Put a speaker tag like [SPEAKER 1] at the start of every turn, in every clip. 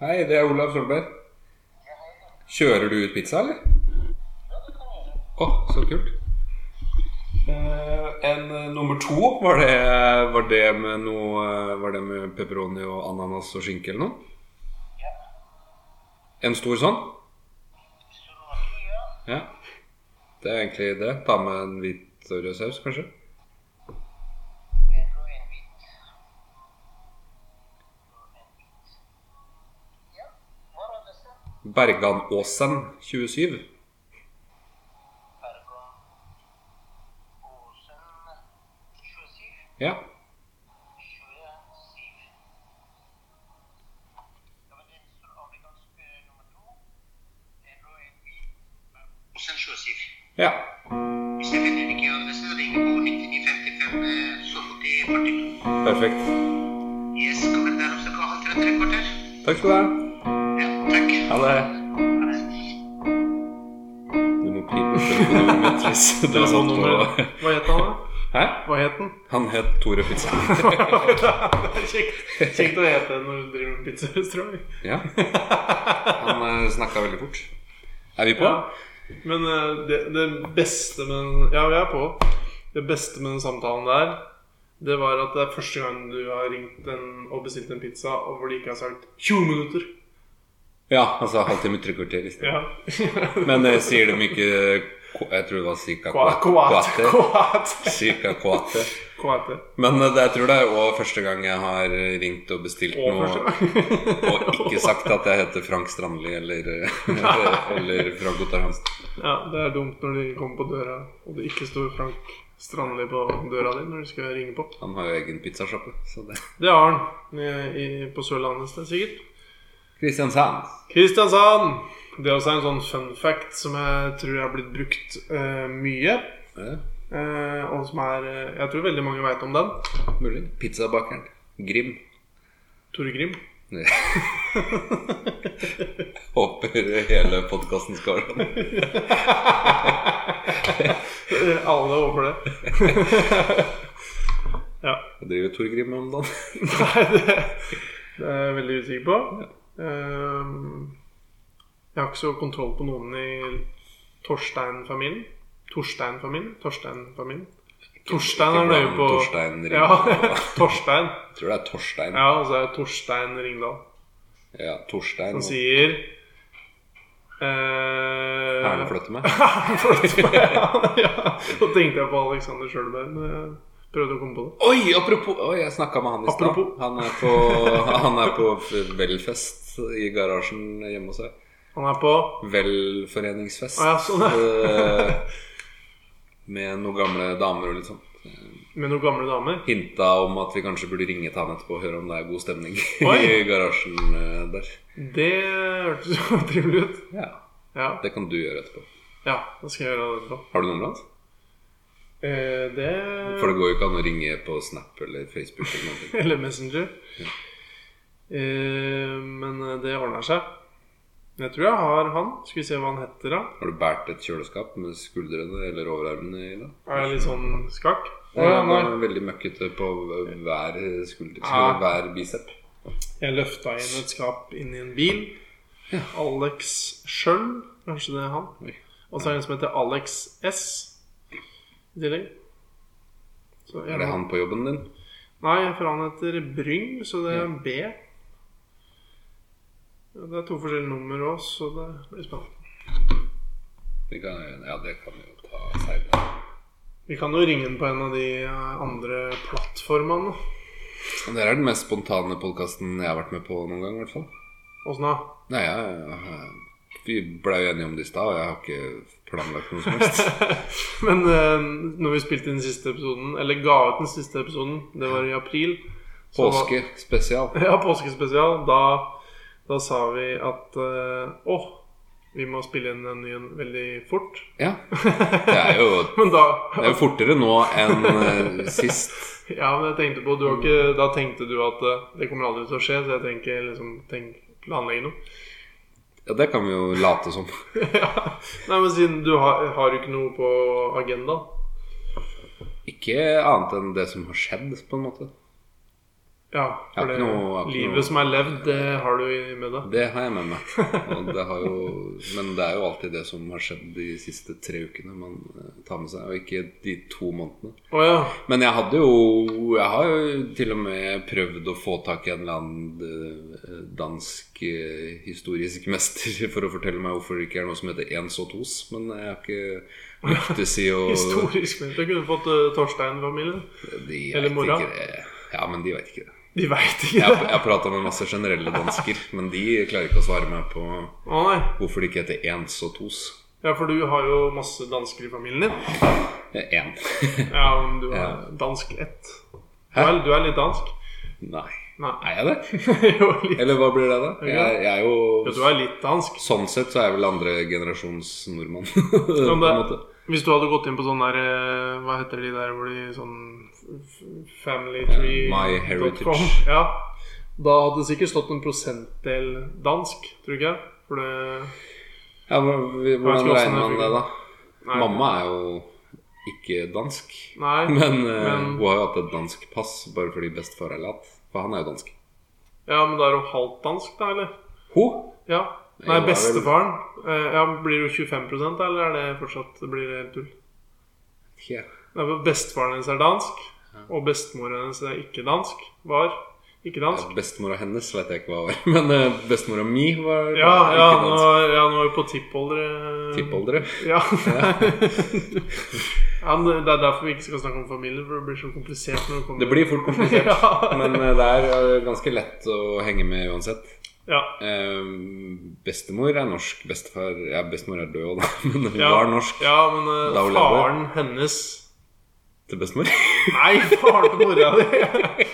[SPEAKER 1] Hei, det er Olav Solberg. Kjører du ut pizza, eller? Å, så kult. Eh, en eh, nummer to, var det, var det med noe eh, Var det med pepperoni og ananas og skinke eller noe? En stor sånn? Ja. Det er egentlig det. Ta med en hvit og rød saus, kanskje. Berganåsen 27. Ja. ja.
[SPEAKER 2] Hvis jeg finner ikke adresse, ring på 9955 eh, så fort de 42.
[SPEAKER 1] Perfekt.
[SPEAKER 2] Yes, kom inn der om cirka halv til et tre kvarter.
[SPEAKER 1] Takk skal du ha.
[SPEAKER 2] Ja, takk.
[SPEAKER 1] Ha det.
[SPEAKER 2] Ha det.
[SPEAKER 1] Du må pipe telefonen mitt hvis du har satt på
[SPEAKER 3] Hva het han, da?
[SPEAKER 1] Hæ?
[SPEAKER 3] Hva het den?
[SPEAKER 1] Han het Tore Pizza.
[SPEAKER 3] Det er kjekt, kjekt å hete når du driver med pizzarestaurant.
[SPEAKER 1] Ja. Han snakka veldig fort. Er vi på?
[SPEAKER 3] Ja. Men eh, det, det beste med den Ja, vi er på. Det beste med den samtalen der, det var at det er første gang du har ringt en, og bestilt en pizza, og hvor de ikke har sagt 20 minutter.
[SPEAKER 1] Ja, altså halvtime, tre kvarter i sted.
[SPEAKER 3] Ja.
[SPEAKER 1] Men eh, sier de ikke ko- Jeg tror det var cirka
[SPEAKER 3] Koate.
[SPEAKER 1] kvate.
[SPEAKER 3] Koate.
[SPEAKER 1] Cirka kvate.
[SPEAKER 3] Koate.
[SPEAKER 1] Men eh, det, jeg tror det er òg første gang jeg har ringt og bestilt
[SPEAKER 3] Og
[SPEAKER 1] noe
[SPEAKER 3] første gang.
[SPEAKER 1] og ikke sagt at jeg heter Frank Strandli eller, eh, eller Frank Ottar Hansen.
[SPEAKER 3] Ja, det er dumt når de kommer på døra, og det ikke står Frank Strandli på døra di når du skal ringe på.
[SPEAKER 1] Han har jo egen pizzasjappe. så det-
[SPEAKER 3] Det har han i, i, på Sørlandet et sted, sikkert.
[SPEAKER 1] Kristiansand.
[SPEAKER 3] Kristiansand! Det er også en sånn fun fact som jeg tror har blitt brukt eh, mye.
[SPEAKER 1] Ja,
[SPEAKER 3] eh, og som er eh, Jeg tror veldig mange veit om den.
[SPEAKER 1] mulig. Pizzabakeren. Grim.
[SPEAKER 3] Tore Grim.
[SPEAKER 1] Håper hele podkasten skal være sånn.
[SPEAKER 3] Eh, Alle er over det. ja.
[SPEAKER 1] Jeg driver Tor Grim om dagen.
[SPEAKER 3] Nei, det, det er jeg veldig usikker på. Ehm, jeg har ikke så kontroll på noen i Torstein-familien. Torstein-familien? Torstein-familien? Torstein er nøye på
[SPEAKER 1] Torstein Ringdal.
[SPEAKER 3] Ja, Torstein.
[SPEAKER 1] Jeg tror det er Torstein.
[SPEAKER 3] Ja, og så er det Torstein Ringdal.
[SPEAKER 1] Ja, Torstein. og-
[SPEAKER 3] Han sier eh,
[SPEAKER 1] Erle flytter meg.
[SPEAKER 3] ja, Da tenkte jeg på Alexander Sjølberg, men jeg prøvde å komme på det.
[SPEAKER 1] Oi, apropos Oi, jeg snakka med han i stad.
[SPEAKER 3] Apropos.
[SPEAKER 1] Han er på, han er på velfest i garasjen hjemme hos deg.
[SPEAKER 3] Han er på
[SPEAKER 1] Velforeningsfest.
[SPEAKER 3] Å ja, sånn,
[SPEAKER 1] Eh, Med noen gamle damer og litt sånn.
[SPEAKER 3] med noen gamle damer.
[SPEAKER 1] Hinta om at vi kanskje burde ringe til han etterpå og høre om det er god stemning i
[SPEAKER 3] Oi.
[SPEAKER 1] garasjen eh, der.
[SPEAKER 3] Det hørtes jo trivelig ut.
[SPEAKER 1] Ja,
[SPEAKER 3] Ja,
[SPEAKER 1] Det kan du gjøre etterpå.
[SPEAKER 3] ja, da skal jeg gjøre det etterpå.
[SPEAKER 1] Har du nummeret hans?
[SPEAKER 3] Eh, det
[SPEAKER 1] For det går jo ikke an å ringe på Snap eller Facebook eller noe.
[SPEAKER 3] Eller Messenger. Eh, men det ordner seg. Men Jeg tror jeg har han. Skal vi se hva han heter, da.
[SPEAKER 1] Har du båret et kjøleskap med skuldrene eller overarmene i det?
[SPEAKER 3] Er jeg litt sånn skakk? Å,
[SPEAKER 1] Ja,
[SPEAKER 3] ja,
[SPEAKER 1] han er
[SPEAKER 3] nei.
[SPEAKER 1] veldig møkkete på hver skulder,
[SPEAKER 3] Ja.
[SPEAKER 1] eller hver bicep.
[SPEAKER 3] Jeg løfta inn et skap inn i en bil. Alex Schjøll, kanskje det er han.
[SPEAKER 1] Oi.
[SPEAKER 3] Og så er det en som heter Alex S. I tillegg. Så jeg
[SPEAKER 1] Er det han på jobben din?
[SPEAKER 3] Nei, for han heter Bryng, så det er en B. Ja, det er to forskjellige nummer òg, så det blir spennende.
[SPEAKER 1] Det kan, ja, det kan vi jo ta seinere.
[SPEAKER 3] Vi kan jo ringe den på en av de eh, andre plattformene.
[SPEAKER 1] Det er den mest spontane podkasten jeg har vært med på noen gang, i hvert fall.
[SPEAKER 3] Åssen da?
[SPEAKER 1] Nei, jeg, jeg, vi blei jo enige om det i stad, og jeg har ikke planlagt noe som helst.
[SPEAKER 3] Men eh, når vi spilte den siste episoden, eller ga ut den siste episoden, det var i april så-
[SPEAKER 1] Påske spesial.
[SPEAKER 3] Ja, påskespesial. Da, da sa vi at eh, åh, vi må spille inn den nye veldig fort.
[SPEAKER 1] Ja. Det er jo,
[SPEAKER 3] Men da
[SPEAKER 1] det er jo fortere nå enn eh, sist.
[SPEAKER 3] Ja, men jeg tenkte på, du har ikke, Da tenkte du at eh, det kommer aldri til å skje, så jeg tenker liksom tenk, planlegge noe.
[SPEAKER 1] Ja, det kan vi jo late som.
[SPEAKER 3] ja. Nei, men siden du har, har jo ikke noe på agendaen.
[SPEAKER 1] Ikke annet enn det som har skjedd, på en måte.
[SPEAKER 3] Ja, for
[SPEAKER 1] Jeg har
[SPEAKER 3] det
[SPEAKER 1] ikke noe- jeg har ikke noe-
[SPEAKER 3] livet som er levd, det har du i- med deg.
[SPEAKER 1] Det har jeg med meg. Og det har jo, men det er jo alltid det som har skjedd de siste tre ukene man eh, tar med seg, og ikke de to månedene.
[SPEAKER 3] Å ja.
[SPEAKER 1] Men jeg hadde jo Jeg har jo til og med prøvd å få tak i en eller annen eh, dansk eh, historisk mester for å fortelle meg hvorfor det ikke er noe som heter ens og tos, men jeg har ikke lyktes i å
[SPEAKER 3] Historisk ment. Jeg kunne fått eh, Torstein-familien.
[SPEAKER 1] De
[SPEAKER 3] Eller
[SPEAKER 1] vet
[SPEAKER 3] mora.
[SPEAKER 1] ikke det. Ja, men de veit ikke det.
[SPEAKER 3] De veit
[SPEAKER 1] Jeg
[SPEAKER 3] ikke
[SPEAKER 1] har-
[SPEAKER 3] det.
[SPEAKER 1] jeg har prata med masse generelle dansker, men de klarer ikke å svare meg på
[SPEAKER 3] Å nei.
[SPEAKER 1] hvorfor det ikke heter ens og tos.
[SPEAKER 3] Ja, for du har jo masse dansker i familien din.
[SPEAKER 1] Én.
[SPEAKER 3] Ja, men du
[SPEAKER 1] Ja.
[SPEAKER 3] er dansk ett.
[SPEAKER 1] Hæ?
[SPEAKER 3] Vel, du er litt dansk.
[SPEAKER 1] Nei.
[SPEAKER 3] Nei.
[SPEAKER 1] Er jeg det?
[SPEAKER 3] jo, litt.
[SPEAKER 1] Eller hva blir det, da?
[SPEAKER 3] Ja.
[SPEAKER 1] Jeg, jeg er
[SPEAKER 3] Jo, du
[SPEAKER 1] jo
[SPEAKER 3] er litt dansk.
[SPEAKER 1] Sånn sett så er jeg vel andre generasjons nordmann. på
[SPEAKER 3] Ja,
[SPEAKER 1] en
[SPEAKER 3] men Sånn det-
[SPEAKER 1] måte.
[SPEAKER 3] Hvis du hadde gått inn på sånn der eh, Hva heter de der hvor de sånn f-
[SPEAKER 1] Eh,
[SPEAKER 3] familytree
[SPEAKER 1] My Heritage.
[SPEAKER 3] dot com? Ja. Da hadde det sikkert stått en prosentdel dansk, tror du ikke? For det
[SPEAKER 1] Ja, men vi-
[SPEAKER 3] Jeg vet ikke
[SPEAKER 1] Hvordan regner man
[SPEAKER 3] hvordan det
[SPEAKER 1] det, da?
[SPEAKER 3] Nei.
[SPEAKER 1] Mamma er jo ikke dansk.
[SPEAKER 3] Nei.
[SPEAKER 1] Men, eh,
[SPEAKER 3] Men-
[SPEAKER 1] hun har jo hatt et dansk pass bare fordi bestefar er lat. For han er jo dansk.
[SPEAKER 3] Ja, men da er hun halvt dansk, da, eller?
[SPEAKER 1] Hun?
[SPEAKER 3] Ja.
[SPEAKER 1] Nei, hun
[SPEAKER 3] Nei,
[SPEAKER 1] er vel-
[SPEAKER 3] bestefaren. eh, Ja, Blir det jo 25 da, eller er det fortsatt blir det helt tull?
[SPEAKER 1] Ja.
[SPEAKER 3] Nei, for Bestefaren hennes er dansk, og bestemoren hennes er ikke dansk. Var ikke dansk.
[SPEAKER 1] Bestemora hennes vet jeg ikke hva var. Men eh, bestemora mi var
[SPEAKER 3] Ja, ja,
[SPEAKER 1] ikke
[SPEAKER 3] nå,
[SPEAKER 1] dansk.
[SPEAKER 3] ja nå er vi på eh. tippoldre.
[SPEAKER 1] Tippoldre.
[SPEAKER 3] Ja. ja, men det er derfor vi ikke skal snakke om familie, for det blir så komplisert når det kommer
[SPEAKER 1] Det blir fort komplisert.
[SPEAKER 3] Ja.
[SPEAKER 1] Men eh, det er eh, ganske lett å henge med uansett.
[SPEAKER 3] Ja.
[SPEAKER 1] Eh, bestemor er norsk. Bestefar Ja, bestemor er død, da. Men hun
[SPEAKER 3] Ja.
[SPEAKER 1] var norsk
[SPEAKER 3] Ja, men eh,
[SPEAKER 1] Da hun levde.
[SPEAKER 3] faren hennes
[SPEAKER 1] til bestemor.
[SPEAKER 3] Nei, faren til mora di!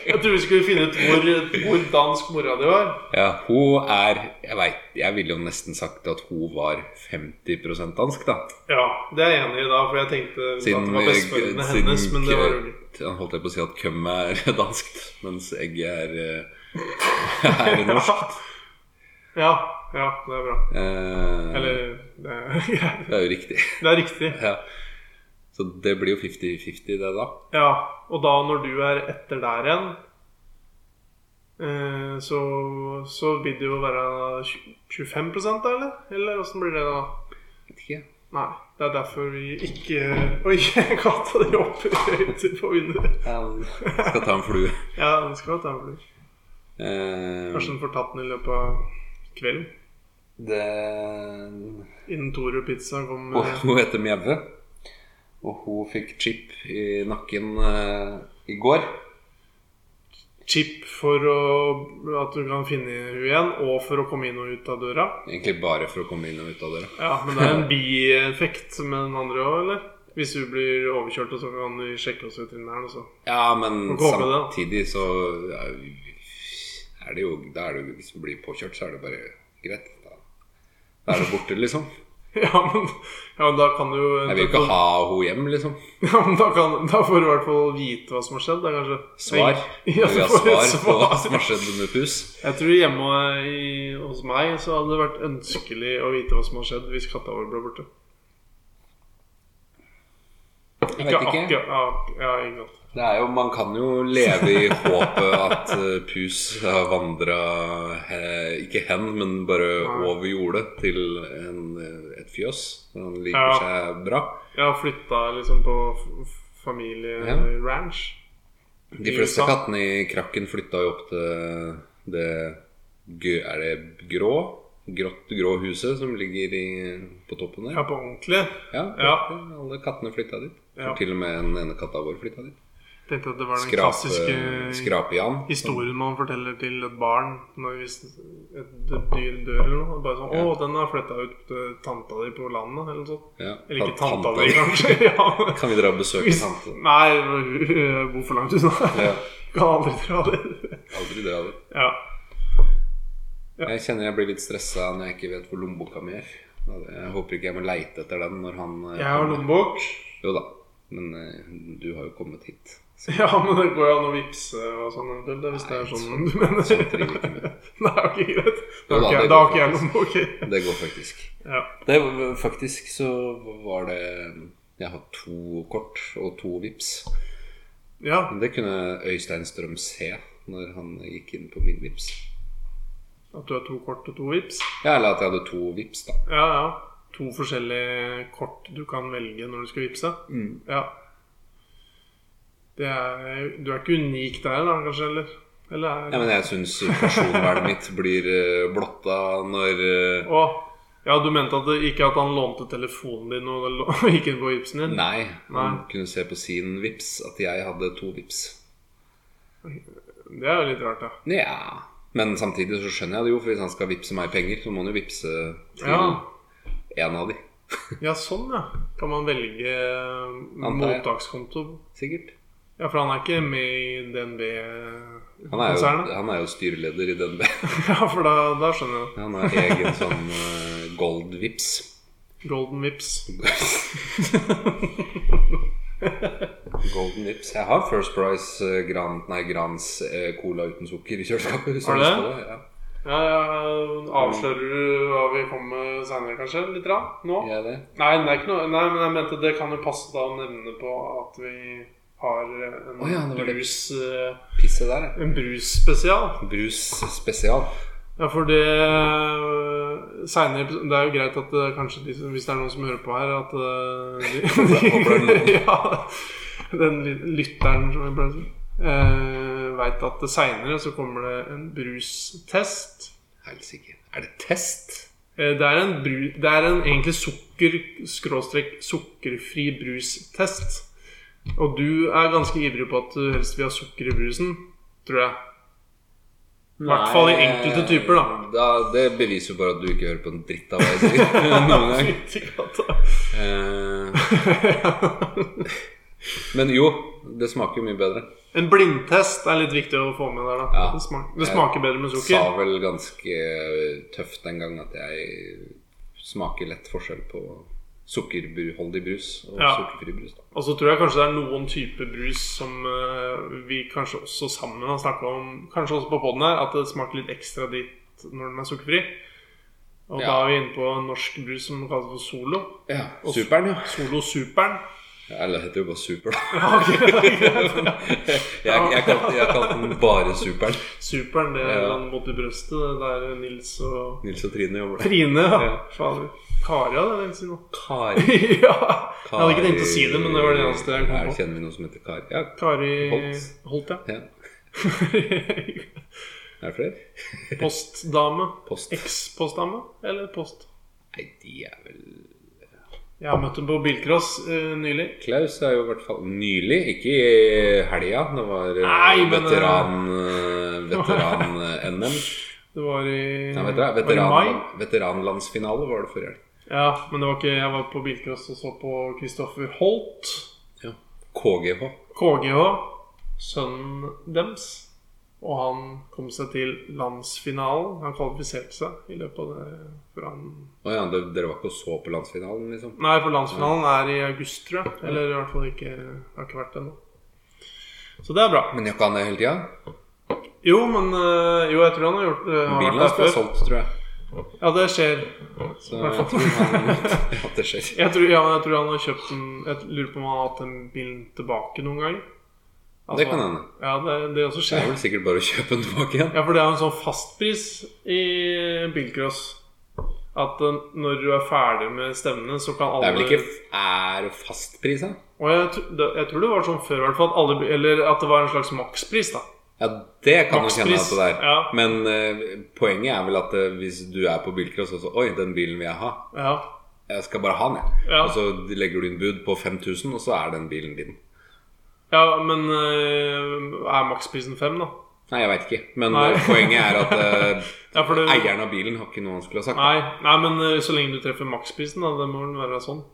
[SPEAKER 3] Jeg tror vi skulle finne ut hvor, hvor dansk mora di var.
[SPEAKER 1] ja, hun er Jeg vet, jeg ville jo nesten sagt at hun var 50 dansk, da.
[SPEAKER 3] Ja, det er jeg enig i da, for jeg tenkte at det var besteforeldrene
[SPEAKER 1] siden
[SPEAKER 3] hennes, men det var jo ikke-
[SPEAKER 1] kø- holdt jeg på å si at køm er danskt, mens egg er, eh, er norsk.
[SPEAKER 3] Ja, ja, det er bra.
[SPEAKER 1] Eh,
[SPEAKER 3] Eller det er greit.
[SPEAKER 1] Det er jo riktig.
[SPEAKER 3] Det er riktig.
[SPEAKER 1] Ja. Så det blir jo 50-50, det, da.
[SPEAKER 3] Ja, og da når du er etter der igjen eh, så, så vil det jo være 25 da, eller? Eller åssen blir det da?
[SPEAKER 1] Vet ikke.
[SPEAKER 3] Nei, det er derfor vi ikke Oi, katta di opprøyter på vinduet.
[SPEAKER 1] Jeg skal ta en flue.
[SPEAKER 3] Ja, den skal ta over.
[SPEAKER 1] Eh,
[SPEAKER 3] Kanskje den får tatt den i løpet av kvelden.
[SPEAKER 1] det
[SPEAKER 3] Innen Tore Pizza
[SPEAKER 1] Og
[SPEAKER 3] kommer.
[SPEAKER 1] hun heter Mjaue. Og hun fikk chip i nakken eh, i går.
[SPEAKER 3] Chip for å, at du kan finne henne igjen, og for å komme inn og ut av døra.
[SPEAKER 1] Egentlig bare for å komme inn og ut av døra.
[SPEAKER 3] Ja, men det er en bieffekt med den andre òg, eller? Hvis du blir overkjørt, og så kan vi sjekke oss veterinæren, og så
[SPEAKER 1] Ja, men
[SPEAKER 3] Får håpe det, da.
[SPEAKER 1] samtidig så ja, er det jo Da er det jo Hvis du blir påkjørt, så er det bare greit. Da, da er du borte, liksom.
[SPEAKER 3] Ja, men, ja, men da kan du jo
[SPEAKER 1] Jeg vil ikke ha henne hjem, liksom.
[SPEAKER 3] Ja, men da, kan, da får du i hvert fall vite hva som har skjedd, da, kanskje.
[SPEAKER 1] Svar.
[SPEAKER 3] Ja,
[SPEAKER 1] Jeg
[SPEAKER 3] du
[SPEAKER 1] vil
[SPEAKER 3] får
[SPEAKER 1] ha
[SPEAKER 3] et
[SPEAKER 1] svar på hva
[SPEAKER 3] svar.
[SPEAKER 1] som har skjedd med pus.
[SPEAKER 3] Jeg tror hjemme i, hos meg så hadde det vært ønskelig å vite hva som har skjedd hvis katta vår ble borte.
[SPEAKER 1] Jeg vet ikke.
[SPEAKER 3] akkurat- ja, ja, ikke sant.
[SPEAKER 1] Det er jo, man kan jo leve i håpet at eh, pus har vandra ikke hen, men bare
[SPEAKER 3] Nei.
[SPEAKER 1] over jordet til en, eh, et fjøs. Han liker
[SPEAKER 3] Ja.
[SPEAKER 1] seg bra.
[SPEAKER 3] Jeg har flytta liksom på f- f- familieranch.
[SPEAKER 1] De
[SPEAKER 3] I
[SPEAKER 1] fleste
[SPEAKER 3] USA.
[SPEAKER 1] kattene i krakken flytta jo opp til det gø- Er det grå? Grått, grå huset som ligger i, på toppen der?
[SPEAKER 3] Ja, på ordentlig.
[SPEAKER 1] Ja,
[SPEAKER 3] Ja.
[SPEAKER 1] Alle kattene flytta dit.
[SPEAKER 3] Ja.
[SPEAKER 1] Til og med den ene katta vår flytta dit.
[SPEAKER 3] Tenkte at det var den
[SPEAKER 1] Skrape-
[SPEAKER 3] klassiske
[SPEAKER 1] Skrape-Jan.
[SPEAKER 3] Historien man forteller til et barn når hvis et dyr dør eller noe. Bare sånn 'Å, den har flytta ut til tanta di på landet', eller noe sånt.
[SPEAKER 1] Ja.
[SPEAKER 3] Eller ikke
[SPEAKER 1] Tan-
[SPEAKER 3] tanta di, kanskje. ja.
[SPEAKER 1] Kan vi dra og besøke
[SPEAKER 3] Hvis,
[SPEAKER 1] tante?
[SPEAKER 3] nei, hun- hun bor for langt unna.
[SPEAKER 1] Ja,
[SPEAKER 3] Kan aldri dra det.
[SPEAKER 1] aldri dra det.
[SPEAKER 3] Ja.
[SPEAKER 1] Jeg kjenner jeg blir litt stressa når jeg ikke vet hvor lommeboka mi er. Jeg håper ikke jeg må leite etter den når han eh,
[SPEAKER 3] Jeg har
[SPEAKER 1] kommer.
[SPEAKER 3] lommebok.
[SPEAKER 1] Jo da, men eh, du har jo kommet hit.
[SPEAKER 3] Ja, men det går jo an å vippse og sånn eventuelt, da, hvis det er
[SPEAKER 1] Nei,
[SPEAKER 3] sånn du mener.
[SPEAKER 1] sånn trenger vi ikke med.
[SPEAKER 3] Nei, ok, greit. Da
[SPEAKER 1] Jo da,
[SPEAKER 3] har ikke jeg-
[SPEAKER 1] det
[SPEAKER 3] da har
[SPEAKER 1] går
[SPEAKER 3] ikke jeg lommebok.
[SPEAKER 1] Det går faktisk.
[SPEAKER 3] Ja.
[SPEAKER 1] Det, var- faktisk så var det Jeg har to kort og to vips.
[SPEAKER 3] ja.
[SPEAKER 1] Men Det kunne Øystein Strøm se. når han gikk inn på min vips.
[SPEAKER 3] At du har to kort og to vips?
[SPEAKER 1] Ja, eller at jeg hadde to vips, da.
[SPEAKER 3] Ja, ja. To forskjellige kort du kan velge når du skal vipse.
[SPEAKER 1] Mm.
[SPEAKER 3] Ja. Det er, du er ikke unik der, da, kanskje? Eller? eller
[SPEAKER 1] Ja,
[SPEAKER 3] er,
[SPEAKER 1] men jeg syns personvernet mitt blir eh, blotta når eh,
[SPEAKER 3] Å, ja, du mente at det, ikke at han lånte telefonen din og lå- gikk inn på vipsen din?
[SPEAKER 1] Nei, man kunne se på sin vips at jeg hadde to vips.
[SPEAKER 3] Det er jo litt rart, ja.
[SPEAKER 1] Nja Men samtidig så skjønner jeg det jo, for hvis han skal vippse meg penger, så må han jo vippse til
[SPEAKER 3] Ja,
[SPEAKER 1] en av de.
[SPEAKER 3] ja sånn, ja. Kan man velge
[SPEAKER 1] Antar jeg.
[SPEAKER 3] mottakskonto?
[SPEAKER 1] Sikkert.
[SPEAKER 3] Ja, for han er ikke med i
[SPEAKER 1] Han er jo,
[SPEAKER 3] DNB-konsernet?
[SPEAKER 1] han er jo styreleder i DNB.
[SPEAKER 3] Ja, for da, da skjønner jeg.
[SPEAKER 1] Han har egen sånn eh, gold vips.
[SPEAKER 3] Golden Vips.
[SPEAKER 1] Golden Vips. Jeg har First Price eh, gran, nei, Grans eh, cola uten sukker i kjøleskapet. hvis
[SPEAKER 3] Har du
[SPEAKER 1] jeg har
[SPEAKER 3] det?
[SPEAKER 1] lyst til Ja.
[SPEAKER 3] Ja, ja, Avslører du hva vi kommer med seinere, kanskje? Litt rann, nå?
[SPEAKER 1] Gjør jeg det?
[SPEAKER 3] Nei, det er ikke noe, nei, men jeg mente det kan jo passe da å nevne på at vi har en
[SPEAKER 1] Å ja, det var det.
[SPEAKER 3] brus eh,
[SPEAKER 1] Pisset der, ja.
[SPEAKER 3] En brusspesial.
[SPEAKER 1] Brus spesial.
[SPEAKER 3] Ja, for det senere, episo- Det er jo greit at eh, kanskje de, som- hvis det er noen som hører på her, at eh, de,
[SPEAKER 1] Håper det
[SPEAKER 3] ja, Den ly- lytteren, som vi pleier å si, eh, veit at seinere så kommer det en brustest.
[SPEAKER 1] Helsike. Er det test?
[SPEAKER 3] Eh, Det er en, bru, det er en egentlig sukker, skråstrek, sukkerfri brustest. Og du er ganske ivrig på at du helst vil ha sukker i brusen, tror jeg. I hvert fall i enkelte typer, da.
[SPEAKER 1] da. Det beviser jo bare at du ikke hører på en dritt av hva jeg sier. Noen gang.
[SPEAKER 3] Fytti katta.
[SPEAKER 1] Eh, men jo, det smaker jo mye bedre.
[SPEAKER 3] En blindtest er litt viktig å få med der, da.
[SPEAKER 1] Ja.
[SPEAKER 3] Det, smak, det smaker bedre med
[SPEAKER 1] Sa
[SPEAKER 3] sukker.
[SPEAKER 1] vel ganske tøft den gang at jeg smaker lett forskjell på sukkerholdig brus og
[SPEAKER 3] Ja.
[SPEAKER 1] sukkerfri brus. Da.
[SPEAKER 3] Og så tror jeg kanskje det er noen type brus som eh, vi kanskje også sammen har snakka om, kanskje også på poden her, at det smaker litt ekstra dritt når den er sukkerfri. Og da
[SPEAKER 1] Ja.
[SPEAKER 3] er vi inne på en norsk brus som kalles for Solo.
[SPEAKER 1] Ja, Superen, ja.
[SPEAKER 3] Solo Superen.
[SPEAKER 1] Ja, Eller det heter jo bare Super, da.
[SPEAKER 3] Ja, ok.
[SPEAKER 1] Jeg, jeg, kalte, jeg kalte den bare Superen.
[SPEAKER 3] Superen, det er
[SPEAKER 1] Ja.
[SPEAKER 3] den mot i brøstet. Det er der Nils og
[SPEAKER 1] Nils og Trine jobber der.
[SPEAKER 3] Trine, ja.
[SPEAKER 1] Ja.
[SPEAKER 3] Fader. Kari hadde jeg tenkt å si noe.
[SPEAKER 1] Kari.
[SPEAKER 3] ja. Jeg hadde ikke tenkt å si det, men det var det eneste jeg
[SPEAKER 1] Her
[SPEAKER 3] kom på.
[SPEAKER 1] Kjenner vi noen som heter Kari? Ja.
[SPEAKER 3] Kari
[SPEAKER 1] Holt.
[SPEAKER 3] Holt,
[SPEAKER 1] ja.
[SPEAKER 3] ja.
[SPEAKER 1] Er det flere?
[SPEAKER 3] Postdame.
[SPEAKER 1] Post.
[SPEAKER 3] Eks-postdame eller post?
[SPEAKER 1] Nei, de er vel
[SPEAKER 3] Jeg har møtt henne på bilcross eh, nylig.
[SPEAKER 1] Klaus er jo i hvert fall nylig, ikke i helga. Det var eh,
[SPEAKER 3] Nei, men, eh,
[SPEAKER 1] veteran eh, veteran-NM.
[SPEAKER 3] Det var i,
[SPEAKER 1] Nei, vet du hva,
[SPEAKER 3] var i mai.
[SPEAKER 1] veteran, veteranlandsfinale var det forrige helg.
[SPEAKER 3] Ja, men det var ikke Jeg var på bilcross og så på Kristoffer Holt.
[SPEAKER 1] Ja. KGH.
[SPEAKER 3] KGH. Sønnen dems. Og han kom seg til landsfinalen. Han kvalifiserte seg i løpet av det. For han
[SPEAKER 1] Å ja, det, dere var ikke og så på landsfinalen, liksom?
[SPEAKER 3] Nei, for landsfinalen er i august, tror jeg. Eller i hvert fall ikke Det har ikke vært det ennå. Så det er bra.
[SPEAKER 1] Men gjør ikke han det hele tida?
[SPEAKER 3] Jo, men øh, Jo, jeg tror han har gjort øh, har
[SPEAKER 1] Bilen hans
[SPEAKER 3] vært
[SPEAKER 1] ble
[SPEAKER 3] der før.
[SPEAKER 1] solgt, tror jeg.
[SPEAKER 3] Ja, det skjer.
[SPEAKER 1] Så jeg tror han Ja, det skjer.
[SPEAKER 3] Jeg tror, ja, men jeg tror han har kjøpt en Jeg lurer på om han har hatt den bilen tilbake noen gang. Altså,
[SPEAKER 1] Det kan hende.
[SPEAKER 3] Ja, det, det også
[SPEAKER 1] Det er
[SPEAKER 3] skjer.
[SPEAKER 1] vel sikkert bare å kjøpe den tilbake igjen.
[SPEAKER 3] Ja, for det er jo en sånn fastpris i bilcross. At øh, når du er ferdig med stevnene, så kan alle
[SPEAKER 1] Det er vel ikke Er det fastpris, da?
[SPEAKER 3] Og jeg, tr- det- jeg tror det var sånn før, i hvert fall. At alle, bi- eller at det var en slags makspris, da.
[SPEAKER 1] Ja, det kan du kjenne
[SPEAKER 3] Makspris,
[SPEAKER 1] at det er.
[SPEAKER 3] ja.
[SPEAKER 1] Men eh, poenget er vel at eh, hvis du er på bilcross og så Oi, den bilen vil jeg ha.
[SPEAKER 3] Ja.
[SPEAKER 1] Jeg skal bare ha den, jeg.
[SPEAKER 3] Ja.
[SPEAKER 1] Og så legger du inn bud på 5000, og så er den bilen din.
[SPEAKER 3] Ja, men øh, er maksprisen fem, da?
[SPEAKER 1] Nei, jeg veit ikke. Men
[SPEAKER 3] Nei.
[SPEAKER 1] eh, poenget er at eh,
[SPEAKER 3] Ja, for det-
[SPEAKER 1] eieren av bilen har ikke noe han skulle ha sagt.
[SPEAKER 3] Nei, nei men øh, så lenge du treffer maksprisen, da. Det må vel være sånn.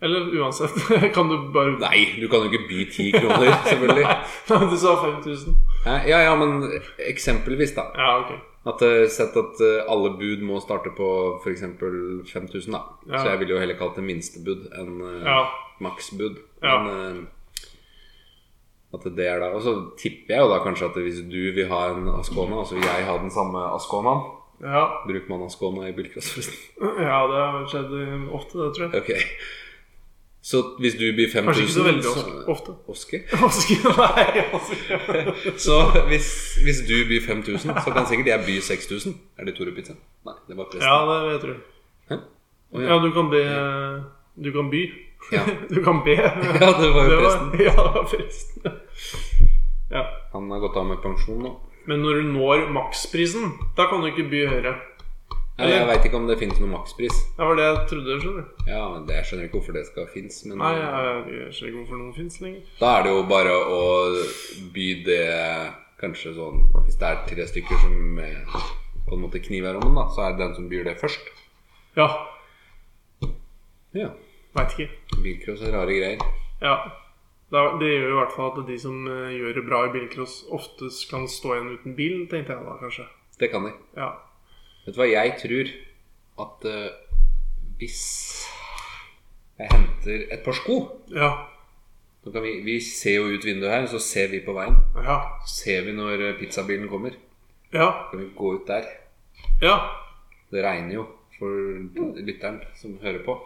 [SPEAKER 3] Eller uansett. Kan du bare
[SPEAKER 1] Nei, du kan jo ikke by ti kroner, selvfølgelig.
[SPEAKER 3] Nei, du sa 5000.
[SPEAKER 1] Nei, Ja, ja, men eksempelvis, da.
[SPEAKER 3] Ja, ok.
[SPEAKER 1] At eh, Sett at eh, alle bud må starte på f.eks. 5000, da.
[SPEAKER 3] Ja.
[SPEAKER 1] Så jeg ville jo heller kalt det minstebud enn eh,
[SPEAKER 3] Ja.
[SPEAKER 1] maksbud.
[SPEAKER 3] Ja.
[SPEAKER 1] Men eh, at det er da Og så tipper jeg jo da kanskje at hvis du vil ha en Ascona, og så vil jeg ha den samme Asconaen
[SPEAKER 3] Ja,
[SPEAKER 1] Bruker man Ascona i bilcross, forresten?
[SPEAKER 3] ja det har skjedd øh, ofte, det, tror jeg.
[SPEAKER 1] Ok. Så hvis du byr 5000
[SPEAKER 3] Kanskje ikke så veldig ofte. ofte.
[SPEAKER 1] Oske?
[SPEAKER 3] Oske- Nei, oske-
[SPEAKER 1] Så hvis, hvis du byr 5000, så kan sikkert jeg by 6000. Er det Tore Pizza? Nei, det var presten.
[SPEAKER 3] Ja, det vet du.
[SPEAKER 1] Hæ? Å, ja.
[SPEAKER 3] Ja, du kan be Du kan by.
[SPEAKER 1] Ja.
[SPEAKER 3] Du kan be.
[SPEAKER 1] Ja, det var jo presten.
[SPEAKER 3] ja, det var presten. Ja.
[SPEAKER 1] Han har gått av med pensjon nå.
[SPEAKER 3] Men når du når maksprisen, da kan du ikke by høyere.
[SPEAKER 1] Ja, jeg veit ikke om det finnes noen makspris.
[SPEAKER 3] Det var det jeg trodde. skjønner du
[SPEAKER 1] Ja, men det, Jeg skjønner ikke hvorfor det skal finnes, men
[SPEAKER 3] Nei, jeg jeg skjønner ikke hvorfor noen fins lenger.
[SPEAKER 1] da er det jo bare å by det kanskje sånn Hvis det er tre stykker som eh, på en måte kniver om den, da, så er det den som byr det først.
[SPEAKER 3] Ja.
[SPEAKER 1] Ja.
[SPEAKER 3] Veit ikke.
[SPEAKER 1] Bilcross er rare greier.
[SPEAKER 3] Ja. Da, det gjør jo i hvert fall at de som eh, gjør det bra i bilcross, oftest kan stå igjen uten bil, tenkte jeg da kanskje.
[SPEAKER 1] Det kan de.
[SPEAKER 3] Ja.
[SPEAKER 1] Vet du hva jeg tror? At eh, hvis jeg henter et par sko
[SPEAKER 3] Ja.
[SPEAKER 1] så kan vi, vi ser jo ut vinduet her, så ser vi på veien.
[SPEAKER 3] Ja.
[SPEAKER 1] Så ser vi når eh, pizzabilen kommer.
[SPEAKER 3] Ja.
[SPEAKER 1] Så kan vi gå ut der.
[SPEAKER 3] ja.
[SPEAKER 1] Det regner jo for lytteren som hører på.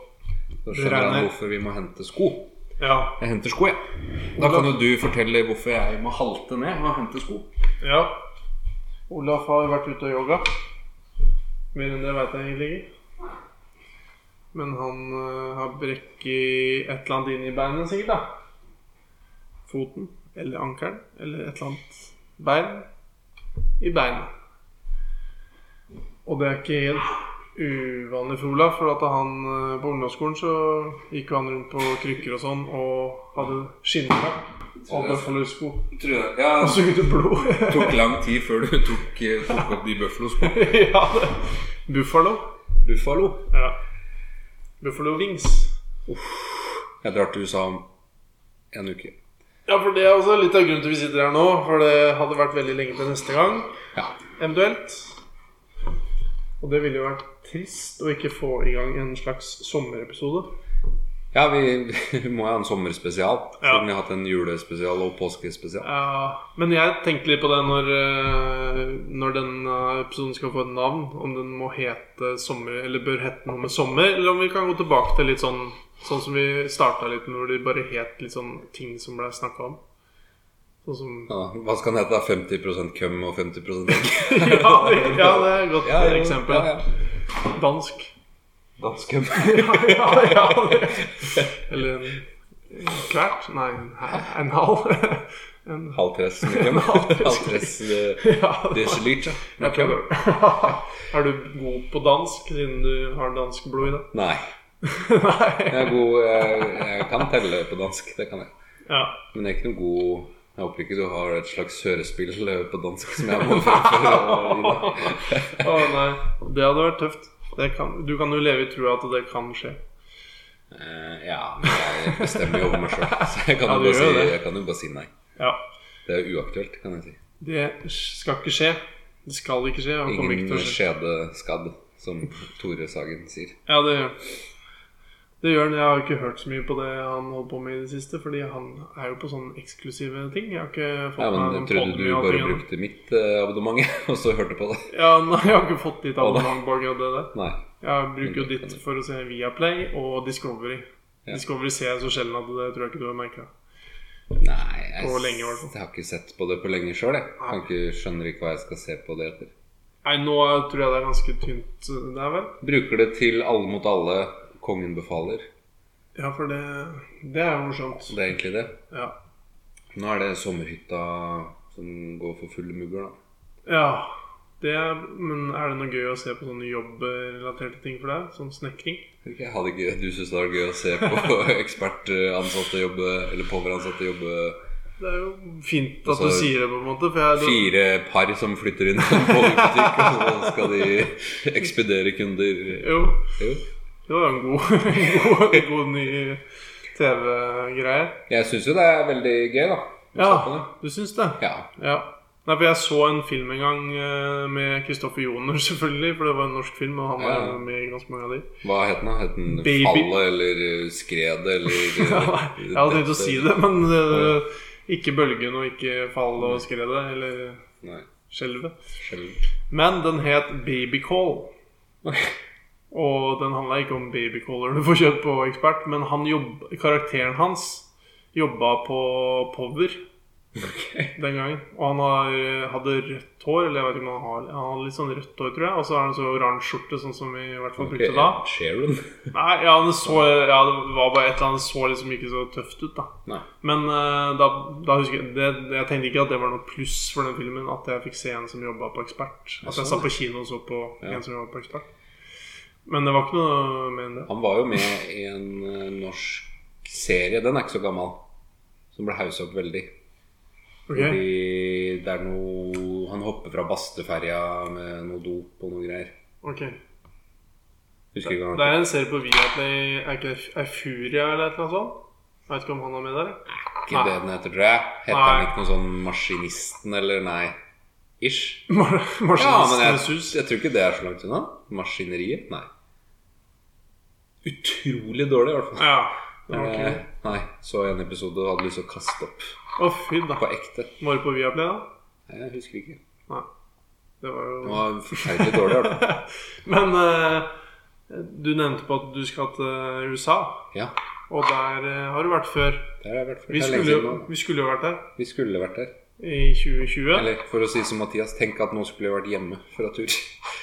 [SPEAKER 1] Så
[SPEAKER 3] Det
[SPEAKER 1] skjønner
[SPEAKER 3] regner.
[SPEAKER 1] han hvorfor vi må hente sko.
[SPEAKER 3] Ja.
[SPEAKER 1] Jeg henter sko, jeg. Da kan jo du fortelle hvorfor jeg må halte ned og hente sko.
[SPEAKER 3] ja. Olaf har vært ute og yoga. Mer enn det veit jeg egentlig ikke. Men han eh, har brekk i et eller annet inni beinet, sikkert. da Foten eller ankelen eller et eller annet bein i beinet. Og det er ikke helt uvanlig for Olaf, for at han eh, på ungdomsskolen så gikk jo han rundt på krykker og sånn og hadde skinnfrakk og bøffelsko.
[SPEAKER 1] Tror jeg. Ja,
[SPEAKER 3] Og sugde blod.
[SPEAKER 1] det tok lang tid før du tok, eh, tok opp de bøffeloskoene.
[SPEAKER 3] ja, det. Buffalo.
[SPEAKER 1] Buffalo.
[SPEAKER 3] Ja. Buffalo Wings.
[SPEAKER 1] Jeg drar til USA om en uke.
[SPEAKER 3] Ja, for det er også litt av grunnen til vi sitter her nå. For det hadde vært veldig lenge til neste gang,
[SPEAKER 1] Ja.
[SPEAKER 3] eventuelt. Og det ville jo vært trist å ikke få i gang en slags sommerepisode.
[SPEAKER 1] Ja, vi, vi må ha en sommerspesial.
[SPEAKER 3] Ja.
[SPEAKER 1] Siden vi har hatt en julespesial og påskespesial.
[SPEAKER 3] Ja, men jeg tenkte litt på det når, eh, når denne episoden skal få et navn. Om den må hete sommer, eller bør hete noe med sommer. Eller om vi kan gå tilbake til litt sånn Sånn som vi starta litt med, hvor de bare het litt sånn ting som blei snakka om. Sånn som
[SPEAKER 1] Ja, hva skal den hete? da? 50 køm og 50 egg?
[SPEAKER 3] Ja, det- ja, det er et godt
[SPEAKER 1] Ja, jo,
[SPEAKER 3] eksempel.
[SPEAKER 1] Ja, ja.
[SPEAKER 3] Dansk.
[SPEAKER 1] Dansk køm.
[SPEAKER 3] ja, ja, det. Eller en en kvert? Nei, en, hæ- en halv. en,
[SPEAKER 1] Halvtress med køm. Halvtress eh,
[SPEAKER 3] ja, det-
[SPEAKER 1] desiliter med
[SPEAKER 3] Jeg
[SPEAKER 1] køm.
[SPEAKER 3] prøver. er du god på dansk, siden du har dansk blod i deg?
[SPEAKER 1] Nei.
[SPEAKER 3] Nei.
[SPEAKER 1] Jeg er god jeg, jeg kan telle på dansk, det kan jeg.
[SPEAKER 3] Ja.
[SPEAKER 1] Men jeg er ikke noe god Jeg håper ikke du har et slags hørespill eh, på dansk som jeg må fremføre.
[SPEAKER 3] Å nei, det hadde vært tøft. Det kan, du kan jo leve i trua at det kan skje.
[SPEAKER 1] Eh, Ja, men jeg bestemmer jo over meg sjøl, så jeg kan,
[SPEAKER 3] Ja,
[SPEAKER 1] jo
[SPEAKER 3] du
[SPEAKER 1] bare
[SPEAKER 3] gjør
[SPEAKER 1] si,
[SPEAKER 3] det.
[SPEAKER 1] jeg kan jo bare si nei.
[SPEAKER 3] Ja.
[SPEAKER 1] Det er uaktuelt, kan jeg si.
[SPEAKER 3] Det skal ikke skje. Det skal ikke skje. Og det kommer ikke
[SPEAKER 1] Ingen
[SPEAKER 3] til å skje.
[SPEAKER 1] skjedeskadd, som Tore Sagen sier.
[SPEAKER 3] Ja, det gjør det. gjør den. Jeg har ikke hørt så mye på det han holdt på med i det siste, fordi han er jo på sånne eksklusive ting. Jeg har ikke fått
[SPEAKER 1] Ja, men
[SPEAKER 3] meg
[SPEAKER 1] jeg
[SPEAKER 3] noen
[SPEAKER 1] trodde du
[SPEAKER 3] podmy og
[SPEAKER 1] bare
[SPEAKER 3] ting.
[SPEAKER 1] brukte mitt eh, abonnement, og så hørte på det.
[SPEAKER 3] Ja, nei, jeg har ikke fått ditt
[SPEAKER 1] Å, nei.
[SPEAKER 3] abonnement på akkurat det der.
[SPEAKER 1] Nei.
[SPEAKER 3] Jeg bruker jo ditt for å se Viaplay og Discovery.
[SPEAKER 1] Ja.
[SPEAKER 3] Discovery ser jeg så sjelden at det tror jeg ikke du har merka.
[SPEAKER 1] Nei, jeg,
[SPEAKER 3] På lenge, i hvert fall.
[SPEAKER 1] jeg har ikke sett på det på lenge sjøl, jeg. Kan ikke, skjønner ikke hva jeg skal se på det etter.
[SPEAKER 3] Nei, nå tror jeg det er ganske tynt eh, der, vel?
[SPEAKER 1] Bruker det til Alle mot alle, Kongen befaler.
[SPEAKER 3] Ja, for det, det er jo morsomt.
[SPEAKER 1] Det er egentlig det.
[SPEAKER 3] Ja.
[SPEAKER 1] Nå er det Sommerhytta som går for fulle mugger, da.
[SPEAKER 3] ja det er, men er det noe gøy å se på sånne jobbrelaterte ting for deg? Sånn snekring?
[SPEAKER 1] Ikke- Jeg hadde ikke, du syns det var gøy å se på ekspertansatte jobbe, eller påveransatte jobbe
[SPEAKER 3] Det er jo fint at
[SPEAKER 1] Altså,
[SPEAKER 3] du sier det, på en måte. For jeg,
[SPEAKER 1] fire par som flytter inn på en boligbutikk, og så skal de ekspedere kunder.
[SPEAKER 3] jo,
[SPEAKER 1] Jo.
[SPEAKER 3] det var jo en god, god, god ny TV-greie.
[SPEAKER 1] Jeg syns jo det er veldig gøy, da. å
[SPEAKER 3] Ja,
[SPEAKER 1] se på det.
[SPEAKER 3] du syns det?
[SPEAKER 1] ja.
[SPEAKER 3] Ja. Nei, for jeg så en film en gang eh, med Kristoffer Joner, selvfølgelig. For det var en norsk film, og han var
[SPEAKER 1] Ja.
[SPEAKER 3] med i ganske mange av de.
[SPEAKER 1] Hva het den? da? Het den
[SPEAKER 3] Baby.
[SPEAKER 1] Fallet eller eh, Skredet eller eh,
[SPEAKER 3] Ja, nei, jeg hadde tenkt å
[SPEAKER 1] dette?
[SPEAKER 3] si det, men eh, ikke bølgen og ikke fallet og skredet, eller
[SPEAKER 1] Nei.
[SPEAKER 3] skjelvet.
[SPEAKER 1] skjelv.
[SPEAKER 3] Men den het Babycall. Og den handla ikke om babycaller du får kjøpt på Ekspert, men han jobb, karakteren hans jobba på Power
[SPEAKER 1] Ok.
[SPEAKER 3] den gangen. Og han har, hadde rødt hår, eller jeg vet ikke om han har Han hadde litt sånn rødt hår, tror jeg. Og så har han så oransje skjorte, sånn som vi i hvert fall brukte da.
[SPEAKER 1] Ed Sheeran?
[SPEAKER 3] Nei, ja, det, så, ja, det var bare et eller annet så liksom ikke så tøft ut, da.
[SPEAKER 1] Nei.
[SPEAKER 3] Men eh, da, da husker jeg det, det- Jeg tenkte ikke at det var noe pluss for den filmen At jeg fikk se en som jobba på Ekspert. At jeg
[SPEAKER 1] sånn,
[SPEAKER 3] satt på kino og så på
[SPEAKER 1] Ja.
[SPEAKER 3] en som jobba på Ekspert. Men det var ikke noe mer enn det.
[SPEAKER 1] Han var jo med i en eh, norsk serie, den er ikke så gammel, som ble haussa opp veldig.
[SPEAKER 3] Ok,
[SPEAKER 1] Fordi det er noe Han hopper fra basteferja med noe dop og noe greier.
[SPEAKER 3] ok
[SPEAKER 1] Husker ikke
[SPEAKER 3] Det
[SPEAKER 1] hva han
[SPEAKER 3] er en serie på Viaplay Er ikke det Eufuria eller et eller annet sånt? Jeg vet ikke om han er med der.
[SPEAKER 1] Ikke det den heter, tror jeg. Heter
[SPEAKER 3] Nei.
[SPEAKER 1] han ikke noe sånn Maskinisten eller nei? Ish.
[SPEAKER 3] Mar
[SPEAKER 1] Ja, men jeg,
[SPEAKER 3] Marsjonistenes hus.
[SPEAKER 1] jeg tror ikke det er så langt unna. Maskineriet? Nei. Utrolig dårlig, i hvert fall.
[SPEAKER 3] Ja. Det var ikke
[SPEAKER 1] Eh,
[SPEAKER 3] det.
[SPEAKER 1] Nei, så en episode og hadde lyst til å kaste opp.
[SPEAKER 3] Å, fy da.
[SPEAKER 1] På ekte.
[SPEAKER 3] Var det på Viaplay, da?
[SPEAKER 1] Nei, Jeg husker ikke.
[SPEAKER 3] Nei. Det var jo
[SPEAKER 1] Det var forferdelig dårlig, i hvert fall.
[SPEAKER 3] Men eh, du nevnte på at du skal til eh, USA,
[SPEAKER 1] Ja,
[SPEAKER 3] og der eh, har du vært før.
[SPEAKER 1] det har jeg vært for.
[SPEAKER 3] Vi
[SPEAKER 1] Det er lenge
[SPEAKER 3] skulle,
[SPEAKER 1] siden
[SPEAKER 3] jo-
[SPEAKER 1] nå.
[SPEAKER 3] vi skulle jo vært der
[SPEAKER 1] Vi skulle vært der.
[SPEAKER 3] i 2020.
[SPEAKER 1] Eller for å si som Mathias, tenk at nå skulle jeg vært hjemme fra tur.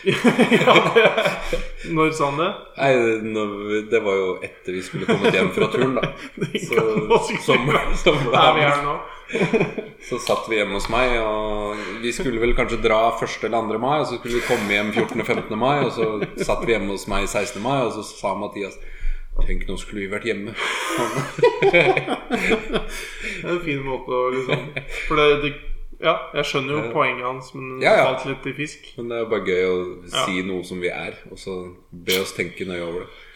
[SPEAKER 3] ja, det- Når sa han det?
[SPEAKER 1] Nei, nå- det var jo etter vi skulle kommet hjem fra turen, da.
[SPEAKER 3] Det
[SPEAKER 1] Så,
[SPEAKER 3] kan man sikkert
[SPEAKER 1] som,
[SPEAKER 3] være.
[SPEAKER 1] som,
[SPEAKER 3] Der vi er nå.
[SPEAKER 1] så satt vi hjemme hos meg, og vi skulle vel kanskje dra 1. eller 2. mai, og så skulle vi komme hjem 14.-15. mai, og så satt vi hjemme hos meg 16. mai, og så sa Mathias Tenk, nå skulle vi vært hjemme.
[SPEAKER 3] Det er en fin måte å liksom For det, det Ja, jeg skjønner jo poenget hans, men det
[SPEAKER 1] Ja, ja.
[SPEAKER 3] falt litt i fisk.
[SPEAKER 1] Men det er jo bare gøy å si
[SPEAKER 3] Ja.
[SPEAKER 1] noe som vi er, og så be oss tenke nøye over det.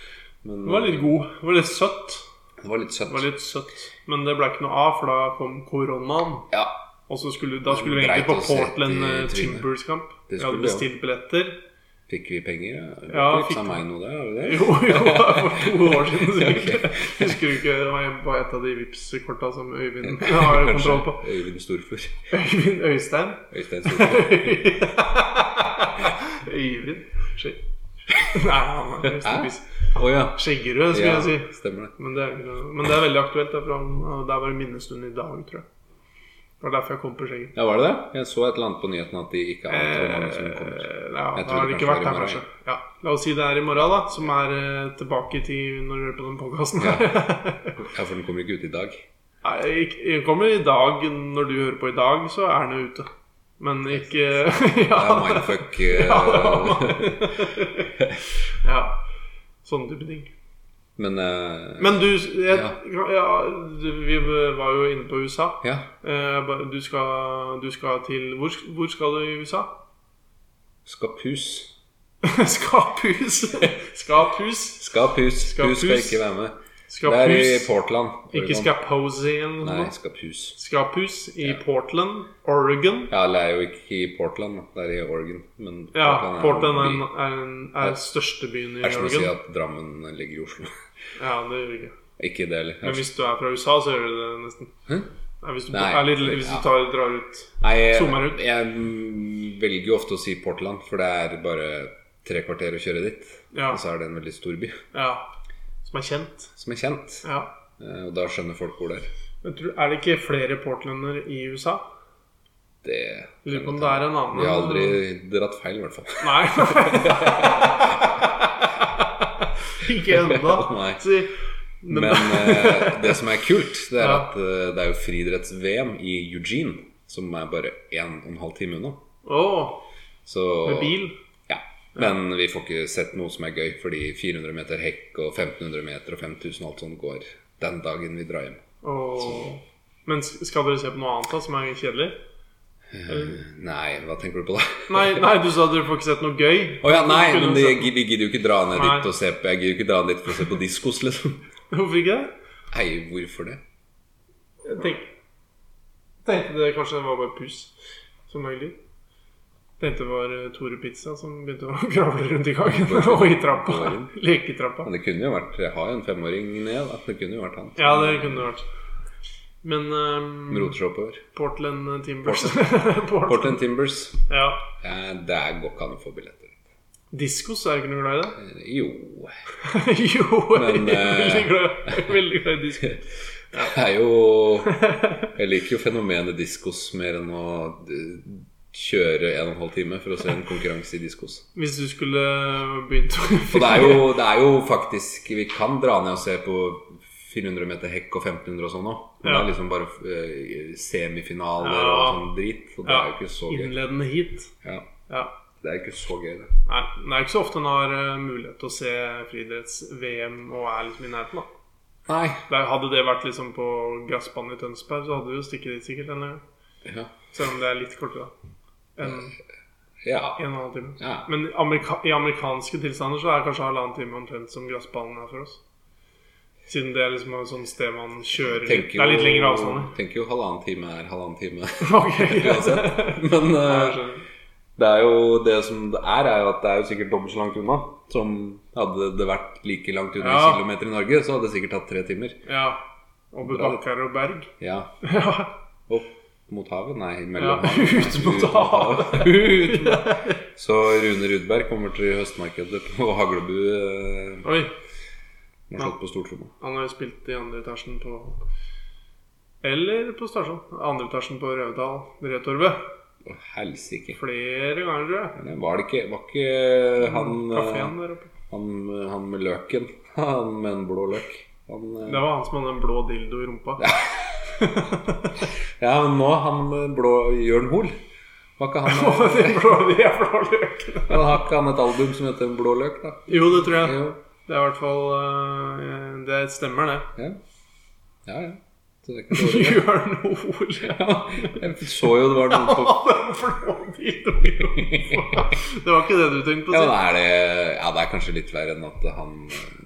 [SPEAKER 1] Men
[SPEAKER 3] Den var litt god. Den var litt søtt.
[SPEAKER 1] det var litt søtt.
[SPEAKER 3] Den var litt søtt. Men det ble ikke noe av, for da kom koronaen.
[SPEAKER 1] Ja,
[SPEAKER 3] Og så skulle, da skulle vi
[SPEAKER 1] Dreit
[SPEAKER 3] egentlig på
[SPEAKER 1] oss rett i
[SPEAKER 3] Portland eh,
[SPEAKER 1] trynet.
[SPEAKER 3] Timbers-kamp.
[SPEAKER 1] Det
[SPEAKER 3] Vi hadde
[SPEAKER 1] skulle vi, ja.
[SPEAKER 3] bestilt billetter.
[SPEAKER 1] fikk vi penger? Ja,
[SPEAKER 3] Ja,
[SPEAKER 1] fikk
[SPEAKER 3] fikk-
[SPEAKER 1] meg noe der, har vi det?
[SPEAKER 3] Jo, jo, det er for to år siden sikkert.
[SPEAKER 1] Ok.
[SPEAKER 3] Husker du ikke det var på et av de Vipps-korta som Øyvind har kontroll på?
[SPEAKER 1] Kanskje Øyvind Storflor.
[SPEAKER 3] Øyvind Øystein?
[SPEAKER 1] Øystein Storflor.
[SPEAKER 3] Øyvind Skje- Nei, han er
[SPEAKER 1] Hæ?
[SPEAKER 3] Øystein
[SPEAKER 1] Å ja.
[SPEAKER 3] Skjeggerød, skulle
[SPEAKER 1] ja.
[SPEAKER 3] jeg si.
[SPEAKER 1] Stemmer det.
[SPEAKER 3] Men det, er, ikke noe- men det er veldig aktuelt. Det er fra han- det er bare minnestund i dag, tror jeg. Det var derfor jeg kom på skjegget.
[SPEAKER 1] Ja, var det det? Jeg så et eller annet på nyheten at de ikke
[SPEAKER 3] Eh,
[SPEAKER 1] ante hvor mange som kommer.
[SPEAKER 3] ja,
[SPEAKER 1] Jeg
[SPEAKER 3] da
[SPEAKER 1] tror
[SPEAKER 3] har
[SPEAKER 1] det
[SPEAKER 3] det ikke
[SPEAKER 1] kanskje
[SPEAKER 3] vært
[SPEAKER 1] var i
[SPEAKER 3] her, kanskje.
[SPEAKER 1] morgen.
[SPEAKER 3] Ja, la oss si det er i morgen, da. Som er eh, tilbake til når du hører på den podkasten.
[SPEAKER 1] Ja. Ja, for den kommer ikke ut i dag.
[SPEAKER 3] Nei, ikk- den kommer i dag. Når du hører på i dag, så er den jo ute. Men ikke
[SPEAKER 1] Det er
[SPEAKER 3] Ja.
[SPEAKER 1] mindfuck. eh,
[SPEAKER 3] ja. Sånne type ting.
[SPEAKER 1] Men, eh,
[SPEAKER 3] Men du, jeg,
[SPEAKER 1] Ja.
[SPEAKER 3] ja, du vi var jo inne på USA.
[SPEAKER 1] ja.
[SPEAKER 3] Eh, ba- Du skal, du skal til hvor, sk- hvor skal du i USA?
[SPEAKER 1] Skapus.
[SPEAKER 3] Skaphus! Skaphus!
[SPEAKER 1] Skapus.
[SPEAKER 3] Skapus.
[SPEAKER 1] Pus skal ikke være med. Det er i
[SPEAKER 3] Skaphus.
[SPEAKER 1] Portland. Oregon.
[SPEAKER 3] Ikke Skaposy eller noe
[SPEAKER 1] Nei,
[SPEAKER 3] sånt.
[SPEAKER 1] Skapus.
[SPEAKER 3] Skapus i Portland, Oregon.
[SPEAKER 1] Ja, eller det er jo ikke i Portland, da. det er i Oregon. Men
[SPEAKER 3] Ja, Portland er,
[SPEAKER 1] en
[SPEAKER 3] en,
[SPEAKER 1] by.
[SPEAKER 3] er, en, er største byen i
[SPEAKER 1] Det er som å si
[SPEAKER 3] Oregon.
[SPEAKER 1] at Drammen ligger i Oslo.
[SPEAKER 3] Ja, det gjør det ikke.
[SPEAKER 1] ikke det heller.
[SPEAKER 3] Men hvis du er fra USA, så gjør du det nesten. Nei, hvis du,
[SPEAKER 1] Nei.
[SPEAKER 3] er litt, hvis du tar, drar ut
[SPEAKER 1] Nei,
[SPEAKER 3] Zoomer
[SPEAKER 1] jeg,
[SPEAKER 3] ut.
[SPEAKER 1] jeg velger jo ofte å si Portland, for det er bare tre kvarter å kjøre dit.
[SPEAKER 3] Ja.
[SPEAKER 1] Og så er det en veldig stor by
[SPEAKER 3] ja, Som er kjent.
[SPEAKER 1] som er kjent.
[SPEAKER 3] Ja.
[SPEAKER 1] Eh, Og da skjønner folk hvor det er.
[SPEAKER 3] Men tror, er det ikke flere portlander i USA?
[SPEAKER 1] Det
[SPEAKER 3] Lurer på om det er en annen
[SPEAKER 1] Vi har aldri dratt feil, i hvert fall.
[SPEAKER 3] Nei. ikke ennå.
[SPEAKER 1] Nei.
[SPEAKER 3] Si- Men,
[SPEAKER 1] Men eh, det som er kult, det er
[SPEAKER 3] Ja.
[SPEAKER 1] at eh, det er jo friidretts-VM i Eugene, som er bare en og en halv time unna.
[SPEAKER 3] Å,
[SPEAKER 1] Så
[SPEAKER 3] med bil?
[SPEAKER 1] Ja. Men vi får ikke sett noe som er gøy, fordi 400 meter hekk og 1500 meter og 5000 og alt sånt går den dagen vi drar hjem.
[SPEAKER 3] Å. Men s- skal dere se på noe annet da, som er kjedelig?
[SPEAKER 1] Nei, hva tenker du på da?
[SPEAKER 3] Nei, nei, du sa dere får ikke sett noe gøy.
[SPEAKER 1] Å ja, nei,
[SPEAKER 3] Kunne
[SPEAKER 1] men
[SPEAKER 3] du
[SPEAKER 1] det,
[SPEAKER 3] sett-
[SPEAKER 1] jeg, vi gidder jo ikke dra ned
[SPEAKER 3] Nei.
[SPEAKER 1] dit og se på Jeg gidder jo ikke dra ned dit for å se på diskos, liksom.
[SPEAKER 3] Hvorfor ikke det?
[SPEAKER 1] Nei, hvorfor det?
[SPEAKER 3] Jeg tenk, tenkte det kanskje var bare pus som var hyggelig. Tenkte det var eh, Tore Pizza som begynte å kravle rundt i gangen og i trappa. Leketrappa.
[SPEAKER 1] Men det kunne jo vært Jeg har jo en femåring ned, da. Det kunne jo vært han.
[SPEAKER 3] Ja, det kunne det vært. Men
[SPEAKER 1] Som
[SPEAKER 3] um,
[SPEAKER 1] roter seg oppover.
[SPEAKER 3] Portland eh, Timbers
[SPEAKER 1] Portland Timbers.
[SPEAKER 3] Ja,
[SPEAKER 1] Eh, Det går ikke an å få billetter. Eh,
[SPEAKER 3] Diskos, er du ikke noe glad i det?
[SPEAKER 1] Jo
[SPEAKER 3] jo, jeg
[SPEAKER 1] Men,
[SPEAKER 3] er
[SPEAKER 1] eh,
[SPEAKER 3] veldig glad, jeg er veldig glad i disko.
[SPEAKER 1] Det er jo Jeg liker jo fenomenet diskos mer enn å eh, kjøre en og en halv time for å se en konkurranse i diskos.
[SPEAKER 3] Hvis du skulle eh, begynt å
[SPEAKER 1] Og det er jo, det er jo faktisk Vi kan dra ned og se på 400 meter hekk og 1500 og sånn òg. Men det
[SPEAKER 3] Ja.
[SPEAKER 1] er liksom bare eh, semifinaler
[SPEAKER 3] Ja.
[SPEAKER 1] og sånn drit. Og det
[SPEAKER 3] Ja,
[SPEAKER 1] er jo ikke så gøy.
[SPEAKER 3] innledende hit.
[SPEAKER 1] Ja,
[SPEAKER 3] Ja.
[SPEAKER 1] det er jo ikke så gøy, det.
[SPEAKER 3] Nei, men det er ikke så ofte en har eh, mulighet til å se friidretts-VM og er liksom i nærheten, da.
[SPEAKER 1] Nei.
[SPEAKER 3] Det, hadde det vært liksom på gressbanen i Tønsberg, så hadde du jo stikket dit sikkert denne gangen.
[SPEAKER 1] Ja.
[SPEAKER 3] Selv om det er litt kortere, da. Enn
[SPEAKER 1] ja.
[SPEAKER 3] en og en halv time.
[SPEAKER 1] ja.
[SPEAKER 3] Men amerika i amerikanske tilstander så er kanskje halvannen time omtrent som gressbanen er for oss. Siden det er liksom et sånt sted man kjører litt.
[SPEAKER 1] Tenker
[SPEAKER 3] Det er litt
[SPEAKER 1] jo-
[SPEAKER 3] lengre avstander.
[SPEAKER 1] Tenker jo halvannen time er halvannen time
[SPEAKER 3] Ok, greit.
[SPEAKER 1] uansett. Men
[SPEAKER 3] Ja,
[SPEAKER 1] eh,
[SPEAKER 3] jeg skjønner.
[SPEAKER 1] det er jo det som det er, er jo at det er jo sikkert dobbelt så langt unna. Som hadde det vært like langt unna
[SPEAKER 3] Ja.
[SPEAKER 1] i kilometer i Norge, så hadde det sikkert tatt tre timer.
[SPEAKER 3] Ja. Og
[SPEAKER 1] Bra.
[SPEAKER 3] bakker og berg.
[SPEAKER 1] Ja.
[SPEAKER 3] Ja.
[SPEAKER 1] Opp mot havet? Nei,
[SPEAKER 3] ja.
[SPEAKER 1] mellom havet.
[SPEAKER 3] Ut mot havet.
[SPEAKER 1] Ut mot havet. Så Rune Rudberg kommer til høstmarkedet på Haglebu. eh,
[SPEAKER 3] Oi.
[SPEAKER 1] Han har slått på stortromma.
[SPEAKER 3] Han har jo spilt i andre etasjen på Eller på stasjonen. Andre etasjen på Røvdal Rødtorvet.
[SPEAKER 1] Å, helsike.
[SPEAKER 3] Flere ganger, tror jeg.
[SPEAKER 1] Men Var det ikke, var ikke han
[SPEAKER 3] Mm,
[SPEAKER 1] eh,
[SPEAKER 3] Kafeen der oppe.
[SPEAKER 1] Han, han med løken. Han med en blå løk. Han, eh,
[SPEAKER 3] Det var han som hadde en blå dildo i rumpa.
[SPEAKER 1] ja, men nå han med blå Jørn Hoel. Var ikke han
[SPEAKER 3] Og de blå, de er blå løkene.
[SPEAKER 1] Men har ikke han et album som heter En blå løk, da?
[SPEAKER 3] Jo, det tror jeg.
[SPEAKER 1] Jo.
[SPEAKER 3] Det er i hvert fall eh, Det stemmer,
[SPEAKER 1] Ja,
[SPEAKER 3] det.
[SPEAKER 1] ja. ja. Så det er ikke dårlig. det.
[SPEAKER 3] Jørn Hoel.
[SPEAKER 1] Jeg så jo det var noen på
[SPEAKER 3] Det var ikke det du tenkte på?
[SPEAKER 1] ja, men
[SPEAKER 3] Siv?
[SPEAKER 1] er det, ja, det er kanskje litt verre enn at han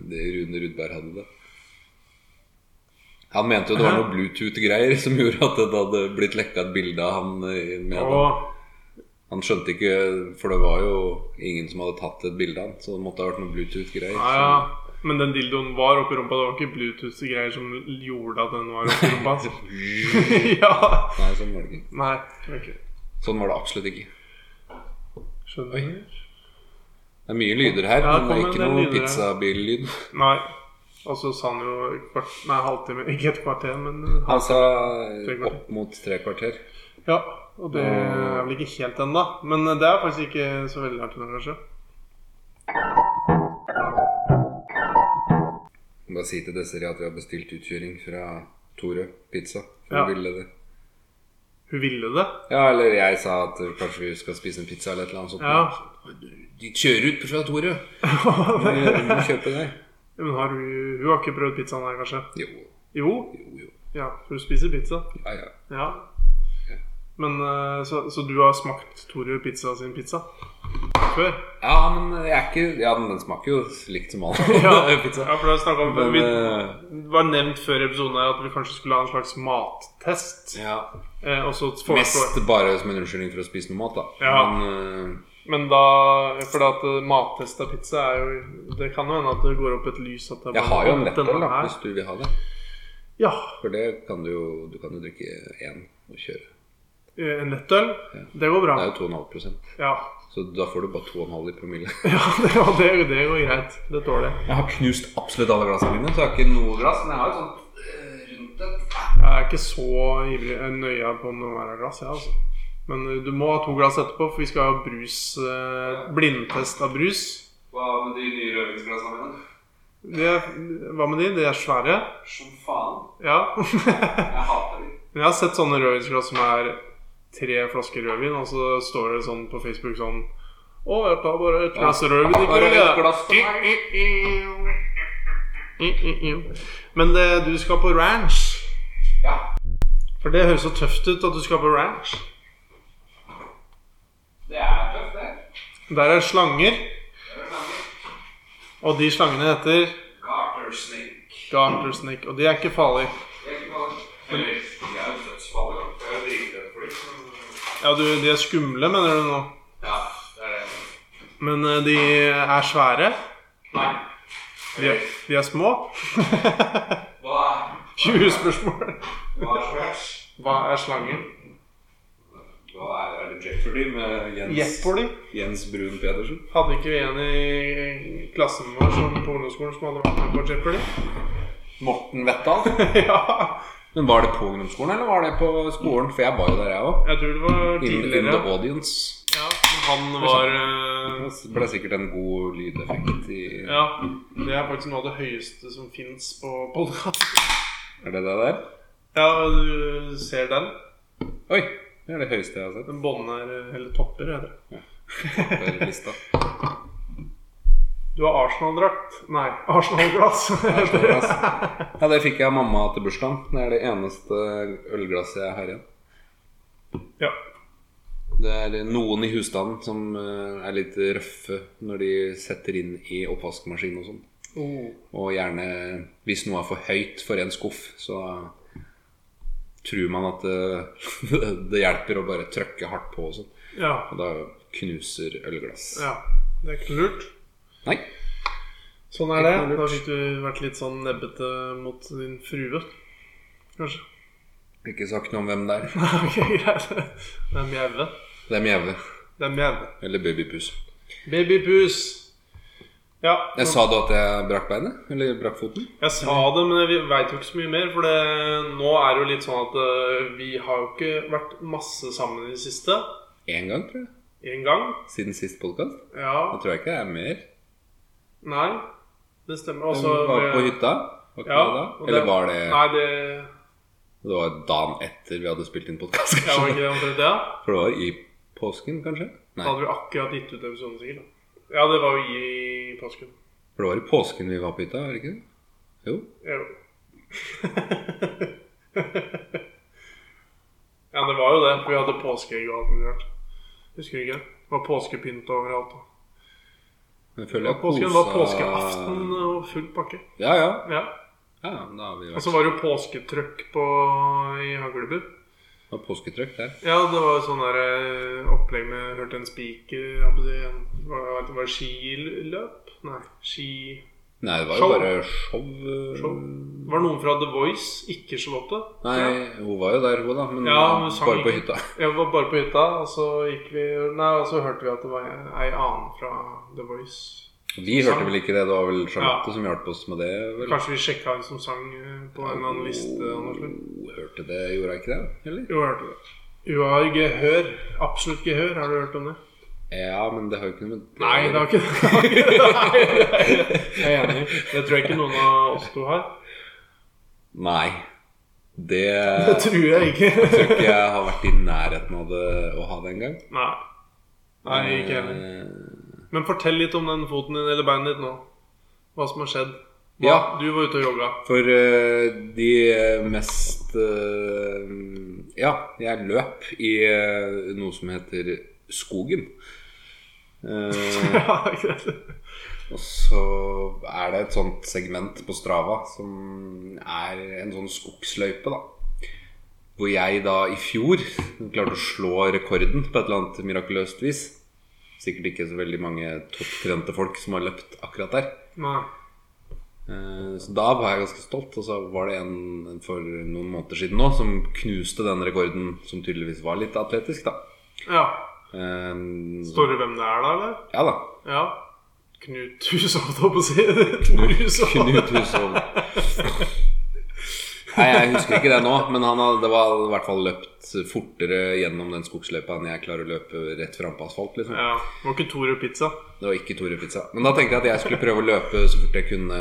[SPEAKER 1] det Rune Rudberg hadde det. Han mente jo det var noe Bluetooth-greier som gjorde at det hadde blitt lekka et bilde av han. eh, Med han.
[SPEAKER 3] Å,
[SPEAKER 1] han skjønte ikke For det var jo ingen som hadde tatt et bilde av han, så det måtte ha vært noe Bluetooth-greier.
[SPEAKER 3] ja, ja. Men den dildoen var oppi rumpa. Det var ikke Bluetooth-greier som gjorde at den var oppi rumpa. ja.
[SPEAKER 1] Så- Nei, sånn var det ikke.
[SPEAKER 3] Nei. ok.
[SPEAKER 1] Sånn var det absolutt ikke.
[SPEAKER 3] Skjønner.
[SPEAKER 1] Det er mye lyder her,
[SPEAKER 3] Ja,
[SPEAKER 1] men det
[SPEAKER 3] det
[SPEAKER 1] er
[SPEAKER 3] kom
[SPEAKER 1] ikke
[SPEAKER 3] en del
[SPEAKER 1] noe
[SPEAKER 3] lyder her.
[SPEAKER 1] pizzabillyd.
[SPEAKER 3] Nei. Og så sa han jo et kvart, nei, halvtime Ikke et kvarter, men en halv-
[SPEAKER 1] Han sa
[SPEAKER 3] Tre kvarter.
[SPEAKER 1] opp mot tre kvarter.
[SPEAKER 3] Ja, og det er vel ikke helt ennå. Men eh, det er faktisk ikke så veldig langt unna, kanskje.
[SPEAKER 1] Jeg må Bare si til Desiree at vi har bestilt utkjøring fra Tore Pizza. For
[SPEAKER 3] Ja.
[SPEAKER 1] hun ville det.
[SPEAKER 3] Hun ville det.
[SPEAKER 1] Ja, eller jeg sa at kanskje vi skal spise en pizza eller et eller annet sånt.
[SPEAKER 3] Ja.
[SPEAKER 1] De kjører ut fra Tore! Vi må kjøpe det.
[SPEAKER 3] Men har hun, hun har ikke prøvd pizzaen her, kanskje?
[SPEAKER 1] Jo,
[SPEAKER 3] Jo.
[SPEAKER 1] jo, jo.
[SPEAKER 3] Ja, for hun spiser pizza.
[SPEAKER 1] Ja, ja.
[SPEAKER 3] Ja. Men eh, så, så du har smakt Tore Pizza sin pizza? Før?
[SPEAKER 1] ja, men jeg er ikke Ja, men den smaker jo likt som all pizza.
[SPEAKER 3] ja for det har vi snakket om før.
[SPEAKER 1] Men,
[SPEAKER 3] Vi
[SPEAKER 1] eh,
[SPEAKER 3] det var nevnt før episoden her at vi kanskje skulle ha en slags mattest.
[SPEAKER 1] ja.
[SPEAKER 3] Eh, og så
[SPEAKER 1] Mest
[SPEAKER 3] foreslår
[SPEAKER 1] bare som en unnskyldning for å spise noe mat, da.
[SPEAKER 3] Ja.
[SPEAKER 1] Men, eh,
[SPEAKER 3] Men da For at eh, mattest av pizza er jo Det kan jo hende at det går opp et lys at det er
[SPEAKER 1] jeg
[SPEAKER 3] bare
[SPEAKER 1] har jo en
[SPEAKER 3] opp
[SPEAKER 1] lettøl,
[SPEAKER 3] denne
[SPEAKER 1] da,
[SPEAKER 3] her.
[SPEAKER 1] hvis du vil ha det.
[SPEAKER 3] Ja.
[SPEAKER 1] For det kan du jo Du kan jo drikke én og kjøre.
[SPEAKER 3] eh, En lettøl. Det går bra.
[SPEAKER 1] Det er jo 2,5
[SPEAKER 3] Ja.
[SPEAKER 1] Så da får du bare 2,5 i promille.
[SPEAKER 3] ja det, og det, det går greit. Det tåler jeg.
[SPEAKER 1] Jeg har knust absolutt alle glassene mine, så jeg har ikke noe glass. Men jeg har et sånt eh, rundt et.
[SPEAKER 3] Jeg er ikke så ivrig eh, nøye på noe hver glass, jeg, altså. Men eh, du må ha to glass etterpå, for vi skal ha brus eh, blindtest av brus.
[SPEAKER 1] Hva med de nye rødvinsglassene mine?
[SPEAKER 3] Det, er- hva med de? De er svære.
[SPEAKER 1] Som faen.
[SPEAKER 3] Ja.
[SPEAKER 1] Jeg hater dem.
[SPEAKER 3] Men jeg har sett sånne rødvinsglass som er tre flasker rødvin, og så står det sånn på Facebook sånn Å, jeg tar bare et glass rødvin. Ikke
[SPEAKER 1] Bare
[SPEAKER 3] rødvin,
[SPEAKER 1] et glass for meg.
[SPEAKER 3] I, i, i. Men det, du skal på ranch.
[SPEAKER 1] Ja.
[SPEAKER 3] For det høres så tøft ut at du skal på ranch.
[SPEAKER 1] Det er tøft, det.
[SPEAKER 3] Der er slanger, og de slangene heter
[SPEAKER 1] Garter snake.
[SPEAKER 3] garter snake, og de er ikke farlige.
[SPEAKER 1] Jeg er jo dødsfarlig. Jeg er jo dritredd for dem.
[SPEAKER 3] Ja, du, de er skumle, mener du nå?
[SPEAKER 1] Ja, det er det.
[SPEAKER 3] Men eh, de er svære.
[SPEAKER 1] Nei.
[SPEAKER 3] De er, de er små.
[SPEAKER 1] Hva er
[SPEAKER 3] 20 spørsmål.
[SPEAKER 1] Hva er svært?
[SPEAKER 3] Hva er slangen?
[SPEAKER 1] Hva er er det Jeopardy med Jens,
[SPEAKER 3] Jeopardy.
[SPEAKER 1] Jens Brun Pedersen?
[SPEAKER 3] Hadde ikke vi en i klassen vår som, på ungdomsskolen som hadde vært med på Jeopardy?
[SPEAKER 1] Morten Vettal?
[SPEAKER 3] ja.
[SPEAKER 1] Men var det på ungdomsskolen, eller var det på skolen? For jeg var jo der, jeg òg.
[SPEAKER 3] Jeg tror det var
[SPEAKER 1] In, in
[SPEAKER 3] tidligere.
[SPEAKER 1] the audience.
[SPEAKER 3] Ja, men han var eh,
[SPEAKER 1] Det ble sikkert en god lydeffekt i
[SPEAKER 3] Ja. Det er faktisk noe av det høyeste som fins på podkast.
[SPEAKER 1] Er det det der?
[SPEAKER 3] Ja, du ser den.
[SPEAKER 1] Oi! Det er det høyeste jeg har sett.
[SPEAKER 3] Den bånder Eller topper, heter det.
[SPEAKER 1] på hele lista.
[SPEAKER 3] Du har Arsenal-drakt. Nei, Arsenal-glass. heter det.
[SPEAKER 1] Ja, det fikk jeg av mamma til bursdagen. Det er det eneste ølglasset jeg har igjen.
[SPEAKER 3] ja.
[SPEAKER 1] Det er noen i husstanden som eh, er litt røffe når de setter inn i oppvaskmaskinen og sånn.
[SPEAKER 3] Oh.
[SPEAKER 1] Og gjerne hvis noe er for høyt for en skuff, så tror man at det, det hjelper å bare trykke hardt på og sånn.
[SPEAKER 3] ja.
[SPEAKER 1] Og da knuser ølglass.
[SPEAKER 3] Ja. Det er ikke noe lurt.
[SPEAKER 1] Nei.
[SPEAKER 3] Sånn er det.
[SPEAKER 1] Ikke noe lurt.
[SPEAKER 3] Da fikk du vært litt sånn nebbete mot din frue, kanskje.
[SPEAKER 1] Ikke sagt noe om hvem det er.
[SPEAKER 3] ok, greit. Det er mjaue.
[SPEAKER 1] Det er Mjeve.
[SPEAKER 3] Det er mjaue.
[SPEAKER 1] Eller Babypus.
[SPEAKER 3] Babypus. Ja.
[SPEAKER 1] Jeg sa da at jeg brakk beinet? Eller brakk foten?
[SPEAKER 3] Jeg sa det, men vi veit jo ikke så mye mer. For det, nå er det jo litt sånn at eh, vi har jo ikke vært masse sammen i det siste.
[SPEAKER 1] Én gang, tror jeg.
[SPEAKER 3] Én gang.
[SPEAKER 1] Siden sist podkast. Da
[SPEAKER 3] Ja.
[SPEAKER 1] tror jeg ikke det er mer.
[SPEAKER 3] Nei. Altså, Det stemmer.
[SPEAKER 1] Den
[SPEAKER 3] Også
[SPEAKER 1] var på
[SPEAKER 3] med-
[SPEAKER 1] hytta. Var ikke
[SPEAKER 3] Ja,
[SPEAKER 1] det da?
[SPEAKER 3] og det-
[SPEAKER 1] Eller var det
[SPEAKER 3] Nei, det
[SPEAKER 1] Det var dagen etter vi hadde spilt inn podkast,
[SPEAKER 3] Jeg var
[SPEAKER 1] kanskje?
[SPEAKER 3] ikke det omtrent det. ja.
[SPEAKER 1] For det var i påsken, kanskje?
[SPEAKER 3] Da
[SPEAKER 1] Nei.
[SPEAKER 3] hadde vi akkurat gitt ut episoden, sikkert. da. Ja, det var jo i påsken.
[SPEAKER 1] For det var i påsken vi var på hytta, var det ikke det? Jo.
[SPEAKER 3] Jo. ja, det var jo det. For vi hadde påskeegg og alt mulig rart. Husker du ikke? Det var påskepynt overalt. da.
[SPEAKER 1] Men Jeg føler jeg
[SPEAKER 3] Påsken var
[SPEAKER 1] kosa-
[SPEAKER 3] påskeaften og full pakke.
[SPEAKER 1] Ja, ja.
[SPEAKER 3] Ja.
[SPEAKER 1] ja da har vi
[SPEAKER 3] Og
[SPEAKER 1] vært
[SPEAKER 3] så var det jo påsketrøkk på, i Haglebur.
[SPEAKER 1] det var påsketrøkk der.
[SPEAKER 3] Ja, det var jo sånn der eh, opplegg med Hørte en spiker jeg holdt på å si, en- Var det var det skiløp? Nei, ski...
[SPEAKER 1] Nei, det var jo
[SPEAKER 3] Show.
[SPEAKER 1] bare show. øh,
[SPEAKER 3] Show. Var det noen fra The Voice? Ikke Charlotte? Ja.
[SPEAKER 1] Nei, hun var jo der, hun, da. Men
[SPEAKER 3] Ja, hun sang
[SPEAKER 1] bare på
[SPEAKER 3] ikke.
[SPEAKER 1] hytta.
[SPEAKER 3] Jeg var bare på hytta, og så gikk vi Nei, og så hørte vi at det var ei annen fra The Voice.
[SPEAKER 1] Vi
[SPEAKER 3] Sang.
[SPEAKER 1] hørte vel ikke det. Det var vel Charlotte
[SPEAKER 3] Ja.
[SPEAKER 1] som hjalp oss med det. vel?
[SPEAKER 3] Kanskje vi sjekka hun som sang eh, på en eller annen liste? av noe slag.
[SPEAKER 1] Hun hørte det, gjorde hun ikke det? Eller?
[SPEAKER 3] Jo, jeg hørte det. Hun har gehør. Absolutt gehør. Har du hørt om det?
[SPEAKER 1] Ja, men det har jo ikke noe med det
[SPEAKER 3] Nei, det var ikke det. var ikke det. Jeg er enig. Det tror jeg ikke noen av oss to har.
[SPEAKER 1] Nei. Det
[SPEAKER 3] Det tror jeg ikke.
[SPEAKER 1] tror ikke Eh. jeg har vært i nærheten av det å ha det Eh, engang.
[SPEAKER 3] Nei. Nei, ikke heller. Men fortell litt om den foten din eller beinet ditt nå. Hva som har skjedd. Hva?
[SPEAKER 1] Ja.
[SPEAKER 3] Du var ute og jogga.
[SPEAKER 1] For eh, de mest eh, Ja, jeg løp i eh, noe som heter skogen. Eh,
[SPEAKER 3] Ja, ikke det?
[SPEAKER 1] og så er det et sånt segment på Strava som er en sånn skogsløype, da. Hvor jeg da i fjor klarte å slå rekorden på et eller annet mirakuløst vis. Sikkert ikke så veldig mange topptrente folk som har løpt akkurat der.
[SPEAKER 3] Nei.
[SPEAKER 1] Eh, Så da var jeg ganske stolt, og så var det en for noen måneder siden nå som knuste den rekorden, som tydeligvis var litt atletisk, da.
[SPEAKER 3] Ja.
[SPEAKER 1] Eh,
[SPEAKER 3] Står det hvem det er, da, eller?
[SPEAKER 1] Ja da.
[SPEAKER 3] Ja. Knut Hushovd, holdt på å si. Tor Hushovd.
[SPEAKER 1] Knut Hushovd. Nei, jeg husker ikke det nå, men han hadde, det var i hvert fall løpt fortere gjennom den skogsløypa enn jeg klarer å løpe rett frampå asfalt, liksom.
[SPEAKER 3] Ja. Var ikke Tore Pizza?
[SPEAKER 1] Det var ikke Tore Pizza. Men da tenkte jeg at jeg skulle prøve å løpe så fort jeg kunne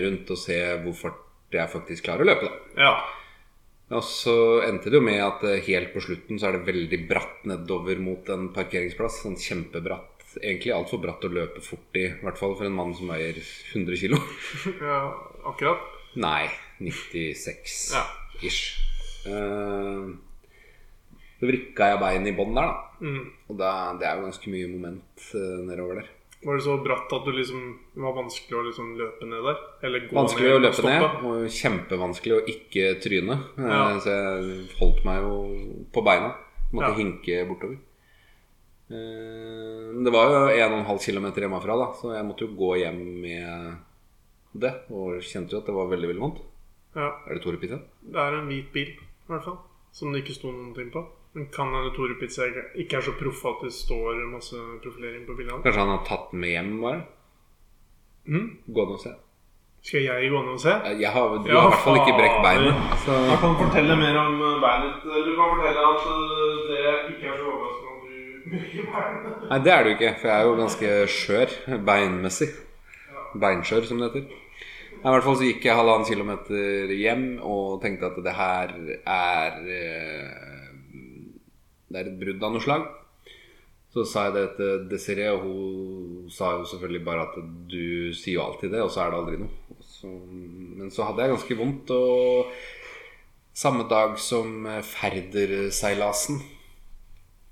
[SPEAKER 1] rundt, og se hvor fort jeg faktisk klarer å løpe, da.
[SPEAKER 3] Ja.
[SPEAKER 1] Og så endte det jo med at eh, helt på slutten så er det veldig bratt nedover mot en parkeringsplass. Sånn kjempebratt. Egentlig altfor bratt å løpe fort i, i hvert fall for en mann som veier 100 kg.
[SPEAKER 3] ja. Akkurat.
[SPEAKER 1] Nei, 96
[SPEAKER 3] Ja.
[SPEAKER 1] ish. Eh, så vrikka jeg beinet i bånn der, da.
[SPEAKER 3] Mm.
[SPEAKER 1] Og da, det er jo ganske mye moment eh, nedover der.
[SPEAKER 3] Var det så bratt at du liksom, det var vanskelig å liksom løpe ned der? Eller gå
[SPEAKER 1] Vanskelig å
[SPEAKER 3] ned og
[SPEAKER 1] løpe ned,
[SPEAKER 3] stoppe?
[SPEAKER 1] og kjempevanskelig å ikke tryne. Eh,
[SPEAKER 3] Ja.
[SPEAKER 1] Så jeg holdt meg jo på beina. Måtte
[SPEAKER 3] Ja.
[SPEAKER 1] hinke bortover. Eh, Det var jo 1,5 km hjemmefra, da, så jeg måtte jo gå hjem med det. Og kjente jo at det var veldig veldig vondt.
[SPEAKER 3] Ja.
[SPEAKER 1] Er det Tore Pizza?
[SPEAKER 3] Det er en hvit bil, i hvert fall. Som det ikke sto noen ting på. Men Kan hende Tore Pizza ikke ikke er så proff at det står masse profilering på bildene.
[SPEAKER 1] Kanskje han har tatt den med hjem, bare?
[SPEAKER 3] Mm.
[SPEAKER 1] Gå ned og se. Jeg
[SPEAKER 3] Skal jeg gå ned og se?
[SPEAKER 1] har, du
[SPEAKER 3] Ja,
[SPEAKER 1] har i hvert fall ikke brekt beinet. Så
[SPEAKER 3] Jeg kan fortelle mer om eh, beinet. Du kan fortelle at eh, det ikke er så overraskende at du bruker beinet.
[SPEAKER 1] Nei, det er du ikke, for jeg er jo ganske skjør beinmessig. Beinskjør, som det heter. Nei, I hvert fall så gikk jeg halvannen kilometer hjem og tenkte at det her er eh, Det er et brudd av noe slag. Så sa jeg det til Desiree, og hun sa jo selvfølgelig bare at du sier jo alltid det, og så er det aldri noe. Så, men så hadde jeg ganske vondt, og samme dag som eh, Færderseilasen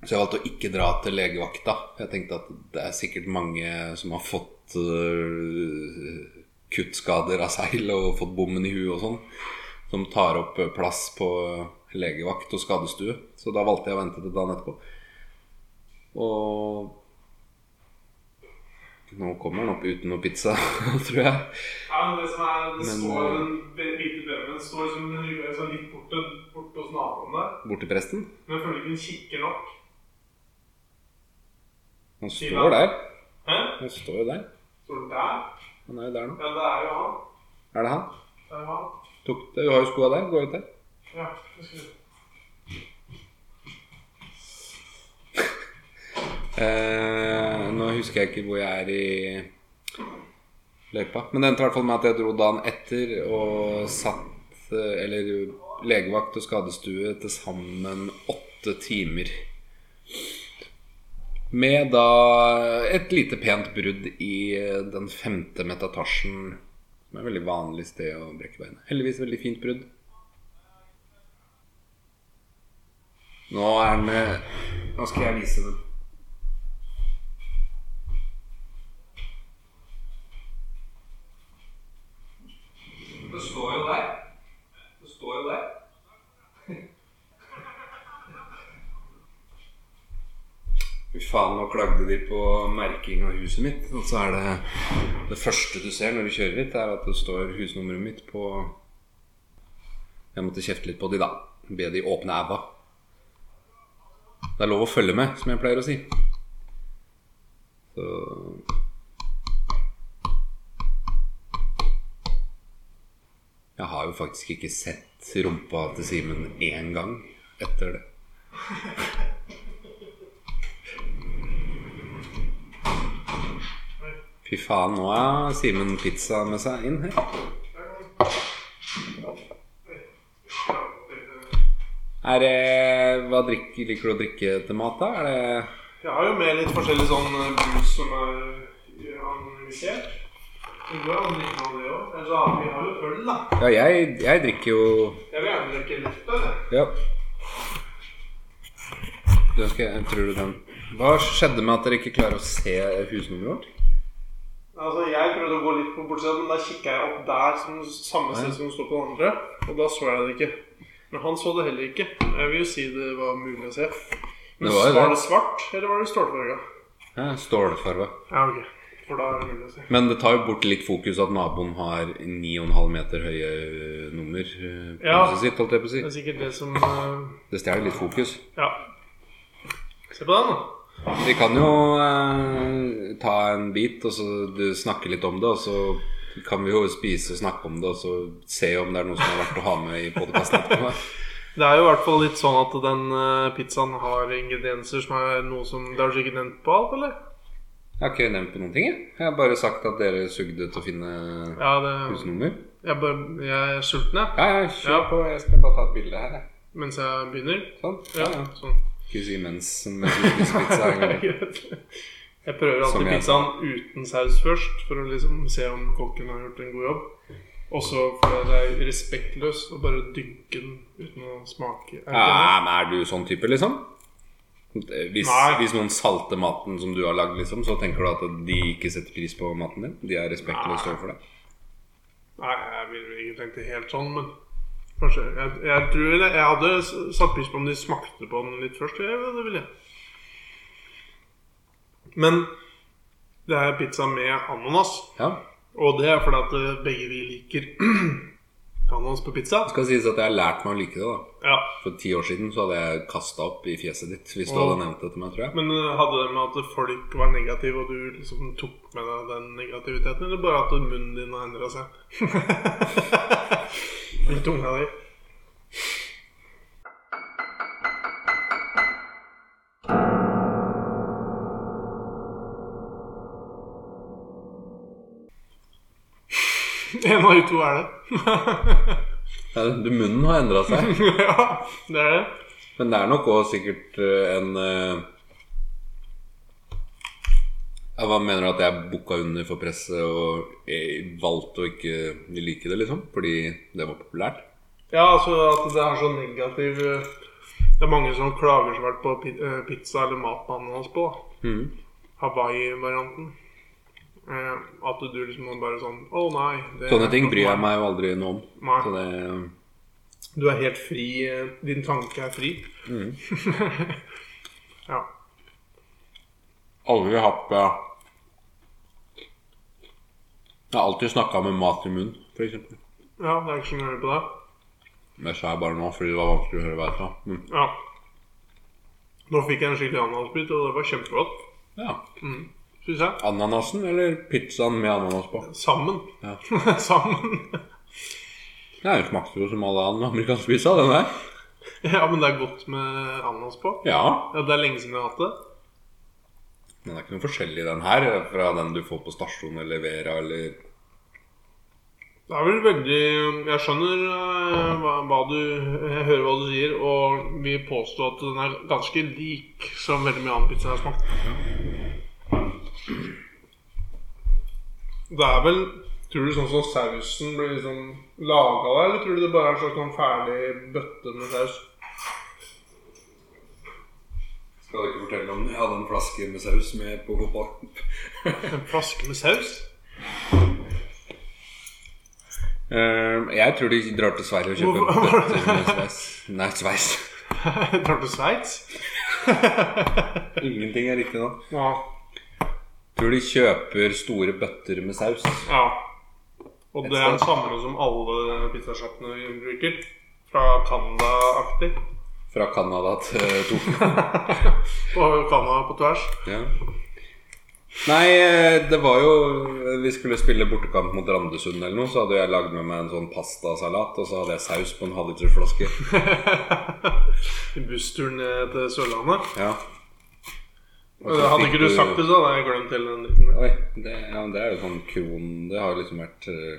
[SPEAKER 1] så jeg valgte å ikke dra til legevakta. Jeg tenkte at det er sikkert mange som har fått øh, kuttskader av seil og fått bommen i huet og sånn, som tar opp øh, plass på legevakt og skadestue. Så da valgte jeg å vente til dagen etterpå. Og nå kommer den opp uten noe pizza, tror jeg.
[SPEAKER 3] Ja, men det som er, det
[SPEAKER 1] Men,
[SPEAKER 3] står
[SPEAKER 1] eh,
[SPEAKER 3] den be- hvite bremen står som en rygg- sånn litt borte, borte hos naboen der.
[SPEAKER 1] Bort til presten.
[SPEAKER 3] Men jeg føler ikke den kikker nok.
[SPEAKER 1] Han står der.
[SPEAKER 3] Hæ?
[SPEAKER 1] Han står jo der.
[SPEAKER 3] Står den der?
[SPEAKER 1] Han er jo der nå.
[SPEAKER 3] Ja, det er jo han.
[SPEAKER 1] Er det han?
[SPEAKER 3] Det er jo han.
[SPEAKER 1] Tok det. Du har jo skoa der. Gå ut der.
[SPEAKER 3] Ja, det skal vi.
[SPEAKER 1] Eh, nå husker jeg ikke hvor jeg er i løypa. Men det endte i hvert fall med at jeg dro dagen etter og satt eh, Eller legevakt og skadestue til sammen åtte timer. Med da et lite pent brudd i eh, den femte metatarsjen. Som er et veldig vanlig sted å brekke beinet. Heldigvis veldig fint brudd. Nå er den eh, Nå skal jeg vise den. Det står jo der. Det står jo der. Fy faen, nå klagde de på merking av huset mitt. Og så er det det første du ser når du kjører hit, er at det står husnummeret mitt på Jeg måtte kjefte litt på de, da. Be de åpne æva. Det er lov å følge med, som jeg pleier å si. Så Jeg har jo faktisk ikke sett rumpa til Simen én gang etter det. Fy faen, nå har Simen pizza med seg inn her. Er det, hva drikker, liker du å drikke til mat, da? Er det
[SPEAKER 3] Jeg har jo med litt forskjellig sånn eh, brus som er eh, anonymisert. Det går an å drikke noe av det også. Eller så har vi har jo øl, da.
[SPEAKER 1] Ja, jeg, jeg drikker jo
[SPEAKER 3] Jeg vil gjerne drikke litt øl. jeg.
[SPEAKER 1] Ja. Den skal jeg, tror du den Hva skjedde med at dere ikke klarer å se husnummeret vårt?
[SPEAKER 3] Altså, Jeg prøvde å gå litt på bortsida, men da kikka jeg opp der, som samme sted som det står på den andre. Og da så jeg det ikke. Men han så det heller ikke. Jeg vil jo si det var mulig å se. Men
[SPEAKER 1] Det var jo
[SPEAKER 3] var
[SPEAKER 1] det.
[SPEAKER 3] det svart, eller var det stålfarga?
[SPEAKER 1] Ja, Stålfarga.
[SPEAKER 3] Ja, ok. For da er det mulig å se.
[SPEAKER 1] Men det tar jo bort litt fokus at naboen har 9,5 meter høye ø, nummer ø, på
[SPEAKER 3] Ja.
[SPEAKER 1] huset sitt, holdt jeg på å si.
[SPEAKER 3] Det er sikkert det som eh,
[SPEAKER 1] Det stjeler litt fokus.
[SPEAKER 3] Ja. Se på den, da.
[SPEAKER 1] Vi kan jo ø, ta en bit og så du snakke litt om det, og så kan vi jo spise og snakke om det, og så se om det er noe som er verdt å ha med i podkasten etterpå.
[SPEAKER 3] Det er jo i hvert fall litt sånn at den eh, pizzaen har ingredienser som er noe som Det har du sikkert nevnt på alt, eller?
[SPEAKER 1] Jeg har ikke nevnt på noen ting, jeg. Jeg har bare sagt at dere sugde til å finne
[SPEAKER 3] Ja, det
[SPEAKER 1] husnummer.
[SPEAKER 3] Jeg, bare, jeg er sulten, jeg.
[SPEAKER 1] Ja, ja, kjør
[SPEAKER 3] Ja.
[SPEAKER 1] på. Jeg skal bare ta et bilde her, jeg.
[SPEAKER 3] Mens jeg begynner.
[SPEAKER 1] Sånn.
[SPEAKER 3] Ja,
[SPEAKER 1] Ja, ja.
[SPEAKER 3] sånn.
[SPEAKER 1] Ikke si mens, mens vi spiser pizza. en gang.
[SPEAKER 3] Jeg prøver
[SPEAKER 1] Som
[SPEAKER 3] alltid
[SPEAKER 1] jeg
[SPEAKER 3] pizzaen uten saus først, for å liksom se om kokken har gjort en god jobb. Og så for det er respektløst å bare dynke den uten å smake. Er det
[SPEAKER 1] Ja,
[SPEAKER 3] ikke det?
[SPEAKER 1] men er du sånn type, liksom? Hvis,
[SPEAKER 3] Nei.
[SPEAKER 1] hvis noen salter maten som du har lagd, liksom, så tenker du at de ikke setter pris på maten din? De er respektløse overfor deg?
[SPEAKER 3] Nei, jeg ville vel ikke tenkt det helt sånn, men kanskje Jeg, jeg tror det. Jeg hadde s- satt pris på om de smakte på den litt først. Jeg, det ville jeg. Men det er pizza med ananas.
[SPEAKER 1] Ja.
[SPEAKER 3] Og det er fordi at eh, begge vi liker navnet hans på pizza.
[SPEAKER 1] Det skal sies at jeg har lært meg å like det. da
[SPEAKER 3] Ja,
[SPEAKER 1] For ti år siden så hadde jeg kasta opp i fjeset ditt hvis du
[SPEAKER 3] Åh.
[SPEAKER 1] hadde nevnt det til meg. tror jeg
[SPEAKER 3] Men eh, hadde det med at folk var negative, og du liksom tok med deg den negativiteten, eller bare at munnen din har endra seg? Litt tunga di. En av de to er det.
[SPEAKER 1] ja, du, Munnen har endra seg.
[SPEAKER 3] ja, det er det.
[SPEAKER 1] Men det er nok òg sikkert eh, en eh, ja, Hva mener du at jeg bukka under for presset og jeg valgte å ikke like det, liksom? Fordi det var populært?
[SPEAKER 3] Ja, altså at det er så negativ eh, Det er mange som klager så fælt på pi- eh, pizza eller matbanen hans på. da.
[SPEAKER 1] Mhm.
[SPEAKER 3] Hawaii-varianten. Eh, At du liksom må bare sånn Å nei. det-
[SPEAKER 1] Sånne ting bryr jeg meg jo aldri noe om.
[SPEAKER 3] Nei.
[SPEAKER 1] Så det,
[SPEAKER 3] Du er helt fri. eh, Din tanke er fri.
[SPEAKER 1] Mm.
[SPEAKER 3] ja.
[SPEAKER 1] aldri hatt ja. Jeg har alltid snakka med mat i munnen, f.eks.
[SPEAKER 3] ja, det er ikke så mye å gjøre på det.
[SPEAKER 1] Jeg sa bare nå fordi det var vanskelig å høre hva jeg sa. Men,
[SPEAKER 3] Ja. Nå fikk jeg en skikkelig ananasbit, og det var kjempegodt,
[SPEAKER 1] ja.
[SPEAKER 3] syns jeg.
[SPEAKER 1] Ananasen eller pizzaen med ananas på?
[SPEAKER 3] Sammen.
[SPEAKER 1] Ja.
[SPEAKER 3] Sammen.
[SPEAKER 1] Nei, Den smakte jo som alle andre amerikanske pizza, den der.
[SPEAKER 3] ja, men det er godt med ananas på.
[SPEAKER 1] Ja.
[SPEAKER 3] Ja, Det er lenge siden jeg har hatt det.
[SPEAKER 1] Den er ikke noe forskjellig, den her, fra den du får på stasjonen eller Vera eller
[SPEAKER 3] Det er vel veldig Jeg skjønner eh, hva, hva du Jeg hører hva du sier, og vil påstå at den er ganske lik som veldig mye annen pizza jeg har smakt. Det er vel Tror du sånn som sausen blir liksom laga der, eller tror du det bare er en slags sånn ferdig bøtte med saus?
[SPEAKER 1] Skal du ikke fortelle om jeg hadde en flaske med saus med på fotball?
[SPEAKER 3] En flaske med saus?
[SPEAKER 1] Ehm, jeg tror de drar til Sverige og kjøper
[SPEAKER 3] Hvorfor-
[SPEAKER 1] bøtter med sveis. Nei, sveis.
[SPEAKER 3] Drar til Sveits?
[SPEAKER 1] Ingenting er riktig nå.
[SPEAKER 3] Ja.
[SPEAKER 1] Tror de kjøper store bøtter med saus.
[SPEAKER 3] ja. Og det er det samme som alle pizzasjappene bruker. Fra Canada-aktig.
[SPEAKER 1] Fra Canada til Tokyo.
[SPEAKER 3] På Canada på tvers.
[SPEAKER 1] Ja. Nei, eh, det var jo eh, Vi skulle spille bortekamp mot Randesund eller noe, så hadde jeg lagd med meg en sånn pastasalat, og så hadde jeg saus på en halvlitersflaske.
[SPEAKER 3] I bussturen ned til Sørlandet.
[SPEAKER 1] Ja. Og så
[SPEAKER 3] Hadde
[SPEAKER 1] fikk
[SPEAKER 3] ikke du sagt det, så hadde jeg glemt hele den liten
[SPEAKER 1] Oi, det, ja, men det er jo sånn kron... Det har liksom vært eh,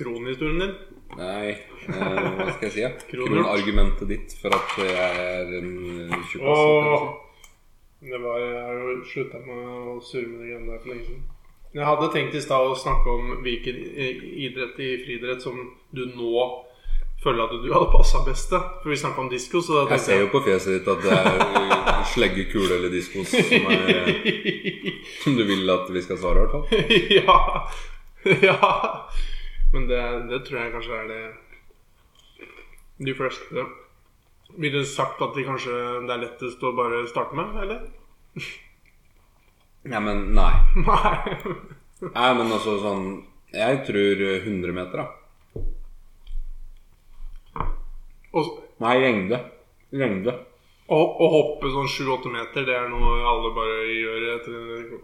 [SPEAKER 3] kronhistorien din.
[SPEAKER 1] Nei, eh, hva skal jeg si? Ja?
[SPEAKER 3] Kronhjort.
[SPEAKER 1] Kronargumentet ditt for at jeg er en eh, tjukkas.
[SPEAKER 3] Åh. Det var Jeg har jo slutta med å surre med de greiene der for lenge siden. Men Jeg hadde tenkt i stad å snakke om hvilken i- idrett i friidrett som du nå føler at du hadde passa best til. For vi snakka om disko, så da
[SPEAKER 1] Jeg
[SPEAKER 3] tenkte
[SPEAKER 1] ser jo på fjeset ditt at det er eh, slegge, kule eller diskos som, er, eh, som du vil at vi skal svare, i hvert fall.
[SPEAKER 3] ja. ja. Men det, det tror jeg kanskje er det De fleste ville sagt at de kanskje det er lettest å bare starte med, eller?
[SPEAKER 1] Nei, men nei.
[SPEAKER 3] Nei.
[SPEAKER 1] Nei, men altså sånn Jeg tror eh, 100 meter, da.
[SPEAKER 3] Og,
[SPEAKER 1] Nei, lengde. Lengde.
[SPEAKER 3] å, å hoppe sånn 7-8 meter, det er noe alle bare gjør etter et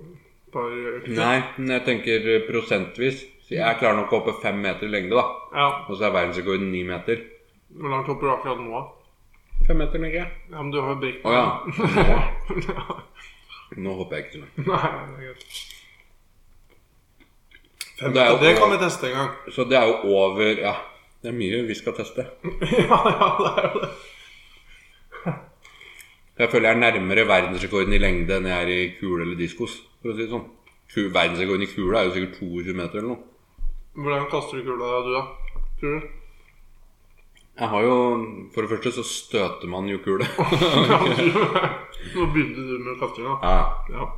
[SPEAKER 3] par økter?
[SPEAKER 1] Nei, men jeg tenker eh, prosentvis. Så jeg klarer nok å hoppe fem meter i lengde, da.
[SPEAKER 3] Ja.
[SPEAKER 1] Og så er verdensrekorden ni meter.
[SPEAKER 3] Hvor langt hopper du akkurat nå? da?
[SPEAKER 1] Fem meter, tenker jeg.
[SPEAKER 3] Ja, men du har jo brekk.
[SPEAKER 1] Å ja.
[SPEAKER 3] ja.
[SPEAKER 1] Nå, nå hopper jeg ikke til meg.
[SPEAKER 3] Nei, det er greit. Fem
[SPEAKER 1] Det er jo-
[SPEAKER 3] meter, det kan vi teste en gang.
[SPEAKER 1] Så det er jo over Ja, det er mye vi skal teste.
[SPEAKER 3] ja, ja, det er jo det.
[SPEAKER 1] Jeg føler jeg er nærmere verdensrekorden i lengde enn jeg er i kule eller diskos. For å si det sånn. Ku- Verdensrekorden i kule er jo sikkert 22 meter eller noe.
[SPEAKER 3] Hvordan kaster du kula du, da? Tror du?
[SPEAKER 1] Jeg har jo For det første så støter man jo kule.
[SPEAKER 3] Ja, du- Nå begynte du med kastinga.
[SPEAKER 1] ja.
[SPEAKER 3] Ja.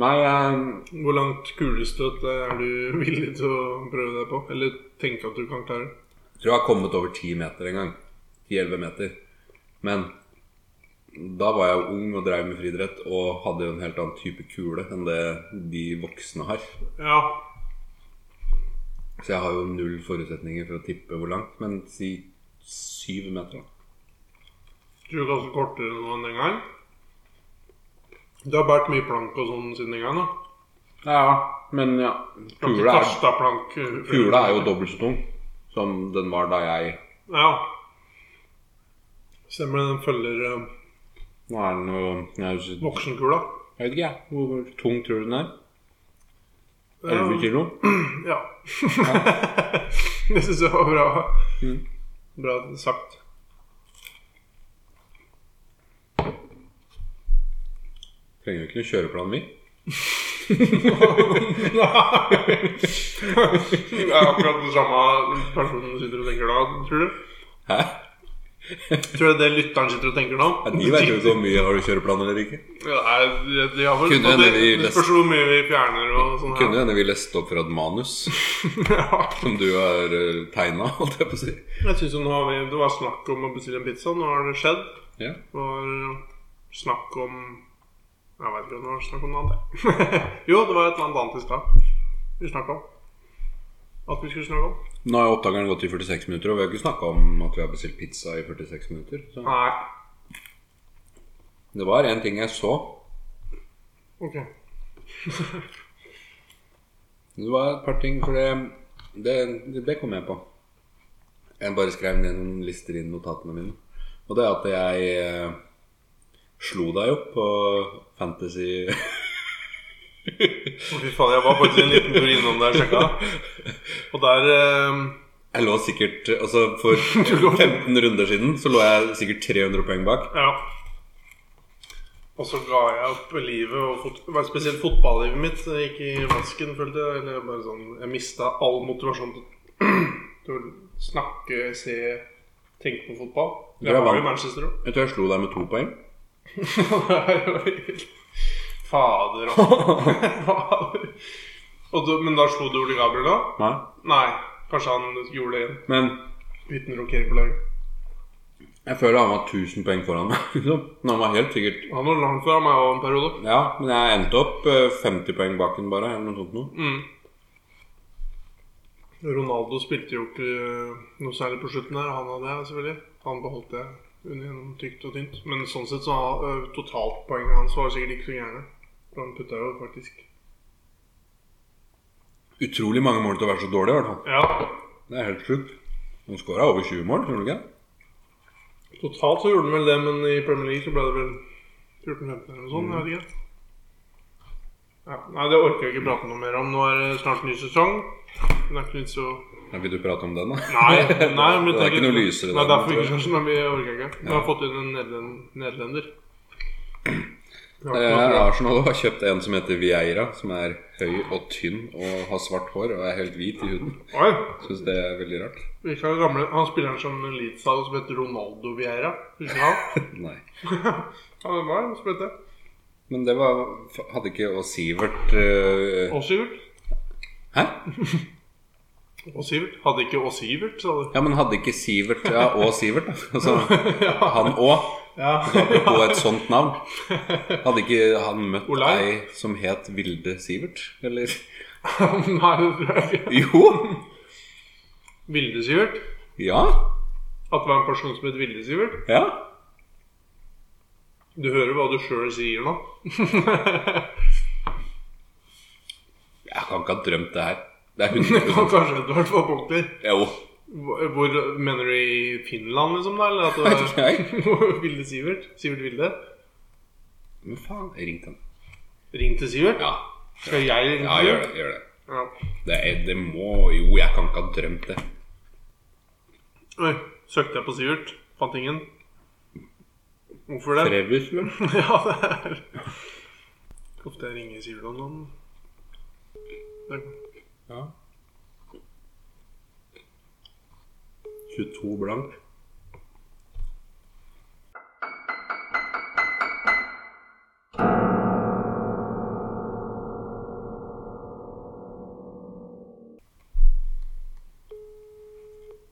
[SPEAKER 1] Nei, jeg
[SPEAKER 3] Hvor langt kulestøt er du villig til å prøve deg på? Eller tenke at du kan klare?
[SPEAKER 1] tror jeg har kommet over 10 meter en gang. 10-11 meter. Men da var jeg jo ung og drev med friidrett og hadde jo en helt annen type kule enn det de voksne har.
[SPEAKER 3] Ja.
[SPEAKER 1] Så jeg har jo null forutsetninger for å tippe hvor langt, men si syv meter, da.
[SPEAKER 3] Tror du kanskje kortere nå enn den gang? Du har båret mye plank og sånn siden den gang, da.
[SPEAKER 1] Ja, men ja.
[SPEAKER 3] Du har ikke
[SPEAKER 1] Kula er,
[SPEAKER 3] kastet plank eh,
[SPEAKER 1] kula er jo dobbelt så tung som den var da jeg
[SPEAKER 3] Ja. Stemmer det, den følger eh,
[SPEAKER 1] Nå er den jo Jeg vet
[SPEAKER 3] voksenkula.
[SPEAKER 1] ikke, jeg. Hvor tung tror du den er?
[SPEAKER 3] Ja.
[SPEAKER 1] 11 kilo?
[SPEAKER 3] Ja. det syns jeg var bra.
[SPEAKER 1] Mm.
[SPEAKER 3] Bra sagt.
[SPEAKER 1] Trenger jo ikke noe kjøreplan, vi.
[SPEAKER 3] Det er akkurat den samme personen som sitter og tenker da, tror du?
[SPEAKER 1] Hæ?
[SPEAKER 3] Tror du det er lytteren sitter og tenker nå?
[SPEAKER 1] Ja, de vet jo ikke hvor mye har du kjøreplan eller ikke.
[SPEAKER 3] Ja, nei, de- de har vel
[SPEAKER 1] Kunne
[SPEAKER 3] og det,
[SPEAKER 1] hende vi
[SPEAKER 3] det spørs hvor mye vi fjerner og sånn
[SPEAKER 1] Kunne hende vi leste opp fra et manus
[SPEAKER 3] Ja.
[SPEAKER 1] som du har tegna, holdt jeg på å si.
[SPEAKER 3] Jeg synes jo nå har vi Det var snakk om å bestille en pizza, nå har det skjedd.
[SPEAKER 1] Ja.
[SPEAKER 3] Det var snakk om Jeg vet ikke om det var snakk om noe annet. jeg. jo, det var et eller annet annet i stad vi snakka om. At vi skulle snakke om.
[SPEAKER 1] Nå har oppdageren gått i 46 minutter, og vi har ikke snakka om at vi har bestilt pizza i 46 minutter. Så.
[SPEAKER 3] Nei.
[SPEAKER 1] Det var én ting jeg så.
[SPEAKER 3] Ok.
[SPEAKER 1] Det var et par ting, for det, det, det kom jeg på. Jeg bare skrev ned noen lister inn i notatene mine. Og det er at jeg eh, slo deg opp på Fantasy
[SPEAKER 3] Å, Fy faen, jeg var faktisk en liten tur innom der og sjekka. Og der eh,
[SPEAKER 1] Jeg lå sikkert Altså, for
[SPEAKER 3] Du lå-
[SPEAKER 1] 15 runder siden så lå jeg sikkert 300 poeng bak.
[SPEAKER 3] Ja. Og så ga jeg opp livet, og fot det var spesielt fotballivet mitt det gikk i vasken, følte jeg. Eller bare sånn Jeg mista all motivasjon til, til å snakke, se, tenke på fotball.
[SPEAKER 1] Det er
[SPEAKER 3] Jeg var jo
[SPEAKER 1] vanlig.
[SPEAKER 3] i Manchester òg.
[SPEAKER 1] Jeg tror jeg slo deg med to poeng.
[SPEAKER 3] Fader og Fader. Og du- Men da slo du Ole Gabriel, da?
[SPEAKER 1] Nei.
[SPEAKER 3] Nei. Kanskje han gjorde det igjen.
[SPEAKER 1] Men
[SPEAKER 3] Uten rokering på laget.
[SPEAKER 1] jeg føler han var 1000 poeng foran meg. liksom. Men han var helt sikkert
[SPEAKER 3] Han var langt foran meg òg en periode.
[SPEAKER 1] Ja, men jeg endte opp eh, 50 poeng bak ham bare, eller noe sånt noe.
[SPEAKER 3] Mm. Ronaldo spilte jo ikke eh, noe særlig på slutten her. Han hadde jeg selvfølgelig. Han beholdt det under gjennom tykt og tynt. Men sånn sett så har ø, totaltpoenget hans var sikkert ikke så gærne. For han putta jo faktisk
[SPEAKER 1] Utrolig mange mål til å være så dårlig, i hvert fall.
[SPEAKER 3] Ja,
[SPEAKER 1] Det er helt sjukt. Han skåra over 20 mål, tror du ikke?
[SPEAKER 3] totalt så gjorde han vel det, men i Premier League så ble det vel 14-15 eller noe sånt. Jeg vet ikke. Ja, nei, det orker jeg ikke prate noe mer om. Nå er det snart ny sesong. Det er ikke noe vits i å
[SPEAKER 1] Ja, vil du prate om den, da?
[SPEAKER 3] Nei, nei men
[SPEAKER 1] det er ikke noe lysere
[SPEAKER 3] Nei,
[SPEAKER 1] den,
[SPEAKER 3] derfor
[SPEAKER 1] tror
[SPEAKER 3] ikke
[SPEAKER 1] jeg.
[SPEAKER 3] sånn som vi orker ikke. Vi har fått inn en nederlend- nederlender. Det var
[SPEAKER 1] Eh,
[SPEAKER 3] ikke noe bra.
[SPEAKER 1] Arsenal har kjøpt en som heter Vieira, som er høy og tynn og har svart hår og er helt hvit i huden.
[SPEAKER 3] Oi,
[SPEAKER 1] Syns det er veldig rart.
[SPEAKER 3] ikke han gamle Han spilleren som Leeds hadde, som heter Ronaldo Vieira. Husker du han?
[SPEAKER 1] Nei.
[SPEAKER 3] Han var en som het det.
[SPEAKER 1] Men det var Hadde ikke Å Sivert eh,
[SPEAKER 3] Og Sivert.
[SPEAKER 1] Hæ?
[SPEAKER 3] Og Sivert. Hadde ikke Og Sivert, sa du.
[SPEAKER 1] Ja, men hadde ikke Sivert Ja, og Sivert, da. Altså, han og
[SPEAKER 3] Ja.
[SPEAKER 1] Apropos et sånt navn. Hadde ikke han møtt
[SPEAKER 3] Olai?
[SPEAKER 1] ei som het Vilde Sivert? Eller
[SPEAKER 3] Nei, det tror jeg ikke.
[SPEAKER 1] Jo!
[SPEAKER 3] Vilde Sivert.
[SPEAKER 1] Ja.
[SPEAKER 3] At det var en person som het Vilde Sivert.
[SPEAKER 1] Ja.
[SPEAKER 3] Du hører hva du sjøl sier nå.
[SPEAKER 1] Jeg kan ikke ha drømt det her. Det er
[SPEAKER 3] Det
[SPEAKER 1] 100
[SPEAKER 3] kan kanskje hende du har fått punkter.
[SPEAKER 1] Jo.
[SPEAKER 3] Hvor, hvor- mener du i Finland, liksom? da? Eller at
[SPEAKER 1] Vet ikke jeg.
[SPEAKER 3] det, Vilde Sivert? Sivert Vilde?
[SPEAKER 1] Men faen, jeg ringte han.
[SPEAKER 3] Ring til Sivert?
[SPEAKER 1] Ja,
[SPEAKER 3] Skal jeg ringe til
[SPEAKER 1] ja gjør det.
[SPEAKER 3] Sivert?
[SPEAKER 1] gjør Det
[SPEAKER 3] Ja.
[SPEAKER 1] det, er, det må Jo, jeg kan ikke ha drømt det.
[SPEAKER 3] Oi, søkte jeg på Sivert? Fant ingen? Hvorfor det?
[SPEAKER 1] Trevis, vel?
[SPEAKER 3] ja, det er Ofte jeg ringer Sivert om noen. Der.
[SPEAKER 1] Ja. 22 blank.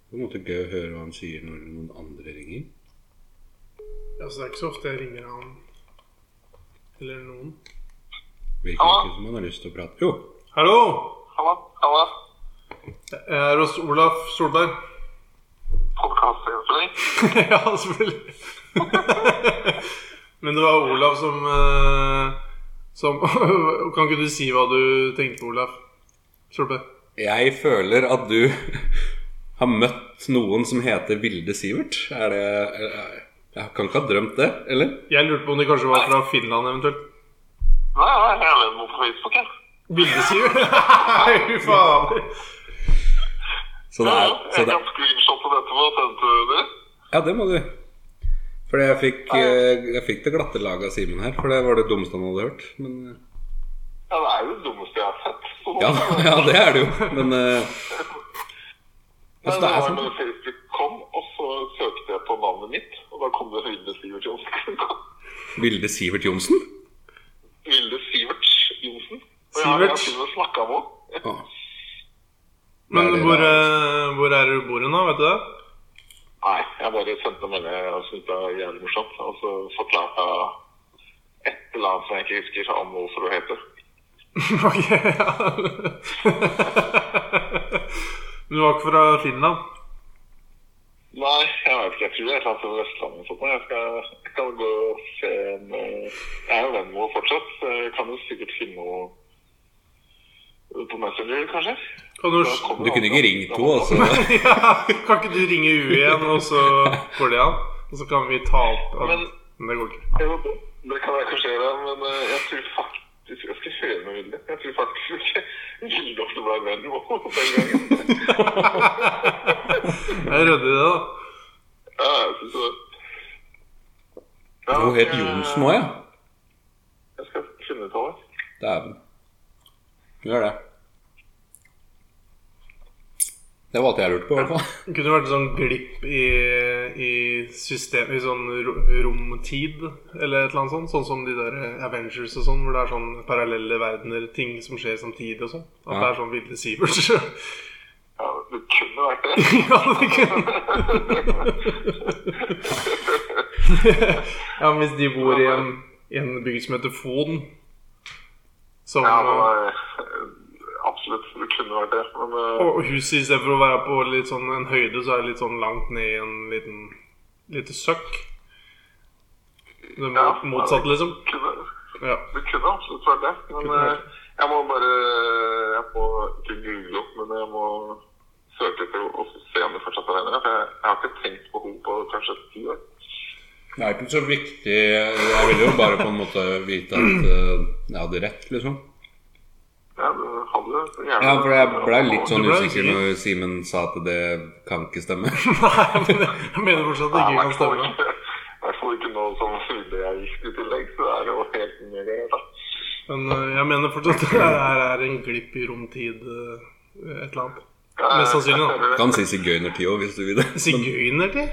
[SPEAKER 1] Det er på en måte gøy å høre hva han sier når noen andre ringer.
[SPEAKER 3] Altså, det er ikke så ofte jeg ringer han eller noen.
[SPEAKER 1] Virker
[SPEAKER 2] Ja.
[SPEAKER 1] ikke som han har lyst til å prate. Jo,
[SPEAKER 3] Hallo!
[SPEAKER 2] Hallo? Hallo?
[SPEAKER 3] Jeg er hos Olaf Solberg.
[SPEAKER 2] Podkastsensorer.
[SPEAKER 3] ja, selvfølgelig. Men det var Olaf som, eh, som Kan ikke du si hva du tenkte på, Olaf? Solberg.
[SPEAKER 1] Jeg føler at du har møtt noen som heter Vilde Sivert. Er det er- Jeg kan ikke ha drømt det, eller?
[SPEAKER 3] Jeg lurte på om de kanskje var fra Finland, eventuelt.
[SPEAKER 2] Nei, nei, jeg er med på Facebook, jeg.
[SPEAKER 3] Bildesiver? Nei, fy faen.
[SPEAKER 1] Så det
[SPEAKER 2] Ja,
[SPEAKER 1] er,
[SPEAKER 2] ja.
[SPEAKER 1] så
[SPEAKER 2] Jeg
[SPEAKER 1] det,
[SPEAKER 2] kan screenshotte dette og sende til dere.
[SPEAKER 1] ja, det må du. Fordi jeg fikk, eh, jeg fikk det glatte laget av Simen her, for det var det dummeste han hadde hørt. Men, eh,
[SPEAKER 2] Ja, det er jo det dummeste jeg har sett. Så nå-
[SPEAKER 1] ja, altså, ja, det er det jo, men eh,
[SPEAKER 2] Men
[SPEAKER 1] altså,
[SPEAKER 2] det
[SPEAKER 1] det er
[SPEAKER 2] var
[SPEAKER 1] sånn.
[SPEAKER 2] når Facebook kom, og så søkte jeg på navnet mitt, og da kom det Vilde Sivert Johnsen.
[SPEAKER 1] Vilde Sivert Johnsen?
[SPEAKER 2] Vilde Sivert Johnsen. Og jeg
[SPEAKER 3] Sivert.
[SPEAKER 2] har til og med snakket om henne.
[SPEAKER 1] Å,
[SPEAKER 3] Men
[SPEAKER 1] Nei, det er
[SPEAKER 3] hvor, eh, hvor er du bor hen, da? Vet du det?
[SPEAKER 2] Nei, jeg bare sendte en melding og syntes det var jævlig morsomt. Og så forklarte jeg et eller annet som jeg ikke husker om hvorfor hun heter.
[SPEAKER 3] Ok, ja. Men du var ikke fra Finland?
[SPEAKER 2] Nei, jeg vet ikke. Jeg tror jeg er fra Vestlandet. Sånn. Jeg skal, jeg skal gå og se en eh, Jeg er jo venn med henne fortsatt, så jeg kan jo sikkert finne henne på Messenger, kanskje.
[SPEAKER 3] Kan du,
[SPEAKER 2] Da kommer
[SPEAKER 1] Du kunne ikke
[SPEAKER 2] han.
[SPEAKER 1] ringt henne, altså?
[SPEAKER 3] ja, kan ikke du ringe U igjen, og så går det an? Og så kan vi ta opp
[SPEAKER 2] Men-
[SPEAKER 3] Men det går ikke.
[SPEAKER 2] Jo, Det kan jeg kanskje gjøre, men eh, jeg tror faktisk Jeg skal høre med Vilde. Jeg tror faktisk ikke Vilde også ble venn med henne den gangen.
[SPEAKER 3] Jeg er redd i det, da.
[SPEAKER 2] Ja, jeg synes det. Ja,
[SPEAKER 1] Hun het
[SPEAKER 2] jeg-
[SPEAKER 1] Johnsen òg, ja.
[SPEAKER 2] Jeg skal finne ut av det.
[SPEAKER 1] Dæven. Gjør det. Det var alt jeg lurte på, i hvert fall.
[SPEAKER 3] Det kunne vært en sånn glipp i, i systemet, i sånn ro- romtid eller et eller annet sånt. Sånn som de der eh, Avengers og sånn, hvor det er sånn parallelle verdener, ting som skjer samtidig og sånn. At
[SPEAKER 1] Ja.
[SPEAKER 3] det er sånn Vilde Sivert.
[SPEAKER 2] Ja, det kunne vært det.
[SPEAKER 3] ja, det kunne Ja, men hvis de bor i en, i en bygd som heter Fon, som
[SPEAKER 2] Ja, det
[SPEAKER 3] eh,
[SPEAKER 2] var, eh, absolutt. Det kunne vært det. Men eh,
[SPEAKER 3] Og huset istedenfor å være på litt sånn en høyde, så er det litt sånn langt ned i en liten lite søkk. Det må,
[SPEAKER 2] Ja.
[SPEAKER 3] motsatt, liksom.
[SPEAKER 2] kunne,
[SPEAKER 3] Ja.
[SPEAKER 2] det kunne absolutt vært det. Men
[SPEAKER 3] Kunne vært
[SPEAKER 2] eh, jeg må bare Jeg må ikke google opp, men jeg må søke etter henne og se om det fortsatt er henne. For jeg, jeg har ikke tenkt på henne på kanskje ti år.
[SPEAKER 1] Det er ikke så viktig Jeg ville jo bare på en måte vite at eh, jeg hadde rett, liksom.
[SPEAKER 2] Ja, det hadde jeg gjerne.
[SPEAKER 1] Ja, for jeg ble litt sånn
[SPEAKER 3] Du ble
[SPEAKER 1] usikker
[SPEAKER 3] usikker.
[SPEAKER 1] når Simen sa at det kan ikke stemme.
[SPEAKER 3] Nei, men jeg mener
[SPEAKER 2] Nei,
[SPEAKER 3] fortsatt at det
[SPEAKER 2] i
[SPEAKER 3] ikke
[SPEAKER 2] hvert
[SPEAKER 3] kan
[SPEAKER 2] fall
[SPEAKER 3] stemme.
[SPEAKER 2] ikke- i hvert fall ikke nå som Vilde er gift i tillegg, så er det jo helt mye greier. da.
[SPEAKER 3] Men eh, jeg mener fortsatt at det her er en glipp i romtid, eh, et eller annet.
[SPEAKER 2] Ja,
[SPEAKER 3] Mest sannsynlig, da.
[SPEAKER 2] jeg hører det.
[SPEAKER 1] Kan si sigøynertid òg, hvis du vil det.
[SPEAKER 3] Sigøyner, de?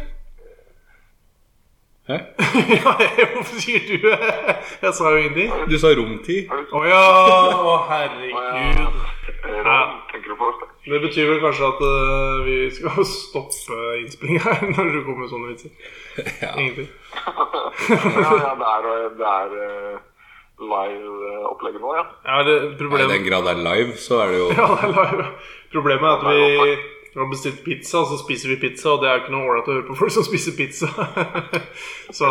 [SPEAKER 1] Hæ?
[SPEAKER 3] ja, hvorfor sier du det? Jeg sa jo ingenting.
[SPEAKER 1] Du sa romtid.
[SPEAKER 3] Å ja! Å herregud.
[SPEAKER 2] Ran, tenker du på?
[SPEAKER 3] Det betyr vel kanskje at eh, vi skal stoppe innspillinga her når du kommer med sånne vitser.
[SPEAKER 1] Ja.
[SPEAKER 3] Egentlig.
[SPEAKER 2] Ja, ja, det er, det er eh, live-opplegget nå, ja.
[SPEAKER 3] Ja, det,
[SPEAKER 1] I
[SPEAKER 3] problemet,
[SPEAKER 1] den grad det er live, så er det jo
[SPEAKER 3] ja, det er live. problemet er at vi har bestilt pizza, og så spiser vi pizza, og det er jo ikke noe ålreit å høre på folk som spiser pizza. så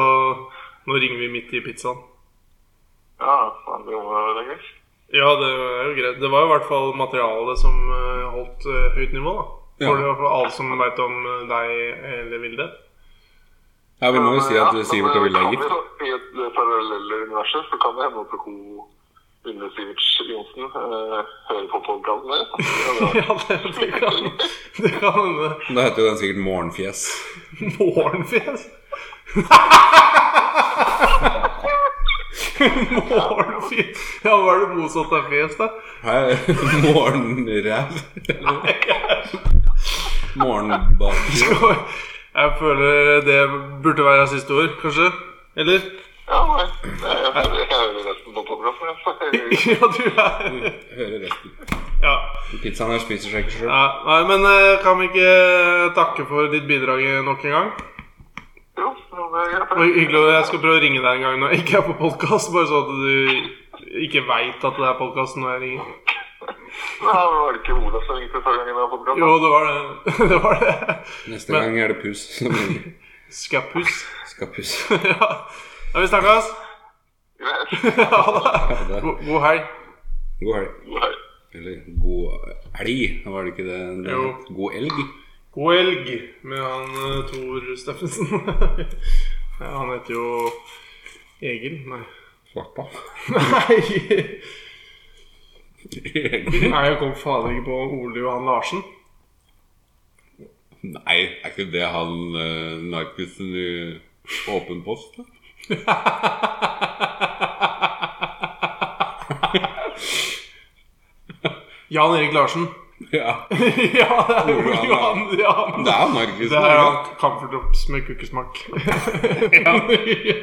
[SPEAKER 3] nå ringer vi midt i pizzaen.
[SPEAKER 2] Ja, faen, det må være gøy.
[SPEAKER 3] Ja, det er jo greit. Det var jo i hvert fall materialet som eh, holdt eh, høyt nivå, da.
[SPEAKER 1] Ja.
[SPEAKER 3] For det er i hvert fall alle som veit om eh, deg eller Vilde.
[SPEAKER 1] Ja, vi må jo si at
[SPEAKER 2] Ja,
[SPEAKER 1] Sivert og
[SPEAKER 2] men
[SPEAKER 1] Vilde er
[SPEAKER 2] kan
[SPEAKER 1] gift.
[SPEAKER 2] vi jo- I et eh, parallelle universet så kan det hende at hun Ville Sivert Johnsen eh, hører på podkasten deres. Ja, det var-
[SPEAKER 3] Ja, det, det kan det kan hende.
[SPEAKER 1] Da heter jo den sikkert Morgenfjes.
[SPEAKER 3] Morgenfjes? Morgenfjes? Ja, hva er det motsatt av fjes, da?
[SPEAKER 1] Hæ? Morgenræv? Morgenbaker?
[SPEAKER 3] Jeg føler det burde være siste ord, kanskje? Eller?
[SPEAKER 2] Ja, nei, nei, jeg hører- jeg hører resten på podkasten. Jeg
[SPEAKER 3] Ja, du er
[SPEAKER 1] Hører resten.
[SPEAKER 3] Ja.
[SPEAKER 1] Pizzaen her spiser seg ikke sjøl.
[SPEAKER 3] ja. Nei, men eh, kan vi ikke eh, takke for ditt bidrag eh, nok en gang?
[SPEAKER 2] Jo, jo, det
[SPEAKER 4] eh,
[SPEAKER 2] er greit.
[SPEAKER 3] Og hyggelig, og jeg skal prøve å ringe deg en gang når jeg ikke er på podkast, bare så at du ikke veit at det er podkast når jeg ringer.
[SPEAKER 2] Nei, var det ikke Olav som ringte forrige gang vi var på program?
[SPEAKER 3] Jo, det var det. det, var det.
[SPEAKER 1] Neste
[SPEAKER 3] Men-
[SPEAKER 1] gang er det pus som ringer.
[SPEAKER 3] Skappus.
[SPEAKER 1] skal pus.
[SPEAKER 3] ja. Da vi snakkes.
[SPEAKER 2] Greit.
[SPEAKER 3] Ha det.
[SPEAKER 1] Ha det.
[SPEAKER 3] God, god helg.
[SPEAKER 1] God helg.
[SPEAKER 2] Nei.
[SPEAKER 1] Eller god elg, var det ikke det? det
[SPEAKER 3] Jo.
[SPEAKER 1] het? God elg.
[SPEAKER 3] God helg med han eh, Tor Steffensen. ja, han heter jo Egil. Nei.
[SPEAKER 1] Svarta.
[SPEAKER 3] Nei!
[SPEAKER 1] Egil.
[SPEAKER 3] Nei, jeg kom fader ikke på Ole Johan Larsen.
[SPEAKER 1] Nei, er ikke det han uh, narkisen i Åpen post? da?
[SPEAKER 3] Jan Erik Larsen.
[SPEAKER 1] Ja.
[SPEAKER 3] Oh, ja, det er
[SPEAKER 1] Ole
[SPEAKER 3] Ole
[SPEAKER 1] Johan
[SPEAKER 3] Johan. Ja.
[SPEAKER 1] Det er narkisen.
[SPEAKER 3] Det er
[SPEAKER 1] er
[SPEAKER 3] jo
[SPEAKER 1] det?
[SPEAKER 3] Camphordrops med kukkesmak.
[SPEAKER 1] Var det jeg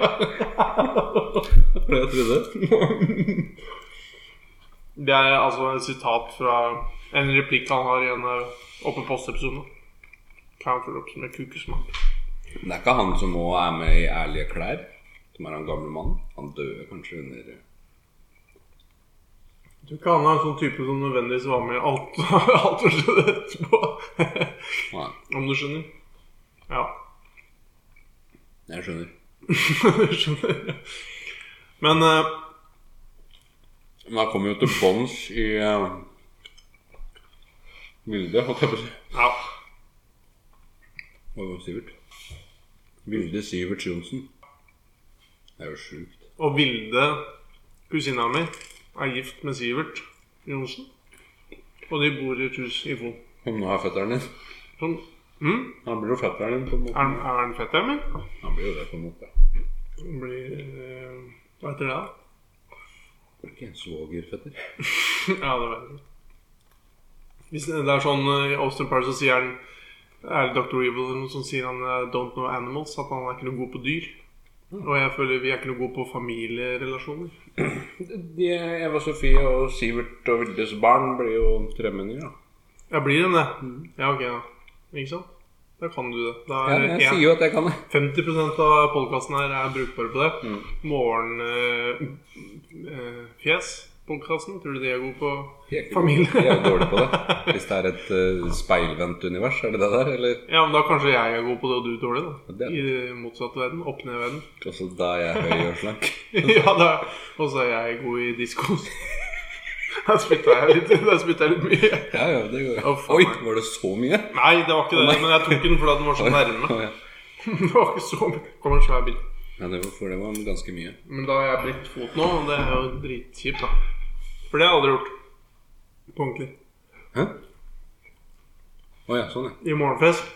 [SPEAKER 1] trodde.
[SPEAKER 3] Det er altså et sitat fra en replikk han har i en eh, Åpen post-episode. Camphordrops med kukkesmak.
[SPEAKER 1] Det er ikke han som òg er med i Ærlige klær, som er han gamle mannen. Han døde kanskje under
[SPEAKER 3] Jeg tror ikke han er en sånn type som nødvendigvis var med i alt, alt som skjedde etterpå.
[SPEAKER 1] Nei,
[SPEAKER 3] Om du skjønner? Ja.
[SPEAKER 1] jeg skjønner.
[SPEAKER 3] skjønner. Men eh,
[SPEAKER 1] Men han kommer jo til bånns i uh, Vilde, holdt jeg på å si.
[SPEAKER 3] ja.
[SPEAKER 1] Og Sivert. Vilde Sivert Johnsen. Det er jo sjukt.
[SPEAKER 3] Og Vilde, kusina mi, er gift med Sivert Johnsen. Og de bor i et hus i Fon.
[SPEAKER 1] Om nå er fetteren din.
[SPEAKER 3] Sånn. Mm?
[SPEAKER 1] Han blir jo fetteren din, på en måte.
[SPEAKER 3] Er, han- er han fetteren min?
[SPEAKER 1] Han blir jo det, på en måte.
[SPEAKER 3] Han Blir eh, Hva heter det? da?
[SPEAKER 1] Det er ikke en svogerfetter.
[SPEAKER 3] ja, det vet jeg ikke. Hvis det er sånn eh, i Austin Park, så sier han Er det Dr. Evil eller noe som sier han eh, 'Don't know animals'? At han er ikke noe god på dyr. Og jeg føler vi er ikke noe gode på familierelasjoner.
[SPEAKER 1] De, Eva Sofie og Sivert og Vildes barn blir jo tremenninger, da.
[SPEAKER 3] Ja, blir den det? Mm. Ja, ok, da. Ikke sant? Da kan du det. Da
[SPEAKER 1] Ja,
[SPEAKER 3] er
[SPEAKER 1] jeg
[SPEAKER 3] en-
[SPEAKER 1] sier jo Mm. at jeg kan det.
[SPEAKER 3] 50 av podkasten her er brukbare på det. eh, Morgenfjes-podkasten, tror du de er gode på
[SPEAKER 1] Jeg er ikke-
[SPEAKER 3] familie?
[SPEAKER 1] Jeg er jo dårlig på det. Hvis det er et eh, speilvendt univers, er det det der? Eller
[SPEAKER 3] Ja, men da kanskje jeg er god på det, og du dårlig, da.
[SPEAKER 1] Det er
[SPEAKER 3] I motsatt verden. Opp ned-verden.
[SPEAKER 1] altså da er jeg høy og slank?
[SPEAKER 3] ja, da. Og så er jeg god i disko. Der spytta jeg litt. Der spytta jeg litt mye.
[SPEAKER 1] Ja, ja, det går
[SPEAKER 3] Å, faen
[SPEAKER 1] Oi,
[SPEAKER 3] meg.
[SPEAKER 1] var det så mye?
[SPEAKER 3] Nei, det var ikke det, men jeg tok den fordi den var så nærme.
[SPEAKER 1] Å, ja.
[SPEAKER 3] Det var ikke så Kom en svær bil.
[SPEAKER 1] Ja, det var, for det var ganske mye.
[SPEAKER 3] Men da har jeg brekt fot nå, og det er jo dritkjipt, da. For det har jeg aldri gjort. På ordentlig.
[SPEAKER 1] Hæ? Å ja, sånn, ja.
[SPEAKER 3] I morgenfest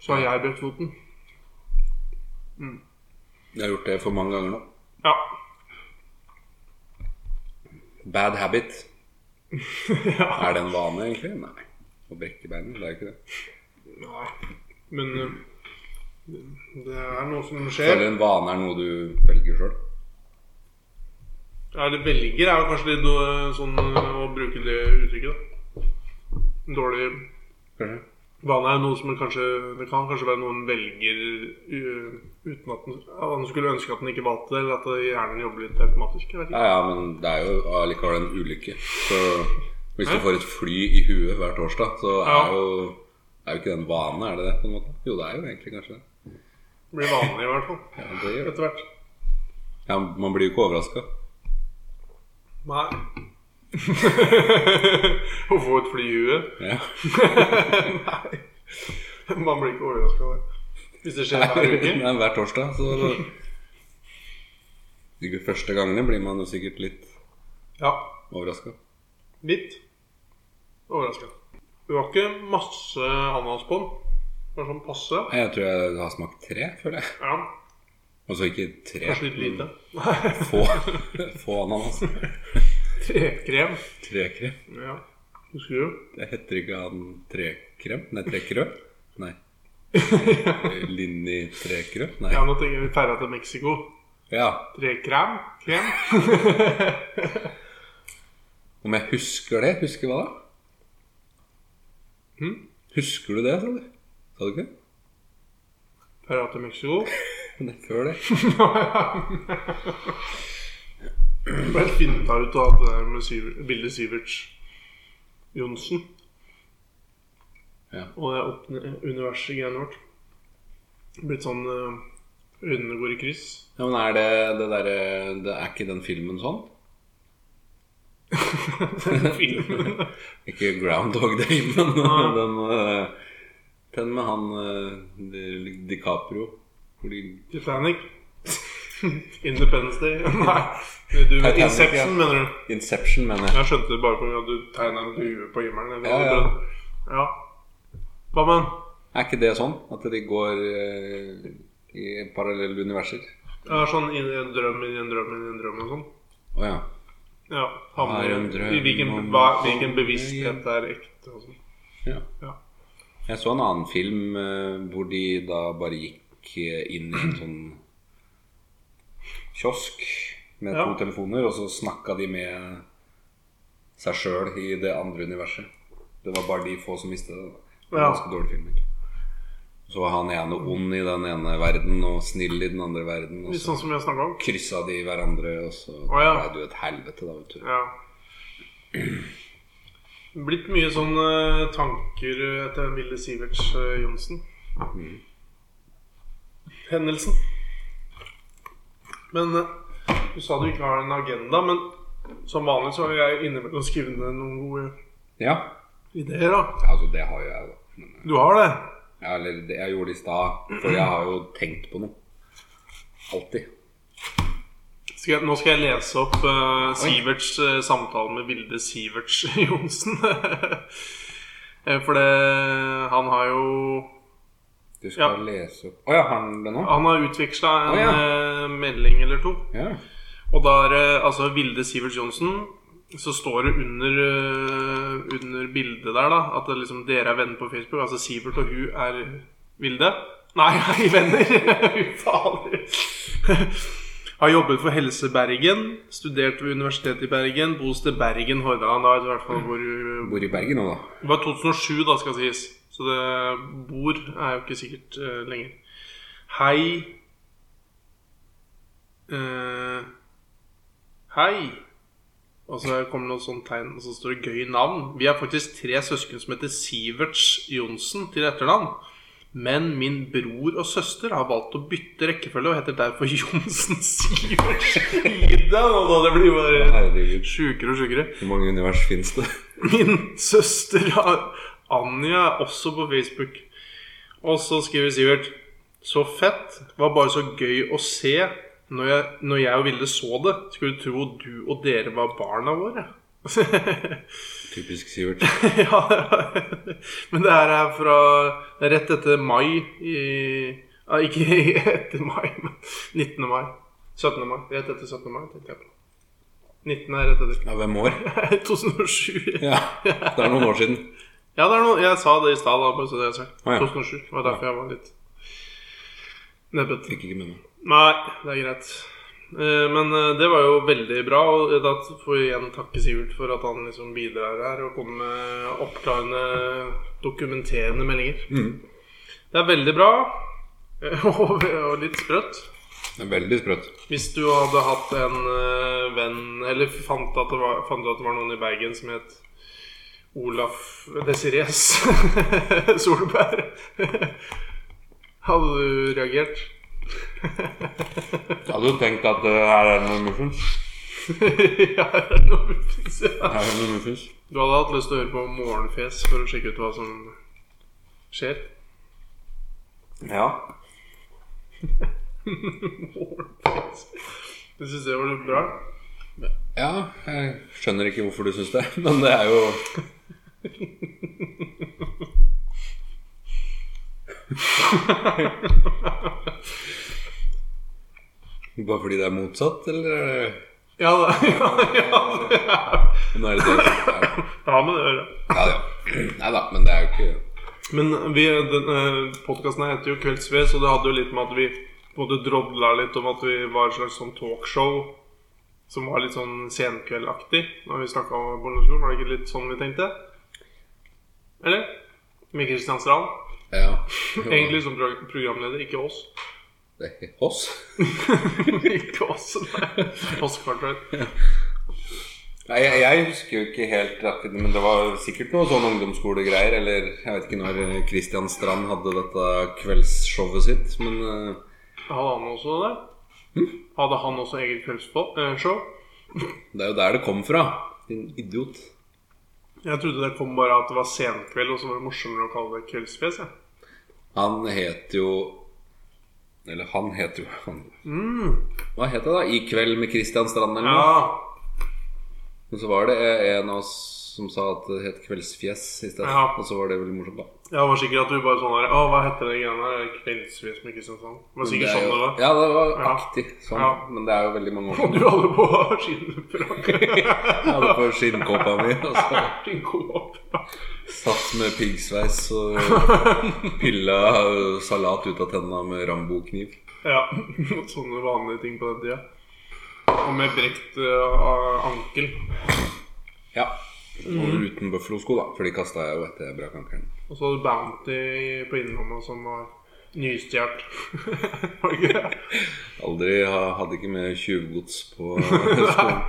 [SPEAKER 3] så har jeg brekt foten.
[SPEAKER 1] Jeg har gjort det for mange ganger nå.
[SPEAKER 3] Ja.
[SPEAKER 1] Bad habit.
[SPEAKER 3] ja.
[SPEAKER 1] Er det en vane, egentlig? Nei. Å brekke beinet, det er ikke det.
[SPEAKER 3] Nei. Men eh, det er noe som skjer.
[SPEAKER 1] Føler en vane er noe du velger sjøl.
[SPEAKER 3] Ja, det velger er jo kanskje litt eh, sånn eh, å bruke det uttrykket, da. En Dårlig
[SPEAKER 1] Kanskje.
[SPEAKER 3] vane er noe som en kanskje Det kan kanskje være noen velger eh, uten at den, at den skulle ønske at den ikke valgte det, eller at hjernen jobber litt automatisk. Jeg vet ikke.
[SPEAKER 1] Ja, ja, men det er jo allikevel en ulykke. Så hvis du får et fly i huet hver torsdag, så
[SPEAKER 3] Ja.
[SPEAKER 1] er jo er jo ikke det en vane, er det det? på en måte? Jo, det er jo egentlig kanskje det.
[SPEAKER 3] Det blir vanlig, i hvert fall.
[SPEAKER 1] Ja, det gjør det.
[SPEAKER 3] Etter hvert.
[SPEAKER 1] Ja, man blir jo ikke overraska.
[SPEAKER 3] Nei. Å få et fly i huet.
[SPEAKER 1] Ja.
[SPEAKER 3] Nei. Man blir ikke overraska av det. Hvis det skjer hver uke.
[SPEAKER 1] Nei, hver torsdag, så De første gangene blir man jo sikkert litt
[SPEAKER 3] Ja.
[SPEAKER 1] overraska.
[SPEAKER 3] Litt overraska. Det var ikke masse ananas på den. Det var sånn passe.
[SPEAKER 1] Jeg tror jeg har smakt tre, føler jeg.
[SPEAKER 3] Ja,
[SPEAKER 1] Altså ikke tre.
[SPEAKER 3] Kanskje litt lite.
[SPEAKER 1] Få, få ananas.
[SPEAKER 3] Trekrem.
[SPEAKER 1] Trekrem.
[SPEAKER 3] Ja. Husker du?
[SPEAKER 1] Det heter ikke han Trekrem? Nei, Trekrø? Nei. Linni Trekrø? Nei.
[SPEAKER 3] Ja, nå tenker jeg vi ferda til Mexico.
[SPEAKER 1] Ja.
[SPEAKER 3] Trekrem. Krem.
[SPEAKER 1] Om jeg husker det? Husker hva da?
[SPEAKER 3] Hm?
[SPEAKER 1] Husker du det, sa du? Sa du ikke det?
[SPEAKER 3] Ferda til Mexico.
[SPEAKER 1] Nei, før det.
[SPEAKER 3] Bare finta ut av det der med Syver- bildet Siverts. Johnsen.
[SPEAKER 1] Ja.
[SPEAKER 3] Og det er opp universet greiene vårt. Blitt sånn eh, Øynene går i kryss.
[SPEAKER 1] Ja, men er det det derre det Er ikke den filmen sånn?
[SPEAKER 3] Filmen.
[SPEAKER 1] Ikke Groundhog Day, men
[SPEAKER 3] Nei.
[SPEAKER 1] den, eh, den med han eh, Di- DiCaprio. Hvor de
[SPEAKER 3] Titanic. Independence Day. Nei, du,
[SPEAKER 1] Titanic, ja.
[SPEAKER 3] Inception, mener du?
[SPEAKER 1] Inception, mener jeg.
[SPEAKER 3] Jeg skjønte det bare pga. at du tegna en hue på himmelen. eller
[SPEAKER 1] Ja,
[SPEAKER 3] noe
[SPEAKER 1] ja.
[SPEAKER 3] sånt. ja. Hva med den?
[SPEAKER 1] Er ikke det sånn? At de går eh, i parallelle universer?
[SPEAKER 3] Jeg har sånn inn i en drøm, inn i en drøm, inn i en drøm og sånn.
[SPEAKER 1] Å ja.
[SPEAKER 3] Ja, havner
[SPEAKER 1] Er en drøm
[SPEAKER 3] i hvilken,
[SPEAKER 1] om-
[SPEAKER 3] hva, hvilken bevissthet er ekte og sånn.
[SPEAKER 1] ja.
[SPEAKER 3] Ja.
[SPEAKER 1] Jeg så en annen film eh, hvor de da bare gikk eh, inn i en sånn kiosk med
[SPEAKER 3] Ja.
[SPEAKER 1] to telefoner, og så snakka de med seg sjøl i det andre universet. Det var bare de få som visste det. da. Det var
[SPEAKER 3] Ja.
[SPEAKER 1] Ganske dårlig film. egentlig. Så var han ene ond i den ene verden og snill i den andre verden. Og
[SPEAKER 3] Litt
[SPEAKER 1] så
[SPEAKER 3] sånn som vi har snakka om.
[SPEAKER 1] kryssa de hverandre, og så
[SPEAKER 3] Å, ja.
[SPEAKER 1] ble det jo et helvete, da, vet du.
[SPEAKER 3] Ja. Blitt mye sånne tanker etter den ville Siverts eh, Johnsen.
[SPEAKER 1] Mm.
[SPEAKER 3] Hendelsen. Men eh, du sa du ikke har en agenda, men som vanlig så har jeg innimellom skrevet ned noen gode
[SPEAKER 1] Ja,
[SPEAKER 3] ideer, da.
[SPEAKER 1] altså, det har jo jeg, da. Men
[SPEAKER 3] Du har det?
[SPEAKER 1] Ja, eller det jeg gjorde det i stad. For jeg har jo tenkt på noe. Alltid.
[SPEAKER 3] Skal jeg, nå skal jeg lese opp eh, Siverts eh, samtale med Vilde Siverts Johnsen. Eh, For det Han har jo
[SPEAKER 1] Du
[SPEAKER 3] Ja.
[SPEAKER 1] skal lese opp Å ja, har han det nå?
[SPEAKER 3] Han har utveksla en
[SPEAKER 1] Å, ja.
[SPEAKER 3] eh, melding eller to.
[SPEAKER 1] Ja.
[SPEAKER 3] Og da er det altså Vilde Siverts Johnsen. Så står det under, eh, under bildet der da at det liksom, dere er venner på Facebook. Altså Sivert og hun er Vilde. Nei, er venner! Fy fader. Har jobbet for Helse Bergen. Studert ved Universitetet i Bergen. Bosted Bergen, Hordaland. Da, i hvert fall hvor hun
[SPEAKER 1] Bor i Bergen nå, da.
[SPEAKER 3] det var 2007, da, skal sies. Så det bord er jo ikke sikkert eh, lenger. Hei Eh, Hei. Og så kommer det noe sånt tegn, og så står det 'gøy navn'. Vi er faktisk tre søsken som heter Siverts Johnsen til etternavn. Men min bror og søster har valgt å bytte rekkefølge og heter derfor Johnsen Siverts. Gi deg nå, da. Det blir bare
[SPEAKER 1] Herregud.
[SPEAKER 3] sjukere og sjukere.
[SPEAKER 1] Hvor mange univers fins det?
[SPEAKER 3] Min søster Anja er også på Facebook. Og så skriver Sivert Så fett. Var bare så gøy å se. Når jeg, når jeg og Vilde så det, skulle du tro du og dere var barna våre.
[SPEAKER 1] Typisk Sivert.
[SPEAKER 3] ja, men det her er fra det er rett etter mai i ja, Ikke etter mai, men 19. mai. 17. mai. Rett etter 17. mai, tenkte jeg på. 19. er rett
[SPEAKER 1] Ja, hvem år?
[SPEAKER 3] etter. 2007.
[SPEAKER 1] Ja, det er noen år siden.
[SPEAKER 3] Ja, det er noe, jeg sa det i stad, da, bare så det er sagt.
[SPEAKER 1] Å, ja.
[SPEAKER 3] 2007. Det var derfor jeg var litt nebbet.
[SPEAKER 1] Fikk ikke med meg.
[SPEAKER 3] Nei, det er greit. Eh, Men eh, det var jo veldig bra, og da får vi igjen takke Sivert for at han liksom bidrar her og kommer med oppklarende, dokumenterende meldinger.
[SPEAKER 1] Mhm.
[SPEAKER 3] Det er veldig bra, eh, og og litt sprøtt.
[SPEAKER 1] Det er veldig sprøtt.
[SPEAKER 3] Hvis du hadde hatt en eh, venn Eller fant at det var, fant du at det var noen i Bergen som het Olaf Desires Solberg Hadde du reagert?
[SPEAKER 1] Jeg hadde jo tenkt at eh, her er det noe muffins.
[SPEAKER 3] ja, det er noe muffins, ja.
[SPEAKER 1] Her er det noe muffins.
[SPEAKER 3] Du hadde hatt lyst til å høre på Morgenfjes for å sjekke ut hva som skjer?
[SPEAKER 1] Ja.
[SPEAKER 3] Morgenfjes Du syns det var litt bra?
[SPEAKER 1] Ja, jeg skjønner ikke hvorfor du syns det, men det er jo Bare fordi det er motsatt, eller er det
[SPEAKER 3] Ja, det, ja, ja, det er.
[SPEAKER 1] Nå er det det.
[SPEAKER 3] det har med det å gjøre.
[SPEAKER 1] Ja, ja. Nei da, men det er jo ikke
[SPEAKER 3] Men vi, den, eh, podcasten her heter jo Kveldsved, så det hadde jo litt med at vi både drodla litt om at vi var et slags sånn talkshow som var litt sånn senkveldaktig når vi snakka om barneskolen. Var det ikke litt sånn vi tenkte? Eller? Med Kristian Strand.
[SPEAKER 1] Ja.
[SPEAKER 3] Egentlig som pro programleder, ikke oss.
[SPEAKER 1] Det er ikke oss.
[SPEAKER 3] ikke oss, nei. Oss Cartwright.
[SPEAKER 1] Nei, jeg, jeg husker jo ikke helt rett, men det var sikkert noe sånn ungdomsskolegreier. Eller jeg vet ikke når Kristian Strand hadde dette kveldsshowet sitt, men eh,
[SPEAKER 3] Hadde han også det? Hadde han også eget eh, kveldsshow?
[SPEAKER 1] det er jo der det kom fra. Din idiot.
[SPEAKER 3] Jeg trodde det kom bare at det var senkveld, og så var det morsommere å kalle det kveldsfjes. jeg.
[SPEAKER 1] Han het jo Eller han het jo han.
[SPEAKER 3] Mm.
[SPEAKER 1] Hva het det da? I kveld med Kristian Strand, eller noe?
[SPEAKER 3] Ja.
[SPEAKER 1] Men så var det en av oss som sa at det het Kveldsfjes i stedet.
[SPEAKER 3] Ja.
[SPEAKER 1] Og så var det veldig morsomt, da.
[SPEAKER 3] Jeg var sikker at du bare sånn her Å, hva heter det greiene her? Kveldsfjes med Kristiansand? Det var sikkert
[SPEAKER 1] Det er
[SPEAKER 3] sånn
[SPEAKER 1] jo-
[SPEAKER 3] det var.
[SPEAKER 1] Ja, det var
[SPEAKER 3] Ja.
[SPEAKER 1] aktig sånn.
[SPEAKER 3] Ja.
[SPEAKER 1] Men det er jo veldig mange år
[SPEAKER 3] Og
[SPEAKER 1] siden.
[SPEAKER 3] du hadde på skinnfrakk.
[SPEAKER 1] Jeg hadde på skinnkåpa mi, og så
[SPEAKER 3] Din kåpe.
[SPEAKER 1] Satt med piggsveis og pilla eh, salat ut av tenna med Rambo-kniv.
[SPEAKER 3] Ja. Sånne vanlige ting på den tida. Og med brekt eh, ankel.
[SPEAKER 1] Ja.
[SPEAKER 3] Mm.
[SPEAKER 1] Og uten bøffelosko, da, for de kasta jeg jo etter jeg brakk ankelen.
[SPEAKER 3] Og så hadde du Bounty på innerlomma som var nystjålet. Var det ikke det?
[SPEAKER 1] Aldri ha- hadde ikke med tjuvgods på skolen.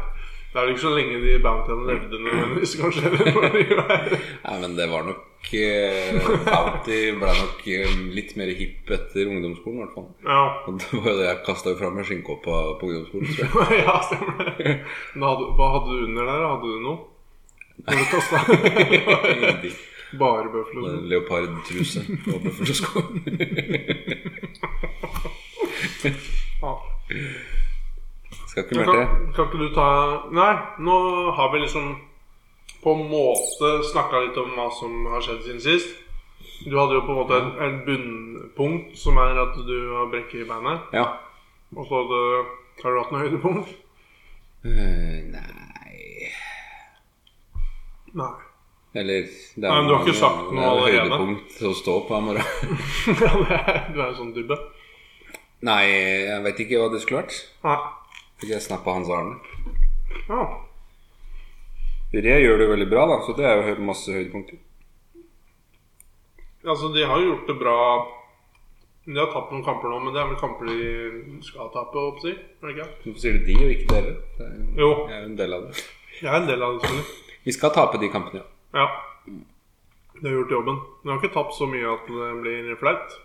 [SPEAKER 3] Det er vel ikke så lenge de Bountyene levde nødvendigvis, kanskje. eller når de var-
[SPEAKER 1] Nei, men det var nok eh, Bounty ble nok eh, litt mer hipp etter ungdomsskolen, i hvert fall.
[SPEAKER 3] Ja.
[SPEAKER 1] Og det var jo det jeg kasta fra meg skinnkåpa på ungdomsskolen. Tror jeg.
[SPEAKER 3] ja, stemmer det. Men Hadde, hva hadde du under der? Hadde du noe? Når du kasta
[SPEAKER 1] Ingenting.
[SPEAKER 3] Bare bøfler?
[SPEAKER 1] En Leopardtruse og bøffelsko.
[SPEAKER 3] Ja.
[SPEAKER 1] Skal ikke mer
[SPEAKER 3] Men
[SPEAKER 1] til.
[SPEAKER 3] Kan, kan ikke du ta Nei, nå har vi liksom på en måte snakka litt om hva som har skjedd siden sist. Du hadde jo på en måte et, et bunnpunkt, som er at du har brekk i beinet.
[SPEAKER 1] Ja.
[SPEAKER 3] Og så hadde, har du hatt noe høydepunkt?
[SPEAKER 1] Eh, nei
[SPEAKER 3] Nei.
[SPEAKER 1] Eller det er
[SPEAKER 3] Nei, men du har ikke sagt noe
[SPEAKER 1] det er jo
[SPEAKER 3] allerede.
[SPEAKER 1] høydepunkt å stå på i morgen.
[SPEAKER 3] du er jo sånn dubbe.
[SPEAKER 1] Nei, jeg vet ikke hva det skulle vært.
[SPEAKER 3] Nei.
[SPEAKER 1] Fikk jeg snappa Hans Arne.
[SPEAKER 3] Ja.
[SPEAKER 1] Re gjør det jo veldig bra, da, så det er jo høy- masse høydepunkter.
[SPEAKER 3] Altså, de har jo gjort det bra. De har tapt noen kamper nå, men det er vel kamper de skal tape, håper jeg. å si. Er det ikke?
[SPEAKER 1] Hvorfor sier du de og ikke dere? Det er jo,
[SPEAKER 3] Jo,
[SPEAKER 1] jeg er jo en del av det.
[SPEAKER 3] jeg er en del av det, selvfølgelig.
[SPEAKER 1] Vi skal tape de kampene, ja.
[SPEAKER 3] Ja. Det har gjort jobben. Men jeg har ikke tapt så mye at det blir flaut.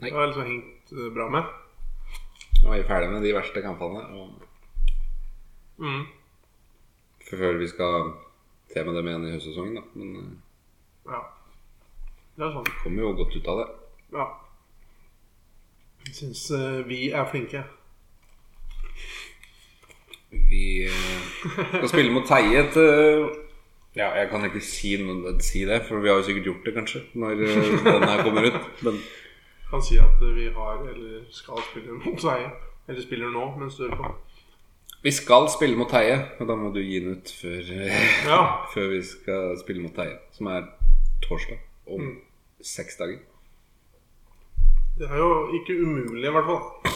[SPEAKER 1] Nei.
[SPEAKER 3] Det har jeg liksom hengt eh, bra med.
[SPEAKER 1] Nå er vi ferdig med de verste kampene og
[SPEAKER 3] Mm.
[SPEAKER 1] f- før vi skal se med dem igjen i høstsesongen, da. Men eh,
[SPEAKER 3] Ja. Det er sant.
[SPEAKER 1] vi kommer jo godt ut av det.
[SPEAKER 3] Ja. Jeg syns eh, vi er flinke.
[SPEAKER 1] Vi eh, skal spille mot Teie et eh, Ja, jeg kan ikke si, noe, si det, for vi har jo sikkert gjort det, kanskje, når eh, den her kommer ut. Men
[SPEAKER 3] Kan si at eh, vi har, eller skal spille mot Sverige. Eller spiller nå, mens du hører på.
[SPEAKER 1] vi skal spille mot Teie, og da må du gi den ut før, eh,
[SPEAKER 3] Ja.
[SPEAKER 1] før vi skal spille mot Teie, som er torsdag om
[SPEAKER 3] Mm.
[SPEAKER 1] seks dager.
[SPEAKER 3] Det er jo ikke umulig, i hvert fall.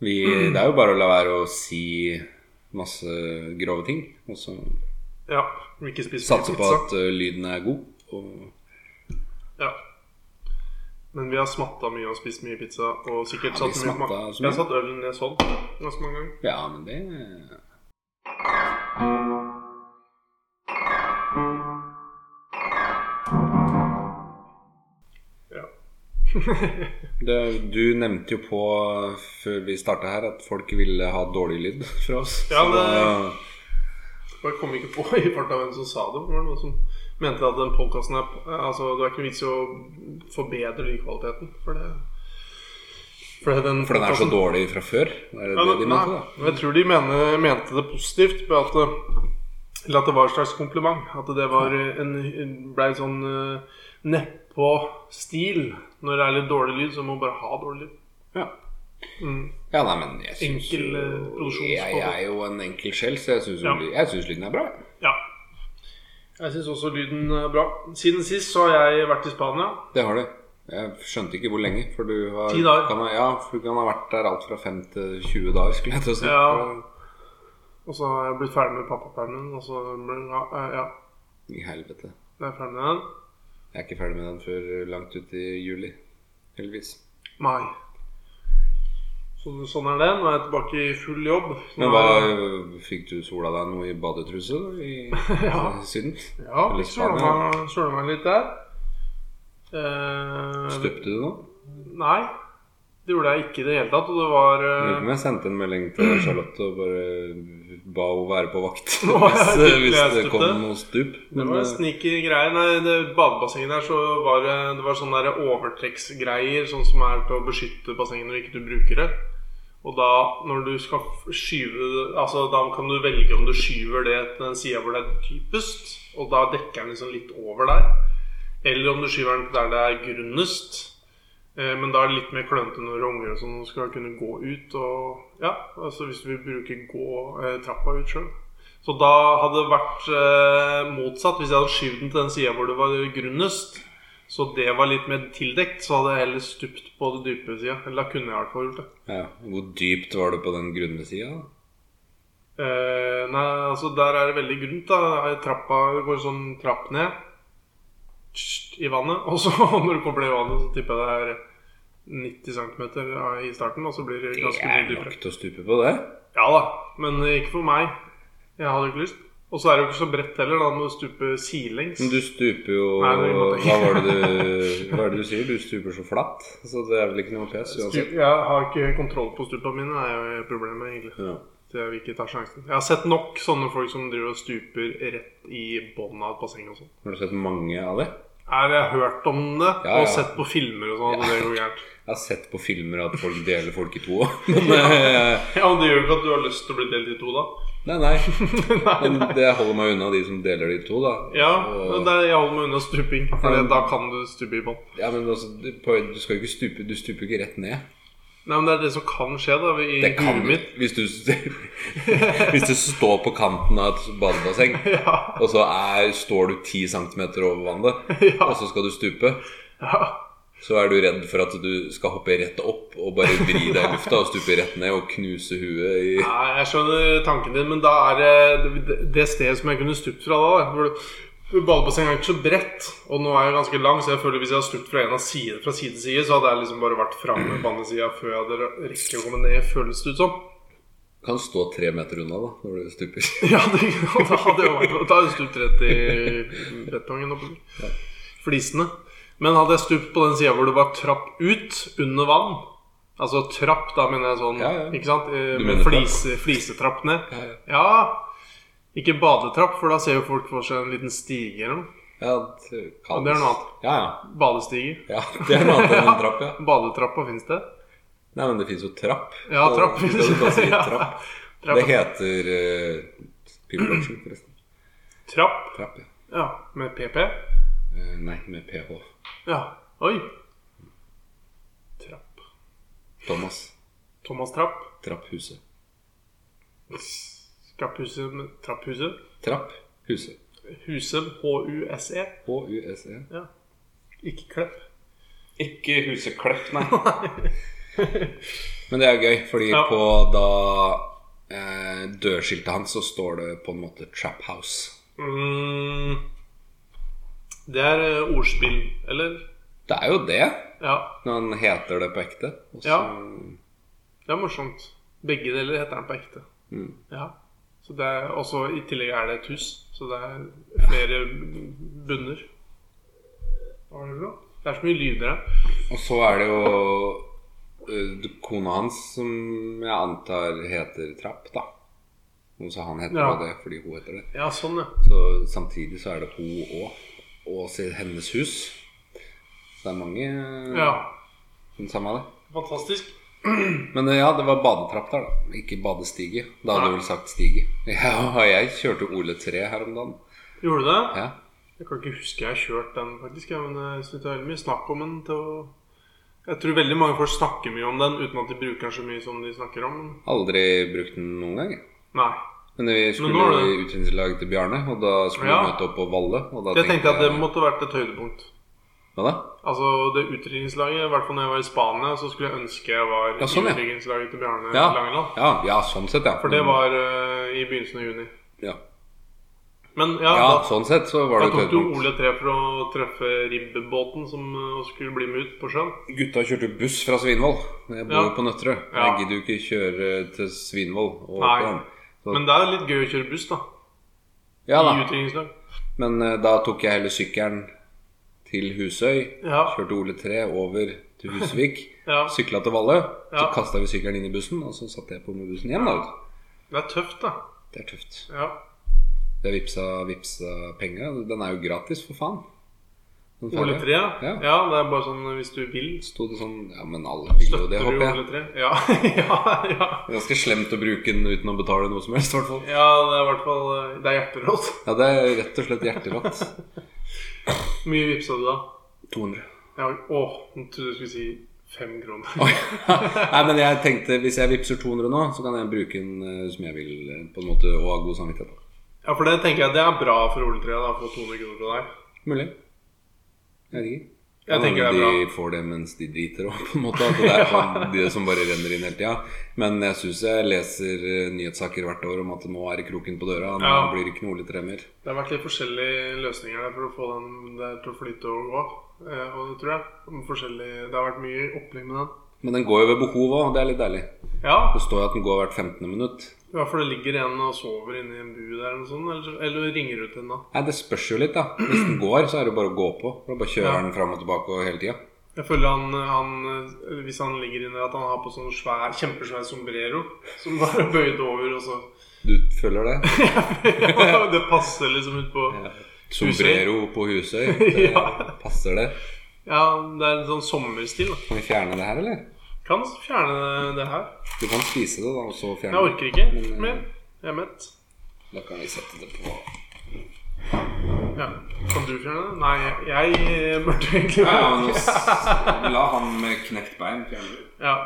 [SPEAKER 1] Vi, det er jo bare å la være å si masse grove ting, og så
[SPEAKER 3] Ja. Om ikke spiser mye
[SPEAKER 1] satse på
[SPEAKER 3] pizza.
[SPEAKER 1] at eh, lyden er god. Og
[SPEAKER 3] Ja. Men vi har smatta mye og spist mye pizza. Og sikkert
[SPEAKER 1] Ja, vi
[SPEAKER 3] satt mye på
[SPEAKER 1] smatta så mye.
[SPEAKER 3] Jeg har satt ølen ned sånn ganske mange ganger.
[SPEAKER 1] ja, men det
[SPEAKER 3] Ja.
[SPEAKER 1] Det, du nevnte jo på før vi starta her at folk ville ha dårlig lyd fra oss.
[SPEAKER 3] Ja,
[SPEAKER 1] Så
[SPEAKER 3] det-
[SPEAKER 1] da-
[SPEAKER 3] Jeg kom ikke på i farta hvem som sa det. men Det var noen som mente at den podkasten her Altså, det er ikke noe vits i å forbedre lydkvaliteten, for det For, den,
[SPEAKER 1] For den er så
[SPEAKER 3] podcasten-
[SPEAKER 1] dårlig fra før? Er det det
[SPEAKER 3] Ja, det-
[SPEAKER 1] de
[SPEAKER 3] nei,
[SPEAKER 1] mente, da?
[SPEAKER 3] men Jeg tror de mener, mente det positivt. Med at, eh, eller at det var et slags kompliment. At det var eh, en, ble en sånn uh, nedpå-stil. Når det er litt dårlig lyd, så må man bare ha dårlig lyd.
[SPEAKER 1] Ja.
[SPEAKER 3] Mm.
[SPEAKER 1] ja, nei, men jeg syns
[SPEAKER 3] Enkel,
[SPEAKER 1] jo
[SPEAKER 3] eh, produksjonsmåte.
[SPEAKER 1] Jeg er jo en enkel sjel, så jeg syns
[SPEAKER 3] Ja.
[SPEAKER 1] lyden er bra.
[SPEAKER 3] Ja. Jeg syns også lyden er bra. Siden sist så har jeg vært i Spania.
[SPEAKER 1] Det har du. Jeg skjønte ikke hvor lenge. For du har,
[SPEAKER 3] Ti dager.
[SPEAKER 1] Kan ha, ja, for du kan ha vært der alt fra 5 til 20 dager, skulle jeg til å si.
[SPEAKER 3] Ja. Og så har jeg blitt ferdig med pappapermen. Og så ble, ja, eh, ja,
[SPEAKER 1] I helvete.
[SPEAKER 3] jeg er ferdig med den.
[SPEAKER 1] Jeg er ikke ferdig med den før langt ut i juli. Heldigvis.
[SPEAKER 3] Mai. Så, sånn er det. Nå er jeg tilbake i full jobb. Nå
[SPEAKER 1] Men hva,
[SPEAKER 3] er-
[SPEAKER 1] fikk du sola deg noe i badetruse da, i
[SPEAKER 3] Ja.
[SPEAKER 1] Syden?
[SPEAKER 3] Ja,
[SPEAKER 1] Eller
[SPEAKER 3] søla
[SPEAKER 1] Spania.
[SPEAKER 3] meg, søla meg litt der. Eh,
[SPEAKER 1] Støpte du noe?
[SPEAKER 3] Nei, det gjorde jeg ikke i det hele tatt. Og det var
[SPEAKER 1] Jeg lurer
[SPEAKER 3] eh,
[SPEAKER 1] på om jeg sendte en melding til Charlotte og bare ba henne være på vakt
[SPEAKER 3] Nå er
[SPEAKER 1] hvis,
[SPEAKER 3] jeg
[SPEAKER 1] hvis
[SPEAKER 3] skikkelig
[SPEAKER 1] det kom
[SPEAKER 3] støtte.
[SPEAKER 1] noe stup.
[SPEAKER 3] Det
[SPEAKER 1] Men
[SPEAKER 3] var
[SPEAKER 1] eh,
[SPEAKER 3] sneaky greier. Nei, det badebassenget der så var det, det var sånne der overtrekksgreier, sånn som er til å beskytte bassenget når ikke du bruker det. Og da, når du skal f- skyve det- Altså, da kan du velge om du skyver det til den sida hvor det er dypest, og da dekker den liksom litt over der. Eller om du skyver den der det er grunnest. Eh, Men da er det litt mer klønete når unger og sånn skal kunne gå ut. Og ja, altså hvis du vil bruke gå eh, trappa ut sjøl. Så da hadde det vært eh, motsatt. Hvis jeg hadde skyvd den til den sida hvor det var grunnest, så det var litt mer tildekt, så hadde jeg heller stupt på det dype sida. Eller da kunne jeg i hvert fall gjort det.
[SPEAKER 1] eh, ja. Hvor dypt var det på den grunne sida?
[SPEAKER 3] Eh, nei, altså der er det veldig grunt. da Trappa det går sånn trapp ned tsk, i vannet. Og så når du kommer ned i vannet, så tipper jeg det er 90 cm i starten. Og så blir det
[SPEAKER 1] Det
[SPEAKER 3] ganske
[SPEAKER 1] er
[SPEAKER 3] mye
[SPEAKER 1] nok
[SPEAKER 3] dypere.
[SPEAKER 1] til å stupe på det.
[SPEAKER 3] Ja da, men ikke for meg. Jeg hadde ikke lyst. Og så er det jo ikke så bredt heller. Da må du stupe sidelengs.
[SPEAKER 1] Men du stuper jo
[SPEAKER 3] Nei, det måtte
[SPEAKER 1] Hva
[SPEAKER 3] jeg
[SPEAKER 1] var det du, hva er det du sier? Du stuper så flatt, så det er vel ikke noe pes uansett.
[SPEAKER 3] Stup, jeg har ikke kontroll på stupa mine, det er jo problemet, egentlig.
[SPEAKER 1] Ja.
[SPEAKER 3] Så jeg vil ikke ta sjansen. Jeg har sett nok sånne folk som driver og stuper rett i bånn av et basseng og sånn.
[SPEAKER 1] Har du sett mange av det?
[SPEAKER 3] Nei, Jeg har hørt om det
[SPEAKER 1] Ja, ja.
[SPEAKER 3] og sett på filmer og sånn. at Det går gærent.
[SPEAKER 1] Jeg har sett på filmer at folk deler folk i to òg. Men eh,
[SPEAKER 3] Ja, men Det gjør jo ikke at du har lyst til å bli delt i to, da.
[SPEAKER 1] nei, nei.
[SPEAKER 3] Nei,
[SPEAKER 1] Men
[SPEAKER 3] nei.
[SPEAKER 1] det holder meg unna de som deler det i to, da.
[SPEAKER 3] Ja,
[SPEAKER 1] Og-
[SPEAKER 3] men det er, jeg holder meg unna stuping, for
[SPEAKER 1] Ja.
[SPEAKER 3] det- da kan du stupe i bånn.
[SPEAKER 1] ja, men altså, du, på, du skal jo ikke stupe Du stuper jo ikke rett ned.
[SPEAKER 3] Nei, men Det er det som kan skje da i
[SPEAKER 1] Det kan
[SPEAKER 3] huet mitt.
[SPEAKER 1] Hvis du Hvis du står på kanten av et badebasseng,
[SPEAKER 3] Ja,
[SPEAKER 1] og så er, står du 10 cm over vannet,
[SPEAKER 3] Ja.
[SPEAKER 1] og så skal du stupe,
[SPEAKER 3] ja.
[SPEAKER 1] så er du redd for at du skal hoppe rett opp og bare vri deg i lufta og stupe rett ned og knuse huet i
[SPEAKER 3] Nei, jeg skjønner tanken din, men da er det- det det stedet som jeg kunne stupt fra da, da hvor du- Badebassenget er ikke så bredt, og nå er jeg ganske lang, så jeg føler hvis jeg hadde stupt fra en av side, fra side til side, så hadde jeg liksom bare vært framme på andre sida før jeg hadde rekke å komme ned, føles det ut som.
[SPEAKER 1] Kan stå tre meter unna, da, når du stuper.
[SPEAKER 3] Ja, det, da hadde jeg vært Da hadde jeg stupt rett i betongen. holdt jeg på å si. Flisene. Men hadde jeg stupt på den sida hvor det var trapp ut, under vann Altså trapp, da mener jeg sånn,
[SPEAKER 1] Ja, ja.
[SPEAKER 3] ikke sant? Eh,
[SPEAKER 1] Du
[SPEAKER 3] Med
[SPEAKER 1] mener trapp?
[SPEAKER 3] flise, flisetrapp ned.
[SPEAKER 1] Ja, ja.
[SPEAKER 3] Ja Ikke badetrapp, for da ser jo folk for seg en liten stige eller noe.
[SPEAKER 1] Ja, det, kan.
[SPEAKER 3] Ja, det er noe annet.
[SPEAKER 1] Ja, ja.
[SPEAKER 3] Badestiger.
[SPEAKER 1] ja, det er noe annet enn en trapp, ja.
[SPEAKER 3] Badetrappa fins det?
[SPEAKER 1] Nei, men det fins jo trapp.
[SPEAKER 3] Ja,
[SPEAKER 1] Så
[SPEAKER 3] trapp.
[SPEAKER 1] Du kan jo bare si
[SPEAKER 3] Ja.
[SPEAKER 1] trapp.
[SPEAKER 3] Trapp.
[SPEAKER 1] Det heter uh, Pipplotion, forresten.
[SPEAKER 3] Trapp?
[SPEAKER 1] Trapp, ja.
[SPEAKER 3] Ja. Med PP?
[SPEAKER 1] Eh, nei, med ph.
[SPEAKER 3] Ja. Oi. Trapp.
[SPEAKER 1] Thomas.
[SPEAKER 3] Thomas Trapp.
[SPEAKER 1] Trapphuset.
[SPEAKER 3] Trapphuset med- Trapphuset.
[SPEAKER 1] Trapphuset.
[SPEAKER 3] Husem, H-U-S-E.
[SPEAKER 1] H-u-s-e.
[SPEAKER 3] E. Ikke Klepp.
[SPEAKER 1] Ikke Huset Klepp, nei. Men det er gøy, fordi
[SPEAKER 3] Ja.
[SPEAKER 1] på da eh, dørskiltet hans så står det på en måte Trap House.
[SPEAKER 3] Mm, det er eh, ordspill, eller?
[SPEAKER 1] Det er jo det,
[SPEAKER 3] Ja,
[SPEAKER 1] når han heter det på ekte. Og så-
[SPEAKER 3] Ja. det er morsomt. Begge deler heter den på ekte.
[SPEAKER 1] Mm.
[SPEAKER 3] Ja. Så det er, også i tillegg er det et hus, så det er flere bunner. Hva var det for noe? Det er så mye lyder her.
[SPEAKER 1] Og så er det jo eh, kona hans som jeg antar heter Trapp, da. Og så han heter jo
[SPEAKER 3] Ja.
[SPEAKER 1] det fordi hun heter det.
[SPEAKER 3] Ja, sånn, ja.
[SPEAKER 1] Så samtidig så er det hun òg. Og så hennes hus. Så det er mange
[SPEAKER 3] ja.
[SPEAKER 1] den samme av det.
[SPEAKER 3] Fantastisk.
[SPEAKER 1] Men eh, ja, det var badetrapp der, da. Ikke badestige. Da hadde
[SPEAKER 3] Nei.
[SPEAKER 1] du vel sagt stige. Ja, og jeg kjørte Ole 3 her om dagen.
[SPEAKER 3] Gjorde du det?
[SPEAKER 1] Ja.
[SPEAKER 3] Jeg kan ikke huske jeg har kjørt den, faktisk. Ja, men eh, jeg synes det er veldig mye snakk om den til å Jeg tror veldig mange folk snakker mye om den uten at de bruker den så mye som de snakker om den.
[SPEAKER 1] Aldri brukt den noen gang. jeg.
[SPEAKER 3] Nei.
[SPEAKER 1] Men vi
[SPEAKER 3] nå
[SPEAKER 1] skulle
[SPEAKER 3] har
[SPEAKER 1] jo
[SPEAKER 3] du-
[SPEAKER 1] i utviklingslaget til Bjarne, og da skulle
[SPEAKER 3] Ja.
[SPEAKER 1] vi møte opp på Valle. Og da
[SPEAKER 3] Jeg tenkte at det måtte vært et høydepunkt.
[SPEAKER 1] Hva da?
[SPEAKER 3] Altså det utdrikningslaget, i hvert fall når jeg var i Spania, så skulle jeg ønske jeg var
[SPEAKER 1] Ja, sånn, ja.
[SPEAKER 3] i utdrikningslaget til Bjarne
[SPEAKER 1] Ja.
[SPEAKER 3] Langeland.
[SPEAKER 1] Ja, ja, sånn sett, ja.
[SPEAKER 3] For det var eh, i begynnelsen av juni.
[SPEAKER 1] ja.
[SPEAKER 3] Men ja,
[SPEAKER 1] Ja, sånn sett så
[SPEAKER 3] da,
[SPEAKER 1] var
[SPEAKER 3] da
[SPEAKER 1] det et
[SPEAKER 3] tok du
[SPEAKER 1] høydepunkt.
[SPEAKER 3] Ole 3 for å treffe ribbebåten som eh, skulle bli med ut på sjøen.
[SPEAKER 1] Gutta kjørte buss fra Svinvoll. Jeg bor jo
[SPEAKER 3] Ja.
[SPEAKER 1] på Nøtterøy.
[SPEAKER 3] Ja.
[SPEAKER 1] Jeg gidder jo ikke kjøre til Svinvoll. og
[SPEAKER 3] Nei.
[SPEAKER 1] opp igjen. Så-
[SPEAKER 3] Men det er litt gøy å kjøre buss, da.
[SPEAKER 1] Ja
[SPEAKER 3] I
[SPEAKER 1] da.
[SPEAKER 3] utdrikningslag.
[SPEAKER 1] Men eh, da tok jeg heller sykkelen til Husøy.
[SPEAKER 3] Ja.
[SPEAKER 1] Kjørte Ole 3 over til Husvik.
[SPEAKER 3] Ja.
[SPEAKER 1] Sykla til Valle. Så
[SPEAKER 3] Ja.
[SPEAKER 1] kasta vi sykkelen inn i bussen, og så satte jeg på med bussen hjem. da vet du.
[SPEAKER 3] Det er tøft, da.
[SPEAKER 1] Det er tøft.
[SPEAKER 3] Ja.
[SPEAKER 1] Jeg vipsa, vipsa penga. Den er jo gratis, for faen. Den
[SPEAKER 3] Ole
[SPEAKER 1] ferja.
[SPEAKER 3] 3,
[SPEAKER 1] Ja.
[SPEAKER 3] ja. ja. Det er bare sånn hvis du vil,
[SPEAKER 1] Sto det sånn Ja, men alle vil jo det,
[SPEAKER 3] støtter du
[SPEAKER 1] håper jeg.
[SPEAKER 3] Ole 3. Ja. ja, ja.
[SPEAKER 1] Det er ganske slemt å bruke den uten å betale noe som helst, i hvert fall.
[SPEAKER 3] Ja, det er i hvert fall eh, Det er hjerterått.
[SPEAKER 1] Ja, det er rett og slett hjerterått.
[SPEAKER 3] Hvor mye vippsa du da?
[SPEAKER 1] 200.
[SPEAKER 3] Ja, åh, jeg trodde du skulle si fem kroner.
[SPEAKER 1] Oi. Nei, men jeg tenkte hvis jeg vippser 200 nå, så kan jeg bruke den eh, som jeg vil, eh, på en måte, og ha god samvittighet. på.
[SPEAKER 3] Ja, for det tenker jeg det er bra for Ole 3 da, å få 200 kroner fra deg.
[SPEAKER 1] Mulig. Jeg vet ikke.
[SPEAKER 3] Jeg
[SPEAKER 1] Kan
[SPEAKER 3] tenker det
[SPEAKER 1] hende
[SPEAKER 3] er bra.
[SPEAKER 1] De får det mens de driter òg, på en måte. At det er sånn de som bare renner inn hele tida. Men jeg syns jeg leser eh, nyhetssaker hvert år om at nå er det kroken på døra. Nå
[SPEAKER 3] Ja.
[SPEAKER 1] blir det ikke noe litt remmer.
[SPEAKER 3] Det har vært litt forskjellige løsninger der for å få den der til å flyte og gå. Eh, og det tror jeg. Om forskjellige- Det har vært mye opplegg med den.
[SPEAKER 1] Men den går jo ved behov òg, det er litt deilig.
[SPEAKER 3] Ja,
[SPEAKER 1] Det står jo at den går hvert 15. minutt.
[SPEAKER 3] i hvert fall det ligger en og sover inne i en bu der eller noe sånt. Eller, eller ringer ut en da.
[SPEAKER 1] Nei, Det spørs jo litt, da. Hvis den går, så er det jo bare å gå på. Da bare kjører
[SPEAKER 3] Ja.
[SPEAKER 1] den fram og tilbake og hele tida.
[SPEAKER 3] Jeg føler han, han eh, hvis han ligger inne, at han har på sånn svær, kjempesvær sombrero som bare er bøyd over, og så
[SPEAKER 1] Du føler det?
[SPEAKER 3] Det passer liksom ut på
[SPEAKER 1] Sombrero på Husøy. Det
[SPEAKER 3] Ja.
[SPEAKER 1] Passer det?
[SPEAKER 3] Ja, det er en sånn sommerstil. da.
[SPEAKER 1] Kan vi fjerne det her, eller?
[SPEAKER 3] Kan fjerne det her.
[SPEAKER 1] Du kan spise det, da, og så fjerne
[SPEAKER 3] Jeg
[SPEAKER 1] det.
[SPEAKER 3] orker ikke
[SPEAKER 1] Men,
[SPEAKER 3] mer. Jeg er mett.
[SPEAKER 1] Da kan vi sette det på
[SPEAKER 3] Ja. Kan du fjerne det? Nei, jeg, jeg burde egentlig
[SPEAKER 1] La han med knekt bein fjerne det.
[SPEAKER 3] Ja.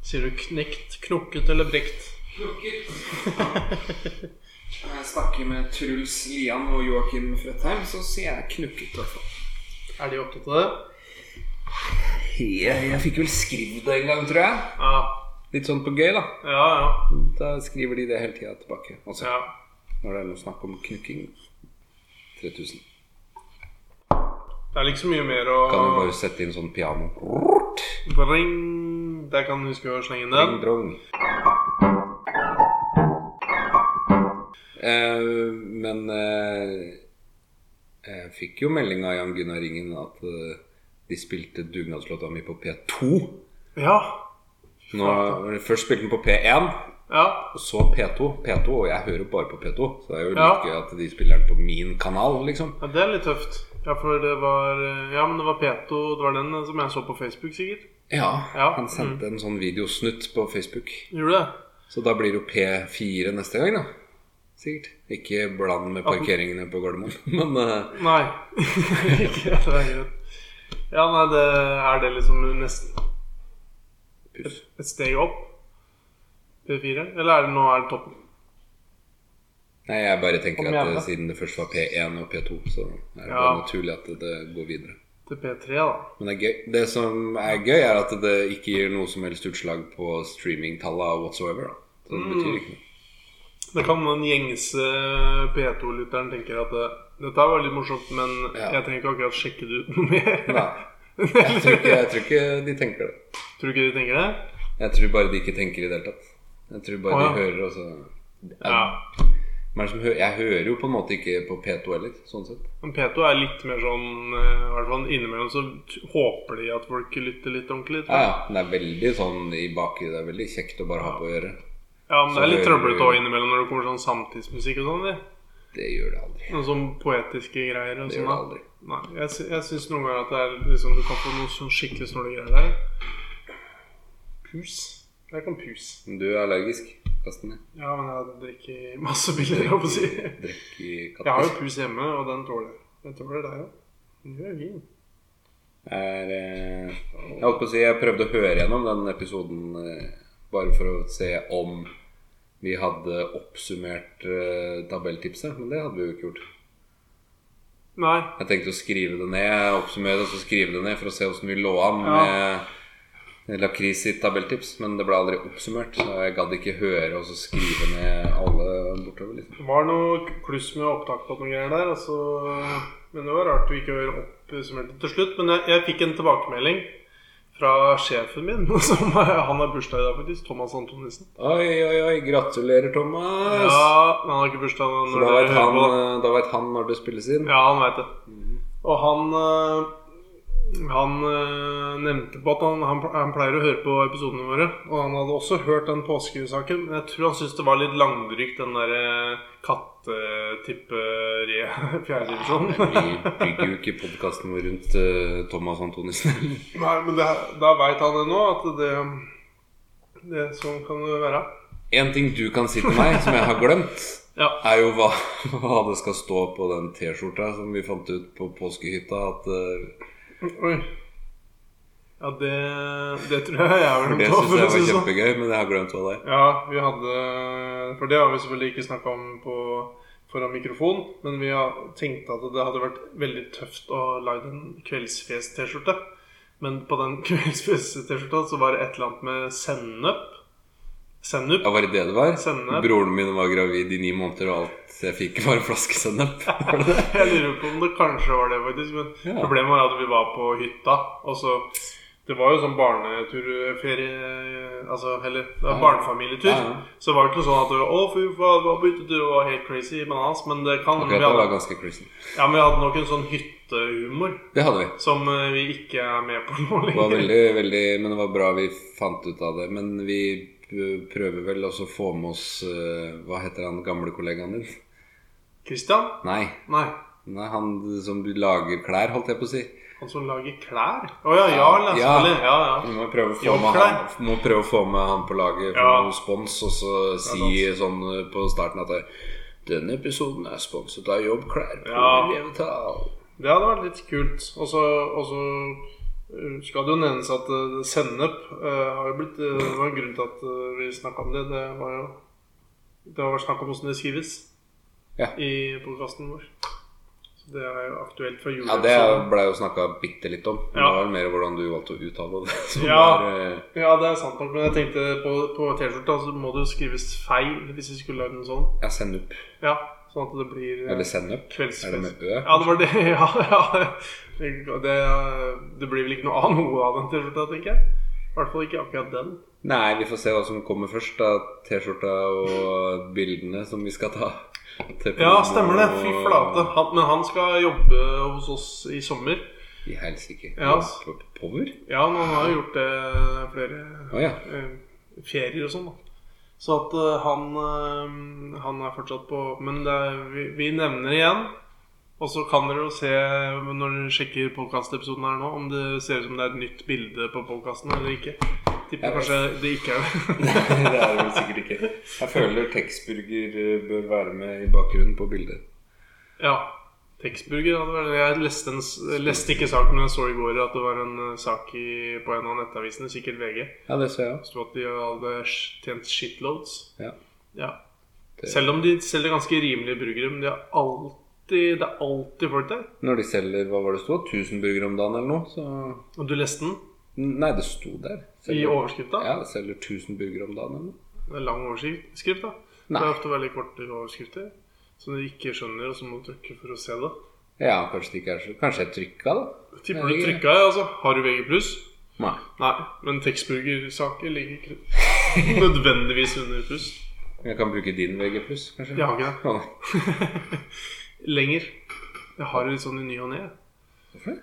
[SPEAKER 3] Sier du knekt, knokket eller brekt?
[SPEAKER 1] Når jeg snakker med Truls Lian og Joakim Fredheim, så sier jeg knukket. i hvert fall.
[SPEAKER 3] Er de opptatt av det?
[SPEAKER 1] Jeg, jeg fikk vel skrevet det en gang, tror jeg.
[SPEAKER 3] Ja.
[SPEAKER 1] Litt sånn på gøy, da.
[SPEAKER 3] Ja, ja.
[SPEAKER 1] Da skriver de det hele tida tilbake. Altså,
[SPEAKER 3] ja.
[SPEAKER 1] Når det er noe snakk om knukking. 3000.
[SPEAKER 3] Det er liksom mye mer å
[SPEAKER 1] Kan vi bare sette inn sånn piano?
[SPEAKER 3] Bring. Der kan du huske å slenge inn den.
[SPEAKER 1] Drong. Eh, men eh, jeg fikk jo melding av Jan Gunnar Ringen at eh, de spilte dugnadslåta mi på P2.
[SPEAKER 3] Ja.
[SPEAKER 1] Nå, først spilte den på P1,
[SPEAKER 3] Ja.
[SPEAKER 1] og så P2. P2, Og jeg hører bare på P2, så det er jo litt
[SPEAKER 3] Ja.
[SPEAKER 1] gøy at de spiller den på min kanal, liksom.
[SPEAKER 3] ja. Det er litt tøft. Ja, for det var Ja, men det var Peto. Det var den som jeg så på Facebook, sikkert.
[SPEAKER 1] Ja,
[SPEAKER 3] Ja. Mm.
[SPEAKER 1] Han sendte en sånn videosnutt på Facebook.
[SPEAKER 3] Gjorde du det?
[SPEAKER 1] Så da blir det jo P4 neste gang, da. Sikkert. Ikke bland med parkeringene på Gardermoen, men eh,
[SPEAKER 3] Nei. ikke det er greit. Ja, nei, det er det liksom nesten
[SPEAKER 1] Puss.
[SPEAKER 3] et steg opp? P4? Eller er det nå er det toppen?
[SPEAKER 1] Nei, jeg bare tenker
[SPEAKER 3] Kom
[SPEAKER 1] at
[SPEAKER 3] igjen,
[SPEAKER 1] eh,
[SPEAKER 3] da.
[SPEAKER 1] siden det først var P1 og P2, så er det
[SPEAKER 3] Ja.
[SPEAKER 1] bare naturlig at det går videre.
[SPEAKER 3] Til P3, da.
[SPEAKER 1] Men det er gøy. Det som er gøy, er at det ikke gir noe som helst utslag på streamingtallene whatsoever. Da. Så det betyr ikke noe.
[SPEAKER 3] Det kan den gjengse P2-lytteren tenker at eh, dette var litt morsomt, men
[SPEAKER 1] Ja.
[SPEAKER 3] jeg trenger ikke akkurat sjekke det ut noe mer.
[SPEAKER 1] Nei. Jeg tror, ikke, jeg tror ikke de tenker det.
[SPEAKER 3] Tror du ikke de tenker det?
[SPEAKER 1] Jeg tror bare de ikke tenker i det hele tatt. Jeg tror bare
[SPEAKER 3] Å, ja.
[SPEAKER 1] de hører, og så
[SPEAKER 3] Ja.
[SPEAKER 1] Hvem er det som hører? Jeg hører jo på en måte ikke på P2 heller, sånn sett.
[SPEAKER 3] Men P2 er litt mer sånn eh, I hvert fall innimellom så t- håper de at folk lytter litt
[SPEAKER 1] Ja,
[SPEAKER 3] ordentlig. tror jeg.
[SPEAKER 1] ja. Det er veldig sånn i baki. Det er veldig kjekt å bare ha på å gjøre.
[SPEAKER 3] Ja, men det
[SPEAKER 1] Så
[SPEAKER 3] er litt
[SPEAKER 1] hører du-
[SPEAKER 3] trøblete òg innimellom når det kommer sånn samtidsmusikk og sånn. det.
[SPEAKER 1] Det gjør det aldri.
[SPEAKER 3] Noen sånn poetiske greier og
[SPEAKER 1] Det
[SPEAKER 3] sånn.
[SPEAKER 1] gjør det
[SPEAKER 3] da.
[SPEAKER 1] aldri.
[SPEAKER 3] Nei, jeg, sy- jeg syns noen ganger at det er liksom, du kan få noen sånn skikkelig snåle greier der. Pus. Jeg kan pus.
[SPEAKER 1] Du er allergisk. Kast den ned.
[SPEAKER 3] Ja, men jeg drikker masse biller, jeg holdt på å si. Jeg
[SPEAKER 1] Drikk i
[SPEAKER 3] har jo
[SPEAKER 1] kattis.
[SPEAKER 3] pus hjemme, og den tåler jeg. Den tåler deg òg. Den gjør fin.
[SPEAKER 1] Er, eh, jeg holdt på å si Jeg prøvde å høre gjennom den episoden eh, bare for å se om vi hadde oppsummert eh, tabelltipset, men det hadde vi jo ikke gjort.
[SPEAKER 3] Nei.
[SPEAKER 1] Jeg tenkte å skrive det ned, oppsummere det, og så skrive det ned for å se åssen vi lå an
[SPEAKER 3] Ja.
[SPEAKER 1] med Lakris sitt tabelltips, men det ble aldri oppsummert. Så jeg gadd ikke høre og så skrive ned alle bortover. Liksom.
[SPEAKER 3] Det var noe kluss med opptak på noen greier der. Altså, men det var rart du ikke hører opp summerte til slutt. Men jeg, jeg fikk en tilbakemelding fra sjefen min. Som, han har bursdag i dag, faktisk. Thomas Antonissen.
[SPEAKER 1] Oi, oi, oi. Gratulerer, Thomas.
[SPEAKER 3] Ja, men han har ikke bursdag
[SPEAKER 1] Så
[SPEAKER 3] når
[SPEAKER 1] da
[SPEAKER 3] dere
[SPEAKER 1] vet,
[SPEAKER 3] hører
[SPEAKER 1] han,
[SPEAKER 3] på. da.
[SPEAKER 1] eh, da vet han når det spilles inn.
[SPEAKER 3] Ja, han veit det. Og han eh, Han eh, nevnte på at han, han, han pleier å høre på episodene våre. Og han hadde også hørt den påskesaken. Men jeg tror han syntes det var litt langdrygt, den derre kattetippe-re fjerdedivisjonen.
[SPEAKER 1] Vi bygger jo ikke podkasten vår rundt eh, Thomas Antonissen.
[SPEAKER 3] Nei, men det, da veit han det nå, at det, det Sånn kan det være.
[SPEAKER 1] En ting du kan si til meg, som jeg har glemt,
[SPEAKER 3] Ja.
[SPEAKER 1] er jo hva, hva det skal stå på den T-skjorta som vi fant ut på påskehytta. At eh,
[SPEAKER 3] Oi. Ja, det, det tror jeg jeg er
[SPEAKER 1] for
[SPEAKER 3] vel
[SPEAKER 1] Det
[SPEAKER 3] på,
[SPEAKER 1] syns
[SPEAKER 3] for å
[SPEAKER 1] jeg
[SPEAKER 3] si
[SPEAKER 1] var
[SPEAKER 3] det sånn.
[SPEAKER 1] kjempegøy, men jeg har glemt hva det er.
[SPEAKER 3] Ja, vi hadde For det har vi selvfølgelig ikke snakka om på, foran mikrofon. Men vi har tenkt at det hadde vært veldig tøft å lage en kveldsfjes-T-skjorte. Men på den kveldsfjes-T-skjorta så var det et eller annet med sennep. Sennep.
[SPEAKER 1] Ja, var det det det var?
[SPEAKER 3] Sennep.
[SPEAKER 1] Broren min var gravid i ni måneder, og alt jeg fikk, var en flaske sennep. Var det det?
[SPEAKER 3] Jeg lurer på om det kanskje var det, faktisk. Men
[SPEAKER 1] Ja.
[SPEAKER 3] problemet var at vi var på hytta, og så Det var jo sånn barneturferie Altså, eller det var
[SPEAKER 1] Ja.
[SPEAKER 3] barnefamilietur.
[SPEAKER 1] Ja, ja.
[SPEAKER 3] Så det var ikke noe sånn at det var, Å, fy faen, det var på hyttetur og det var helt crazy bananas. Men det kan
[SPEAKER 1] Akkurat
[SPEAKER 3] vi
[SPEAKER 1] det
[SPEAKER 3] hadde-
[SPEAKER 1] var ganske crazy.
[SPEAKER 3] Ja, men vi hadde nok en sånn hyttehumor
[SPEAKER 1] Det hadde vi.
[SPEAKER 3] som eh, vi ikke er med på nå
[SPEAKER 1] Det var
[SPEAKER 3] lenger.
[SPEAKER 1] veldig, veldig, men det var bra vi fant ut av det. Men vi p- prøver vel også å få med oss eh, Hva heter han gamle kollegaen din?
[SPEAKER 3] Christian?
[SPEAKER 1] Nei.
[SPEAKER 3] Nei.
[SPEAKER 1] Nei, han som lager klær, holdt jeg på å si.
[SPEAKER 3] Han som lager klær? Å ja, Jarl, ja,
[SPEAKER 1] Ja.
[SPEAKER 3] selvfølgelig. Ja, ja.
[SPEAKER 1] Vi må prøve å få, med
[SPEAKER 3] Jobbklær.
[SPEAKER 1] han, må prøve å få med han på laget for
[SPEAKER 3] Ja.
[SPEAKER 1] noe spons, og så si sånn eh, på starten at det, denne episoden er sponset av Jobbklær. på
[SPEAKER 3] Ja.
[SPEAKER 1] Revetal».
[SPEAKER 3] Det hadde vært litt kult. Og så og så, eh, skal det jo nevnes at eh, sennep eh, har jo blitt eh, Det var en grunn til at eh, vi snakka om det. Det var jo Det har vært snakk om åssen det skrives
[SPEAKER 1] Ja.
[SPEAKER 3] i podkasten vår. Så det er jo aktuelt fra jul.
[SPEAKER 1] Ja, det blei jo snakka bitte litt om. Men
[SPEAKER 3] Ja.
[SPEAKER 1] Det var mer hvordan du valgte å uttale det. som
[SPEAKER 3] Ja.
[SPEAKER 1] var, eh,
[SPEAKER 3] Ja, det er sant nok, men jeg tenkte på, på T-skjorta så må det jo skrives feil hvis vi skulle lagd en sånn.
[SPEAKER 1] ja, sennup.
[SPEAKER 3] Ja, sånn at det blir eh,
[SPEAKER 1] Eller sennup.
[SPEAKER 3] kvelds-
[SPEAKER 1] Er det med ø?
[SPEAKER 3] Ja, det var det. Ja, ja. Det, det, det blir vel ikke noe av noe av den T-skjorta, tenker jeg. I hvert fall ikke akkurat den.
[SPEAKER 1] Nei, vi får se hva som kommer først. da T-skjorta og bildene som vi skal ta. Til
[SPEAKER 3] Ja,
[SPEAKER 1] promo
[SPEAKER 3] stemmer det. Fy
[SPEAKER 1] og-
[SPEAKER 3] flate. Han, men han skal jobbe hos oss i sommer.
[SPEAKER 1] I helsike.
[SPEAKER 3] Ja.
[SPEAKER 1] På- Power?
[SPEAKER 3] Ja, men han har jo gjort det flere
[SPEAKER 1] Å ja.
[SPEAKER 3] eh, ferier og sånn. da Så at eh, han eh, Han er fortsatt på Men det er, vi, vi nevner igjen. Og så kan dere jo se når dere sjekker podkastepisoden her nå, om det ser ut som det er et nytt bilde på podkasten eller ikke.
[SPEAKER 1] Jeg
[SPEAKER 3] Tipper
[SPEAKER 1] vet.
[SPEAKER 3] kanskje det ikke er det.
[SPEAKER 1] det er det vel sikkert ikke. Jeg føler Texburger eh, bør være med i bakgrunnen på bildet.
[SPEAKER 3] ja. Texburger hadde vært Jeg leste, en, s- leste ikke saken, men jeg så i går at det var en eh, sak i, på en av nettavisene, sikkert VG,
[SPEAKER 1] Ja, det ser jeg også.
[SPEAKER 3] sto at de hadde sh- tjent shitloads.
[SPEAKER 1] Ja.
[SPEAKER 3] Ja.
[SPEAKER 1] Det-
[SPEAKER 3] Selv om de selger ganske rimelige burgere, men de er alltid, det er alltid folk der.
[SPEAKER 1] Når de selger hva var det stod, 1000 burgere om dagen eller noe, så
[SPEAKER 3] Og du leste den
[SPEAKER 1] Nei, det sto der.
[SPEAKER 3] i overskrifta.
[SPEAKER 1] Ja, det selger 1000 burgere om dagen eller noe.
[SPEAKER 3] Det er lang overskrift, da.
[SPEAKER 1] Nei.
[SPEAKER 3] Det er ofte veldig korte overskrifter. Som du ikke skjønner, og så må du trykke for å se det.
[SPEAKER 1] Ja, kanskje det ikke er så Kanskje jeg trykka, da?
[SPEAKER 3] Tipper
[SPEAKER 1] Nei,
[SPEAKER 3] du
[SPEAKER 1] ikke.
[SPEAKER 3] trykka, ja, altså. Har du VG+.
[SPEAKER 1] Nei.
[SPEAKER 3] Nei, men Texburger-saker ligger ikke nødvendigvis under pluss.
[SPEAKER 1] Jeg kan bruke din VG+, kanskje?
[SPEAKER 3] Jeg har ikke det.
[SPEAKER 1] Å, nei.
[SPEAKER 3] Lenger. Jeg har det litt sånn i ny og ne.
[SPEAKER 1] Hvorfor det?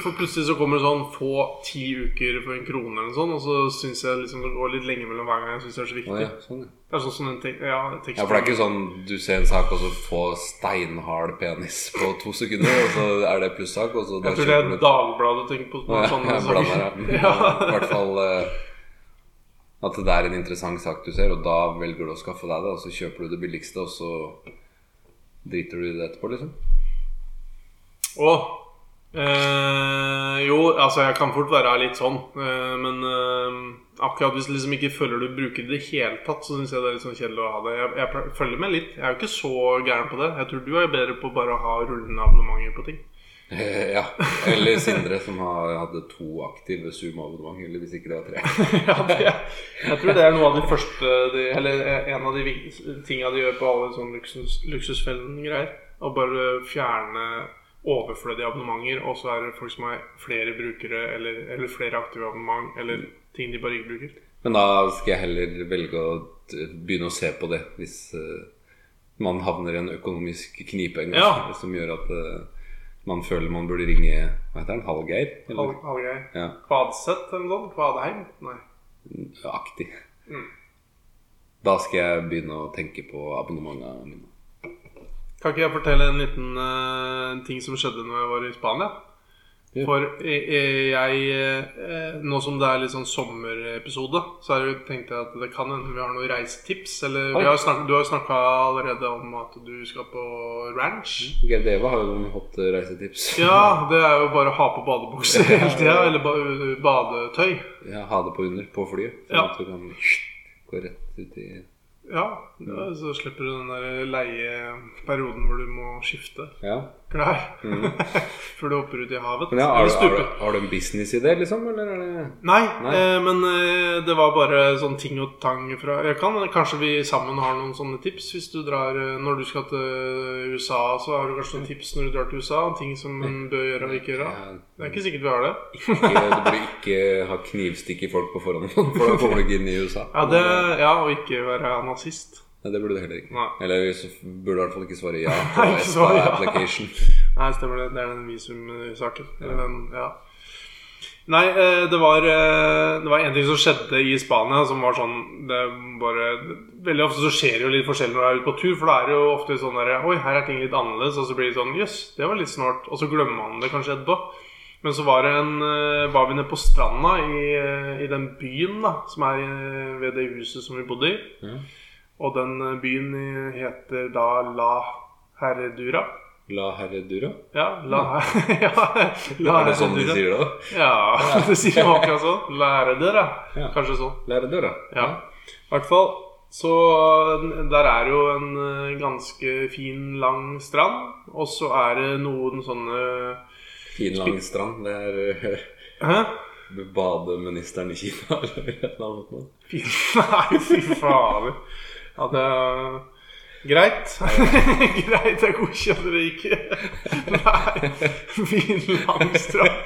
[SPEAKER 3] For plutselig så kommer det sånn få ti uker for en krone eller noe sånt, og så syns jeg liksom det går litt lenge mellom hver gang jeg syns det er så viktig.
[SPEAKER 1] Å, ja, sånn, ja.
[SPEAKER 3] Det er sånn som den tek ja,
[SPEAKER 1] Ja, for det er ikke sånn du ser en sak og så få steinhard penis på to sekunder, og så er det plussak, og så da
[SPEAKER 3] Jeg tror det er
[SPEAKER 1] kjøper du-
[SPEAKER 3] Dagbladet du tenker på. på
[SPEAKER 1] Ja,
[SPEAKER 3] sånne
[SPEAKER 1] jeg
[SPEAKER 3] saker.
[SPEAKER 1] blander, ja. I hvert fall eh, at det er en interessant sak du ser, og da velger du å skaffe deg det, og så kjøper du det billigste, og så driter du i det etterpå, liksom.
[SPEAKER 3] Og eh, Jo, altså jeg kan fort være litt sånn, eh, men eh, akkurat hvis du liksom ikke føler du bruker det i det hele tatt, så syns jeg det er litt sånn kjedelig å ha det. Jeg, jeg ple- følger med litt. Jeg er jo ikke så gæren på det. Jeg tror du er bedre på bare å ha rullende abonnementer på ting.
[SPEAKER 1] ja. Eller Sindre, som har, hadde to aktive Zoom-abonnement. Eller hvis ikke det var tre.
[SPEAKER 3] ja, det, jeg tror det er noe av de første de, Eller eh, en av de vik- tinga de gjør på alle sånne luksus, luksusfellen-greier. Å bare fjerne overflødige abonnementer, og så er det folk som har flere brukere eller, eller flere aktive abonnement, eller ting de bare ikke bruker.
[SPEAKER 1] Men da skal jeg heller velge å t- begynne å se på det hvis eh, man havner i en økonomisk knipe en gang,
[SPEAKER 3] Ja.
[SPEAKER 1] som gjør at eh, man føler man burde ringe Hva heter han? Hallgeir? Eller?
[SPEAKER 3] Hallgeir.
[SPEAKER 1] Ja.
[SPEAKER 3] Kvadseth eller noe sånt? Kvadheim? Nei.
[SPEAKER 1] Aktig.
[SPEAKER 3] Mm.
[SPEAKER 1] Da skal jeg begynne å tenke på abonnementene mine.
[SPEAKER 3] Kan ikke jeg fortelle en liten eh, ting som skjedde når jeg var i Spania?
[SPEAKER 1] Ja.
[SPEAKER 3] For eh, eh, jeg eh, Nå som det er litt sånn sommerepisode, så er det, tenkte jeg at det kan hende vi har noen reisetips. Eller
[SPEAKER 1] Oi.
[SPEAKER 3] vi har snakket, du har snakka allerede om at du skal på ranch.
[SPEAKER 1] Geir Deva har jo noen hot reisetips.
[SPEAKER 3] Ja, det er jo bare å ha på badebukse hele tida. Eller ba badetøy.
[SPEAKER 1] Ja, ha det på under på flyet, sånn
[SPEAKER 3] Ja.
[SPEAKER 1] at du kan gå rett ut i
[SPEAKER 3] Ja,
[SPEAKER 1] Mm.
[SPEAKER 3] ja, så slipper du den der leieperioden hvor du må skifte
[SPEAKER 1] Ja.
[SPEAKER 3] klær.
[SPEAKER 1] Mhm.
[SPEAKER 3] Før du hopper ut i havet.
[SPEAKER 1] Men ja, har,
[SPEAKER 3] eller
[SPEAKER 1] du, har,
[SPEAKER 3] stuper.
[SPEAKER 1] du, har du en businessidé, liksom? Eller er det
[SPEAKER 3] Nei,
[SPEAKER 1] Nei.
[SPEAKER 3] Eh, men eh, det var bare sånn ting og tang fra jeg kan, Kanskje vi sammen har noen sånne tips hvis du drar eh, Når du skal til eh, USA, så har du kanskje noen tips når du drar til USA? Ting som en bør gjøre og ikke gjøre?
[SPEAKER 1] Ja,
[SPEAKER 3] Det er ikke sikkert vi har det.
[SPEAKER 1] ikke, Du burde ikke ha knivstikk i folk på forhånd, for da kommer du ikke inn i USA.
[SPEAKER 3] Ja, det, ja og ikke være nazist.
[SPEAKER 1] Nei, det burde du heller ikke.
[SPEAKER 3] Nei.
[SPEAKER 1] Eller så burde du i hvert fall ikke svare ja på
[SPEAKER 3] Nei, ikke svare ja.
[SPEAKER 1] application.
[SPEAKER 3] Nei, stemmer det. Det er den visumsaken. Eller den, ja. Nei, eh, det var, eh, det var en ting som skjedde i Spania som var sånn det bare, Veldig ofte så skjer det jo litt forskjellig når du er ute på tur, for da er det jo ofte sånn der Oi, her er ting litt annerledes, og så blir det sånn Jøss, det var litt snålt. Og så glemmer man det kanskje etterpå. Men så var, det en, eh, var vi nede på stranda i, eh, i den byen da, som er eh, ved det huset som vi bodde i.
[SPEAKER 1] Ja.
[SPEAKER 3] Og den eh, byen eh, heter da La Herredura.
[SPEAKER 1] La herre dura.
[SPEAKER 3] Ja, la, ja, la
[SPEAKER 1] Er det sånn de sier det? da?
[SPEAKER 3] Ja, det sier man akkurat sånn. Lære dere.
[SPEAKER 1] Ja.
[SPEAKER 3] Kanskje sånn.
[SPEAKER 1] La herre dura.
[SPEAKER 3] Ja. I hvert fall. Så n- der er jo en eh, ganske fin, lang strand. Og så er det noen sånne
[SPEAKER 1] Fin, lang strand. Det er
[SPEAKER 3] Hæ?
[SPEAKER 1] eh, badeministeren i Kina eller et eller annet. noe.
[SPEAKER 3] Fin Nei, fy fader. Ja, det er Greit. Greit, jeg godkjenner det ikke. Nei. Fin, lang strand.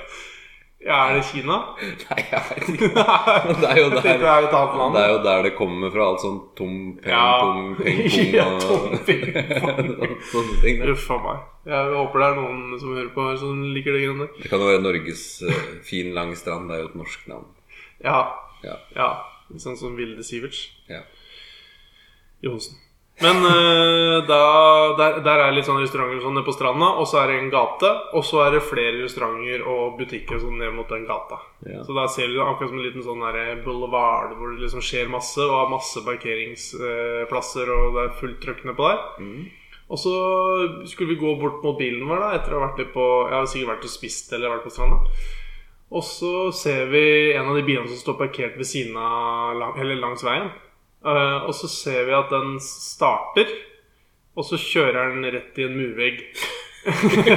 [SPEAKER 3] Ja, er det Kina?
[SPEAKER 1] Nei, jeg vet ikke.
[SPEAKER 3] Nei.
[SPEAKER 1] Det er jo
[SPEAKER 3] Jeg tenkte det
[SPEAKER 1] der
[SPEAKER 3] er et annet land.
[SPEAKER 1] det er jo der det kommer fra, alt sånn tom, peng,
[SPEAKER 3] Ja.
[SPEAKER 1] pong, peng,
[SPEAKER 3] Ja,
[SPEAKER 1] pong og
[SPEAKER 3] tom, peng,
[SPEAKER 1] sånne ting. da.
[SPEAKER 3] Uff a meg. Jeg håper det er noen som hører på her som liker det greiene der.
[SPEAKER 1] Det kan jo være Norges eh, fin, lang strand. Det er jo et norsk navn.
[SPEAKER 3] Ja.
[SPEAKER 1] Ja.
[SPEAKER 3] ja. Sånn som Vilde Siverts
[SPEAKER 1] Ja.
[SPEAKER 3] Johnsen. Men eh, da, der, der er litt sånne restauranter og sånn nede på stranda, og så er det en gate, og så er det flere restauranter og butikker og sånn ned mot den gata.
[SPEAKER 1] Ja.
[SPEAKER 3] Så der ser du det akkurat som en liten sånn der boulevard hvor det liksom skjer masse, og har masse parkeringsplasser, og det er fullt trøkk nedpå der.
[SPEAKER 1] Mm.
[SPEAKER 3] Og så skulle vi gå bort mot bilen vår da, etter å ha vært litt på Jeg har sikkert vært og spist eller vært på stranda. Og så ser vi en av de bilene som står parkert ved siden av lang, Eller langs veien. Eh, og så ser vi at den starter, og så kjører den rett i en murvegg.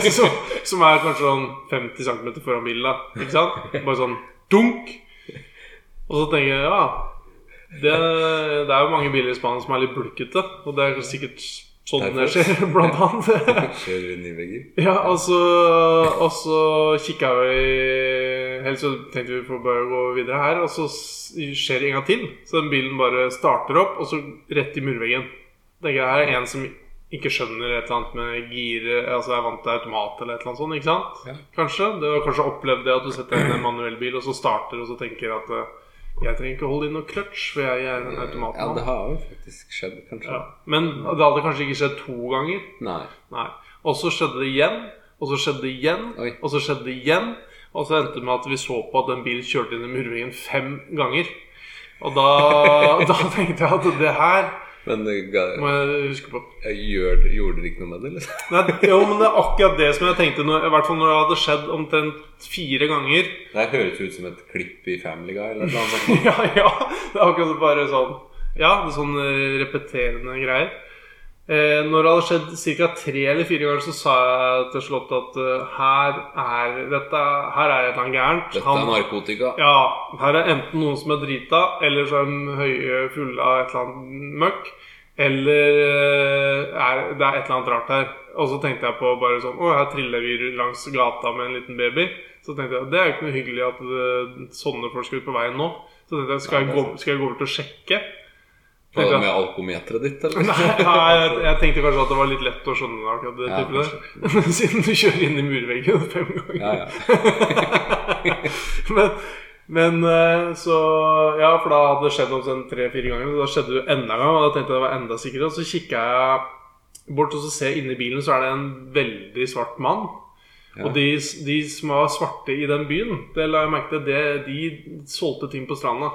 [SPEAKER 3] som, som er kanskje sånn 50 cm foran bilen, da. Ikke sant? Bare sånn dunk. Og så tenker jeg ja, det, det er jo mange biler i Spania som er litt bulkete. Og det er sikkert sånn det
[SPEAKER 1] Derfor.
[SPEAKER 3] skjer, blant annet.
[SPEAKER 1] Kjører inn i vegger.
[SPEAKER 3] Ja, og så, og så kikka vi Eller så tenkte vi vi får bare gå videre her, og så s- skjer det en gang til. Så den bilen bare starter opp, og så rett i murveggen. Tenker jeg her er en som ikke skjønner et eller annet med gire Altså er vant til automat eller et eller annet sånt, ikke sant?
[SPEAKER 1] Ja.
[SPEAKER 3] Kanskje. Du har kanskje opplevd det at du setter inn en manuell bil, og så starter, og så tenker at eh, jeg trenger ikke holde inn noe clutch, for jeg er en
[SPEAKER 1] Ja, det
[SPEAKER 3] automatmann.
[SPEAKER 1] har jo faktisk skjedd, kanskje.
[SPEAKER 3] Ja. Men det hadde kanskje ikke skjedd to ganger.
[SPEAKER 1] Nei.
[SPEAKER 3] Nei. Og så skjedde det igjen, og så skjedde det igjen,
[SPEAKER 1] Oi.
[SPEAKER 3] og så skjedde det igjen. Og så endte det med at vi så på at den bilen kjørte inn i murveggen fem ganger. Og da, da tenkte jeg at det her
[SPEAKER 1] Men det ga- eh,
[SPEAKER 3] må jeg huske på.
[SPEAKER 1] gjør, gjorde dere ikke noe med det, eller?
[SPEAKER 3] Nei, jo, men det er akkurat det som jeg tenkte, når, i hvert fall når det hadde skjedd omtrent fire ganger.
[SPEAKER 1] Det her høres ut som et klipp i Family Guy eller noe sånt.
[SPEAKER 3] ja, ja. Det er akkurat som bare sånn Ja, det er sånn eh, repeterende greier. Eh, når det hadde skjedd ca. tre eller fire ganger, så sa jeg til Slott at eh, her er dette Her er et eller annet gærent.
[SPEAKER 1] Dette er
[SPEAKER 3] Han-
[SPEAKER 1] narkotika.
[SPEAKER 3] ja, her er enten noen som er drita, eller så er de høye fulle av et eller annet møkk. Eller eh, er, det er et eller annet rart her. Og så tenkte jeg på bare sånn Å, her triller vi langs gata med en liten baby. Så tenkte jeg det er jo ikke noe hyggelig at det, sånne folk skal ut på veien nå. Så tenkte jeg skal jeg gå, skal jeg gå bort og sjekke?
[SPEAKER 1] Var
[SPEAKER 3] Tenkte
[SPEAKER 1] det
[SPEAKER 3] jeg-
[SPEAKER 1] med alkometeret ditt, eller?
[SPEAKER 3] Nei, nei, jeg, jeg tenkte kanskje at det var litt lett å skjønne det, akkurat det
[SPEAKER 1] Ja,
[SPEAKER 3] tilfellet der. Siden du kjører inn i murveggen fem ganger.
[SPEAKER 1] Ja, ja.
[SPEAKER 3] men, men eh, så Ja, for da hadde det skjedd omtrent tre-fire ganger. Så da skjedde det jo enda en gang, og da tenkte jeg det var enda sikrere. Og så kikka jeg bort, og så ser jeg inni bilen, så er det en veldig svart mann.
[SPEAKER 1] Ja.
[SPEAKER 3] Og de, de som var svarte i den byen, det la jeg merke til, det, de solgte ting på stranda.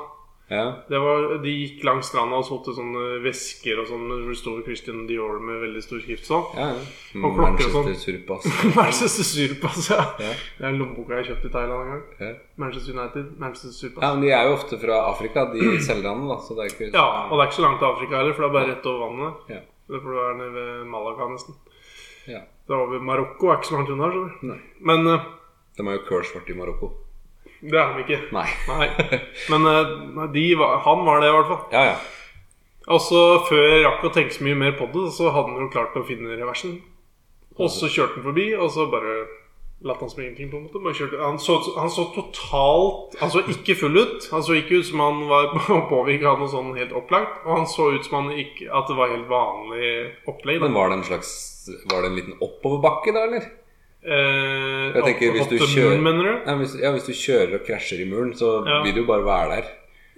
[SPEAKER 1] Ja.
[SPEAKER 3] Det var, de gikk langs stranda og solgte sånne vesker og sånn, hvor det sto Christian Dior med veldig stor skrift sånn.
[SPEAKER 1] ja, ja.
[SPEAKER 3] Og klokker og sånn.
[SPEAKER 1] Manchester Surpass.
[SPEAKER 3] Manchester Surpass, ja.
[SPEAKER 1] Ja.
[SPEAKER 3] Det er lommeboka jeg kjøpte i Thailand en gang.
[SPEAKER 1] Ja.
[SPEAKER 3] Manchester United, Manchester
[SPEAKER 1] Ja,
[SPEAKER 3] Surpass.
[SPEAKER 1] men De er jo ofte fra Afrika, de selgerne. da Så det er ikke
[SPEAKER 3] Ja, og det er ikke så langt til Afrika heller, for det er bare rett over vannet.
[SPEAKER 1] Ja.
[SPEAKER 3] Det er for det er nede ved Malaga nesten.
[SPEAKER 1] Ja.
[SPEAKER 3] Det er over Marokko, er ikke så langt unna, skjønner du.
[SPEAKER 1] Nei.
[SPEAKER 3] Men eh,
[SPEAKER 1] De er jo kølsvarte i Marokko.
[SPEAKER 3] det er de ikke.
[SPEAKER 1] Nei.
[SPEAKER 3] Nei. Men eh, nei, de var, han var det, i hvert fall.
[SPEAKER 1] Ja, ja.
[SPEAKER 3] Og så Altså, før jeg rakk å tenke så mye mer på det, så hadde han jo klart å finne reversen. Og så kjørte han forbi, og så bare latt han som ingenting. på en måte bare kjørte. Han, så, han så totalt Han så ikke full ut. Han så ikke ut som han var påvirka av noe sånn helt opplagt. Og han så ut som han ikke, at det var helt vanlig opplegg. da.
[SPEAKER 1] Men var det en slags Var det en liten oppoverbakke da, eller?
[SPEAKER 3] Eh,
[SPEAKER 1] Jeg tenker,
[SPEAKER 3] opp-
[SPEAKER 1] hvis
[SPEAKER 3] opp
[SPEAKER 1] du
[SPEAKER 3] til
[SPEAKER 1] kjører-
[SPEAKER 3] muren, mener du?
[SPEAKER 1] Nei, hvis, ja, hvis du kjører og krasjer i muren, så
[SPEAKER 3] Ja.
[SPEAKER 1] vil du jo bare være der.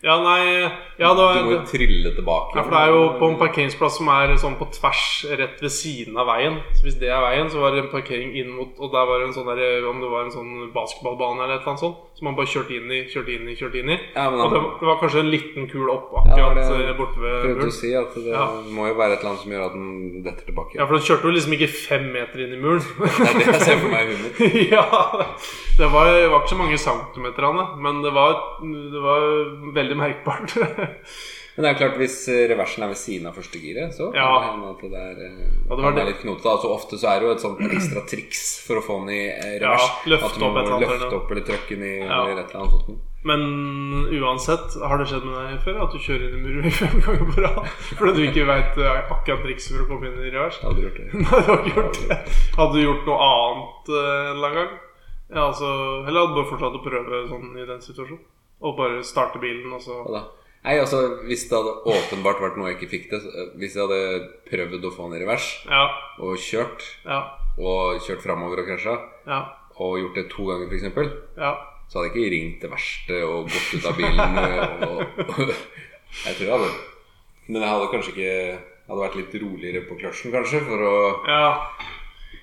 [SPEAKER 3] Ja, nei ja, det var,
[SPEAKER 1] Du må jo trille tilbake.
[SPEAKER 3] Ja, for det er jo på en parkeringsplass som er sånn på tvers rett ved siden av veien. Så hvis det er veien, så var det en parkering inn mot Og der var det en sånn der, om det var en sånn basketballbane eller et eller annet sånt, som man bare kjørte inn i, kjørte inn i, kjørte inn i.
[SPEAKER 1] Ja, men
[SPEAKER 3] Og det
[SPEAKER 1] han
[SPEAKER 3] var, det var kanskje en liten kul opp
[SPEAKER 1] Ja,
[SPEAKER 3] akkurat
[SPEAKER 1] det var det
[SPEAKER 3] eh, borte ved
[SPEAKER 1] prøvde å
[SPEAKER 3] muren.
[SPEAKER 1] si at det
[SPEAKER 3] Ja.
[SPEAKER 1] må jo være et eller annet som gjør at den detter tilbake.
[SPEAKER 3] Ja, for den kjørte jo liksom ikke fem meter inn i muren.
[SPEAKER 1] Det er det jeg ser for meg i hunden.
[SPEAKER 3] ja, det var, det var ikke så mange centimeter av det, men det var, det var veldig merkbart.
[SPEAKER 1] Men det er jo klart, hvis eh, reversen er ved siden av første giret, så kan
[SPEAKER 3] Ja.
[SPEAKER 1] det hende at det er, eh,
[SPEAKER 3] Ja, det var
[SPEAKER 1] kan
[SPEAKER 3] det.
[SPEAKER 1] være litt knotete. Altså, ofte så er det jo et sånt ekstra triks for å få den i eh,
[SPEAKER 3] Ja,
[SPEAKER 1] revers.
[SPEAKER 3] løfte
[SPEAKER 1] at du må
[SPEAKER 3] opp et eller annet,
[SPEAKER 1] løfte
[SPEAKER 3] eller-
[SPEAKER 1] opp eller trøkke den i
[SPEAKER 3] Ja.
[SPEAKER 1] eller et eller annet sånt.
[SPEAKER 3] Men uansett, har det skjedd med deg før? At du kjører inn i muren fem ganger på rad? Fordi du ikke veit akkurat trikset for å komme inn i
[SPEAKER 1] Jeg
[SPEAKER 3] revers?
[SPEAKER 1] har aldri gjort det.
[SPEAKER 3] Nei, du har ikke gjort det. Hadde du gjort noe annet eh, en eller annen gang? Ja, altså, eller hadde du bare fortsatt å prøve sånn i den situasjonen? Og bare starte bilen, og så
[SPEAKER 1] Hva da? Nei, altså, Hvis det hadde åpenbart vært noe jeg ikke fikk til så, eh, Hvis jeg hadde prøvd å få den i revers
[SPEAKER 3] Ja,
[SPEAKER 1] og kjørt,
[SPEAKER 3] ja,
[SPEAKER 1] og kjørt framover og krasja,
[SPEAKER 3] ja.
[SPEAKER 1] og gjort det to ganger, f.eks.,
[SPEAKER 3] ja.
[SPEAKER 1] så hadde jeg ikke ringt det verste og gått ut av bilen. eh, Og, og, jeg tror jeg hadde Men jeg hadde kanskje ikke jeg hadde vært litt roligere på kløtsjen, kanskje, for å
[SPEAKER 3] ja.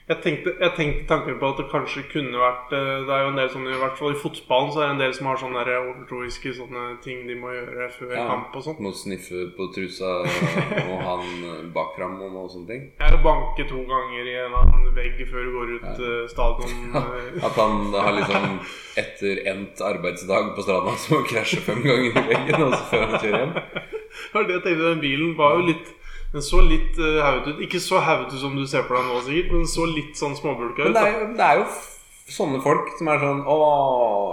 [SPEAKER 3] Jeg tenkte, jeg tenkte tanken på at det kanskje kunne vært eh, Det er jo en del sånne, i hvert fall i fotballen så er det en del som har sånne der overtroiske sånne ting de må gjøre før
[SPEAKER 1] Ja.
[SPEAKER 3] kamp og sånn.
[SPEAKER 1] må sniffe på trusa og han bakfram og noe sånne ting.
[SPEAKER 3] Jeg er å banke to ganger i en eller annen vegg før du går ut eh, stadion. eh.
[SPEAKER 1] At han da har liksom etter endt arbeidsdag på stranda så må han krasje fem ganger i veggen og så før han kjører hjem.
[SPEAKER 3] Det var det jeg tenkte, den bilen var jo litt Den så litt uh, hauget ut. Ikke så hauget ut som du ser for deg nå, sikkert, men den så litt sånn småbulka
[SPEAKER 1] Men
[SPEAKER 3] ut.
[SPEAKER 1] det
[SPEAKER 3] da.
[SPEAKER 1] er, jo- det er jo f- sånne folk som er sånn Å,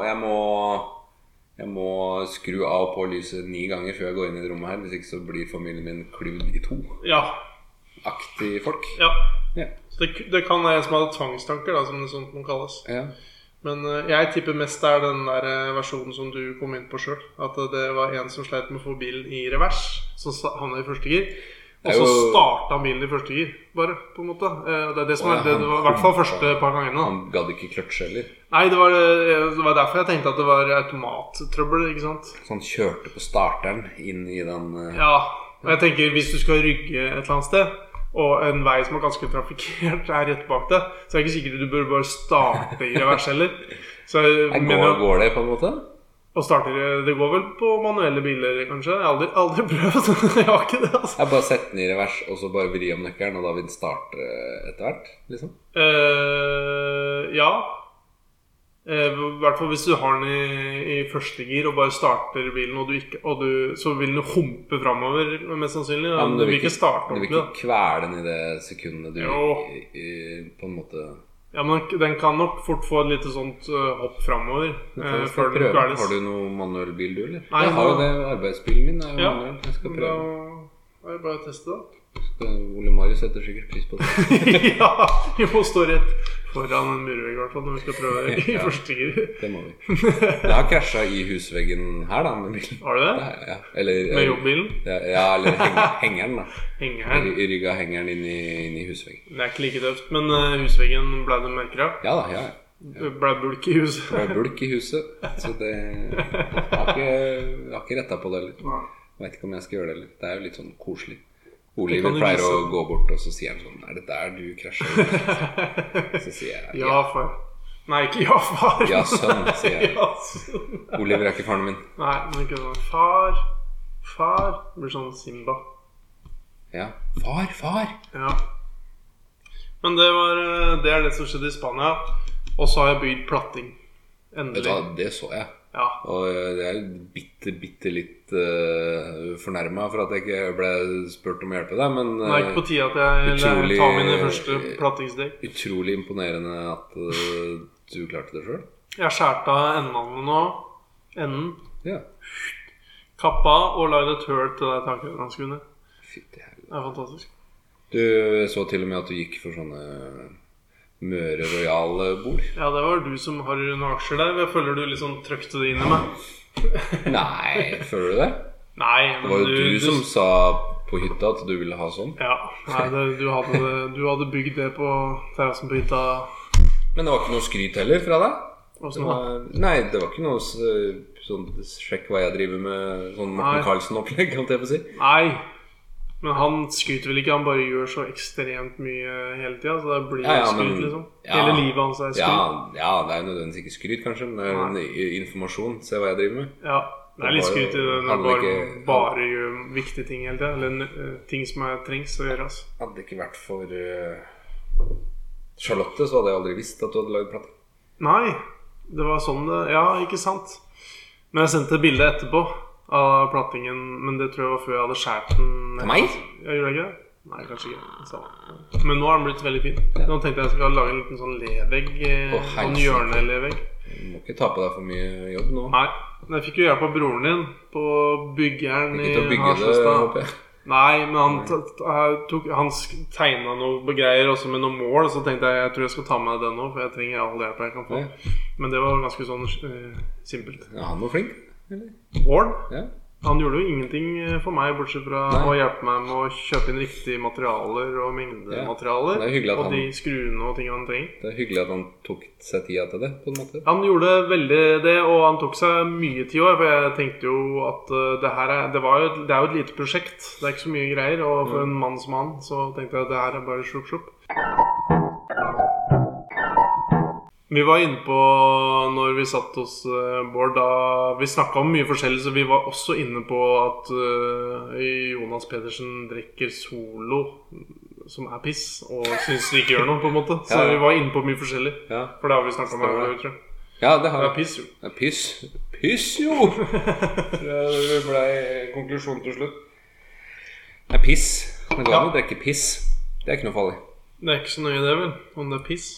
[SPEAKER 1] jeg må jeg må skru av og på lyset ni ganger før jeg går inn i det rommet her. Hvis ikke så blir familien min kluvd i to.
[SPEAKER 3] Ja.
[SPEAKER 1] Aktig folk.
[SPEAKER 3] ja.
[SPEAKER 1] Ja.
[SPEAKER 3] Så Det, det kan være en som hadde tvangstanker, da, som det sånt må kalles.
[SPEAKER 1] Ja.
[SPEAKER 3] Men eh, jeg tipper mest det er den der eh, versjonen som du kom inn på sjøl. At eh, det var en som sleit med å få bilen i revers, så sa- havna i første gir. Og
[SPEAKER 1] Det er
[SPEAKER 3] så
[SPEAKER 1] jo-
[SPEAKER 3] starta han bilen i første gir, bare. på en måte Eh, og Det er det som
[SPEAKER 1] Å,
[SPEAKER 3] er
[SPEAKER 1] ja,
[SPEAKER 3] det,
[SPEAKER 1] han
[SPEAKER 3] det var, I hvert fall første par gangene. da
[SPEAKER 1] Han gadd ikke kløtsje heller.
[SPEAKER 3] Nei, det var, eh, det var derfor jeg tenkte at det var automattrøbbel, ikke sant?
[SPEAKER 1] Så han kjørte på starteren inn i den eh,
[SPEAKER 3] Ja, og jeg tenker hvis du skal rygge et eller annet sted, og en vei som er ganske trafikkert er rett bak deg, så er det ikke sikkert du bør bare starte i revers heller. Så jeg
[SPEAKER 1] Her
[SPEAKER 3] mener
[SPEAKER 1] går,
[SPEAKER 3] jo-
[SPEAKER 1] går det, på en måte?
[SPEAKER 3] å starte i- eh, Det går vel på manuelle biler, kanskje? Jeg har aldri, aldri prøvd. jeg har ikke det, altså.
[SPEAKER 1] Jeg bare sett den i revers og så bare vri om nøkkelen, og da vil den starte eh, etter hvert? Liksom.
[SPEAKER 3] Eh, ja. Eh, I hvert fall hvis du har den i, i første gir og bare starter bilen, og du ikke, og du, så vil den humpe framover, mest sannsynlig. Da.
[SPEAKER 1] Ja, men
[SPEAKER 3] du vil ikke starte
[SPEAKER 1] du vil ikke
[SPEAKER 3] ordentlig. Da.
[SPEAKER 1] kvele den i det sekundet du
[SPEAKER 3] Jo.
[SPEAKER 1] i, i, på en måte
[SPEAKER 3] Ja, men den- den kan nok fort få et lite sånt eh, hopp framover eh,
[SPEAKER 1] Jeg skal
[SPEAKER 3] før den
[SPEAKER 1] prøve.
[SPEAKER 3] kveles.
[SPEAKER 1] Har du noen manuell bil, du, eller?
[SPEAKER 3] Nei,
[SPEAKER 1] jeg har jo
[SPEAKER 3] nå-
[SPEAKER 1] det. Arbeidsbilen min er jo
[SPEAKER 3] Ja.
[SPEAKER 1] manuell. Jeg skal
[SPEAKER 3] Men Da
[SPEAKER 1] prøve.
[SPEAKER 3] er det bare å teste, da.
[SPEAKER 1] Skal- Ole Marius setter sikkert pris på det.
[SPEAKER 3] ja, vi må stå rett foran en murvegg, i hvert fall, når vi skal prøve i
[SPEAKER 1] Ja.
[SPEAKER 3] første gir.
[SPEAKER 1] Det må vi. Jeg har krasja i husveggen her, da, med bilen.
[SPEAKER 3] Har du det?
[SPEAKER 1] Nei, ja. Eller eh,
[SPEAKER 3] Med jobbbilen?
[SPEAKER 1] Ja, ja, eller heng- hengeren, da.
[SPEAKER 3] Hengeren.
[SPEAKER 1] I rygga hengeren inn i, inn i husveggen.
[SPEAKER 3] Det er ikke like tøft, men eh, husveggen ble det merker av.
[SPEAKER 1] Ja da, ja. ja.
[SPEAKER 3] Det Ble bulk i huset.
[SPEAKER 1] Det var bulk i huset, så det Jeg har ikke, jeg har ikke retta på det heller.
[SPEAKER 3] Nei.
[SPEAKER 1] Veit ikke om jeg skal gjøre det heller. Det er jo litt sånn koselig.
[SPEAKER 3] Det
[SPEAKER 1] Oliver
[SPEAKER 3] kan du
[SPEAKER 1] pleier å
[SPEAKER 3] vise.
[SPEAKER 1] gå bort, og så sier han sånn Er det der du krasjer? Så sier jeg
[SPEAKER 3] Ja, far. Nei, ikke ja, far.
[SPEAKER 1] Ja, sønn, sier jeg.
[SPEAKER 3] Ja, sønn.
[SPEAKER 1] Oliver er ikke faren min.
[SPEAKER 3] Nei, men ikke sånn Far, far. Det blir sånn Simba.
[SPEAKER 1] Ja. Far, far!
[SPEAKER 3] Ja. Men det, var, eh, det er det som skjedde i Spania. Og så har jeg bygd platting.
[SPEAKER 1] Vet du hva,
[SPEAKER 3] Endelig.
[SPEAKER 1] det så jeg.
[SPEAKER 3] Ja.
[SPEAKER 1] Og jeg er jo bitte, bitte litt uh, fornærma for at jeg ikke ble spurt om å hjelpe deg, men
[SPEAKER 3] Det er ikke
[SPEAKER 1] eh,
[SPEAKER 3] på tide at jeg
[SPEAKER 1] Utrolig-
[SPEAKER 3] tar mine første plattingsdekk.
[SPEAKER 1] utrolig imponerende at eh, du klarte det sjøl.
[SPEAKER 3] Jeg skjærte av endene nå. Enden.
[SPEAKER 1] Ja.
[SPEAKER 3] Kappa og lagde et høl til det taket han skulle ned.
[SPEAKER 1] Fytti helvete.
[SPEAKER 3] Det er fantastisk.
[SPEAKER 1] Du så til og med at du gikk for sånne Møre Royal-bord.
[SPEAKER 3] Ja, det var du som har noen aksjer der. Jeg føler du liksom trøkte det inn i meg.
[SPEAKER 1] Nei, føler du det?
[SPEAKER 3] Nei,
[SPEAKER 1] Det
[SPEAKER 3] men
[SPEAKER 1] var jo
[SPEAKER 3] du,
[SPEAKER 1] du
[SPEAKER 3] du-
[SPEAKER 1] som sa på hytta at du ville ha sånn.
[SPEAKER 3] Ja. Nei, det, du, hadde, du hadde bygd det på terrassen på hytta.
[SPEAKER 1] Men det var ikke noe skryt heller fra deg? Det
[SPEAKER 3] Og sånn, da.
[SPEAKER 1] var, nei, det var ikke noe s- sånn sjekk hva jeg driver med, sånn
[SPEAKER 3] Nei.
[SPEAKER 1] Morten Carlsen-opplegg, holdt jeg på å si.
[SPEAKER 3] Nei. Men han skryter vel ikke, han bare gjør så ekstremt mye hele tida. Så det blir
[SPEAKER 1] Ja, ja,
[SPEAKER 3] skryt,
[SPEAKER 1] men-
[SPEAKER 3] liksom.
[SPEAKER 1] ja.
[SPEAKER 3] Hele livet hans er skryt.
[SPEAKER 1] Ja, ja, det er jo nødvendigvis ikke skryt, kanskje, men det er jo en i- informasjon. Se hva jeg driver med.
[SPEAKER 3] Ja. Det er
[SPEAKER 1] Det
[SPEAKER 3] litt
[SPEAKER 1] var jo-
[SPEAKER 3] skryt i det når
[SPEAKER 1] han vil
[SPEAKER 3] du bare,
[SPEAKER 1] ikke-
[SPEAKER 3] bare gjør viktige ting hele tida. Eller eh, ting som er trengs å gjøre. Altså.
[SPEAKER 1] Hadde det ikke vært for eh, Charlotte, så hadde jeg aldri visst at du hadde lagd plate.
[SPEAKER 3] Nei, det var sånn det Ja, ikke sant. Men jeg sendte et bilde etterpå av plattingen. Men det tror jeg var før jeg hadde skåret den.
[SPEAKER 1] Til meg?
[SPEAKER 3] Ja, gjorde jeg ikke det? Nei, kanskje ikke. Så. Men nå har den blitt veldig fin. Nå tenkte jeg jeg skulle lage en liten sånn levegg. eh,
[SPEAKER 1] Å, helsike.
[SPEAKER 3] En hjørnelevegg.
[SPEAKER 1] Du må ikke ta på deg for mye jobb nå.
[SPEAKER 3] Nei. Men jeg fikk jo hjelp av broren din på byggeren
[SPEAKER 1] Ikke
[SPEAKER 3] i
[SPEAKER 1] til å bygge det,
[SPEAKER 3] Harstadstad.
[SPEAKER 1] håper jeg.
[SPEAKER 3] Nei, men han, t- t- eh, tok, han sk- tegna noe greier også med noen mål, så tenkte jeg jeg tror jeg skal ta med den òg, for jeg trenger all hjelp jeg kan få. Men det var ganske sånn eh, simpelt.
[SPEAKER 1] Ja, han var flink. Eller?
[SPEAKER 3] Bård
[SPEAKER 1] Ja.
[SPEAKER 3] han gjorde jo ingenting eh, for meg, bortsett fra
[SPEAKER 1] Nei.
[SPEAKER 3] å hjelpe meg med å kjøpe inn riktige materialer og
[SPEAKER 1] Ja,
[SPEAKER 3] mengdematerialer.
[SPEAKER 1] det er hyggelig at
[SPEAKER 3] og
[SPEAKER 1] han-
[SPEAKER 3] de skruene og tingene han trenger.
[SPEAKER 1] Det er hyggelig at han tok seg tida til det, på en måte.
[SPEAKER 3] Han gjorde veldig det, og han tok seg mye tid òg. For jeg tenkte jo at eh, det her er det, var jo, et- det er jo et lite prosjekt. Det er ikke så mye greier. Og for en mann som han, så tenkte jeg at det her er bare slupp, slupp. Vi var inne på, når vi satt hos eh, Bård, da vi snakka om mye forskjellig, så vi var også inne på at eh, Jonas Pedersen drikker solo, som er piss, og syns det ikke gjør noe, på en måte. Så
[SPEAKER 1] Ja, ja.
[SPEAKER 3] vi var inne på mye forskjellig.
[SPEAKER 1] Ja,
[SPEAKER 3] For det har vi snakka om her
[SPEAKER 1] Stemmer det.
[SPEAKER 3] før, tror jeg.
[SPEAKER 1] ja det har
[SPEAKER 3] Det er
[SPEAKER 1] jeg.
[SPEAKER 3] piss, jo.
[SPEAKER 1] Det er Pyss. Pyss, jo! Det ble konklusjonen til slutt. Det er piss. Det går an å drikke piss. Det er ikke noe farlig.
[SPEAKER 3] Det er ikke så nøye det, vel, om det er piss.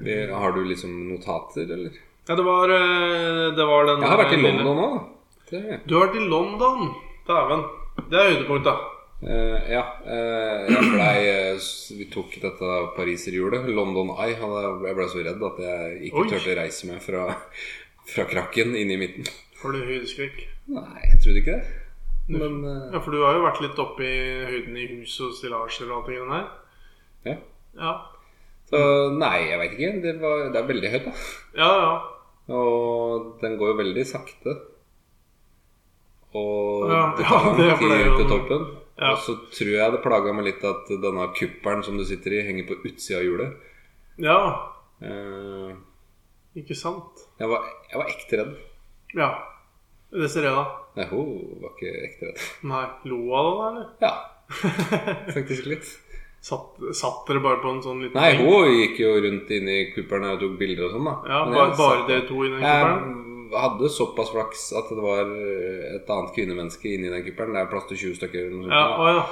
[SPEAKER 1] Vi, har du liksom notater, eller?
[SPEAKER 3] Ja, det var, eh, det var den
[SPEAKER 1] Jeg har vært i
[SPEAKER 3] lille-
[SPEAKER 1] London òg, da. Det, har jeg.
[SPEAKER 3] Du har vært i London? Dæven. Det er høydepunkt, da.
[SPEAKER 1] Eh, ja. eh, jeg blei eh, s- Vi tok dette pariserhjulet, London Eye. Hadde- Jeg blei så redd at jeg ikke
[SPEAKER 3] Oi.
[SPEAKER 1] turte å reise meg fra, fra krakken inn i midten.
[SPEAKER 3] Har du høydeskrekk?
[SPEAKER 1] Nei, jeg trodde ikke det. Men eh,
[SPEAKER 3] Ja, for du har jo vært litt oppe i høyden i hus og stillasjer og alt det greiene der.
[SPEAKER 1] eh, Ja.
[SPEAKER 3] Ja,
[SPEAKER 1] så, Nei, jeg veit ikke. Det, var, det er veldig høyt, da.
[SPEAKER 3] ja. ja.
[SPEAKER 1] Og den går jo veldig sakte. Og
[SPEAKER 3] Ja,
[SPEAKER 1] det
[SPEAKER 3] ja,
[SPEAKER 1] tar
[SPEAKER 3] det
[SPEAKER 1] lang
[SPEAKER 3] ble
[SPEAKER 1] tid
[SPEAKER 3] jo-
[SPEAKER 1] til toppen.
[SPEAKER 3] Ja.
[SPEAKER 1] Og så tror jeg det plaga meg litt at denne kuppelen som du sitter i, henger på utsida av hjulet.
[SPEAKER 3] Ja,
[SPEAKER 1] Eh,
[SPEAKER 3] ikke sant?
[SPEAKER 1] Jeg var, jeg var ekte redd.
[SPEAKER 3] Ja. Det ser jeg, da.
[SPEAKER 1] Nei, hun var ikke ekte redd.
[SPEAKER 3] Nei. Lo av det, da, eller?
[SPEAKER 1] Ja, faktisk litt.
[SPEAKER 3] Satt, satt dere bare på en sånn liten
[SPEAKER 1] Nei,
[SPEAKER 3] benk?
[SPEAKER 1] hun gikk jo rundt inn i kuppelen og tok bilder og sånn, da.
[SPEAKER 3] Ja,
[SPEAKER 1] Men
[SPEAKER 3] bare,
[SPEAKER 1] jeg
[SPEAKER 3] bare
[SPEAKER 1] satt-
[SPEAKER 3] dere to i den kuppelen?
[SPEAKER 1] Jeg hadde såpass flaks at det var et annet kvinnemenneske inni den kuppelen. Det er plass til 20 stykker eller noe
[SPEAKER 3] Ja,
[SPEAKER 1] sånt, da,
[SPEAKER 3] å ja.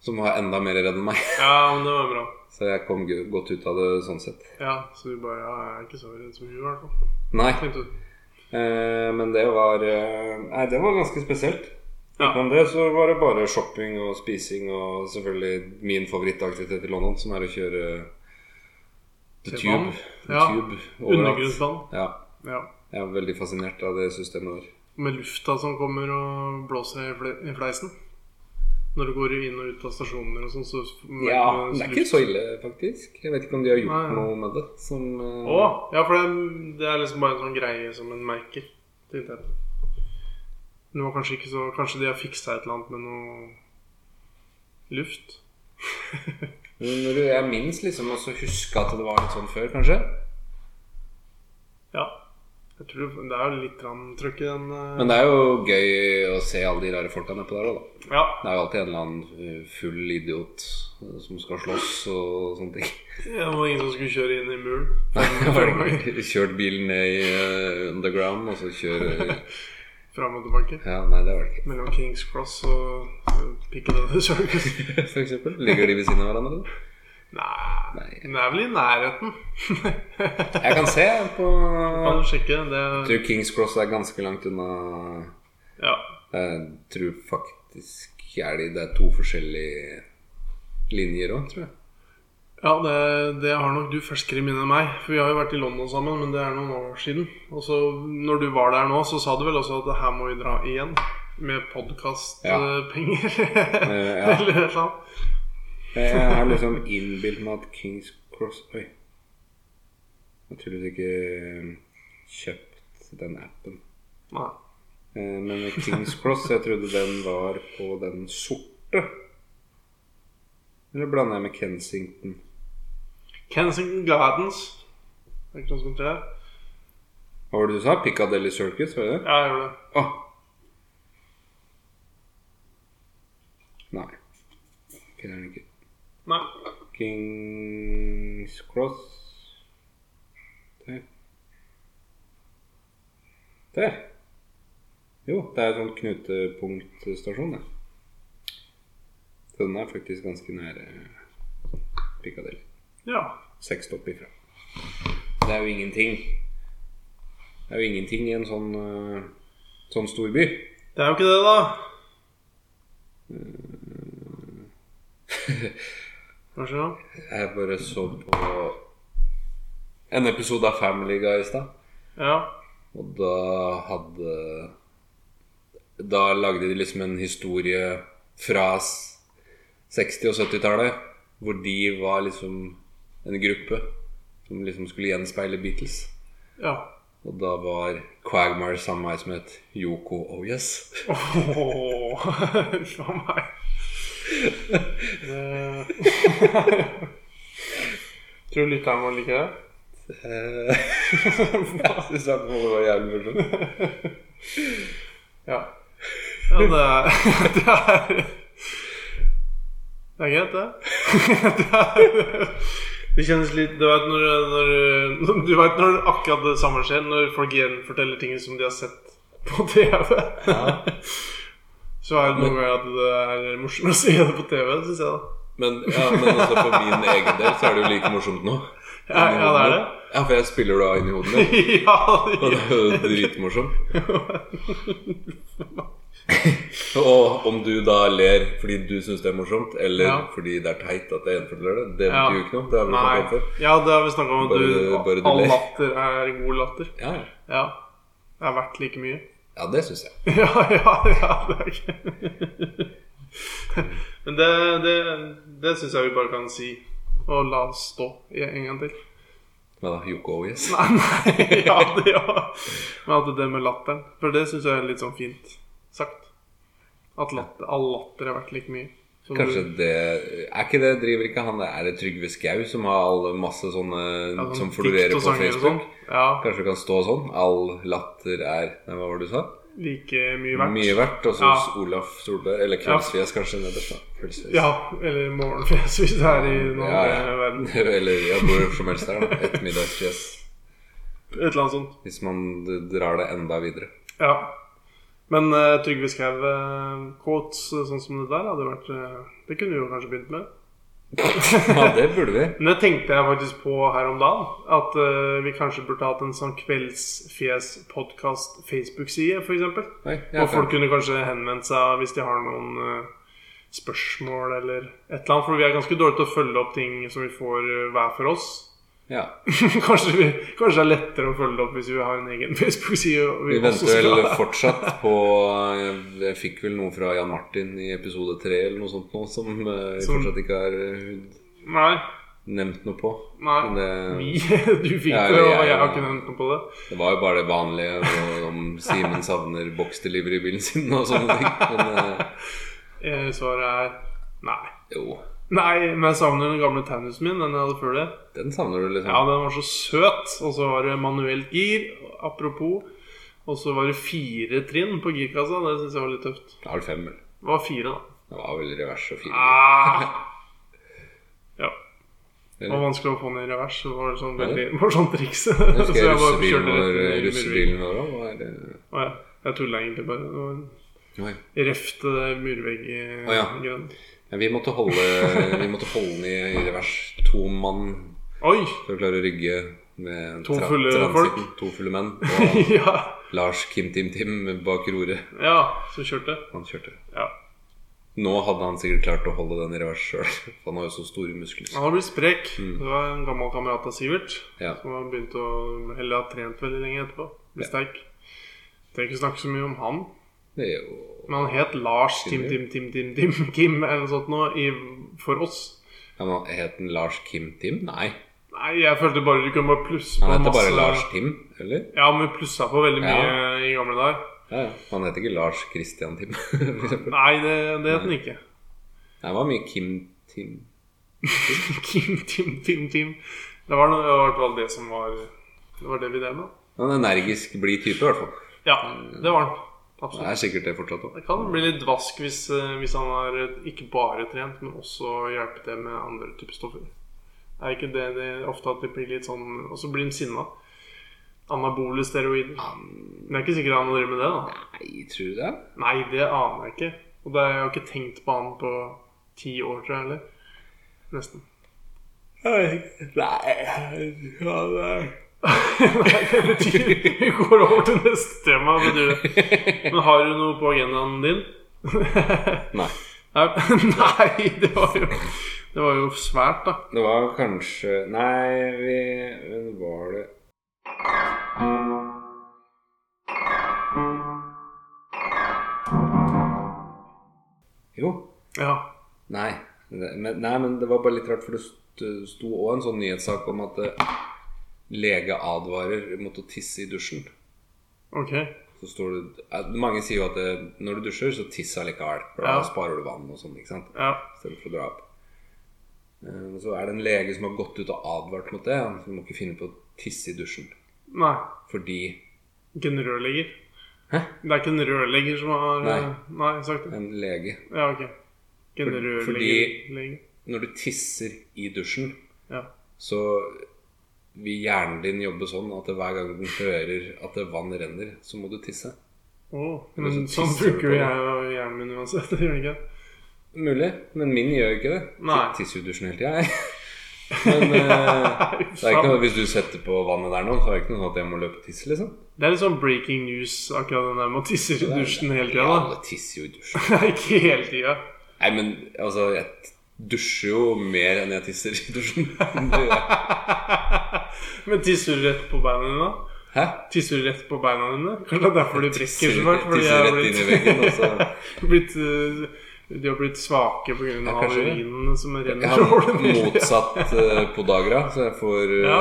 [SPEAKER 1] som var enda mer redd enn meg.
[SPEAKER 3] ja, men det var bra.
[SPEAKER 1] Så jeg kom gu- godt ut av det sånn sett.
[SPEAKER 3] Ja, Så du bare ja, jeg er ikke så redd som hun, i hvert fall.
[SPEAKER 1] Nei,
[SPEAKER 3] Tenkte du.
[SPEAKER 1] eh, men det var eh, Nei, det var ganske spesielt.
[SPEAKER 3] Ja.
[SPEAKER 1] Utenom det så var det bare shopping og spising og selvfølgelig min favorittaktivitet i London, som er å kjøre The
[SPEAKER 3] Til
[SPEAKER 1] Tube.
[SPEAKER 3] vann?
[SPEAKER 1] The
[SPEAKER 3] Ja.
[SPEAKER 1] tube overalt.
[SPEAKER 3] Undergrunnsvann.
[SPEAKER 1] Ja.
[SPEAKER 3] Ja.
[SPEAKER 1] Jeg er veldig fascinert av det systemet der.
[SPEAKER 3] Med lufta som kommer og blåser i fle- i fleisen. Når du går inn og ut av stasjoner og sånn, så
[SPEAKER 1] Ja, det er ikke så ille, faktisk. Jeg vet ikke om de har gjort
[SPEAKER 3] Nei.
[SPEAKER 1] noe med det. Som, eh,
[SPEAKER 3] Å! Ja, for det, det er liksom bare en sånn greie som en merker. Tenkte jeg. Men det var kanskje ikke så Kanskje de har fiksa et eller annet med noe luft?
[SPEAKER 1] men når du- Jeg minst liksom også huske at det var litt sånn før, kanskje.
[SPEAKER 3] Ja. Jeg tror det det er jo litt grann trøkk i den eh,
[SPEAKER 1] Men det er jo gøy å se alle de rare folka nedpå der òg, da.
[SPEAKER 3] Ja.
[SPEAKER 1] Det er jo alltid en eller annen eh, full idiot eh, som skal slåss og sånne ting.
[SPEAKER 3] Det var ingen som skulle kjøre inn i muren.
[SPEAKER 1] Kjørt bilen ned i eh, underground, og så kjøre
[SPEAKER 3] Fram og tilbake.
[SPEAKER 1] Ja, nei, det var det ikke.
[SPEAKER 3] Mellom Kings Cross og eh, Piccadilly Circus.
[SPEAKER 1] For eksempel. Ligger de ved siden av hverandre? da?
[SPEAKER 3] Nei
[SPEAKER 1] Nei.
[SPEAKER 3] Den er vel i nærheten.
[SPEAKER 1] Jeg kan se på
[SPEAKER 3] Kan
[SPEAKER 1] Jeg
[SPEAKER 3] du sjekke? Det
[SPEAKER 1] tror Kings Cross er ganske langt unna
[SPEAKER 3] ja.
[SPEAKER 1] Jeg tror faktisk er de Det er to forskjellige linjer òg, tror jeg.
[SPEAKER 3] ja, det, det har nok du ferskere i minne enn meg. For vi har jo vært i London sammen, men det er noen år siden. Og så når du var der nå, så sa du vel også at her må vi dra igjen. Med podkastpenger.
[SPEAKER 1] Eh, ja.
[SPEAKER 3] Eller et eller annet.
[SPEAKER 1] Jeg har liksom innbilt meg at Kings Cross Oi. Naturligvis ikke eh, kjøpt den appen.
[SPEAKER 3] Nei.
[SPEAKER 1] Eh, Men Kings Cross, jeg trodde den var på den sorte. Eller blander jeg med Kensington?
[SPEAKER 3] Kensington Gardens. Er det ikke noe som heter det?
[SPEAKER 1] Hva var det du sa? Piccadilly Circus, var det Ah. det?
[SPEAKER 3] Ja, jeg gjør det.
[SPEAKER 1] Åh. Nei. Finner den ikke.
[SPEAKER 3] Nei.
[SPEAKER 1] Kings Cross Der. Der. Jo, det er en sånn knutepunktstasjon, det. Så Den er faktisk ganske nære Piccadilly.
[SPEAKER 3] Ja.
[SPEAKER 1] Seks stopp ifra. Det er jo ingenting. Det er jo ingenting i en sånn, eh, sånn stor by.
[SPEAKER 3] Det er jo ikke det, da. Vær så god.
[SPEAKER 1] Jeg bare så på en episode av Family Guy i stad.
[SPEAKER 3] Ja.
[SPEAKER 1] Og da hadde Da lagde de liksom en historie fra s- 60- og 70-tallet, hvor de var liksom en gruppe som liksom skulle gjenspeile Beatles.
[SPEAKER 3] Ja.
[SPEAKER 1] Og da var Quagmire sammen med ei som het Yoko Oh Yes.
[SPEAKER 3] Åh, Huff a meg. Det... Tror du lytteren vår liker det?
[SPEAKER 1] Eh, jeg syns det var jævlig morsomt.
[SPEAKER 3] Ja. ja det, er, det er Det er greit, det. Det, er, det kjennes litt Du vet når, når, du vet når akkurat det samme skjer, når folk gjenforteller ting som de har sett på TV.
[SPEAKER 1] Ja.
[SPEAKER 3] Så er det noen ganger at det er morsomt å se det på TV, syns jeg. da
[SPEAKER 1] Men, ja, men altså, for min egen del så er det jo like morsomt nå.
[SPEAKER 3] Ja, ja, det er det.
[SPEAKER 1] Ja, for jeg spiller det av inni hodet mitt.
[SPEAKER 3] ja, det
[SPEAKER 1] Og det er jo dritmorsomt. Og om du da ler fordi du syns det er morsomt, eller
[SPEAKER 3] Ja.
[SPEAKER 1] fordi det er teit at jeg gjenforteller det, det
[SPEAKER 3] Ja.
[SPEAKER 1] betyr jo ikke noe. Det har vi snakket om
[SPEAKER 3] Nei.
[SPEAKER 1] før.
[SPEAKER 3] Ja, det har vi snakka om. At
[SPEAKER 1] Bare-
[SPEAKER 3] du,
[SPEAKER 1] bare du
[SPEAKER 3] all
[SPEAKER 1] ler.
[SPEAKER 3] latter er god latter.
[SPEAKER 1] Ja,
[SPEAKER 3] Ja. Det er verdt like mye.
[SPEAKER 1] ja det syns jeg.
[SPEAKER 3] ja, ja, ja. Det er ikke Men det, det, det syns jeg vi bare kan si. Og la oss stå i en gang til.
[SPEAKER 1] Men da, Yoko Yes.
[SPEAKER 3] Nei, nei, ja, det, ja. Men at det med latteren For det syns jeg er litt sånn fint sagt. At latter, all latter er verdt like mye. Så du-
[SPEAKER 1] Kanskje det Er ikke det driver ikke han Er det Trygve Skau som har alle masse sånne
[SPEAKER 3] ja, sånn
[SPEAKER 1] som
[SPEAKER 3] dikt
[SPEAKER 1] florerer
[SPEAKER 3] og
[SPEAKER 1] på
[SPEAKER 3] sanger og
[SPEAKER 1] Facebook?
[SPEAKER 3] sånn. Ja.
[SPEAKER 1] Kanskje det kan stå sånn? All latter er Nei, hva var det du sa?
[SPEAKER 3] like mye verdt.
[SPEAKER 1] Mye verdt. Og så
[SPEAKER 3] Ja.
[SPEAKER 1] hos Olaf Solberg. Eller Kveldsfjes, kanskje. nederst da. Kveldsfjes.
[SPEAKER 3] Ja, eller morgenfjes hvis det er i den
[SPEAKER 1] Ja,
[SPEAKER 3] andre
[SPEAKER 1] ja.
[SPEAKER 3] verden.
[SPEAKER 1] Eller ja, hvor som helst der. da Ettermiddagsfjes.
[SPEAKER 3] Et eller annet sånt.
[SPEAKER 1] Hvis man drar det enda videre.
[SPEAKER 3] Ja. Men eh, Trygve Skau uh, quotes eh, sånn som det der hadde vært eh, Det kunne vi jo kanskje begynt med.
[SPEAKER 1] Ja, det burde vi.
[SPEAKER 3] Men det tenkte jeg faktisk på her om dagen. At eh, vi kanskje burde hatt en sånn Kveldsfjes-podkast Facebook-side, f.eks.
[SPEAKER 1] Oi, jeg
[SPEAKER 3] Og folk kunne kanskje henvendt seg hvis de har noen eh, spørsmål eller et eller annet. For vi er ganske dårlige til å følge opp ting som vi får eh, hver for oss.
[SPEAKER 1] ja.
[SPEAKER 3] kanskje, vi, kanskje det er lettere å følge det opp hvis vi har en egen Facebook-side. og
[SPEAKER 1] Vi
[SPEAKER 3] også
[SPEAKER 1] venter
[SPEAKER 3] skal
[SPEAKER 1] vel
[SPEAKER 3] ha-
[SPEAKER 1] fortsatt på eh, Jeg fikk vel noe fra Jan Martin i episode tre eller noe sånt nå, som eh, vi
[SPEAKER 3] Som-
[SPEAKER 1] fortsatt ikke har eh,
[SPEAKER 3] Nei.
[SPEAKER 1] nevnt noe på.
[SPEAKER 3] nei.
[SPEAKER 1] Men eh, det,
[SPEAKER 3] Vi, du fikk
[SPEAKER 1] Ja, vi
[SPEAKER 3] det, og
[SPEAKER 1] er-
[SPEAKER 3] jeg har ikke nevnt noe på det.
[SPEAKER 1] det var jo bare det vanlige og om Simen savner boksdeliver i bilen sin og sånne ting. Men eh,
[SPEAKER 3] Eh, Svaret er nei.
[SPEAKER 1] jo,
[SPEAKER 3] Nei, men jeg savner den gamle taunusen min. Den jeg hadde før det.
[SPEAKER 1] den savner du, liksom.
[SPEAKER 3] Ja, den var så søt. Og så var det manuelt gir. Apropos. Og så var det fire trinn på girkassa. Det syns jeg var litt tøft.
[SPEAKER 1] Da har du fem, vel.
[SPEAKER 3] Det var fire, da.
[SPEAKER 1] Det var vel revers og fire.
[SPEAKER 3] Ah! Ja. Det var
[SPEAKER 1] Eller?
[SPEAKER 3] vanskelig å få den i revers. Det var sånn
[SPEAKER 1] Ja, det.
[SPEAKER 3] veldig morsomt triks. Så
[SPEAKER 1] Jeg husker jeg
[SPEAKER 3] bare
[SPEAKER 1] russebilen
[SPEAKER 3] kjørte
[SPEAKER 1] vår,
[SPEAKER 3] rett inn i murveggen.
[SPEAKER 1] russebilen vår også var eh,
[SPEAKER 3] Å, ja. Jeg tulla egentlig bare. Det var en
[SPEAKER 1] Oi.
[SPEAKER 3] Reft det der murvegg-
[SPEAKER 1] Å, ja.
[SPEAKER 3] grønn.
[SPEAKER 1] Ja, vi måtte holde, vi måtte holde den i, i revers. To mann
[SPEAKER 3] Oi!
[SPEAKER 1] for å klare å rygge med
[SPEAKER 3] To
[SPEAKER 1] tra-
[SPEAKER 3] fulle
[SPEAKER 1] transiten.
[SPEAKER 3] folk.
[SPEAKER 1] To fulle menn. Og
[SPEAKER 3] ja.
[SPEAKER 1] Lars Kim Tim Tim bak roret.
[SPEAKER 3] ja, så kjørte jeg.
[SPEAKER 1] Han kjørte.
[SPEAKER 3] Ja.
[SPEAKER 1] Nå hadde han sikkert klart å holde den i revers sjøl. Han har jo så store muskler.
[SPEAKER 3] Han har blitt sprek. Det var en gammel kamerat av Sivert
[SPEAKER 1] Mm. Ja.
[SPEAKER 3] som har begynt å Eller har trent veldig lenge etterpå. Blitt sterk. Trenger ikke snakke så mye om han.
[SPEAKER 1] Det er jo
[SPEAKER 3] Men han het Lars Tim Tim
[SPEAKER 1] Sivert.
[SPEAKER 3] Tim Tim Tim Kim eller noe sånt nå, i, for oss.
[SPEAKER 1] ja, men Het han Lars Kim Tim? Nei.
[SPEAKER 3] Nei, jeg følte bare du kunne bare plusse på
[SPEAKER 1] Han heter bare
[SPEAKER 3] masse-
[SPEAKER 1] Lars Tim, eller?
[SPEAKER 3] Ja, men vi plussa på veldig
[SPEAKER 1] Ja.
[SPEAKER 3] mye i gamle dager.
[SPEAKER 1] Ja, ja. Han heter ikke Lars Christian Tim. for eksempel.
[SPEAKER 3] Nei, det, det het den ikke.
[SPEAKER 1] Nei, Det var mye Kim Tim.
[SPEAKER 3] Kim Tim Tim Tim. Det var noe, det var i hvert fall det som var Det var det vi drev med.
[SPEAKER 1] En energisk blid type, i hvert fall.
[SPEAKER 3] Ja, det var han. Absolutt.
[SPEAKER 1] Det er sikkert det fortsatt òg.
[SPEAKER 3] Det kan bli litt vask hvis, eh, hvis han har eh, ikke bare trent, men også hjulpet til med andre typer stoffer. Er ikke det, det ofte at det blir litt sånn Og så blir han sinna. Anabole steroider. Men det er ikke sikkert han driver med det, da.
[SPEAKER 1] Nei, tror du det?
[SPEAKER 3] Nei, det aner jeg ikke. Og det har jeg jo ikke tenkt på han på ti år, tror jeg heller. Nesten.
[SPEAKER 1] Nei ja,
[SPEAKER 3] Nei, det betyr Vi går over til neste tema. Men, du,
[SPEAKER 1] det-
[SPEAKER 3] men har du noe på agendaen din?
[SPEAKER 1] Nei.
[SPEAKER 3] Nei, Nei, det var jo Det var jo svært, da.
[SPEAKER 1] Det var kanskje Nei, vi men Var det Jo.
[SPEAKER 3] Ja.
[SPEAKER 1] Nei. Det- Men, nei, men det var bare litt rart, for det st- sto òg en sånn nyhetssak om at eh, lege advarer mot å tisse i dusjen.
[SPEAKER 3] Ok.
[SPEAKER 1] Så står det eh, Mange sier jo at eh, når du dusjer, så tiss allikevel. For da
[SPEAKER 3] Ja.
[SPEAKER 1] sparer du vann og sånn, ikke sant?
[SPEAKER 3] Ja.
[SPEAKER 1] i stedet for å dra opp. Eh, Så er det en lege som har gått ut og advart mot det. Han må ikke finne på å tisse i dusjen.
[SPEAKER 3] Nei.
[SPEAKER 1] Fordi
[SPEAKER 3] Ikke en rørlegger.
[SPEAKER 1] Hæ?
[SPEAKER 3] Det er ikke en rørlegger som har eh,
[SPEAKER 1] Nei.
[SPEAKER 3] Nei sagt det.
[SPEAKER 1] en lege
[SPEAKER 3] Ja, ok. Ikke en
[SPEAKER 1] For-
[SPEAKER 3] rørlegger.
[SPEAKER 1] fordi-
[SPEAKER 3] lege.
[SPEAKER 1] Når du tisser i dusjen,
[SPEAKER 3] Ja.
[SPEAKER 1] så vil hjernen din jobbe sånn at hver gang den hører at det vann renner, så må du tisse.
[SPEAKER 3] Å,
[SPEAKER 1] Eller
[SPEAKER 3] men
[SPEAKER 1] så
[SPEAKER 3] sånn
[SPEAKER 1] tisser du
[SPEAKER 3] bruker
[SPEAKER 1] på
[SPEAKER 3] jo
[SPEAKER 1] det.
[SPEAKER 3] jeg og hjernen min uansett. Gjør den ikke det?
[SPEAKER 1] Mulig, men min gjør ikke det.
[SPEAKER 3] Nei.
[SPEAKER 1] Jeg Tisser jo i dusjen hele tida, jeg. Men eh, det er ikke noe, hvis du setter på vannet der nå, så er det ikke noe sånn at jeg må løpe og tisse, liksom.
[SPEAKER 3] Det er litt sånn breaking news, akkurat den der med å tisse i dusjen hele tida. da.
[SPEAKER 1] Alle tisser jo i dusjen.
[SPEAKER 3] Nei, ikke hele tida.
[SPEAKER 1] Nei, men altså Jeg dusjer jo mer enn jeg tisser i dusjen. Det gjør jeg.
[SPEAKER 3] Men tisser du rett på beina dine? da?
[SPEAKER 1] Hæ?
[SPEAKER 3] Tisser du rett på beina dine? Kanskje det er derfor du brekker så
[SPEAKER 1] Tisser,
[SPEAKER 3] fælt? fordi
[SPEAKER 1] tisser
[SPEAKER 3] jeg har
[SPEAKER 1] rett inn i
[SPEAKER 3] blitt-
[SPEAKER 1] veggen. Og så
[SPEAKER 3] blitt, eh, de har blitt svake pga.
[SPEAKER 1] Ja,
[SPEAKER 3] Ja,
[SPEAKER 1] kanskje det.
[SPEAKER 3] urinene som
[SPEAKER 1] jeg
[SPEAKER 3] renner
[SPEAKER 1] har
[SPEAKER 3] over det bildet.
[SPEAKER 1] motsatt eh, på dagra, så jeg får eh,
[SPEAKER 3] Ja.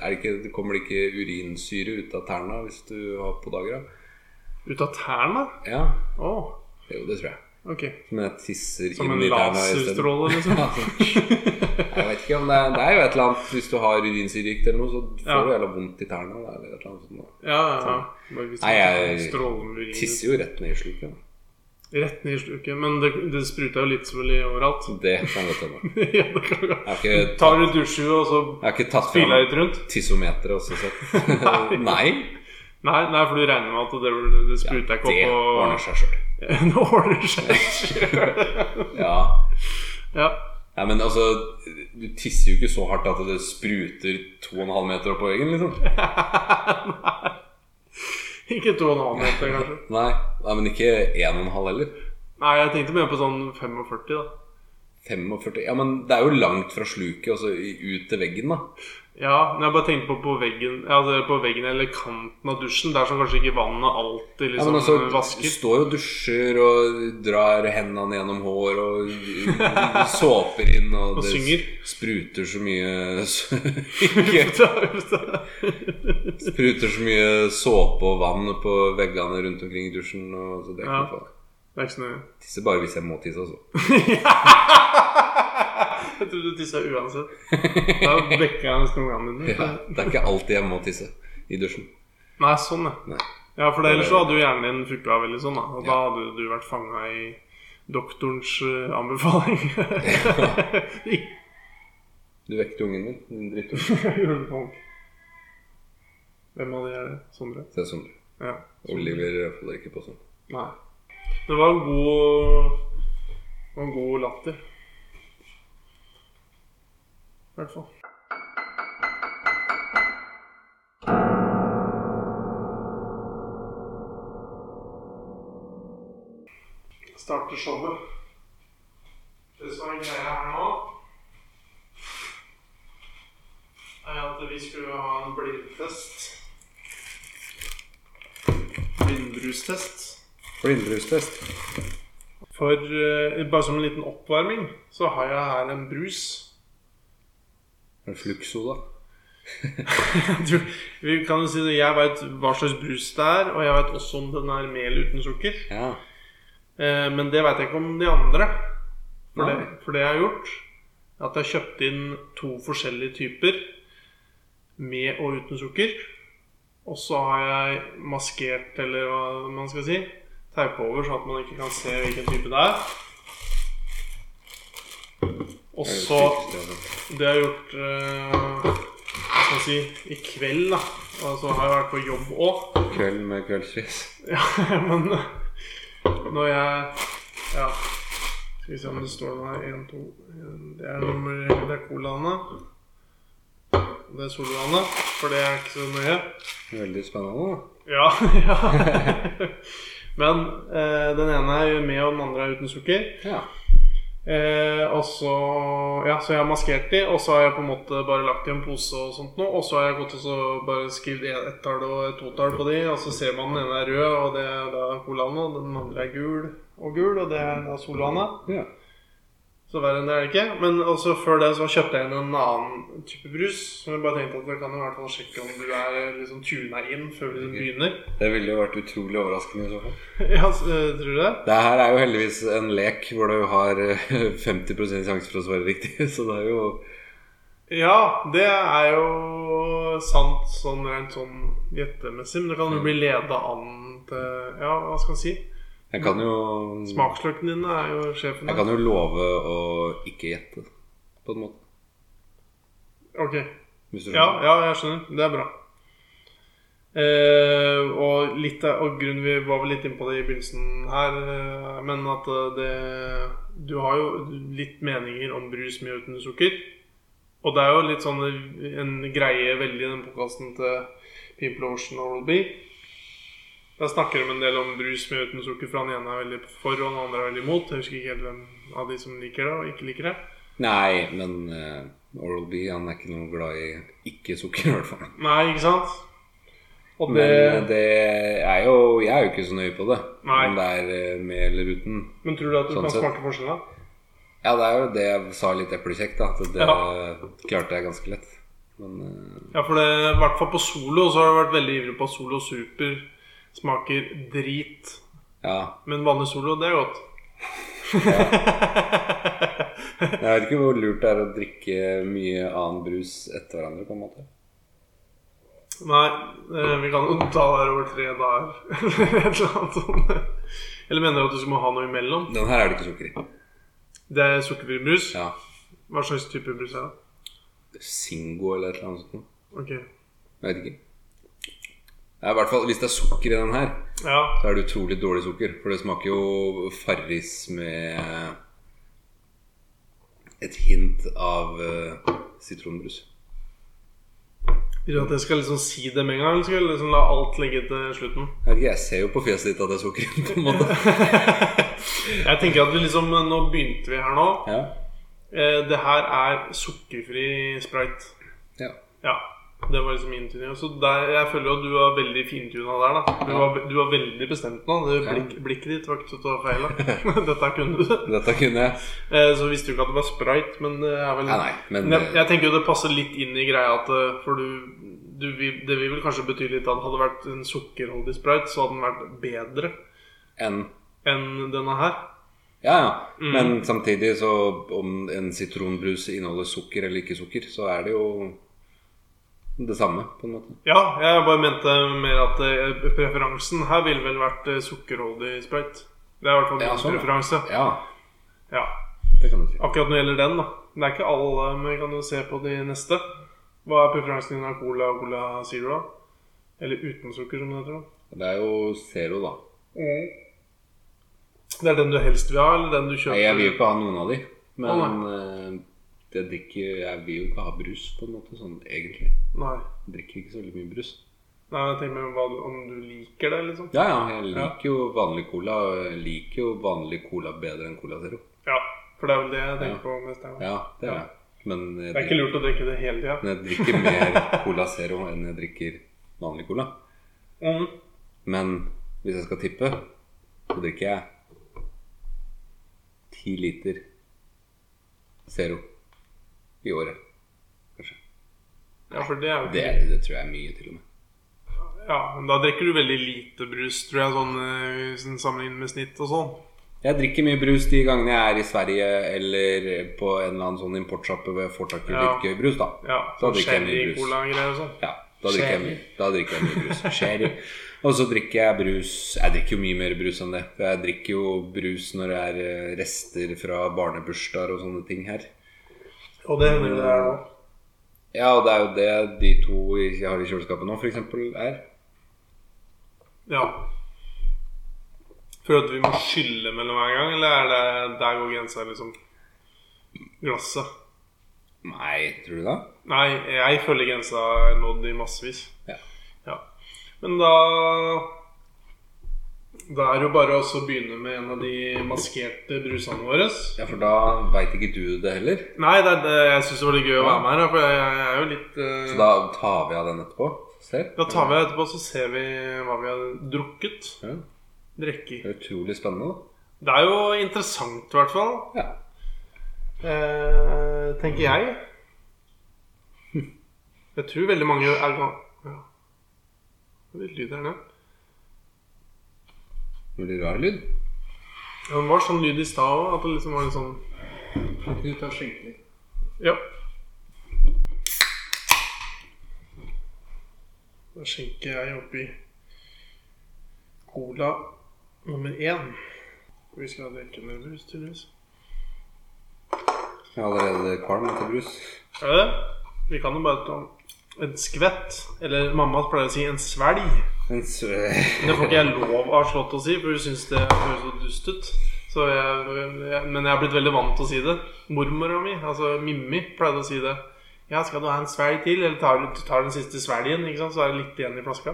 [SPEAKER 1] er det ikke, det Kommer det ikke urinsyre ut av tærne hvis du har på dagra?
[SPEAKER 3] Ut av tærne?
[SPEAKER 1] Ja.
[SPEAKER 3] Å,
[SPEAKER 1] Jo, det tror jeg.
[SPEAKER 3] Ok.
[SPEAKER 1] Som jeg tisser
[SPEAKER 3] Som
[SPEAKER 1] inn
[SPEAKER 3] en
[SPEAKER 1] i tærne isteden.
[SPEAKER 3] laserstråle, liksom?
[SPEAKER 1] Jeg vet ikke om det er, det er jo et eller annet Hvis du har urinsyrikt eller noe, så får
[SPEAKER 3] Ja.
[SPEAKER 1] du jævla vondt i tærne. Eller et eller annet sånt. noe.
[SPEAKER 3] Ja, ja. ja. Bare hvis
[SPEAKER 1] Nei, jeg
[SPEAKER 3] det er strålende urin.
[SPEAKER 1] Tisser jo rett ned Sånn, i sluket.
[SPEAKER 3] Rett ned i sluket. Men det, det spruta jo litt selvfølgelig overalt.
[SPEAKER 1] Så det kan godt hende.
[SPEAKER 3] ja, det kan gå.
[SPEAKER 1] Jeg har ikke,
[SPEAKER 3] Tar du dusjer, og så
[SPEAKER 1] jeg har ikke tatt
[SPEAKER 3] fyller jeg
[SPEAKER 1] fram
[SPEAKER 3] litt rundt?
[SPEAKER 1] tissometeret også, så Nei.
[SPEAKER 3] Nei, nei, for du regner med at det, det spruta ikke
[SPEAKER 1] Det ordner
[SPEAKER 3] opp
[SPEAKER 1] seg sjøl.
[SPEAKER 3] og Det ordner seg sjøl.
[SPEAKER 1] Ja.
[SPEAKER 3] ja.
[SPEAKER 1] Nei, men altså, du tisser jo ikke så hardt at det spruter 2,5 meter opp på veggen, liksom.
[SPEAKER 3] nei. Ikke to og en halv meter, kanskje.
[SPEAKER 1] Nei, nei men ikke 1,5 heller.
[SPEAKER 3] Nei, jeg tenkte mer på sånn 45, da.
[SPEAKER 1] 45 Ja, men det er jo langt fra sluket og så i- ut til veggen, da.
[SPEAKER 3] Ja, men jeg bare tenkte på på veggen ja, altså på veggen eller kanten av dusjen. Der som kanskje ikke vannet alltid
[SPEAKER 1] Ja,
[SPEAKER 3] liksom
[SPEAKER 1] men altså, du
[SPEAKER 3] vasker.
[SPEAKER 1] står og dusjer og drar hendene gjennom hår og såper inn, og,
[SPEAKER 3] Og
[SPEAKER 1] det
[SPEAKER 3] synger.
[SPEAKER 1] spruter så mye Ikke spruter så mye såpe og vann på veggene rundt omkring i dusjen, og så det er ikke
[SPEAKER 3] Ja.
[SPEAKER 1] noe farlig.
[SPEAKER 3] Det er ikke så nøye.
[SPEAKER 1] Tisser bare hvis jeg må tisse, altså.
[SPEAKER 3] Jeg trodde du tissa uansett. Da vekker jeg nesten ungene dine.
[SPEAKER 1] Ja, det er ikke alltid jeg må tisse i dusjen.
[SPEAKER 3] Nei, sånn, ja.
[SPEAKER 1] Nei.
[SPEAKER 3] Ja, for det, ellers så hadde jo hjernen din fukla veldig sånn, da. Og da hadde du vært fanga i doktorens eh, anbefaling. Ikke
[SPEAKER 1] Du vekket ungen min, din drittunge.
[SPEAKER 3] julekonk. Hvem av de er det? Sondre?
[SPEAKER 1] Se sånn.
[SPEAKER 3] Ja.
[SPEAKER 1] Oliver holder ikke på sånn.
[SPEAKER 3] Nei. Det var en god det var en god latter. I hvert fall. Starter showet. Det som er greia her nå, er at vi skulle ha en blindtest. Blindbrustest.
[SPEAKER 1] Blindbrustest.
[SPEAKER 3] For eh, bare som en liten oppvarming, så har jeg her en brus.
[SPEAKER 1] Er det Fluxo, da?
[SPEAKER 3] du, vi kan jo si det, Jeg veit hva slags brus det er, og jeg veit også om den er mel uten sukker.
[SPEAKER 1] Ja.
[SPEAKER 3] Eh, men det veit jeg ikke om de andre. For
[SPEAKER 1] Nei.
[SPEAKER 3] det, for det jeg har gjort, er at jeg har kjøpt inn to forskjellige typer med og uten sukker. Og så har jeg maskert, eller hva man skal si, teipet over, sånn at man ikke kan se hvilken type det er. Og
[SPEAKER 1] Er det
[SPEAKER 3] så
[SPEAKER 1] Fluxo,
[SPEAKER 3] Det har jeg gjort eh, Hva skal jeg si i kveld, da. Og så har jeg vært på jobb òg.
[SPEAKER 1] ja. Kveld med kveldsfis.
[SPEAKER 3] Ja, men eh, når jeg Ja. Skal vi se om det står noe her. Én, to en- Det er nummer Det er colaene. Og det er solvannet, for det er ikke så nøye.
[SPEAKER 1] Veldig spennende, da.
[SPEAKER 3] Ja. ja. Men eh, den ene er jo med, og den andre er uten sukker.
[SPEAKER 1] Ja.
[SPEAKER 3] Eh, og så Ja, så jeg har maskert de, og så har jeg på en måte bare lagt i en pose og sånt nå. Og så har jeg gått og så bare skrevet en- ett tall og et totall på de, og så ser man den ene er rød, og det er da colaen, og den andre er gul og gul, og det er da solvannet.
[SPEAKER 1] ja.
[SPEAKER 3] Så verre enn det er det ikke. Men også før det så kjøpte jeg inn en annen type brus. Som jeg bare tenkte at vi kan i hvert fall sjekke om du er liksom tuna inn før vi begynner.
[SPEAKER 1] Det ville jo vært utrolig overraskende i så fall.
[SPEAKER 3] Ja, s- eh, tror du det?
[SPEAKER 1] Det her er jo heldigvis en lek hvor du har eh, 50 sjanse for å svare riktig, så det er jo
[SPEAKER 3] Ja, det er jo sant sånn rent sånn gjettemessig. Men det kan jo bli leda an til Ja, hva skal en si?
[SPEAKER 1] Jeg kan jo
[SPEAKER 3] Smaksløkene dine er jo sjefen
[SPEAKER 1] Jeg
[SPEAKER 3] her.
[SPEAKER 1] kan jo love å ikke gjette, på en måte.
[SPEAKER 3] Ok.
[SPEAKER 1] Hvis du
[SPEAKER 3] Ja,
[SPEAKER 1] skjønner.
[SPEAKER 3] ja, jeg skjønner. Det er bra. Eh, og litt av og grunnen Vi var vel litt inne på det i begynnelsen her, eh, men at eh, det Du har jo litt meninger om brus med og uten sukker. Og det er jo litt sånn en greie veldig i den podkasten til People Ocean Oral B. Der snakker de en del om brus med og uten sukker, for han ene er veldig for, og den andre er veldig imot. Jeg husker ikke helt hvem av de som liker det, og ikke liker det.
[SPEAKER 1] Nei, men eh, Oral-B han er ikke noe glad i ikke-sukker, i hvert fall.
[SPEAKER 3] Nei, ikke sant? Og
[SPEAKER 1] Men
[SPEAKER 3] det,
[SPEAKER 1] eh, det er jo Jeg er jo ikke så nøye på det.
[SPEAKER 3] Nei.
[SPEAKER 1] Om det er eh, med eller uten.
[SPEAKER 3] Men tror du at du
[SPEAKER 1] Sånn
[SPEAKER 3] kan
[SPEAKER 1] sett.
[SPEAKER 3] smake forskjell, da?
[SPEAKER 1] Ja, det er jo det jeg sa litt eplekjekt, da. At det
[SPEAKER 3] Ja.
[SPEAKER 1] klarte jeg ganske lett. Men eh,
[SPEAKER 3] Ja, for det, i hvert fall på Solo så har du vært veldig ivrig på at Solo Super smaker drit.
[SPEAKER 1] ja.
[SPEAKER 3] Men vanlig Solo, det er godt.
[SPEAKER 1] Jeg vet ikke hvor lurt det er å drikke mye annen brus etter hverandre, på en måte.
[SPEAKER 3] Nei, eh, vi kan jo ta det her over tre dager eller et eller annet sånt. Eller mener du at du skal må ha noe imellom?
[SPEAKER 1] Den her er det ikke sukker i.
[SPEAKER 3] Det er sukkerfri brus.
[SPEAKER 1] Ja.
[SPEAKER 3] Hva slags type brus er det?
[SPEAKER 1] Singo eller et eller annet sånt. noe.
[SPEAKER 3] Ok,
[SPEAKER 1] Jeg vet ikke. Det er i hvert fall, Hvis det er sukker i den her,
[SPEAKER 3] ja
[SPEAKER 1] så er det utrolig dårlig sukker. For det smaker jo Farris med et hint av eh, sitronbrus.
[SPEAKER 3] Vil du at jeg skal liksom si det med en gang, eller skal jeg liksom la alt ligge til slutten?
[SPEAKER 1] Jeg vet ikke, jeg ser jo på fjeset ditt at det er sukker i, på en måte.
[SPEAKER 3] Jeg tenker at vi liksom, Nå begynte vi her nå.
[SPEAKER 1] Ja.
[SPEAKER 3] Eh, det her er sukkerfri sprite.
[SPEAKER 1] ja.
[SPEAKER 3] Ja. Det var liksom min tuning. Så der, jeg føler jo at du var veldig fintuna der. da Du var, du var veldig bestemt nå. Det blikk, blikket ditt var ikke til å ta feil av. Dette kunne du.
[SPEAKER 1] Dette kunne jeg.
[SPEAKER 3] Eh, så visste du ikke at det var sprite, men det er vel
[SPEAKER 1] Nei, nei, men eh,
[SPEAKER 3] jeg, jeg tenker jo det passer litt inn i greia at eh, For du, du vil- Det vil vel kanskje bety litt at hadde det vært en sukkerholdig sprite, så hadde den vært bedre.
[SPEAKER 1] en
[SPEAKER 3] enn denne her.
[SPEAKER 1] Ja, ja.
[SPEAKER 3] Mm.
[SPEAKER 1] Men samtidig, så om en sitronbrus inneholder sukker eller ikke sukker, så er det jo det samme, på en måte.
[SPEAKER 3] Ja, jeg bare mente mer at eh, preferansen her ville vel vært eh, sukkerholdig sprøyt. Det er i hvert fall min
[SPEAKER 1] Ja, sånn, ja.
[SPEAKER 3] preferanse.
[SPEAKER 1] Ja,
[SPEAKER 3] Ja.
[SPEAKER 1] det kan du si.
[SPEAKER 3] Akkurat når det gjelder den, da. Det er ikke alle, eh, men vi kan jo se på de neste. Hva er preferansen din av cola og cola zero? da? Eller uten sukker, som det heter. da.
[SPEAKER 1] Det er jo zero, da. Mm.
[SPEAKER 3] Det er den du helst vil ha, eller den du kjøper?
[SPEAKER 1] Nei, jeg vil jo ikke ha noen av de. Men
[SPEAKER 3] Å,
[SPEAKER 1] eh, jeg, drikker, jeg vil jo ikke ha brus, på en måte, sånn egentlig.
[SPEAKER 3] Nei.
[SPEAKER 1] Jeg drikker ikke så veldig mye brus.
[SPEAKER 3] Nei, men jeg tenker mer om hva du- om du liker det, liksom.
[SPEAKER 1] Ja, ja, jeg liker jo vanlig cola. og Jeg liker jo vanlig cola bedre enn cola zero.
[SPEAKER 3] Ja, for det er vel det jeg tenker på mest. Ja.
[SPEAKER 1] Ja, det er jeg. Men jeg
[SPEAKER 3] Det er ikke
[SPEAKER 1] drikker,
[SPEAKER 3] lurt å drikke det hele tida.
[SPEAKER 1] men jeg drikker mer cola zero enn jeg drikker vanlig cola.
[SPEAKER 3] Mm.
[SPEAKER 1] Men hvis jeg skal tippe, så drikker jeg ti liter Zero i året.
[SPEAKER 3] Ja, for det er jo ikke
[SPEAKER 1] Det, det tror jeg er mye, til og med.
[SPEAKER 3] Ja, men da drikker du veldig lite brus, tror jeg, sånn eh, sånn sammenlignet med snitt og sånn.
[SPEAKER 1] Jeg drikker mye brus de gangene jeg er i Sverige eller på en eller annen sånn importsjappe hvor jeg får tak i
[SPEAKER 3] Ja.
[SPEAKER 1] litt gøy brus, da.
[SPEAKER 3] Ja,
[SPEAKER 1] Da
[SPEAKER 3] sånn
[SPEAKER 1] drikker jeg mye brus.
[SPEAKER 3] Sherry-cola-greier og sånn.
[SPEAKER 1] Ja, da drikker, jeg mye, da drikker jeg mye brus. Sherry. Og så drikker jeg brus Jeg drikker jo mye mer brus enn det. For jeg drikker jo brus når det er eh, rester fra barnebursdager og sånne ting her.
[SPEAKER 3] Og det hender jo det er nå.
[SPEAKER 1] Ja, og det er jo det de to jeg har i kjøleskapet nå, f.eks. er.
[SPEAKER 3] Ja. Føler du at vi må skylle mellom hver gang, eller er det der går grensa, liksom? Glasset.
[SPEAKER 1] Nei, tror du det?
[SPEAKER 3] Nei, jeg føler grensa er nådd i massevis.
[SPEAKER 1] Ja.
[SPEAKER 3] ja. Men da Da er det jo bare å også begynne med en av de maskerte brusene våre.
[SPEAKER 1] Ja, for da veit ikke du det heller.
[SPEAKER 3] Nei, det, er- det, jeg syns det var litt gøy å være med her, da, for jeg, jeg er jo litt eh,
[SPEAKER 1] Så
[SPEAKER 3] da,
[SPEAKER 1] da tar vi av den etterpå. Ser.
[SPEAKER 3] tar vi etterpå, så ser vi hva vi har drukket.
[SPEAKER 1] Ja,
[SPEAKER 3] Drikke.
[SPEAKER 1] det er utrolig spennende,
[SPEAKER 3] Det er jo interessant, i hvert fall.
[SPEAKER 1] da. Ja.
[SPEAKER 3] Eh, tenker jeg. Jeg tror veldig mange er ga- ja. Det er litt lyd her nede.
[SPEAKER 1] Veldig rar lyd.
[SPEAKER 3] Ja, det var sånn lyd i stad òg, at det liksom var litt sånn
[SPEAKER 1] Du tar skikkelig.
[SPEAKER 3] Ja. Da skjenker jeg oppi cola nummer én. Vi skal drikke mer brus, tydeligvis.
[SPEAKER 1] Jeg er allerede kvalm etter brus.
[SPEAKER 3] Er det det? Vi kan jo bare ta en skvett. Eller mamma pleier å si en svelg.
[SPEAKER 1] Men så eh,
[SPEAKER 3] Men det får ikke jeg lov av Slått å si, for hun syns det høres så dust ut. Så jeg, jeg, men jeg er blitt veldig vant til å si det. Mormora mi, altså Mimmi, pleide å si det. Ja, skal du ha en svelg til, eller tar du tar den siste svelgen, ikke sant? så er det litt igjen i flaska?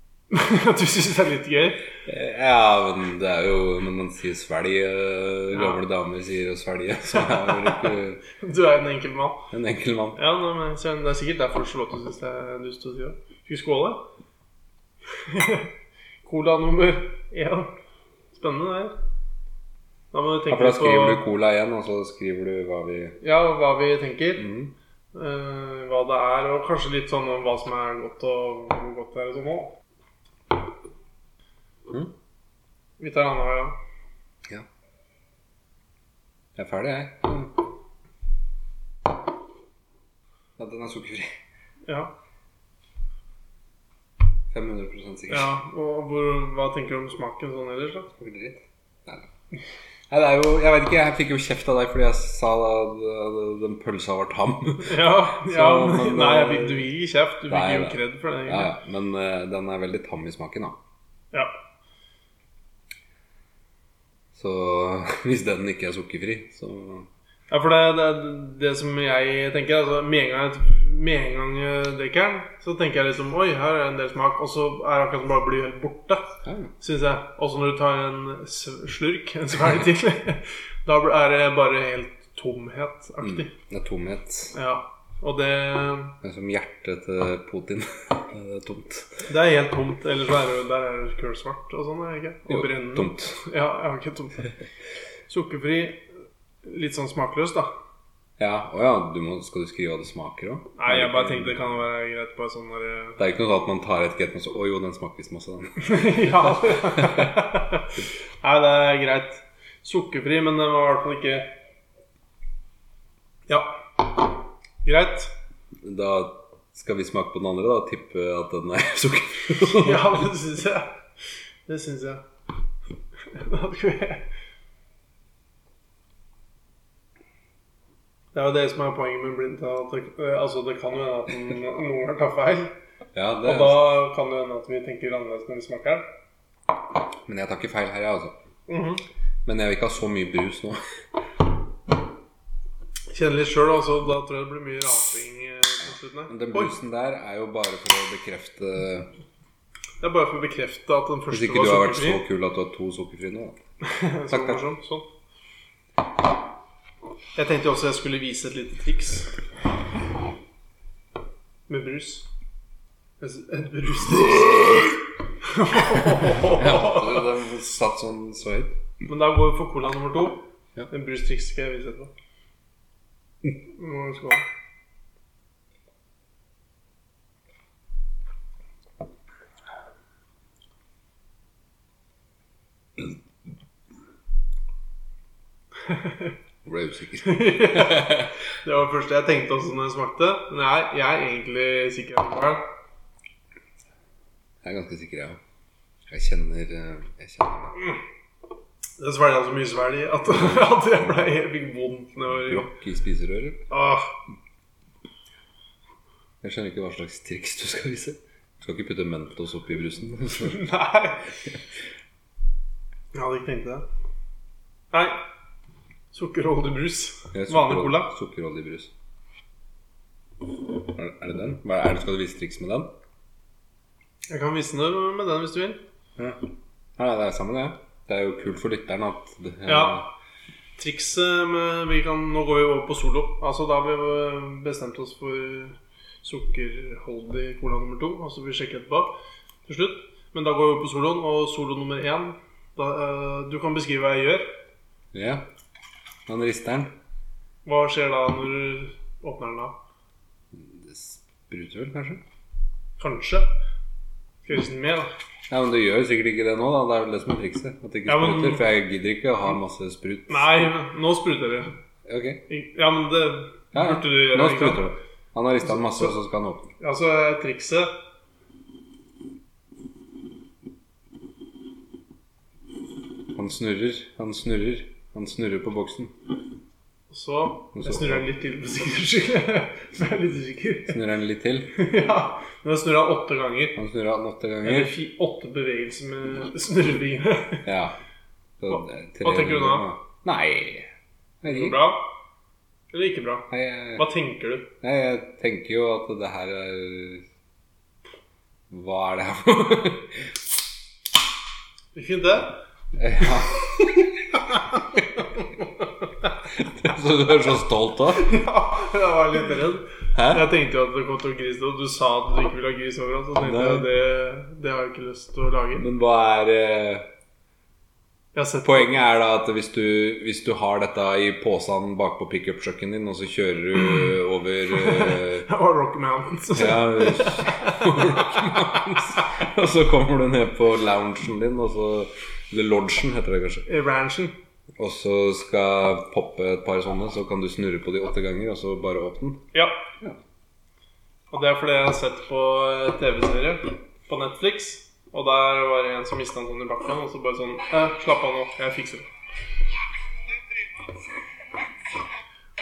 [SPEAKER 3] du syns det er litt gøy?
[SPEAKER 1] Ja, men det er jo Når man sier 'svelg', eh, gamle damer sier å svelge, så er jeg vel ikke
[SPEAKER 3] Du er en enkel mann.
[SPEAKER 1] en enkel mann.
[SPEAKER 3] Ja, nei, men så Det er sikkert derfor Charlotte syns det er dust å si det. Skal vi skåle? Cola nummer én. Spennende, det. her. Da må du
[SPEAKER 1] Ja,
[SPEAKER 3] tenke
[SPEAKER 1] for da
[SPEAKER 3] litt på
[SPEAKER 1] skriver du cola igjen, og så skriver du hva vi
[SPEAKER 3] ja, hva vi tenker.
[SPEAKER 1] Mhm.
[SPEAKER 3] eh, hva det er, og kanskje litt sånn om hva som er godt og hvor godt det er og sånn òg.
[SPEAKER 1] Mhm. Mm.
[SPEAKER 3] Vi tar annenhver gang.
[SPEAKER 1] Ja. Jeg er ferdig, jeg. Ja, den er sukkerfri.
[SPEAKER 3] Ja.
[SPEAKER 1] 500 sikker.
[SPEAKER 3] ja. Og hvor, hva tenker du om smaken sånn ellers, da?
[SPEAKER 1] Smaker dritt. Nei, nei. Nei, det er jo, jeg vet ikke, jeg fikk jo kjeft av deg fordi jeg sa at at den pølsa var tam.
[SPEAKER 3] Ja, ja
[SPEAKER 1] Så,
[SPEAKER 3] men,
[SPEAKER 1] men,
[SPEAKER 3] Nei, jeg
[SPEAKER 1] eh,
[SPEAKER 3] fikk, du fikk ikke kjeft. Du
[SPEAKER 1] nei,
[SPEAKER 3] fikk jo
[SPEAKER 1] nei.
[SPEAKER 3] kred for det.
[SPEAKER 1] Ja,
[SPEAKER 3] egentlig.
[SPEAKER 1] men eh, den er veldig tam i smaken, da.
[SPEAKER 3] Ja.
[SPEAKER 1] Så hvis den ikke er sukkerfri, så
[SPEAKER 3] ja, for det, det, det som jeg tenker altså, Med en gang jeg, med en gang jeg drikker den, så tenker jeg liksom Oi, her er en del smak. Og så er det akkurat som bare blir helt borte.
[SPEAKER 1] ja.
[SPEAKER 3] Synes jeg. Også når du tar en sv- slurk, en svelg til. da bl- er det bare helt
[SPEAKER 1] mm.
[SPEAKER 3] tomhetaktig.
[SPEAKER 1] Det er tomhet.
[SPEAKER 3] Ja. Og det,
[SPEAKER 1] Det er som hjertet til Putin. Det er tomt.
[SPEAKER 3] det er helt tomt. Ellers så er det jo der er det kullsvart og sånn. er det ikke?
[SPEAKER 1] Jo,
[SPEAKER 3] Og brennende.
[SPEAKER 1] tomt.
[SPEAKER 3] Ja, jeg har ikke tomt. Sukkerfri, litt sånn smakløs, da.
[SPEAKER 1] Ja, å ja, du må, skal du skrive hva det smaker òg?
[SPEAKER 3] Nei, jeg bare tenkte det kan være greit på en sånn der
[SPEAKER 1] Det er ikke noe sånn at man tar etikett og så Å jo, den smaker visst masse, den.
[SPEAKER 3] Ja. Nei, det er greit. Sukkerfri, men den var i hvert fall ikke Ja. Greit.
[SPEAKER 1] Da skal vi smake på den andre, da. Tippe at den er sukkerfri.
[SPEAKER 3] Ja, det syns jeg. Det syns jeg. Da skal vi- Det er jo det som er poenget med blindtall. at det- eh, Altså, det kan jo hende at den- noen ganger tar feil.
[SPEAKER 1] ja, det
[SPEAKER 3] Og da kan det hende at vi tenker annerledes når vi smaker den.
[SPEAKER 1] Men jeg tar ikke feil her, jeg, altså.
[SPEAKER 3] Mhm.
[SPEAKER 1] Men jeg vil ikke ha så mye brus nå.
[SPEAKER 3] Kjenner litt sjøl, altså. Da tror jeg det blir mye raping eh, på slutten her.
[SPEAKER 1] Den
[SPEAKER 3] Oi,
[SPEAKER 1] brusen der er jo bare for å bekrefte
[SPEAKER 3] det er bare for å bekrefte at den
[SPEAKER 1] Hvis
[SPEAKER 3] første
[SPEAKER 1] ikke du har
[SPEAKER 3] var
[SPEAKER 1] vært så
[SPEAKER 3] sukkerfri.
[SPEAKER 1] kul at du har to sukkerfrie nå, da.
[SPEAKER 3] Så
[SPEAKER 1] Takk, takk.
[SPEAKER 3] morsom. Sånn. Jeg tenkte også jeg skulle vise et lite triks med brus. Et s- Et brustriks.
[SPEAKER 1] Ja, den satt sånn så høyt.
[SPEAKER 3] Men da går vi for cola nummer to.
[SPEAKER 1] Ja.
[SPEAKER 3] En brustriks skal jeg vise etterpå. Nå skal vi ha.
[SPEAKER 1] Jeg ble usikker.
[SPEAKER 3] Det var det første jeg tenkte også når jeg smakte. Men jeg, er- jeg er egentlig sikker allikevel.
[SPEAKER 1] Jeg er ganske sikker, jeg òg. Jeg kjenner eh, Jeg kjenner
[SPEAKER 3] Det svelga så mye svelg at, at jeg, ble, jeg fikk vondt nedover.
[SPEAKER 1] brokk i spiserøret.
[SPEAKER 3] Åh,
[SPEAKER 1] Jeg skjønner ikke hva slags triks du skal vise. Du skal ikke putte Mentos oppi brusen.
[SPEAKER 3] nei. Jeg hadde ikke tenkt det. Nei. Sukkerholdig brus. Vanlig cola.
[SPEAKER 1] Sukkerholdig brus. Er, er det den? Hva er det, skal du vise triks med den?
[SPEAKER 3] Jeg kan vise den med den hvis du vil.
[SPEAKER 1] Ja. Nei, det er sammen, det. Det er jo kult for lytteren at det,
[SPEAKER 3] Ja. Trikset med vi kan, Nå går vi over på solo. Altså Da har vi bestemt oss for sukkerholdig cola nummer to. Og så vil vi sjekke etterpå til slutt. Men da går vi over på soloen, og solo nummer én da, eh, Du kan beskrive hva jeg gjør.
[SPEAKER 1] ja. Den risteren
[SPEAKER 3] Hva skjer da når du åpner den da?
[SPEAKER 1] det spruter vel, kanskje?
[SPEAKER 3] Kanskje. Skal jeg vise den med, da?
[SPEAKER 1] Ja, men du gjør jo sikkert ikke det nå, da. Det er vel det som er trikset. At det ikke
[SPEAKER 3] Ja, men-
[SPEAKER 1] spruter. For jeg gidder ikke å ha masse sprut.
[SPEAKER 3] Nei, nå spruter det.
[SPEAKER 1] Ok.
[SPEAKER 3] Ik- Ja, men det
[SPEAKER 1] Ja, ja.
[SPEAKER 3] burde du gjøre.
[SPEAKER 1] Nå
[SPEAKER 3] ikke sant?
[SPEAKER 1] spruter det. Han har rista den masse, og så skal han åpne.
[SPEAKER 3] Altså, trikset
[SPEAKER 1] Han snurrer, han snurrer. Han snurrer på boksen.
[SPEAKER 3] Så Jeg snurrer den litt til for sikkerhets skyld. Så jeg er litt usikker.
[SPEAKER 1] Snurrer han litt til.
[SPEAKER 3] Ja, men jeg snurra åtte ganger.
[SPEAKER 1] Han snurrer han åtte
[SPEAKER 3] Eller
[SPEAKER 1] ganger.
[SPEAKER 3] fi, åtte bevegelser med snurrevingene.
[SPEAKER 1] Ja. Så,
[SPEAKER 3] Hva-
[SPEAKER 1] det er
[SPEAKER 3] hva tenker du
[SPEAKER 1] 300
[SPEAKER 3] da?
[SPEAKER 1] Nei Jeg vet
[SPEAKER 3] Går det
[SPEAKER 1] ikke.
[SPEAKER 3] Bra? Eller ikke bra?
[SPEAKER 1] Nei, jeg-
[SPEAKER 3] Hva tenker du?
[SPEAKER 1] Nei, jeg tenker jo at det her er Hva er det her for noe?
[SPEAKER 3] Ikke det?
[SPEAKER 1] Ja. Så altså, du er så stolt av?
[SPEAKER 3] Ja, jeg var litt redd.
[SPEAKER 1] Hæ?
[SPEAKER 3] Jeg tenkte jo at det kom til å grise, og du sa at du ikke ville ha gris overalt. Så tenkte jeg
[SPEAKER 1] Nei.
[SPEAKER 3] det, det har jeg ikke lyst til å lage.
[SPEAKER 1] Men hva er eh,
[SPEAKER 3] Jeg har sett
[SPEAKER 1] Poenget er da at hvis du, hvis du har dette i posen bakpå pickup-trucken din, og så kjører du over eh,
[SPEAKER 3] Jeg var Rocky Mountains.
[SPEAKER 1] ja, Og så kommer du ned på loungen din, og så Eller lodgen, heter det kanskje.
[SPEAKER 3] I Ranchen.
[SPEAKER 1] Og så skal poppe et par sånne, så kan du snurre på de åtte ganger, og så bare åpne den.
[SPEAKER 3] Ja.
[SPEAKER 1] Ja.
[SPEAKER 3] Og det er fordi jeg har sett på eh, TV-serie på Netflix. Og der var det en som mista en sånn i bakken, og så bare sånn eh, Slapp av nå, jeg fikser det.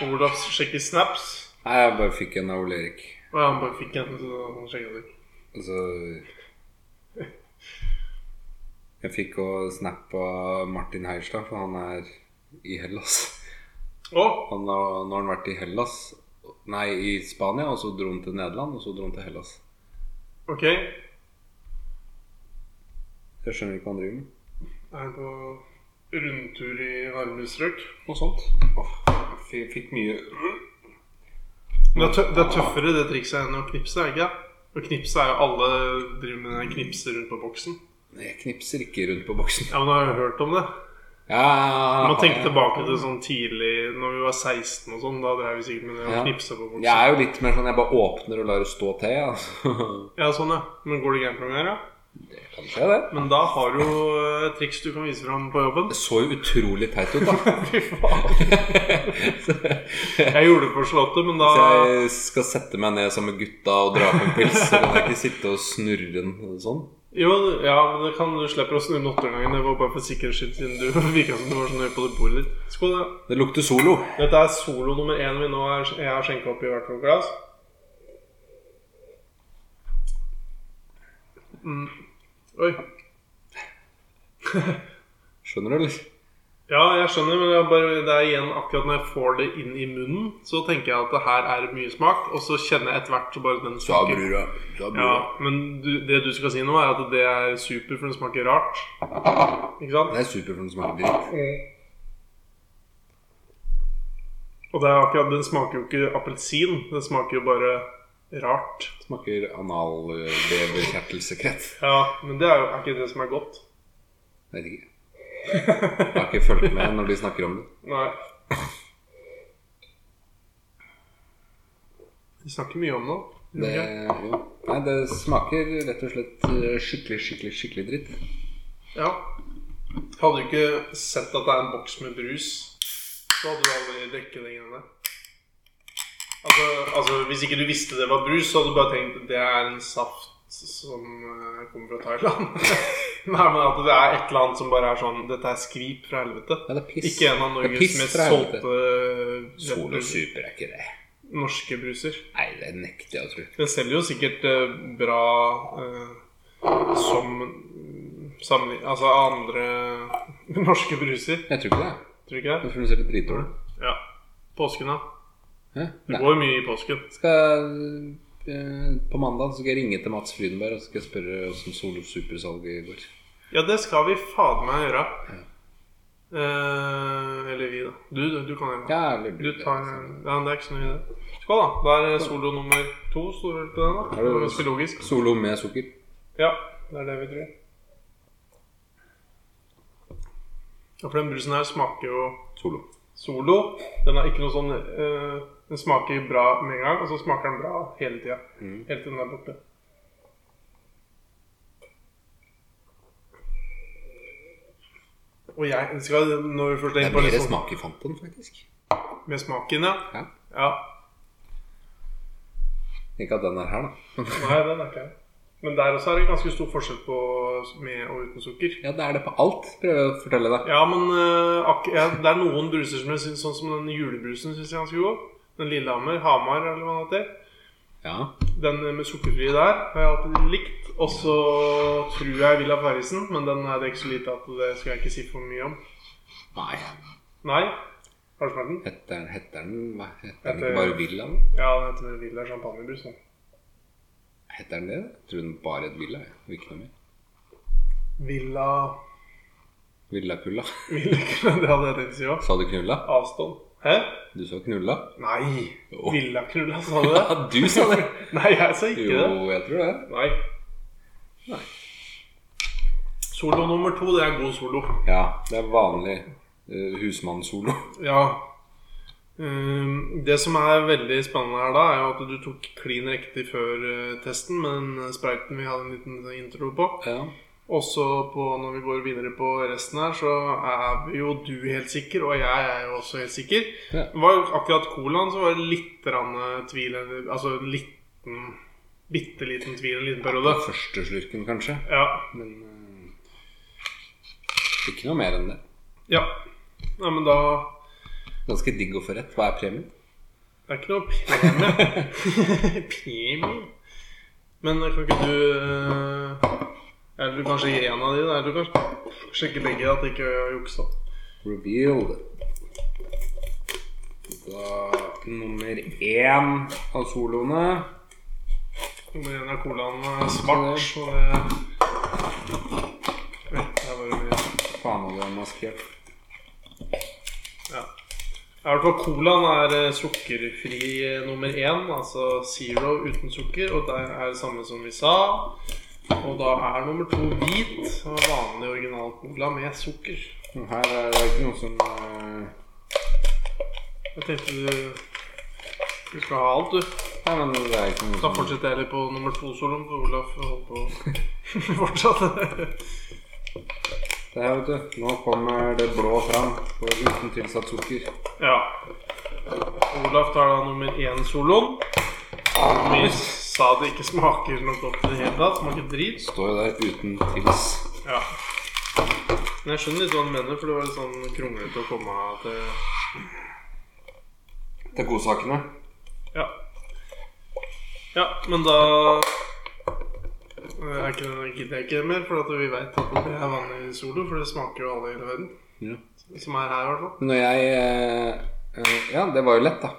[SPEAKER 3] Og Olav sjekker snaps.
[SPEAKER 1] Nei, jeg bare fikk en av Ole Erik.
[SPEAKER 3] Og han bare fikk en, så han sjekket det. ikke.
[SPEAKER 1] Altså Jeg fikk òg snap av Martin Heierstad, for han er i Hellas.
[SPEAKER 3] Å!
[SPEAKER 1] Han har, nå har han vært i Hellas Nei, i Spania, og så dro han til Nederland, og så dro han til Hellas.
[SPEAKER 3] Ok. Er
[SPEAKER 1] Jeg skjønner ikke hva han driver med.
[SPEAKER 3] han på rundtur i varme strøk?
[SPEAKER 1] Noe sånt. Åh, jeg fikk mye
[SPEAKER 3] Men Det er, tø det er tøffere det trikset enn å knipse, er det ikke det? Å knipse er jo alle driver med den knipser rundt på boksen.
[SPEAKER 1] Jeg knipser ikke rundt på boksen.
[SPEAKER 3] Ja, men har du hørt om det?
[SPEAKER 1] Ja,
[SPEAKER 3] Man tenker tilbake til sånn tidlig Når vi var 16 og sånn, da drev vi sikkert med det å
[SPEAKER 1] Ja.
[SPEAKER 3] knipse på boksen.
[SPEAKER 1] Jeg er jo litt mer sånn jeg bare åpner og lar det stå til. Altså.
[SPEAKER 3] Ja, sånn, ja. Men går det gærent noen ganger, ja?
[SPEAKER 1] Det kan skje, det.
[SPEAKER 3] Men da har du jo eh, et triks du kan vise fram på jobben.
[SPEAKER 1] Det så jo utrolig teit ut, da.
[SPEAKER 3] Fy faen.
[SPEAKER 1] Så
[SPEAKER 3] Jeg gjorde det på Slottet, men da
[SPEAKER 1] jeg skal sette meg ned sammen med gutta og dra på en pils, så kan jeg ikke sitte og snurre den sånn.
[SPEAKER 3] Jo, ja, men det kan du slipper å snu den åtte ganger. Det var bare for sikkerhets skyld, siden du virka som du var så nøye på det bordet ditt. Skål, da.
[SPEAKER 1] Det lukter solo.
[SPEAKER 3] Dette er solo nummer én vi nå er, jeg har skjenka opp i hvert vårt glass. Mm. Oi.
[SPEAKER 1] Skjønner du, eller?
[SPEAKER 3] Ja, jeg skjønner, men jeg bare, det er igjen akkurat når jeg får det inn i munnen, så tenker jeg at det her er mye smak, og så kjenner jeg etter hvert så bare den smaker.
[SPEAKER 1] brura. Da,
[SPEAKER 3] Ja, men du, det du skal si nå, er at det er super, for den smaker rart. Ikke sant?
[SPEAKER 1] Det er super for den smaker dritt.
[SPEAKER 3] Og det er akkurat, den smaker jo ikke appelsin, den smaker jo bare rart.
[SPEAKER 1] Smaker analleverkjertelsekrett.
[SPEAKER 3] Ja, men det er jo er ikke det som er godt.
[SPEAKER 1] Vet ikke. Jeg har ikke fulgt med når de snakker om det.
[SPEAKER 3] Nei. Vi snakker mye om det.
[SPEAKER 1] Det,
[SPEAKER 3] gjør vi ikke?
[SPEAKER 1] jo. Nei, det smaker rett og slett eh, skikkelig, skikkelig, skikkelig dritt.
[SPEAKER 3] Ja. Hadde du ikke sett at det er en boks med brus, så hadde du aldri drukket de greiene der. Altså, altså, hvis ikke du visste det var brus, så hadde du bare tenkt det er en saft som eh, kommer fra Thailand. Nei, men at det er et eller annet som bare er sånn Dette er skvip fra helvete.
[SPEAKER 1] Ja, det er piss.
[SPEAKER 3] Ikke en av
[SPEAKER 1] Det er
[SPEAKER 3] Norges
[SPEAKER 1] piss
[SPEAKER 3] mest
[SPEAKER 1] fra helvete.
[SPEAKER 3] solgte
[SPEAKER 1] Solo
[SPEAKER 3] eh,
[SPEAKER 1] super er ikke det.
[SPEAKER 3] norske bruser.
[SPEAKER 1] Nei, det nekter jeg å tro.
[SPEAKER 3] Den selger jo sikkert eh, bra eh, som sammenlign... Altså andre norske bruser,
[SPEAKER 1] Jeg tror ikke det.
[SPEAKER 3] tror du
[SPEAKER 1] Jeg
[SPEAKER 3] ikke det?
[SPEAKER 1] tror den ser litt dritdårlig ut.
[SPEAKER 3] Ja. Påsken, da.
[SPEAKER 1] Hæ?
[SPEAKER 3] Du
[SPEAKER 1] Nei.
[SPEAKER 3] går jo mye i påsken.
[SPEAKER 1] Skal, eh, på mandag så skal jeg ringe til Mats Frydenberg og så skal jeg spørre hvordan Solo Super-salget går.
[SPEAKER 3] Ja, det skal vi fader meg gjøre. Eh, eller vi, da. Du, du, du kan gjøre det.
[SPEAKER 1] Ja, eller
[SPEAKER 3] Du tar Ja, det er ikke så mye, det. Skål, da. Da er det solo nummer to. Står det vel på den, da?
[SPEAKER 1] Er det-
[SPEAKER 3] Det er ganske logisk.
[SPEAKER 1] Solo med sukker.
[SPEAKER 3] Ja, det er det vi tror. Ja, for den brusen her smaker jo
[SPEAKER 1] Solo.
[SPEAKER 3] Solo. Den er ikke noe sånn eh, Den smaker bra med en gang, og så smaker den bra hele tida.
[SPEAKER 1] Mm.
[SPEAKER 3] Helt til den er borte. Og jeg skal, når vi først
[SPEAKER 1] Det
[SPEAKER 3] er
[SPEAKER 1] er
[SPEAKER 3] inne på
[SPEAKER 1] mer
[SPEAKER 3] litt sånn
[SPEAKER 1] smak i Fanten, faktisk.
[SPEAKER 3] med smaken, ja.
[SPEAKER 1] Ja.
[SPEAKER 3] ja.
[SPEAKER 1] Ikke at den er her, da.
[SPEAKER 3] Nei, den er ikke jeg. Men der også er det ganske stor forskjell på med og uten sukker.
[SPEAKER 1] Ja, det er det på alt, prøver jeg å fortelle deg.
[SPEAKER 3] Ja, men eh, ak ja, det er noen bruser som jeg syns, sånn som den julebrusen, syns jeg er ganske god. Den Lillehammer, Hamar eller hva den heter.
[SPEAKER 1] Ja.
[SPEAKER 3] Den med sukkerfri der har jeg alltid likt. Og så tror jeg Villa Farrisen, men den er det ikke så lite at det skal jeg ikke si for mye om.
[SPEAKER 1] Nei.
[SPEAKER 3] Nei. Har du smakt den?
[SPEAKER 1] Heter den, heter den, hva- heter den
[SPEAKER 3] Heter-
[SPEAKER 1] ikke bare Villa? da?
[SPEAKER 3] Ja, den heter vel Villa champagnebrus. den.
[SPEAKER 1] Heter den det? Jeg tror den bare het Villa. jeg. Og ikke noe mer.
[SPEAKER 3] Villa
[SPEAKER 1] Villakulla.
[SPEAKER 3] Villa Knulla, det hadde jeg tenkt å si òg.
[SPEAKER 1] Sa du knulla?
[SPEAKER 3] Avstand. Hæ?
[SPEAKER 1] Du sa knulla?
[SPEAKER 3] Nei.
[SPEAKER 1] Jo.
[SPEAKER 3] Villa Knulla, sa du det?
[SPEAKER 1] Ja, du sa det!
[SPEAKER 3] Nei, jeg sa ikke det.
[SPEAKER 1] Jo, jeg tror det.
[SPEAKER 3] Nei.
[SPEAKER 1] Nei.
[SPEAKER 3] Solo nummer to, det er god solo.
[SPEAKER 1] Ja, det er vanlig uh, husmannssolo.
[SPEAKER 3] Ja. Ehm, Det som er veldig spennende her, da, er jo at du tok klin riktig før eh, testen med den eh, sprayten vi hadde en liten intro på.
[SPEAKER 1] Ja.
[SPEAKER 3] Også på, når vi går videre på resten her, så er jo du helt sikker, og jeg er jo også helt sikker.
[SPEAKER 1] Ja.
[SPEAKER 3] Det var jo akkurat colaen så var det litt rann, eh, tvil, eller- altså en liten, bitte liten tvil en liten periode.
[SPEAKER 1] Den første slurken, kanskje.
[SPEAKER 3] Ja,
[SPEAKER 1] Men eh, ikke noe mer enn det.
[SPEAKER 3] ja. Nei, men da
[SPEAKER 1] Ganske digg å få rett. Hva er premien?
[SPEAKER 3] Det er ikke noe premie. premie. Men kan ikke du eh, Eller du kanskje gir en av de? Eller du kanskje sjekker begge at det ikke er juksa?
[SPEAKER 1] Revealed. Da nummer én av soloene.
[SPEAKER 3] Nummer én er colaen eh, svart, så det Oi, der var det mye.
[SPEAKER 1] Faen, hadde jeg maskert.
[SPEAKER 3] Ja. I hvert fall colaen er eh, sukkerfri eh, nummer én, altså zero uten sukker. Og det er det samme som vi sa. Og da er nummer to hvit. og Vanlig original cola med sukker.
[SPEAKER 1] Men Her er det ikke noe som eh,
[SPEAKER 3] Jeg tenkte du Du skal ha alt, du.
[SPEAKER 1] Nei, men det er ikke noe
[SPEAKER 3] Da
[SPEAKER 1] som
[SPEAKER 3] fortsetter jeg litt på nummer to-soloen, for Olaf holder på fortsatt.
[SPEAKER 1] Det her, vet du. Nå kommer det blå fram på uten tilsatt sukker.
[SPEAKER 3] ja. Olaf tar da nummer én-soloen. Vi sa det ikke smaker noe godt i det hele tatt. Smaker drit.
[SPEAKER 1] Står jo der uten tils.
[SPEAKER 3] Ja. Men jeg skjønner litt hva han mener, for det var litt sånn kronglete å komme til
[SPEAKER 1] Det er godsakene.
[SPEAKER 3] Ja. Ja, men da eh, er ikke, gidder jeg ikke mer, for at vi veit at det er vanlig solo, for det smaker jo alle i hele verden.
[SPEAKER 1] Ja.
[SPEAKER 3] Som er her, i hvert fall.
[SPEAKER 1] Når jeg eh, eh, Ja, det var jo lett, da.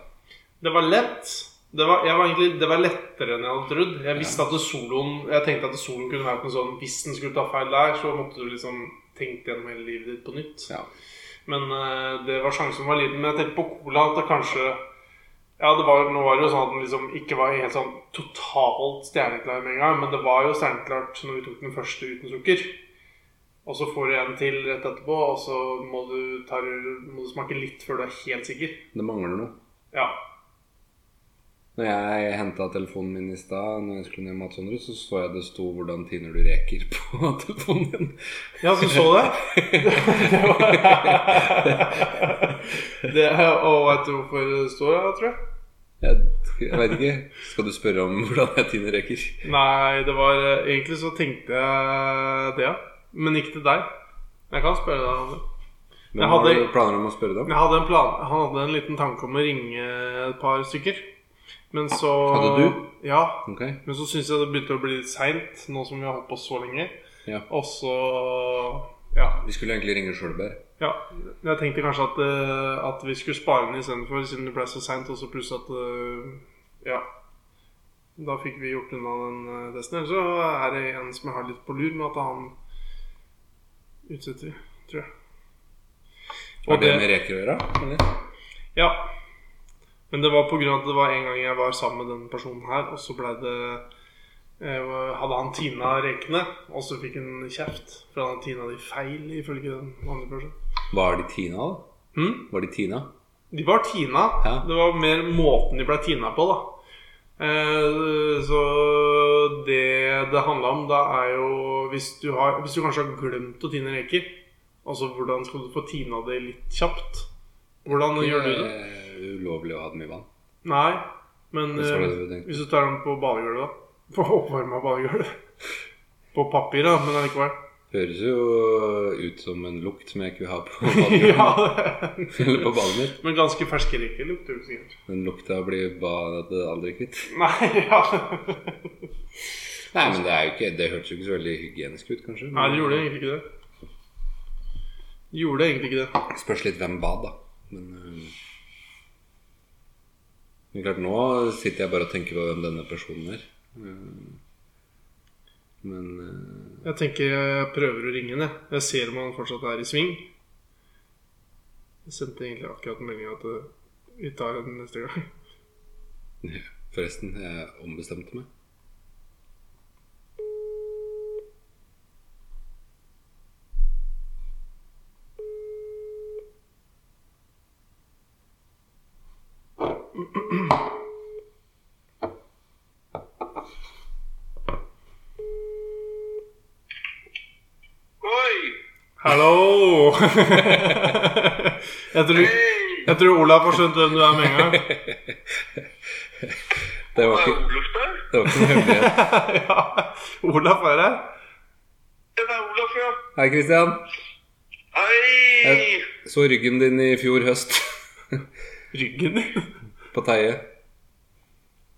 [SPEAKER 3] Det var lett. Det var, jeg var egentlig, det var lettere enn jeg hadde trodd. Jeg visste at det soloen Jeg tenkte at soloen kunne vært noe sånn Hvis den skulle ta feil der, så måtte du liksom tenkt gjennom hele livet ditt på nytt.
[SPEAKER 1] Ja.
[SPEAKER 3] Men eh, det var sjansen som var liten. Men jeg tenkte på cola at det kanskje Ja, det var, nå var det jo sånn at den liksom ikke var helt sånn totalt stjerneklar med en gang, men det var jo stjerneklart når vi tok den første uten sukker. Og så får du en til rett etterpå, og så må du, ta, må du smake litt før du er helt sikker.
[SPEAKER 1] Det mangler noe.
[SPEAKER 3] Ja.
[SPEAKER 1] Når jeg henta telefonen min i stad, når jeg skulle ned Matsundre, så så jeg det sto 'Hvordan tiner du reker' på telefonen min.
[SPEAKER 3] Ja, du så det? det, er- og vet du hvorfor det står her, tror jeg?
[SPEAKER 1] Jeg, jeg veit ikke. Skal du spørre om hvordan jeg tiner reker?
[SPEAKER 3] Nei, det var eh, Egentlig så tenkte jeg det, ja. Men ikke til deg. Jeg kan spørre deg om det.
[SPEAKER 1] Men
[SPEAKER 3] Jeg hadde-
[SPEAKER 1] Har du planer om å spørre dem?
[SPEAKER 3] Jeg hadde en plan, han hadde en liten tanke om å ringe et par stykker. Men så
[SPEAKER 1] Hadde du?
[SPEAKER 3] Ja.
[SPEAKER 1] Ok.
[SPEAKER 3] Men så syns jeg det begynte å bli litt seint, nå som vi har holdt på så lenge.
[SPEAKER 1] Ja.
[SPEAKER 3] Og så Ja.
[SPEAKER 1] Vi skulle egentlig ringe Sjølberg.
[SPEAKER 3] Ja, jeg tenkte kanskje at, eh, at vi skulle spare den istedenfor, siden det ble så seint. Og så pluss at eh, Ja. Da fikk vi gjort unna den eh, testen. Eller så er det en som jeg har litt på lur, men at han utsetter vi, tror jeg.
[SPEAKER 1] Har
[SPEAKER 3] Og
[SPEAKER 1] det
[SPEAKER 3] det-
[SPEAKER 1] med reker å gjøre? eller?
[SPEAKER 3] Ja. Men det var på grunn av at det var en gang jeg var sammen med den personen her, og så ble det eh, Hadde han tina rekene, og så fikk han kjeft. For han hadde tina de feil, ifølge den andre personen.
[SPEAKER 1] Var de Tina, da?
[SPEAKER 3] Hm?
[SPEAKER 1] Var de Tina?
[SPEAKER 3] De var tina.
[SPEAKER 1] Ja.
[SPEAKER 3] Det var mer måten de ble tina på, da. Eh, så det det handla om da, er jo hvis du, har, hvis du kanskje har glemt å tine reker Altså hvordan skal du få tina det litt kjapt? Hvordan gjør du det?
[SPEAKER 1] Eh, Ulovlig å ha dem i vann.
[SPEAKER 3] Nei, men
[SPEAKER 1] Det sa
[SPEAKER 3] eh,
[SPEAKER 1] du det du tenkte.
[SPEAKER 3] hvis du tar dem på badegulvet, da. På oppvarma badegulv. På papir, da, men allikevel.
[SPEAKER 1] Høres jo ut som en lukt som jeg ikke vil ha på
[SPEAKER 3] ja,
[SPEAKER 1] badet.
[SPEAKER 3] det-
[SPEAKER 1] Eller på badet mitt.
[SPEAKER 3] men ganske ferske reker lukter jo sikkert.
[SPEAKER 1] Den lukta blir badet aldri kvitt.
[SPEAKER 3] Nei, ja.
[SPEAKER 1] Nei, men det, er jo ikke, det hørtes jo ikke så veldig hygienisk ut, kanskje.
[SPEAKER 3] Nei, det gjorde egentlig ikke det. Det Gjorde egentlig ikke det.
[SPEAKER 1] eh, Spørs litt hvem bad, da. Men øh, men klart, nå sitter jeg bare og tenker på hvem denne personen er. Øh, Men øh,
[SPEAKER 3] Jeg tenker jeg prøver å ringe ham, jeg. Jeg ser om han fortsatt er i sving. Jeg sendte egentlig akkurat en melding at eh, vi tar den neste gang.
[SPEAKER 1] forresten, jeg ombestemte meg.
[SPEAKER 3] Hallo! jeg, tror, jeg tror Olav har skjønt hvem du er med en gang.
[SPEAKER 1] Det var
[SPEAKER 4] Hva er
[SPEAKER 1] ikke,
[SPEAKER 4] Oluf der?
[SPEAKER 1] det var ikke noe hemmelighet.
[SPEAKER 3] ja, Olav er her.
[SPEAKER 4] Ja, Det er Olaf, ja.
[SPEAKER 1] Hei, Kristian.
[SPEAKER 4] Hei!
[SPEAKER 1] Så ryggen din i fjor høst
[SPEAKER 3] Ryggen din
[SPEAKER 1] på Teie.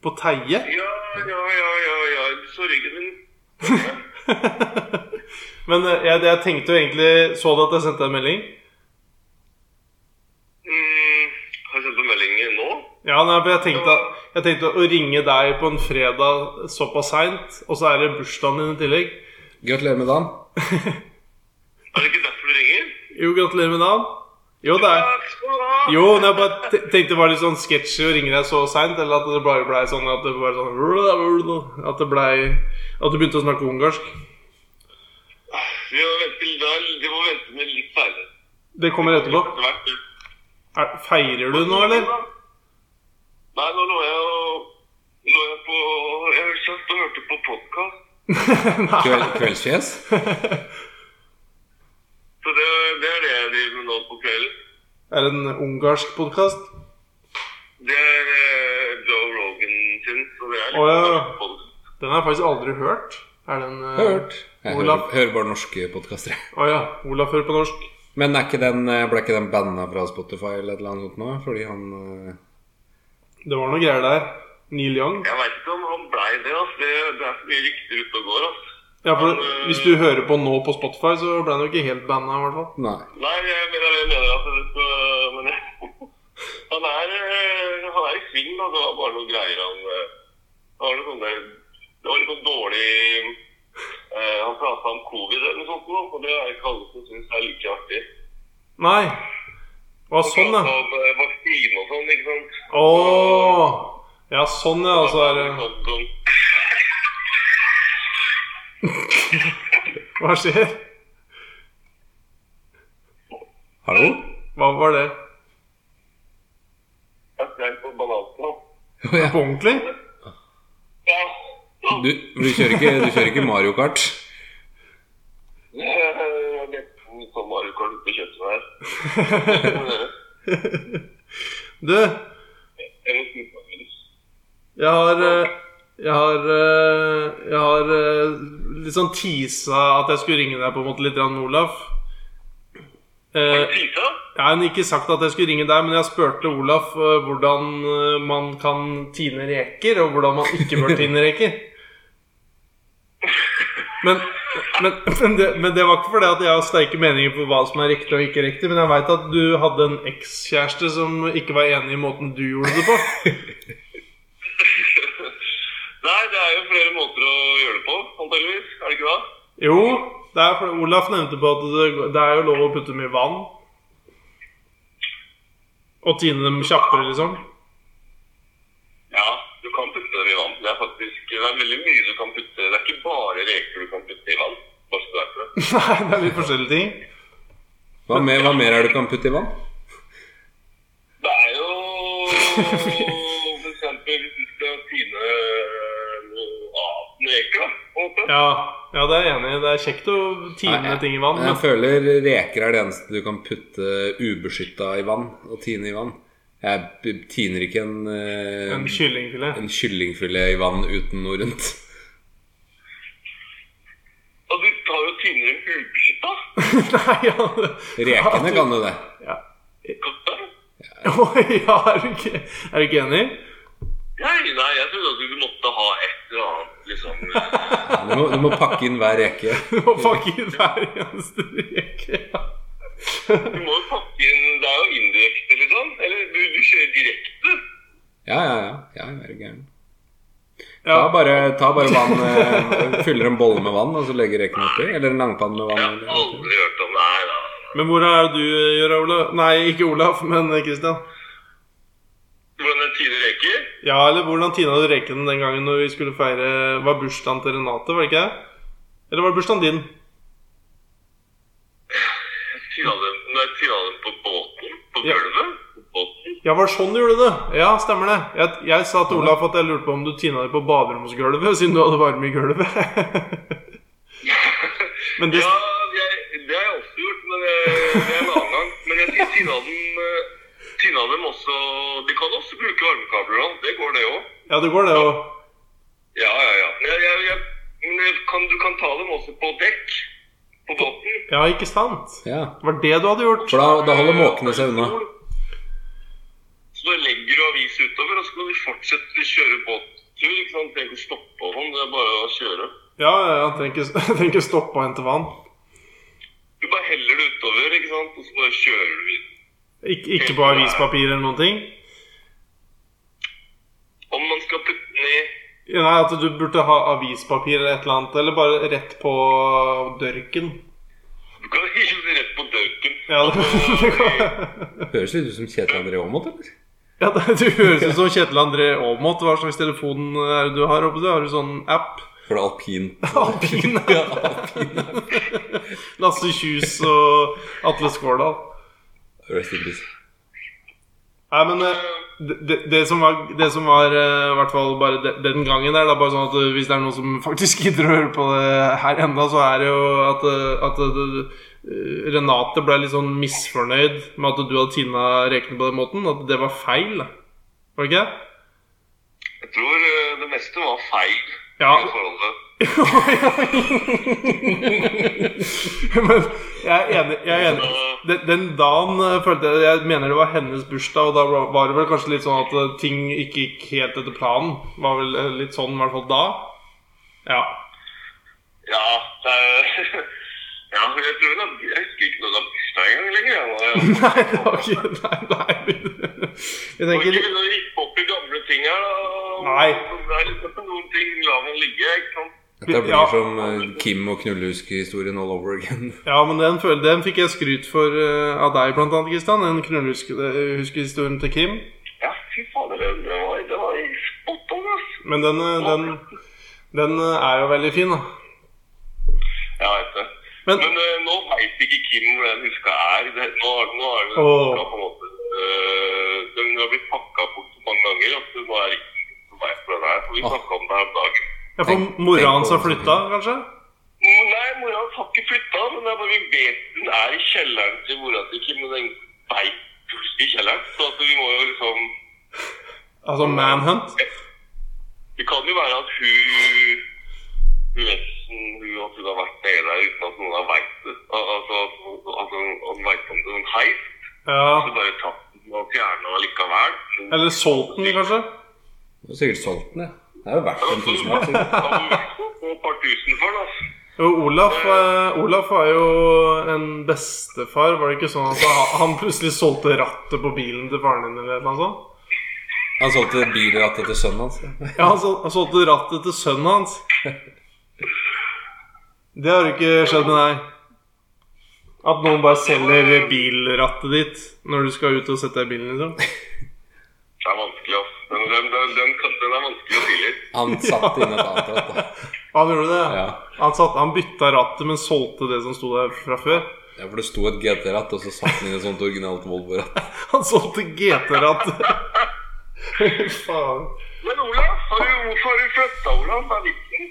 [SPEAKER 3] på Teie.
[SPEAKER 4] Ja, ja, ja, ja, ja. Så ryggen min.
[SPEAKER 3] Men eh, jeg, jeg tenkte jo egentlig Så du at jeg sendte en melding?
[SPEAKER 4] Mm, har jeg sendt en melding nå?
[SPEAKER 3] Ja, nei, for jeg tenkte, at- jeg tenkte å ringe deg på en fredag såpass seint, og så er det bursdagen din i tillegg.
[SPEAKER 1] Gratulerer med dagen.
[SPEAKER 4] Er det ikke derfor du ringer?
[SPEAKER 3] Jo, gratulerer med dagen. Jo, det er
[SPEAKER 4] Takk skal du ha!
[SPEAKER 3] Jo, men jeg bare te- tenkte det var litt sånn sketsjy å ringe deg så seint, eller at det bare blei sånn at det var sånn At det blei At du begynte å snakke ungarsk.
[SPEAKER 4] Vi må vente, til da, vi må vente med litt seinere.
[SPEAKER 3] Det kommer etterpå.
[SPEAKER 4] Etter hvert.
[SPEAKER 3] Er, feirer du nå, eller?
[SPEAKER 4] Nei, nå lå jeg og lå jeg på Jeg satt og hørte på podkast.
[SPEAKER 1] Kveld,
[SPEAKER 3] Nei.
[SPEAKER 1] kveldsfjes.
[SPEAKER 4] Så det, det er det jeg driver med nå på kvelden.
[SPEAKER 3] Er det en ungarsk podkast?
[SPEAKER 4] Det er eh, Joe Rogan sin, så det er
[SPEAKER 3] Å, ja.
[SPEAKER 4] podcast.
[SPEAKER 3] Den har jeg faktisk aldri hørt. Er den eh,
[SPEAKER 1] Hørt. Jeg hører,
[SPEAKER 3] Olav.
[SPEAKER 1] hører bare norske podkaster.
[SPEAKER 3] Å ja. Olaf hører på norsk.
[SPEAKER 1] Men er ikke den, eh, ble ikke den banna fra Spotify eller et eller annet sånt nå? Fordi han eh,
[SPEAKER 3] Det var noe greier der. Neil Young.
[SPEAKER 4] Jeg veit ikke om han blei det, altså. Det, det er så mye rykter ute og går, altså.
[SPEAKER 3] Ja, for hvis du hører på nå på Spotify, så ble han jo ikke helt banna, i hvert fall.
[SPEAKER 1] Nei.
[SPEAKER 4] Nei, jeg mener, jeg mener at det skal Men han er, eh, han er i sving, da. Det var bare noen greier han eh, Det var noe sånn der Det var litt sånn dårlig eh, Han prata om covid eller noe sånt, nå, og det er ikke alle som syns er like artig.
[SPEAKER 3] Nei. Å, sånn, ja.
[SPEAKER 4] Han pratet Om eh, vaksine og sånn, ikke sant.
[SPEAKER 3] Å! Ja, sånn, ja. Og så er det
[SPEAKER 4] Sånn, sånn.
[SPEAKER 3] Hva skjer?
[SPEAKER 1] Hallo?
[SPEAKER 3] Hva var det?
[SPEAKER 4] Jeg skrev på balansen, da.
[SPEAKER 1] Å, ja.
[SPEAKER 3] På ordentlig?
[SPEAKER 4] Ja.
[SPEAKER 1] Du, du, kjører ikke, du kjører ikke Mario Kart?
[SPEAKER 4] Jeg har nesten sånn Mario Kart på kjøkkenet her.
[SPEAKER 3] Du, jeg har eh, Jeg har eh, Jeg har eh, litt sånn teasa at jeg skulle ringe deg på en måte litt grann, Olaf. Eh,
[SPEAKER 4] Tisa?
[SPEAKER 3] Jeg har ikke sagt at jeg skulle ringe deg, men jeg spurte Olaf eh, hvordan eh, man kan tine reker, og hvordan man ikke bør tine reker. Men, men, men, det, men det var ikke fordi at jeg har sterke meninger på hva som er riktig og ikke riktig, men jeg veit at du hadde en ekskjæreste som ikke var enig i måten du gjorde det på.
[SPEAKER 4] Nei, det er jo flere måter å gjøre det på, antageligvis. Er det ikke det?
[SPEAKER 3] Jo, det er fordi Olaf nevnte på at det, det er jo lov å putte dem i vann. Og tine dem kjappere, liksom.
[SPEAKER 4] Ja, du kan putte dem i vann. Det er faktisk det er veldig mye du kan putte. Det er ikke bare reker du kan putte i vann. Bare så du vet det.
[SPEAKER 3] Nei, det er litt forskjellige ting.
[SPEAKER 1] Hva, mer- hva mer er det du kan putte i vann?
[SPEAKER 4] Det er jo for eksempel hvis du skal tine eh, av en reke, da. på en måte.
[SPEAKER 3] Ja, ja, det er jeg enig i. Det er kjekt å time
[SPEAKER 1] Nei, jeg-
[SPEAKER 3] ting i vann.
[SPEAKER 1] Jeg
[SPEAKER 3] Men,
[SPEAKER 1] føler reker er det eneste du kan putte ubeskytta i vann og tine i vann. Jeg b- tiner ikke en, eh,
[SPEAKER 3] en kyllingfilet.
[SPEAKER 1] en kyllingfilet i vann uten noe rundt.
[SPEAKER 4] Og du tar jo tynnere ubeskytta.
[SPEAKER 3] Nei, ja.
[SPEAKER 1] Rekene kan du det.
[SPEAKER 3] ja.
[SPEAKER 4] Godt, da.
[SPEAKER 3] Oi, ja, er du ikke, er du ikke enig?
[SPEAKER 4] Nei, nei, jeg trodde at du måtte ha et eller annet liksom eh,
[SPEAKER 1] Du må, du må pakke inn hver reke.
[SPEAKER 3] Du må pakke inn hver eneste reke. Ja.
[SPEAKER 4] Du må jo pakke inn Det er jo indirekte, liksom. Eller du, du kjører direkte.
[SPEAKER 1] Ja, ja, ja. ja jeg er jo gæren.
[SPEAKER 3] Ja.
[SPEAKER 1] Ta bare, ta bare vann eh, Fyller en bolle med vann, og så legger reken oppi. Eller en langpanne med
[SPEAKER 4] Jeg
[SPEAKER 1] vann.
[SPEAKER 4] har
[SPEAKER 1] Eller.
[SPEAKER 4] aldri hørt om det her. da.
[SPEAKER 3] Men hvor er du, Gjør Olav? Nei, ikke Olav, men Kristian.
[SPEAKER 4] Hvordan en tine reker?
[SPEAKER 3] Ja, eller hvordan tina du rekene den gangen når vi skulle feire Var bursdagen til Renate, var det ikke det? Eller var det bursdagen din?
[SPEAKER 4] Tina dem, nei, tina dem på båten? På
[SPEAKER 3] Ja.
[SPEAKER 4] gulvet? På båten?
[SPEAKER 3] Ja, var det sånn du gjorde det? Ja, stemmer det. Jeg, jeg sa til Olaf at jeg lurte på om du tina det på baderomsgulvet, siden du hadde varme i gulvet. Men det
[SPEAKER 4] Ja, jeg, det har jeg også gjort. eh, det er en annen gang. Men jeg sier Tynaden eh, Tynaden også De kan også bruke varmekabler. da. Det går, det òg.
[SPEAKER 3] Ja, det går, det òg.
[SPEAKER 4] Ja, ja, ja. Jeg, jeg, jeg, men jeg kan, du kan ta dem også på dekk. På båten.
[SPEAKER 3] Ja, ikke sant?
[SPEAKER 1] Ja.
[SPEAKER 3] Det var det du hadde gjort.
[SPEAKER 1] For da, da holder måkene seg unna.
[SPEAKER 4] Så da legger du avis utover, og så kan du fortsette å kjøre båttur. ikke sant? Trenger ikke stoppe og sånn, det er bare å kjøre.
[SPEAKER 3] Ja, ja, ja, trenger ikke- trenger ikke stoppe og hente vann.
[SPEAKER 4] Du bare heller det utover, ikke sant, og så bare kjører du videre.
[SPEAKER 3] Ik ikke på avispapir eller noen ting.
[SPEAKER 4] Om man skal putte den i
[SPEAKER 3] Nei, at du burde ha avispapir eller et eller annet, eller bare rett på dørken.
[SPEAKER 4] Du kan hive rett på dauken.
[SPEAKER 3] Ja, det, det går.
[SPEAKER 1] Høres litt ut som Kjetil André Aamodt, eller?
[SPEAKER 3] ja det, du høres ut som Kjetil André Aamodt. Hva slags telefon er det du har? Håper jeg? Har du sånn app?
[SPEAKER 1] For det er alpin.
[SPEAKER 3] Alpin.
[SPEAKER 1] Ja, alpin.
[SPEAKER 3] Lasse Kjus og Atle Skårdal.
[SPEAKER 1] Rest in peace.
[SPEAKER 3] Nei, men eh, det, det- det som var, det som var eh, i hvert fall bare de, den gangen der, da, bare sånn at eh, hvis det er noen som faktisk gidder å høre på det her enda, så er det jo at, eh, at eh, Renate ble litt sånn misfornøyd med at du hadde tina rekene på den måten. At det var feil. da. Var det ikke det?
[SPEAKER 4] Jeg tror eh, det meste var feil
[SPEAKER 3] Ja.
[SPEAKER 4] i forholdet.
[SPEAKER 3] Men jeg er enig. Jeg er enig. Den, den dagen eh, følte jeg Jeg mener det var hennes bursdag, og da var- var det vel kanskje litt sånn at eh, ting ikke gikk helt etter planen. Var vel eh, litt sånn i hvert fall da. Ja.
[SPEAKER 4] Ja, det er Ja, jeg tror da Jeg husker ikke noe av bursdag engang lenger. Jeg var jeg
[SPEAKER 3] Nei, det var ikke Nei, nei. Jeg
[SPEAKER 4] må ikke
[SPEAKER 3] tenker
[SPEAKER 4] begynne å rippe opp i gamle ting her, da.
[SPEAKER 3] Nei.
[SPEAKER 4] Det er liksom noen ting la man ligge, ikke sant.
[SPEAKER 1] Dette blir
[SPEAKER 3] Ja.
[SPEAKER 1] som eh, Kim og knullehusk-historien all over again.
[SPEAKER 3] Ja, men den, føl- den fikk jeg skryt for eh, av deg, blant annet, Kristian. Den knullhuskehistorien til Kim.
[SPEAKER 4] Ja, fy fader, det- det var, det var spot on, ass.
[SPEAKER 3] Men den, eh, den, den eh, er jo veldig fin, da.
[SPEAKER 4] Jeg vet det.
[SPEAKER 3] Men-
[SPEAKER 4] Men, eh, nå veit ikke Kim hvor den huska er. Det, nå, har- nå er den
[SPEAKER 3] Åh.
[SPEAKER 4] huska på en måte eh, Den har blitt pakka bort så mange ganger at det nå er ikke noen som vet hvor den er. For vi
[SPEAKER 1] Åh.
[SPEAKER 4] snakka om det her om dagen.
[SPEAKER 3] Ja, for
[SPEAKER 1] Tenk-
[SPEAKER 3] mora
[SPEAKER 1] tenk
[SPEAKER 3] hans
[SPEAKER 1] på
[SPEAKER 3] har
[SPEAKER 1] det.
[SPEAKER 3] flytta, kanskje?
[SPEAKER 4] Men Nei, mora hans har ikke flytta, men det er bare vi vet den er i kjelleren til mora til Kim. Men den veit jo ikke i kjelleren. Så altså, vi må jo liksom
[SPEAKER 3] Altså Manhunt?
[SPEAKER 4] Det kan jo være at hun hun Vesten, hun at hun har vært nede der uten at noen har veit det. Al- Altså at hun- at hun at hun vet om det. Hun heis.
[SPEAKER 3] Ja.
[SPEAKER 4] Så bare tatt den og fjerna likevel.
[SPEAKER 3] Eller solgt den, kanskje?
[SPEAKER 1] Du har sikkert solgt den, jeg. Det er jo verdt en tusenlapp. sikkert.
[SPEAKER 4] Og et par tusen for det. altså.
[SPEAKER 3] Og Olaf, eh, Olaf var jo en bestefar. Var det ikke sånn at han- han plutselig solgte rattet på bilen til faren din? eller noe sånt?
[SPEAKER 1] Han solgte bilrattet til sønnen hans. ja.
[SPEAKER 3] Ja, han sol- han solgte rattet til sønnen hans. Det har jo ikke skjedd med deg? At noen bare selger bilrattet ditt når du skal ut og sette deg i bilen, liksom?
[SPEAKER 4] Det er vanskelig, ass. Den, den, den, den, kan- den er vanskelig å tilgi.
[SPEAKER 1] Han satt inn et annet ratt, da.
[SPEAKER 3] Han gjorde det?
[SPEAKER 1] Ja.
[SPEAKER 3] Han, satt, han bytta rattet, men solgte det som sto der fra før?
[SPEAKER 1] Ja, for det sto et GT-ratt, og så satt han inn et sånt originalt Volvo-ratt.
[SPEAKER 3] Han solgte GT-ratt. Faen.
[SPEAKER 4] Men Olav, har du, hvorfor har du flytta, Olav? Hva er vitsen?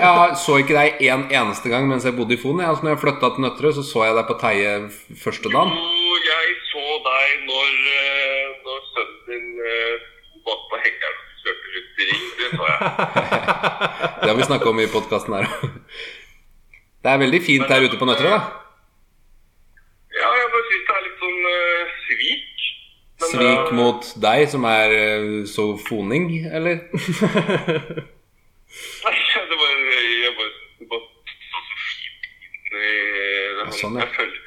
[SPEAKER 1] Jeg så ikke deg en eneste gang mens jeg bodde i Fon. Jeg. Altså, når jeg flytta til Nøtterøy, så så jeg deg på Teie f- første dagen.
[SPEAKER 4] Jo, jeg så deg når, eh, når sønnen din eh, bak på hengeren og kjørte rundt i ring. Det så jeg.
[SPEAKER 1] Det har vi snakka om i podkasten her òg. Det er veldig fint her ute på Nøtterøy, da.
[SPEAKER 4] Ja, jeg bare syns det er litt sånn eh, svik. Men,
[SPEAKER 1] Svik
[SPEAKER 4] eh,
[SPEAKER 1] mot deg, som er eh, så foning, eller?
[SPEAKER 4] Nei, det var Jeg bare, det var så fint i- det var-
[SPEAKER 1] sånn, ja.
[SPEAKER 4] Jeg føler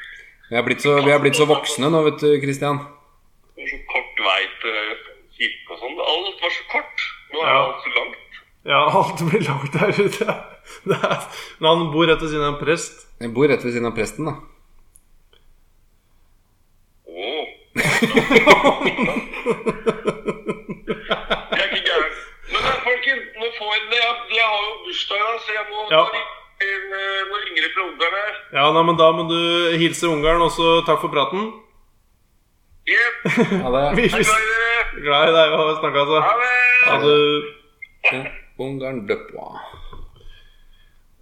[SPEAKER 1] Vi er blitt så, vi er blitt så voksne nå, vet du, Christian.
[SPEAKER 4] Det var så kort vei til kirke og sånn. Alt var så kort. Nå er
[SPEAKER 3] Ja.
[SPEAKER 4] alt så langt.
[SPEAKER 3] Ja, alt blir lagd der ute. Det er, men han bor rett ved siden av en prest.
[SPEAKER 1] Jeg bor rett ved siden av presten, da.
[SPEAKER 4] Åh. Jeg er ikke gæren. Men da, folkens, nå får jeg det. Jeg, jeg har jo bursdag i dag, så jeg må
[SPEAKER 3] Ja.
[SPEAKER 4] nå ringer- eh, Nå ringer det fra Ungarn her.
[SPEAKER 3] Ja, nei, men Da må du hilse Ungarn, og så takk for praten.
[SPEAKER 4] Jepp.
[SPEAKER 1] Ja, det
[SPEAKER 3] Vi
[SPEAKER 4] Jeg
[SPEAKER 3] er
[SPEAKER 4] er glad i dere.
[SPEAKER 3] glad i deg og snakka,
[SPEAKER 4] Ha
[SPEAKER 3] altså. Ha
[SPEAKER 4] det.
[SPEAKER 3] det.
[SPEAKER 1] ja. Ungarn Døpwa.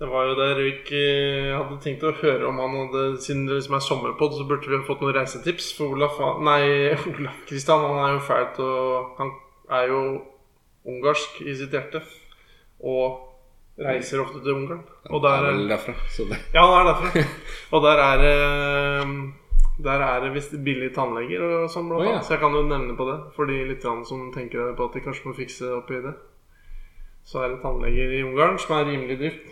[SPEAKER 3] Det var jo der vi ikke hadde tenkt å høre om han hadde Siden det liksom er sommerpod, så burde vi ha fått noen reisetips. For Olaf han- Nei, Olaf Kristian, han er jo fæl til å Han er jo ungarsk i sitt hjerte. Og reiser ofte til Ungarn. Og
[SPEAKER 1] Det er
[SPEAKER 3] der
[SPEAKER 1] vel derfra. Så det,
[SPEAKER 3] Ja, han er derfra. Og der er det der er det visst billige tannleger og sånn, blant
[SPEAKER 1] Å, ja.
[SPEAKER 3] annet. Så jeg kan jo nevne på det for de lytterne som tenker på at de kanskje må fikse opp i det. Så er det tannleger i Ungarn som er rimelig dyrt.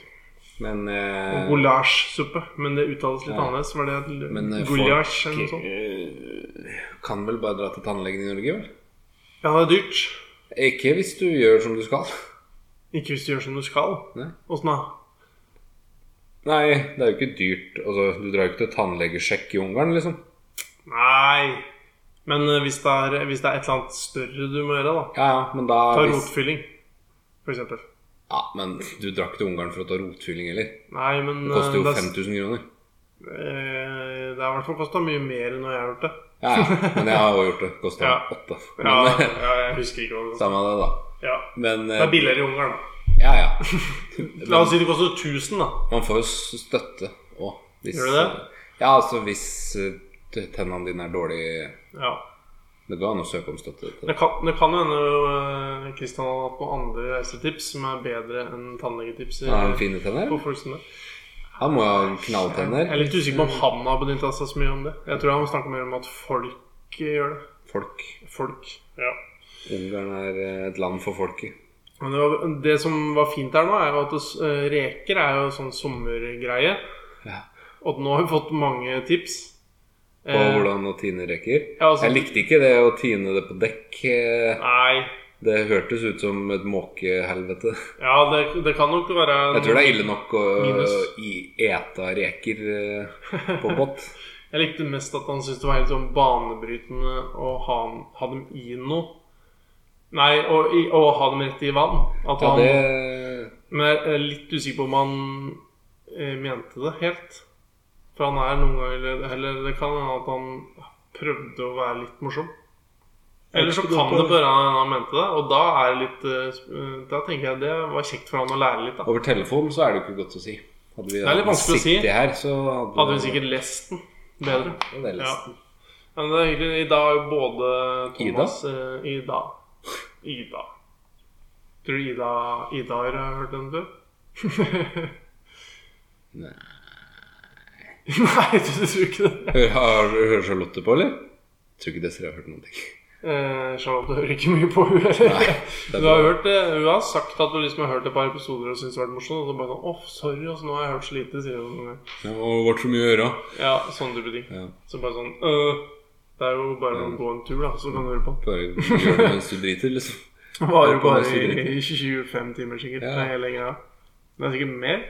[SPEAKER 1] men
[SPEAKER 3] Og
[SPEAKER 1] eh,
[SPEAKER 3] goulash-suppe. Men det uttales litt
[SPEAKER 1] Ja.
[SPEAKER 3] annerledes. Var det et
[SPEAKER 1] men eh,
[SPEAKER 3] goulash eller noe
[SPEAKER 1] folk
[SPEAKER 3] sånt?
[SPEAKER 1] eh, kan vel bare dra til tannlegen i Norge, vel?
[SPEAKER 3] Ja, det er dyrt.
[SPEAKER 1] Ikke hvis du gjør som du skal.
[SPEAKER 3] Ikke hvis du gjør som du skal.
[SPEAKER 1] Nei.
[SPEAKER 3] Åssen da?
[SPEAKER 1] Nei, det er jo ikke dyrt. Altså, du drar jo ikke til tannlegesjekk i Ungarn, liksom.
[SPEAKER 3] Nei. Men eh, hvis det, er, hvis det er et eller annet større du må gjøre, da.
[SPEAKER 1] Ja, ja, men da
[SPEAKER 3] Ta
[SPEAKER 1] hvis,
[SPEAKER 3] rotfylling, for eksempel.
[SPEAKER 1] Ja, men du drar ikke til Ungarn for å ta rotfylling heller.
[SPEAKER 3] Nei, men
[SPEAKER 1] Det koster jo
[SPEAKER 3] eh, det er-
[SPEAKER 1] 5000 kroner.
[SPEAKER 3] Eh, Det har i hvert fall kosta mye mer enn når jeg har gjort det.
[SPEAKER 1] Ja, ja, men jeg har jo gjort det. Kosta
[SPEAKER 3] Ja.
[SPEAKER 1] åtte.
[SPEAKER 3] Ja,
[SPEAKER 1] Men,
[SPEAKER 3] ja, jeg husker ikke hva det var.
[SPEAKER 1] Samme det, da.
[SPEAKER 3] Ja.
[SPEAKER 1] Men
[SPEAKER 3] Det
[SPEAKER 1] eh,
[SPEAKER 3] er billigere i Ungarn. da.
[SPEAKER 1] Ja, ja.
[SPEAKER 3] La oss si det koster 1000, da.
[SPEAKER 1] Man får jo s- støtte òg.
[SPEAKER 3] Gjør du det?
[SPEAKER 1] Ja, altså hvis eh, t- tennene dine er dårlige
[SPEAKER 3] Ja.
[SPEAKER 1] Det går an å søke om støtte. til det.
[SPEAKER 3] Det kan, det kan jo hende eh, Kristian har hatt noen andre reisetips som er bedre enn tannlegetips. i-
[SPEAKER 1] Har han fine tenner?
[SPEAKER 3] for folk som det.
[SPEAKER 1] Han må jo ha
[SPEAKER 3] Jeg er
[SPEAKER 1] knalltenner.
[SPEAKER 3] litt usikker på om han har benytta seg så mye om det. Jeg tror han snakker mer om at folk eh, gjør det.
[SPEAKER 1] Folk.
[SPEAKER 3] Folk. Ja.
[SPEAKER 1] Ungarn er eh, et land for folket.
[SPEAKER 3] Men det, var, det som var fint her nå, er jo at det, s- eh, reker er jo sånn sommergreie.
[SPEAKER 1] Ja.
[SPEAKER 3] Og nå har vi fått mange tips.
[SPEAKER 1] På hvordan å tine reker.
[SPEAKER 3] Ja, Eh, altså-
[SPEAKER 1] Jeg likte ikke det å tine det på dekk. eh,
[SPEAKER 3] Nei.
[SPEAKER 1] Det hørtes ut som et måkehelvete.
[SPEAKER 3] Ja, det, det kan nok være en-
[SPEAKER 1] Jeg tror det er ille nok å
[SPEAKER 3] Minus.
[SPEAKER 1] i- eta reker eh, på båt.
[SPEAKER 3] Jeg likte mest at han syntes det var helt sånn banebrytende å ha, ha dem i noe. Nei, å i- å ha dem rett i vann. At
[SPEAKER 1] Ja,
[SPEAKER 3] han,
[SPEAKER 1] det
[SPEAKER 3] Men jeg er litt usikker på om han eh, mente det helt. For han er noen ganger Eller det kan hende at han prøvde å være litt morsom. Eller så kan det bare hende han mente det, og da er det litt eh, sp- eh, Da tenker jeg det var kjekt for han å lære litt, da.
[SPEAKER 1] Over telefon så er det jo ikke godt å si. Hadde vi
[SPEAKER 3] Det er litt vanskelig å si.
[SPEAKER 1] sittet her, så hadde,
[SPEAKER 3] Hadde vi sikkert lest den bedre.
[SPEAKER 1] Ja, det er
[SPEAKER 3] Ja.
[SPEAKER 1] lest.
[SPEAKER 3] Ja, Men det er hyggelig. I dag er jo både Thomas Ida. Ida. Ida. Tror du Ida, Ida har hørt den før?
[SPEAKER 1] Nei.
[SPEAKER 3] Nei, du tror ikke det?
[SPEAKER 1] Hør- Har, hører Charlotte på, eller? Tror ikke Desiree har hørt noen ting.
[SPEAKER 3] Eh, Charlotte hører ikke mye på hun heller.
[SPEAKER 1] er
[SPEAKER 3] Du har
[SPEAKER 1] bra.
[SPEAKER 3] hørt det, hun har sagt at hun liksom har hørt et par episoder og syntes det har vært morsomt. Og så bare sånn åh, sorry, altså, nå har jeg hørt så lite, sier hun. noen ganger.
[SPEAKER 1] Ja, og det ble så mye å gjøre.
[SPEAKER 3] Ja, sånn type ting.
[SPEAKER 1] Ja.
[SPEAKER 3] Så bare sånn øh, Det er jo bare å gå en tur, da, så kan du høre på.
[SPEAKER 1] Bare gjør det mens du driter, liksom.
[SPEAKER 3] Det var jo
[SPEAKER 1] På
[SPEAKER 3] bare
[SPEAKER 1] neste dritt.
[SPEAKER 3] i i 25 timer, sikkert.
[SPEAKER 1] Ja.
[SPEAKER 3] Det er hele greia. Det er sikkert mer.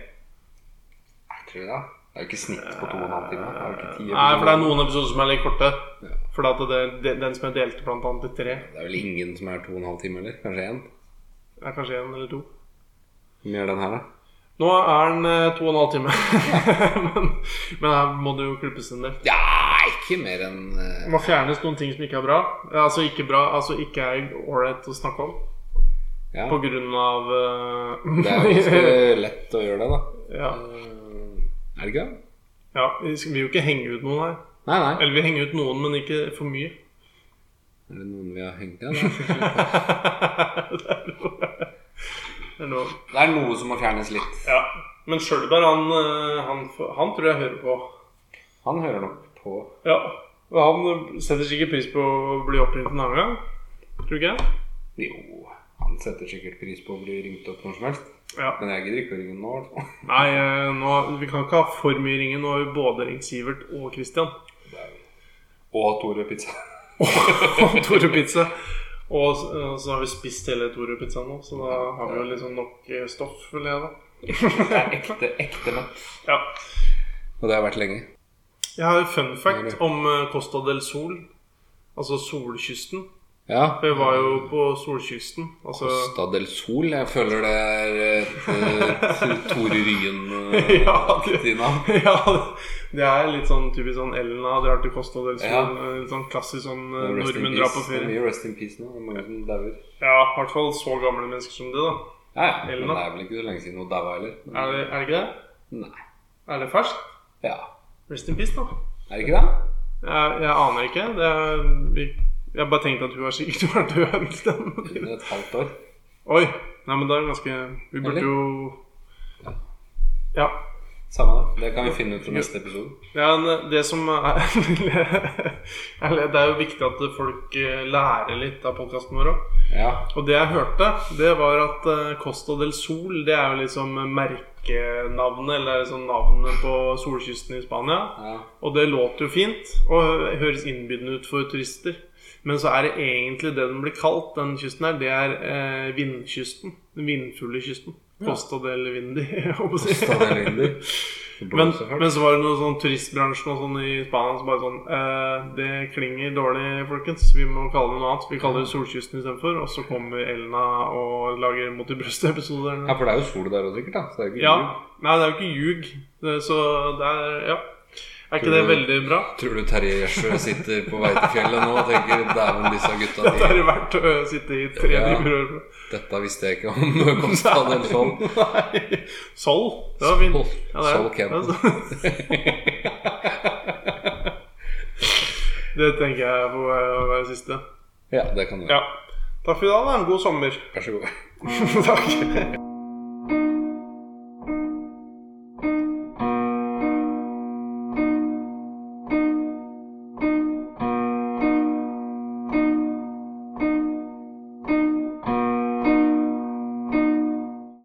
[SPEAKER 1] Tror du det? Det er jo ikke snitt på to og en halv time. Det er jo ikke ti
[SPEAKER 3] Nei, for det er
[SPEAKER 1] episoder.
[SPEAKER 3] noen episoder som er litt korte. For at det, det, den som jeg delte blant annet i tre,
[SPEAKER 1] Det er vel ingen som er to og en halv time, eller? Kanskje én?
[SPEAKER 3] er kanskje en eller to.
[SPEAKER 1] Hvor mye er den her, da?
[SPEAKER 3] Nå er den eh, to og en halv time. men, men her må det jo klippes en del.
[SPEAKER 1] Ja, ikke mer enn eh,
[SPEAKER 3] Det må fjernes noen ting som ikke er bra. Eh, Altså ikke bra, altså ikke er ålreit å snakke om.
[SPEAKER 1] Ja.
[SPEAKER 3] På grunn av eh,
[SPEAKER 1] Det er jo ganske lett å gjøre det, da.
[SPEAKER 3] ja.
[SPEAKER 1] Er det ikke det?
[SPEAKER 3] ja, vi skal- vi vil jo ikke henge ut noen her.
[SPEAKER 1] Nei, nei.
[SPEAKER 3] Eller vi henger ut noen, men ikke for mye.
[SPEAKER 1] Er det noen vi har hengt igjen? da?
[SPEAKER 3] det er lov. Det er lov.
[SPEAKER 1] Det er noe som må fjernes litt.
[SPEAKER 3] Ja. Men Sjølberg, han, eh, han, han tror jeg hører på.
[SPEAKER 1] Han hører nok på.
[SPEAKER 3] Ja. Og han setter sikkert pris på å bli oppringt en annen gang. Tror ikke jeg.
[SPEAKER 1] Jo, han setter sikkert pris på å bli ringt opp når som helst.
[SPEAKER 3] Ja.
[SPEAKER 1] Men jeg gidder ikke å ringe nå. altså.
[SPEAKER 3] Nei, eh, nå, vi kan ikke ha for mye ringer. Nå har vi både ringt Sivert og Christian.
[SPEAKER 1] Og Tore Pizza.
[SPEAKER 3] Og Tore Pizza. Og s- eh, så har vi spist hele Tore Pizzaen nå, så da har vi jo liksom nok eh, stoff, vil jeg da.
[SPEAKER 1] Det er ekte, ekte møtt.
[SPEAKER 3] Ja.
[SPEAKER 1] Og det har vært lenge.
[SPEAKER 3] Jeg har en fun fact om eh, Costa del Sol. Altså solkysten.
[SPEAKER 1] Ja.
[SPEAKER 3] Vi var jo på solkysten. Altså
[SPEAKER 1] Costa del Sol. Jeg føler det er et eh, Tore eh, Ryen-aktig
[SPEAKER 3] Ja, det-
[SPEAKER 1] navn.
[SPEAKER 3] Ja, det er litt sånn typisk sånn Ellen har drar til Costa del Sol.
[SPEAKER 1] Ja.
[SPEAKER 3] Litt sånn klassisk sånn eh,
[SPEAKER 1] Rest in
[SPEAKER 3] nordmenn drar på
[SPEAKER 1] peace. Det er
[SPEAKER 3] ferie.
[SPEAKER 1] mye rest in peace nå. Det er mange som dauer.
[SPEAKER 3] Ja, i hvert fall så gamle mennesker som det, da.
[SPEAKER 1] Nei,
[SPEAKER 3] Eller
[SPEAKER 1] men
[SPEAKER 3] noe.
[SPEAKER 1] det er vel ikke så lenge siden hun daua heller. Men-
[SPEAKER 3] Er det, er det ikke det?
[SPEAKER 1] Nei.
[SPEAKER 3] Er det ferskt?
[SPEAKER 1] Ja.
[SPEAKER 3] Rest in peace, da.
[SPEAKER 1] Er det ikke det?
[SPEAKER 3] Jeg, jeg aner ikke. Det er, vi, jeg har bare tenkte at hun har sikkert vært død en stund.
[SPEAKER 1] Under et halvt år.
[SPEAKER 3] Oi! Nei, men det er ganske Vi burde
[SPEAKER 1] Eller?
[SPEAKER 3] jo Ja.
[SPEAKER 1] Samme det. Det kan vi finne ut fra neste episode.
[SPEAKER 3] ja men det som er Eller det er jo viktig at folk eh, lærer litt av podkasten vår òg.
[SPEAKER 1] Ja.
[SPEAKER 3] Og det jeg hørte, det var at eh, Costa del Sol Det er jo liksom merkenavnet, eller sånn navnet på solkysten i Spania.
[SPEAKER 1] ja.
[SPEAKER 3] Og det låter jo fint, og høres innbydende ut for turister. Men så er det egentlig det den blir kalt, den kysten her, det er eh, vindkysten. Den vindfulle kysten. Costa del Vindi, holdt på å si.
[SPEAKER 1] Stavelindi.
[SPEAKER 3] Men, men så var det noe sånn turistbransjen og sånn i Spania som bare sånn eh, Det klinger dårlig, folkens. Vi må kalle det noe annet. Vi kaller det Solkysten istedenfor. Og så kommer Elna og lager Mot i brøstet-episoder.
[SPEAKER 1] Ja, for det er jo sol der òg, sikkert. da Så det er ikke
[SPEAKER 3] Ja.
[SPEAKER 1] jul.
[SPEAKER 3] Nei, det er jo ikke ljug. Det- Så det er Ja. Er ikke det veldig bra?
[SPEAKER 1] Tror du Terje Gjersø sitter på vei til fjellet nå og tenker dæven, disse gutta
[SPEAKER 3] Det er
[SPEAKER 1] de,
[SPEAKER 3] det verdt å eh, sitte i tre
[SPEAKER 1] Ja.
[SPEAKER 3] timer og høre på.
[SPEAKER 1] Dette visste jeg ikke om Costa del Sol.
[SPEAKER 3] Nei. Sol. Det Altså. var fint.
[SPEAKER 1] Sol. Sol Kempen.
[SPEAKER 3] det tenker jeg på eh, å være siste.
[SPEAKER 1] Ja, det kan du.
[SPEAKER 3] Ja. Takk for i dag, da. God sommer.
[SPEAKER 1] Vær så god.
[SPEAKER 3] Takk.